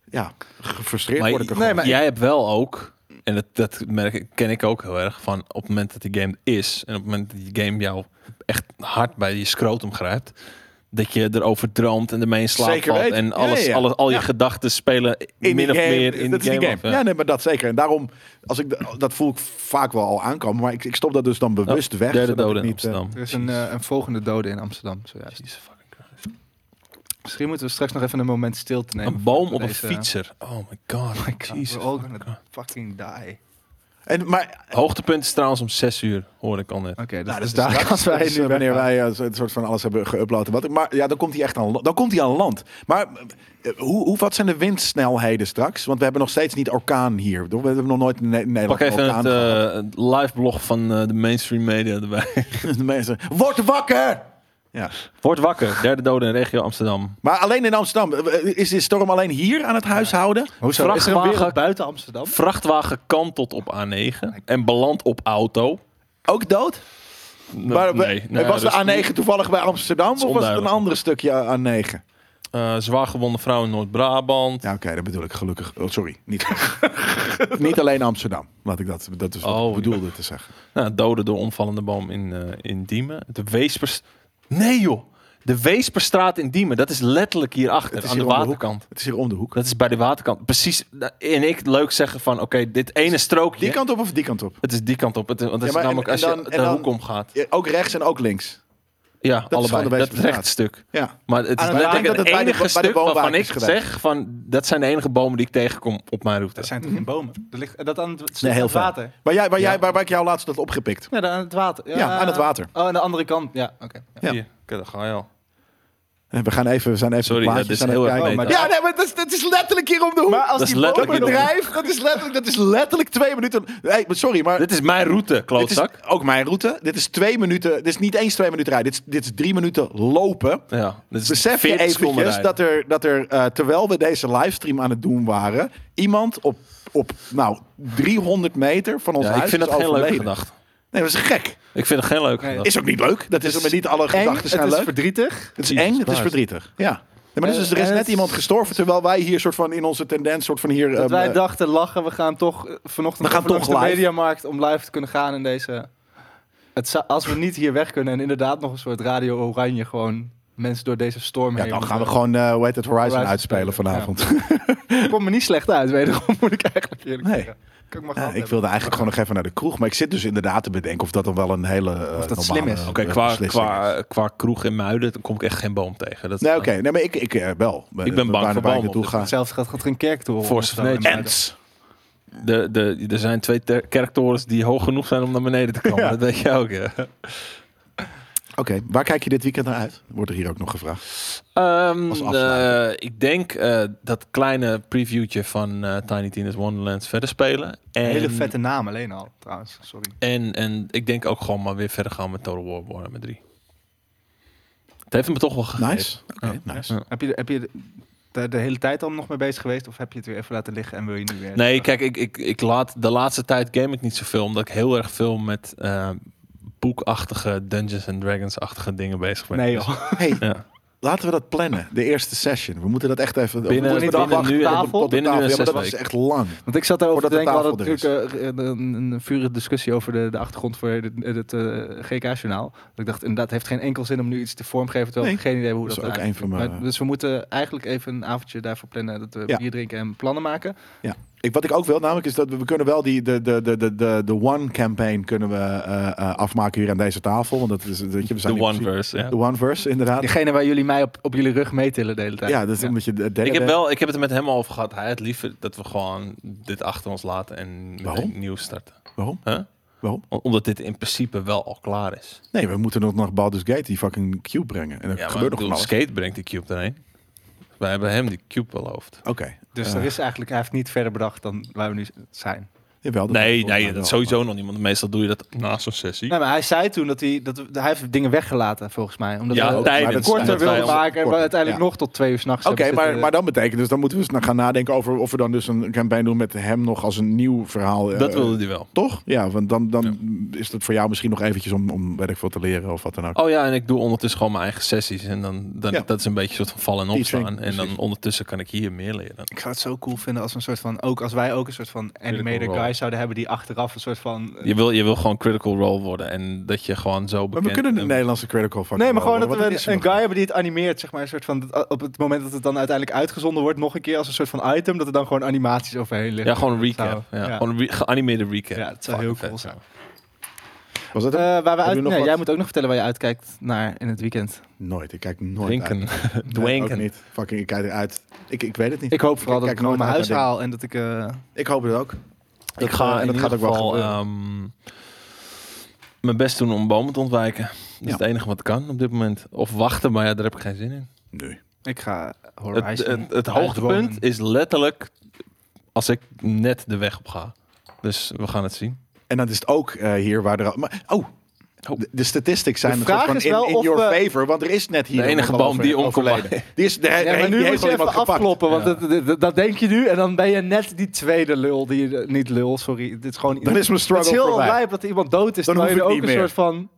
Speaker 2: ja, gefrustreerd
Speaker 5: Maar,
Speaker 2: word ik er
Speaker 5: nee,
Speaker 2: gewoon.
Speaker 5: maar jij hebt wel ook, en dat, dat merk ik, ken ik ook heel erg, van op het moment dat die game er is en op het moment dat die game jou echt hard bij je scrotum grijpt, dat je erover droomt en ermee in slaap
Speaker 2: Zeker
Speaker 5: valt
Speaker 2: weten.
Speaker 5: en
Speaker 2: Ja,
Speaker 5: alles,
Speaker 2: ja, ja.
Speaker 5: Alles, al je
Speaker 2: Ja.
Speaker 5: gedachten spelen
Speaker 2: in
Speaker 5: min
Speaker 2: die
Speaker 5: of
Speaker 2: game,
Speaker 5: meer in
Speaker 2: dat
Speaker 5: die
Speaker 2: is
Speaker 5: game.
Speaker 2: die
Speaker 5: af, ja.
Speaker 2: Ja, nee, maar dat zeker. En daarom, als ik de- dat voel ik vaak wel al aankomen, maar ik, ik stop dat dus dan bewust
Speaker 5: Oh,
Speaker 2: weg.
Speaker 5: Derde
Speaker 2: zodat ik
Speaker 5: dode in
Speaker 2: niet, eh,
Speaker 5: Amsterdam.
Speaker 4: Er is een, eh, een volgende dode in Amsterdam zojuist.
Speaker 5: Jesus fucking Christ.
Speaker 4: Misschien moeten we straks nog even een moment stilte nemen.
Speaker 5: Een boom op een
Speaker 4: Deze-
Speaker 5: fietser. Oh my god.
Speaker 4: My God,
Speaker 5: Jesus
Speaker 4: we're all
Speaker 5: fucking
Speaker 4: gonna fucking die.
Speaker 2: en, maar
Speaker 5: Christ. Hoogtepunt is trouwens om 6 uur, hoor ik al net.
Speaker 4: Oké, dat,
Speaker 2: nou,
Speaker 4: is
Speaker 2: dus
Speaker 4: daar
Speaker 2: straks,
Speaker 4: gaan wij
Speaker 2: dus, eh,
Speaker 4: nu
Speaker 2: wanneer
Speaker 4: weg.
Speaker 2: wij eh, zo- het soort van alles hebben geüpload. en Wat, ik- maar ja, dan komt hij echt aan, dan komt hij aan land. Maar eh, hoe, hoe, wat zijn de windsnelheden straks? Want we hebben nog steeds niet orkaan hier. We hebben nog nooit in Ne-
Speaker 5: Pak
Speaker 2: Nederland een
Speaker 5: even het
Speaker 2: orkaan gehad.
Speaker 5: eh, het live blog van eh, de mainstream media erbij.
Speaker 2: De mensen, word wakker! Ja.
Speaker 5: Word wakker, derde dode in regio Amsterdam.
Speaker 2: Maar alleen in Amsterdam. eh, Is de storm alleen hier aan het huishouden?
Speaker 4: Hoezo? Is er een
Speaker 5: Vrachtwagen-
Speaker 4: wereld buiten Amsterdam?
Speaker 5: Vrachtwagen kantelt op A9 en belandt op auto.
Speaker 2: Ook dood? Maar we-
Speaker 5: nou
Speaker 2: was
Speaker 5: dus
Speaker 2: de A9 toevallig bij Amsterdam of was het een
Speaker 5: onduidelijk.
Speaker 2: ander stukje A9?
Speaker 5: eh, zwaar gewonde vrouw in Noord-Brabant.
Speaker 2: Ja, oké, dat bedoel ik gelukkig. Oh, sorry, niet, niet alleen Amsterdam. Laat ik dat, dat is wat
Speaker 5: Oh,
Speaker 2: ik bedoelde te zeggen.
Speaker 5: Nou, doden door omvallende boom in, eh, in Diemen. De Weespers... Nee joh! De Weesperstraat in Diemen, dat is letterlijk hierachter,
Speaker 2: Het is
Speaker 5: aan
Speaker 2: hier
Speaker 5: de
Speaker 2: om de hoek.
Speaker 5: waterkant.
Speaker 2: Het is hier om de hoek.
Speaker 5: dat is bij de waterkant. Precies, eh, en ik leuk zeggen van, oké, dit ene strookje...
Speaker 2: Die kant op of die kant op?
Speaker 5: Het is die kant op, het, want dat is
Speaker 2: maar en-
Speaker 5: namelijk
Speaker 2: en
Speaker 5: als
Speaker 2: dan-
Speaker 5: je
Speaker 2: en
Speaker 5: de
Speaker 2: dan-
Speaker 5: hoek omgaat.
Speaker 2: Ja, ook rechts en ook links.
Speaker 5: Ja,
Speaker 2: is
Speaker 5: allebei.
Speaker 2: gewoon de
Speaker 5: Dat
Speaker 2: Weesperstraat.
Speaker 5: rechtstuk.
Speaker 2: Ja.
Speaker 5: Maar het is
Speaker 2: Maar ik
Speaker 5: letterlijk
Speaker 2: denk dat
Speaker 5: het,
Speaker 2: het bij de-
Speaker 5: enige
Speaker 2: bij de
Speaker 5: stuk
Speaker 2: woonwijk
Speaker 5: waarvan ik
Speaker 2: is gedaan.
Speaker 5: zeg van dat zijn de enige bomen die ik tegenkom op mijn route.
Speaker 4: Er zijn toch geen bomen? Er ligt dat aan het,
Speaker 2: Nee, heel
Speaker 4: het water.
Speaker 2: Waar, jij, waar, jij, waar, waar ik jou laatst had opgepikt.
Speaker 4: Nee, daar aan het water.
Speaker 2: Ja, aan het water.
Speaker 4: Oh, aan de andere kant. Ja, oké. Ja.
Speaker 2: Ja.
Speaker 5: Hier, kijk, daar ga je al.
Speaker 2: Eh, We gaan even, we zijn even
Speaker 5: Sorry,
Speaker 2: de
Speaker 5: ja,
Speaker 2: plaatjes
Speaker 5: dit is
Speaker 2: aan
Speaker 5: heel
Speaker 2: het
Speaker 5: erg
Speaker 2: kijken.
Speaker 5: meta.
Speaker 2: Ja, nee, maar dat is, dat is letterlijk hier om de hoek.
Speaker 4: Maar als
Speaker 5: Dat is
Speaker 4: die bomen
Speaker 5: letterlijk
Speaker 2: dat
Speaker 5: een
Speaker 4: bedrijf...
Speaker 2: bedrijf, dat is letterlijk, dat is letterlijk twee minuten. Hey, maar sorry, maar
Speaker 5: Dit is mijn route,
Speaker 2: dit is
Speaker 5: klootzak.
Speaker 2: ook mijn route. Dit is twee minuten. Dit is niet eens twee minuten rijden. Dit is, dit is drie minuten lopen.
Speaker 5: ja, dit is
Speaker 2: Besef je
Speaker 5: 40 seconden
Speaker 2: eventjes
Speaker 5: rijden.
Speaker 2: dat er, dat er eh, terwijl we deze livestream aan het doen waren, iemand op, op nou, 300 meter van ons
Speaker 5: Ja,
Speaker 2: huis
Speaker 5: ik vind
Speaker 2: is
Speaker 5: dat geen leuke
Speaker 2: overleden.
Speaker 5: gedachte.
Speaker 2: Nee, dat is gek.
Speaker 5: Ik vind het geen leuke
Speaker 4: Nee.
Speaker 5: gedachte.
Speaker 2: Is ook niet leuk. Dat is
Speaker 4: Het
Speaker 2: met niet alle
Speaker 4: Eng,
Speaker 2: gedachten zijn
Speaker 4: het is
Speaker 2: leuk.
Speaker 4: verdrietig.
Speaker 2: Het is
Speaker 5: Jesus
Speaker 2: eng, het is
Speaker 5: Christ.
Speaker 2: verdrietig. Ja. Nee, maar dus
Speaker 4: Eh,
Speaker 2: is er is
Speaker 4: en
Speaker 2: net
Speaker 4: het-
Speaker 2: iemand gestorven, terwijl wij hier soort van in onze tendens soort van hier...
Speaker 4: Dat
Speaker 2: eh,
Speaker 4: wij
Speaker 2: eh,
Speaker 4: dachten, lachen, we gaan toch eh, vanochtend
Speaker 2: We gaan
Speaker 4: over langs
Speaker 2: toch
Speaker 4: de
Speaker 2: live.
Speaker 4: mediamarkt om live te kunnen gaan in deze... Het zou- als we niet hier weg kunnen en inderdaad nog een soort Radio Oranje gewoon mensen door deze storm
Speaker 2: ja,
Speaker 4: heen...
Speaker 2: dan gaan we
Speaker 4: moeten-
Speaker 2: gewoon, eh hoe heet het, Horizon,
Speaker 4: Horizon
Speaker 2: uitspelen
Speaker 4: spelen,
Speaker 2: vanavond.
Speaker 4: komt me niet slecht uit, wederom moet ik eigenlijk eerlijk
Speaker 2: Nee.
Speaker 4: zeggen. Kan ik maar
Speaker 2: Ja,
Speaker 4: gehad
Speaker 2: ik
Speaker 4: hebben.
Speaker 2: wilde eigenlijk gewoon nog even naar de kroeg. Maar ik zit dus inderdaad te bedenken of dat dan wel een hele eh, normale
Speaker 4: slim is.
Speaker 5: Oké,
Speaker 2: eh,
Speaker 5: qua,
Speaker 2: beslissing is.
Speaker 5: qua, qua kroeg in Muiden dan kom ik echt geen boom tegen. Dat is-
Speaker 2: Nee, oké. Nee, maar ik, ik eh, wel.
Speaker 5: Ik ben bang voor
Speaker 2: waar ik
Speaker 5: bomen
Speaker 2: naartoe
Speaker 5: op
Speaker 2: ga.
Speaker 4: Hetzelfde gaat, gaat er een kerktoren.
Speaker 5: Force
Speaker 4: of
Speaker 5: of
Speaker 4: zo
Speaker 5: Nature.
Speaker 4: in Muiden.
Speaker 2: Ants.
Speaker 5: De, de, er zijn twee ter- kerktorens die hoog genoeg zijn om naar beneden te komen.
Speaker 2: Ja.
Speaker 5: Dat weet je ook. Ja.
Speaker 2: Oké, waar kijk je dit weekend naar uit? Wordt er hier ook nog gevraagd.
Speaker 5: Ehm,
Speaker 2: Als afsluiter.
Speaker 5: eh, ik denk eh, dat kleine previewtje van eh, Tiny Tina's Wonderland verder spelen. En,
Speaker 4: Hele vette naam alleen al, trouwens. Sorry.
Speaker 5: En, en ik denk ook gewoon maar weer verder gaan met Total War Warhammer 3. Het heeft me toch wel gegeven.
Speaker 2: Nice. Oké,
Speaker 5: Ja.
Speaker 2: nice.
Speaker 5: Ja.
Speaker 4: Heb je, heb je de, de hele tijd al nog mee bezig geweest? Of heb je het weer even laten liggen en wil je nu weer?
Speaker 5: Nee, kijk, ik, ik, ik laat, de laatste tijd game ik niet zoveel. Omdat ik heel erg veel met eh, boekachtige Dungeons and Dragons-achtige dingen bezig ben.
Speaker 4: Nee
Speaker 5: Dus
Speaker 4: joh.
Speaker 2: Hey,
Speaker 5: Ja.
Speaker 2: laten we dat plannen. De eerste session. We moeten dat echt even...
Speaker 5: Binnen-
Speaker 2: we moeten
Speaker 4: binnen
Speaker 2: dat
Speaker 4: nu-
Speaker 2: wachten
Speaker 4: tafel?
Speaker 2: tot de
Speaker 5: binnen nu
Speaker 2: tafel. Ja,
Speaker 5: en
Speaker 2: maar
Speaker 5: zes
Speaker 2: dat is
Speaker 5: weken.
Speaker 2: echt lang.
Speaker 4: Want ik zat daarover te
Speaker 2: Voordat de
Speaker 4: denken. We hadden
Speaker 2: tafel
Speaker 4: natuurlijk eh, een, een, een vurige discussie over de, de achtergrond voor het, het eh, GK-journaal. Dat Ik dacht, inderdaad, heeft geen enkel zin om nu iets te vormgeven. Terwijl
Speaker 2: Nee.
Speaker 4: we geen idee hebben hoe
Speaker 2: Dat
Speaker 4: dat,
Speaker 2: is ook
Speaker 4: eruit
Speaker 2: een van
Speaker 4: ziet.
Speaker 2: mijn...
Speaker 4: Maar- Dus we moeten eigenlijk even een avondje daarvoor plannen. Dat we
Speaker 2: Ja.
Speaker 4: bier drinken en plannen maken.
Speaker 2: Ik, wat ik ook wil namelijk is dat we, we kunnen wel die, de, de, de, de, de, de one campaign kunnen we eh, eh, afmaken hier aan deze tafel. Want dat is, weet je, we zijn
Speaker 5: De
Speaker 2: in
Speaker 5: One
Speaker 2: principe-
Speaker 5: Verse, ja.
Speaker 2: De one verse, inderdaad.
Speaker 4: Degene waar jullie mij op, op jullie rug meetillen de hele tijd.
Speaker 2: Ja, dat is omdat je de derde
Speaker 5: Ik heb,
Speaker 2: bent.
Speaker 5: wel, ik heb het er met hem over gehad. Hij had liever dat we gewoon dit achter ons laten en meteen
Speaker 2: Waarom?
Speaker 5: nieuw starten.
Speaker 2: Waarom?
Speaker 5: Huh?
Speaker 2: Waarom?
Speaker 5: Om- Omdat dit in principe wel al klaar is.
Speaker 2: Nee, we moeten nog naar Baldur's Gate die fucking cube brengen. En dat
Speaker 5: Ja, maar
Speaker 2: gebeurt
Speaker 5: ik
Speaker 2: nog
Speaker 5: bedoel,
Speaker 2: van alles.
Speaker 5: Skate brengt die cube erheen. Wij hebben hem die cube beloofd.
Speaker 2: Oké.
Speaker 4: Dus
Speaker 2: Eh,
Speaker 4: er is eigenlijk, hij heeft niet verder bedacht dan waar we nu zijn.
Speaker 2: jawel, dat
Speaker 5: Nee,
Speaker 2: volgens mij
Speaker 5: nee, dat
Speaker 2: wel.
Speaker 5: sowieso nog niet. Want meestal doe je dat na zo'n sessie.
Speaker 4: Nee, maar hij zei toen dat hij, dat hij heeft dingen weggelaten volgens mij. Omdat
Speaker 5: Ja,
Speaker 4: we het
Speaker 5: tijdens.
Speaker 2: maar dat-
Speaker 4: korter
Speaker 5: dat
Speaker 2: wij
Speaker 4: wilden
Speaker 5: ons-
Speaker 4: maken en we
Speaker 2: korter,
Speaker 4: uiteindelijk
Speaker 2: ja.
Speaker 4: nog tot twee uur s'nachts
Speaker 2: Oké, maar, maar dan betekent dus, dan moeten we eens na- gaan nadenken over of we dan dus een campaign doen met hem nog als een nieuw verhaal. eh,
Speaker 5: Dat wilde hij wel.
Speaker 2: Toch? Ja, want dan, dan is het voor jou misschien nog eventjes om, om weet ik veel te leren of wat dan ook.
Speaker 5: Oh ja, en ik doe ondertussen gewoon mijn eigen sessies. En dan, dan
Speaker 2: Ja.
Speaker 5: dat is een beetje een soort van vallen en
Speaker 2: Teaching,
Speaker 5: opstaan. En dan
Speaker 2: precies.
Speaker 5: ondertussen kan ik hier meer leren.
Speaker 4: Ik zou het zo cool vinden als we een soort van, ook als wij ook een soort van animator
Speaker 5: wel.
Speaker 4: guy zouden hebben die achteraf een soort van...
Speaker 5: Je wil, je wil gewoon critical role worden. En dat je gewoon zo
Speaker 2: Maar
Speaker 5: bekend...
Speaker 2: we kunnen de
Speaker 5: en-
Speaker 2: Nederlandse critical fucking
Speaker 4: Nee, maar gewoon
Speaker 2: wel
Speaker 4: dat we
Speaker 2: worden,
Speaker 4: een,
Speaker 2: want is er
Speaker 4: guy hebben die het animeert, zeg maar. Een soort van, op het moment dat het dan uiteindelijk uitgezonden wordt, nog een keer als een soort van item, dat er dan gewoon animaties overheen liggen.
Speaker 5: Ja, gewoon een recap.
Speaker 4: Zo,
Speaker 5: ja.
Speaker 4: ja.
Speaker 5: Gewoon een re- geanimeerde recap.
Speaker 4: Ja, dat zou heel
Speaker 5: Fucking
Speaker 4: cool
Speaker 5: vet
Speaker 4: zijn.
Speaker 2: nog. Was dat
Speaker 4: Eh, waar
Speaker 2: hem?
Speaker 4: we
Speaker 2: Heb je
Speaker 4: uit...
Speaker 2: nog
Speaker 4: nee,
Speaker 2: wat?
Speaker 4: jij moet ook nog vertellen waar je uitkijkt naar in het weekend.
Speaker 2: Nooit, ik kijk nooit
Speaker 5: Drinken.
Speaker 2: uit. Nee, ook
Speaker 5: Dwanken.
Speaker 2: niet. Fucking, ik kijk eruit. Ik, ik weet het niet.
Speaker 4: Ik hoop vooral dat
Speaker 2: kijk
Speaker 4: ik nog
Speaker 2: nooit
Speaker 4: mijn
Speaker 2: uit
Speaker 4: huis
Speaker 2: naar
Speaker 4: haal en dat ik... eh,
Speaker 2: Ik hoop het ook.
Speaker 5: Ik ga
Speaker 2: eh,
Speaker 5: en dat gaat ook wel ehm, mijn best doen om bomen te ontwijken. Dat is
Speaker 2: Ja.
Speaker 5: het enige wat kan op dit moment. Of wachten, maar ja, daar heb ik geen zin in.
Speaker 2: Nee.
Speaker 4: ik ga
Speaker 5: Het,
Speaker 4: Horizon
Speaker 5: het, het
Speaker 4: uitwonen.
Speaker 5: hoogtepunt is letterlijk als ik net de weg op ga. Dus we gaan het zien.
Speaker 2: En dan is het ook eh, hier waar er al... Maar, oh,
Speaker 5: Oh.
Speaker 2: de, de statistics zijn
Speaker 4: De
Speaker 2: een
Speaker 4: vraag
Speaker 2: soort van
Speaker 4: is wel
Speaker 2: in, in
Speaker 4: of
Speaker 2: your
Speaker 4: we-
Speaker 2: favor, want er is net hier
Speaker 5: De enige
Speaker 2: iemand al
Speaker 5: boom die
Speaker 2: over-
Speaker 5: omkwam.
Speaker 2: overleden. Die is, de,
Speaker 4: Ja, maar nu
Speaker 2: nu heeft
Speaker 4: moet
Speaker 2: al
Speaker 4: je even
Speaker 2: iemand gepakt.
Speaker 4: afkloppen, want
Speaker 5: Ja.
Speaker 4: dat, dat- dat denk je nu. En dan ben je net die tweede lul. Die, je- niet lul, sorry. Dit is gewoon,
Speaker 2: Dan is mijn
Speaker 4: het is
Speaker 2: struggle
Speaker 4: heel
Speaker 2: voorbij.
Speaker 4: lijp dat er iemand dood is.
Speaker 2: Dan
Speaker 4: terwijl je
Speaker 2: hoef
Speaker 4: er
Speaker 2: ik
Speaker 4: ook een
Speaker 2: niet
Speaker 4: soort van...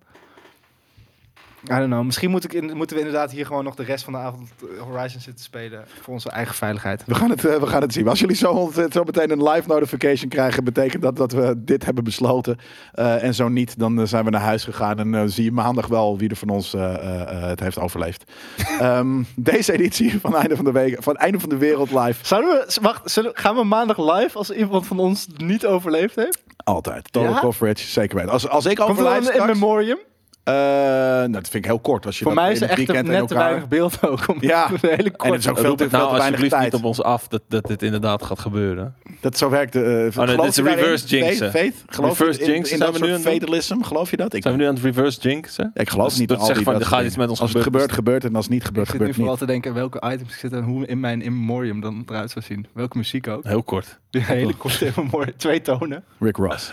Speaker 4: I don't know. Misschien moet ik in- moeten we inderdaad hier gewoon nog de rest van de avond eh, Horizon zitten spelen. Voor onze eigen veiligheid.
Speaker 2: We gaan, het, eh, we gaan het zien. Maar Als jullie zo, ont- zo meteen een live notification krijgen, betekent dat dat we dit hebben besloten. Eh, en zo niet, dan eh, zijn we naar huis gegaan. En eh, zie je maandag wel wie er van ons eh, eh, eh, het heeft overleefd. Ehm, deze editie van Einde van de Week, van Einde van de Wereld live.
Speaker 4: Zouden we, s- wacht, zullen, gaan we maandag live als iemand van ons niet overleefd heeft?
Speaker 2: Altijd. Total
Speaker 4: Ja?
Speaker 2: coverage, zeker weten. Als, als ik
Speaker 4: Komt er
Speaker 2: overlijd
Speaker 4: dan een in
Speaker 2: straks...
Speaker 4: memorium?
Speaker 2: eh, nou, dat vind ik heel kort. Als je
Speaker 4: Voor
Speaker 2: dat
Speaker 4: mij is
Speaker 2: in
Speaker 4: er
Speaker 2: het
Speaker 4: echt een-
Speaker 2: weekend en
Speaker 4: net te
Speaker 2: elkaar-
Speaker 4: weinig beeld ook. Om
Speaker 2: Ja.
Speaker 4: een hele korte-
Speaker 2: En het is ook veel
Speaker 5: Roep
Speaker 2: te,
Speaker 5: het
Speaker 2: veel
Speaker 5: nou
Speaker 2: te weinig
Speaker 5: alsjeblieft niet
Speaker 2: tijd.
Speaker 5: op ons af dat, dat dit inderdaad gaat gebeuren.
Speaker 2: Dat zo werkt. eh geloof
Speaker 5: dit is
Speaker 2: je daarin?
Speaker 5: reverse jinxen.
Speaker 2: Faith? Faith? Geloof
Speaker 5: Reverse
Speaker 2: je in, in
Speaker 5: jinxen
Speaker 2: dat
Speaker 5: zijn we nu
Speaker 2: soort
Speaker 5: aan het
Speaker 2: fatalism? Geloof je dat? Ik
Speaker 5: Zijn we nu aan het reverse jinxen?
Speaker 2: Ja, Ik geloof
Speaker 5: Dat-
Speaker 2: niet
Speaker 5: dat
Speaker 2: in al
Speaker 5: zegt
Speaker 2: die
Speaker 5: van,
Speaker 2: dat
Speaker 5: er
Speaker 2: soort
Speaker 5: gaat iets
Speaker 2: dingen.
Speaker 5: met ons
Speaker 2: Als het
Speaker 5: gebeuren.
Speaker 2: gebeurt, gebeurt het. En als het niet
Speaker 4: Ik
Speaker 2: gebeurt,
Speaker 4: zit nu
Speaker 2: gebeurt het
Speaker 4: vooral
Speaker 2: niet.
Speaker 4: te denken welke items ik zit en hoe in mijn in memoriam dan eruit zou zien. Welke muziek ook.
Speaker 5: Heel kort.
Speaker 4: Die hele korte in memoriam. Twee tonen.
Speaker 2: Rick Ross.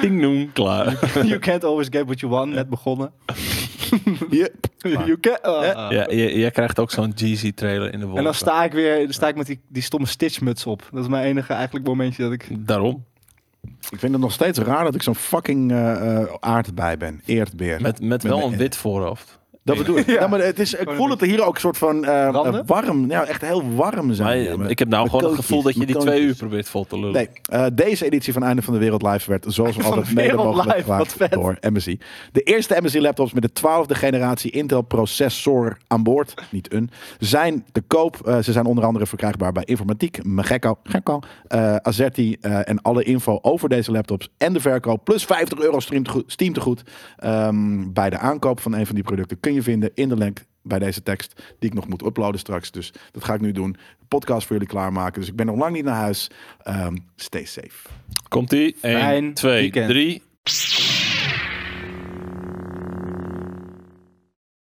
Speaker 5: Ding noem, klaar.
Speaker 4: You can't always get what you want. Net begonnen.
Speaker 2: Hier.
Speaker 4: You can, ah.
Speaker 5: Ja, j- jij krijgt ook zo'n Jeezy trailer in de wolken.
Speaker 4: En dan sta ik weer dan sta ik met die, die stomme stitchmuts op. Dat is mijn enige eigenlijk momentje dat ik...
Speaker 5: Daarom.
Speaker 2: Ik vind het nog steeds raar dat ik zo'n fucking eh, eh, aardbei ben. Eerdbeer.
Speaker 5: Met, met wel
Speaker 2: mijn-
Speaker 5: een wit voorhoofd.
Speaker 2: Dat bedoel ik.
Speaker 4: Ja.
Speaker 2: Ja, maar het is, ik voel het hier ook een soort van eh,
Speaker 4: Randen?
Speaker 2: eh, warm. Ja, echt heel warm zijn.
Speaker 5: Maar
Speaker 2: Ja, maar-
Speaker 5: ik heb nou
Speaker 2: met
Speaker 5: gewoon het
Speaker 2: koontjes,
Speaker 5: gevoel dat je
Speaker 2: met
Speaker 5: die twee
Speaker 2: koontjes.
Speaker 5: uur probeert vol te lullen.
Speaker 2: Nee, eh, deze editie van Einde van de Wereld Live werd zoals
Speaker 4: de
Speaker 2: altijd mede
Speaker 4: Wereld
Speaker 2: mogelijk
Speaker 4: Live, wat
Speaker 2: gemaakt
Speaker 4: vet.
Speaker 2: door MSI. De eerste MSI laptops met de twaalfde generatie Intel processor aan boord, niet een, zijn te koop. Eh, ze zijn onder andere verkrijgbaar bij Informatiek, Megekko, Gekko, eh, Azerti eh, en alle info over deze laptops en de verkoop plus 50 euro stream tegoed- Steam te goed Ehm, bij de aankoop van een van die producten kun je vinden in de link bij deze tekst die ik nog moet uploaden straks. Dus dat ga ik nu doen. De podcast voor jullie klaarmaken. Dus ik ben nog lang niet naar huis. Ehm, stay safe.
Speaker 5: Komt-ie. 1,
Speaker 4: Fijn
Speaker 5: 2,
Speaker 4: weekend.
Speaker 5: 3.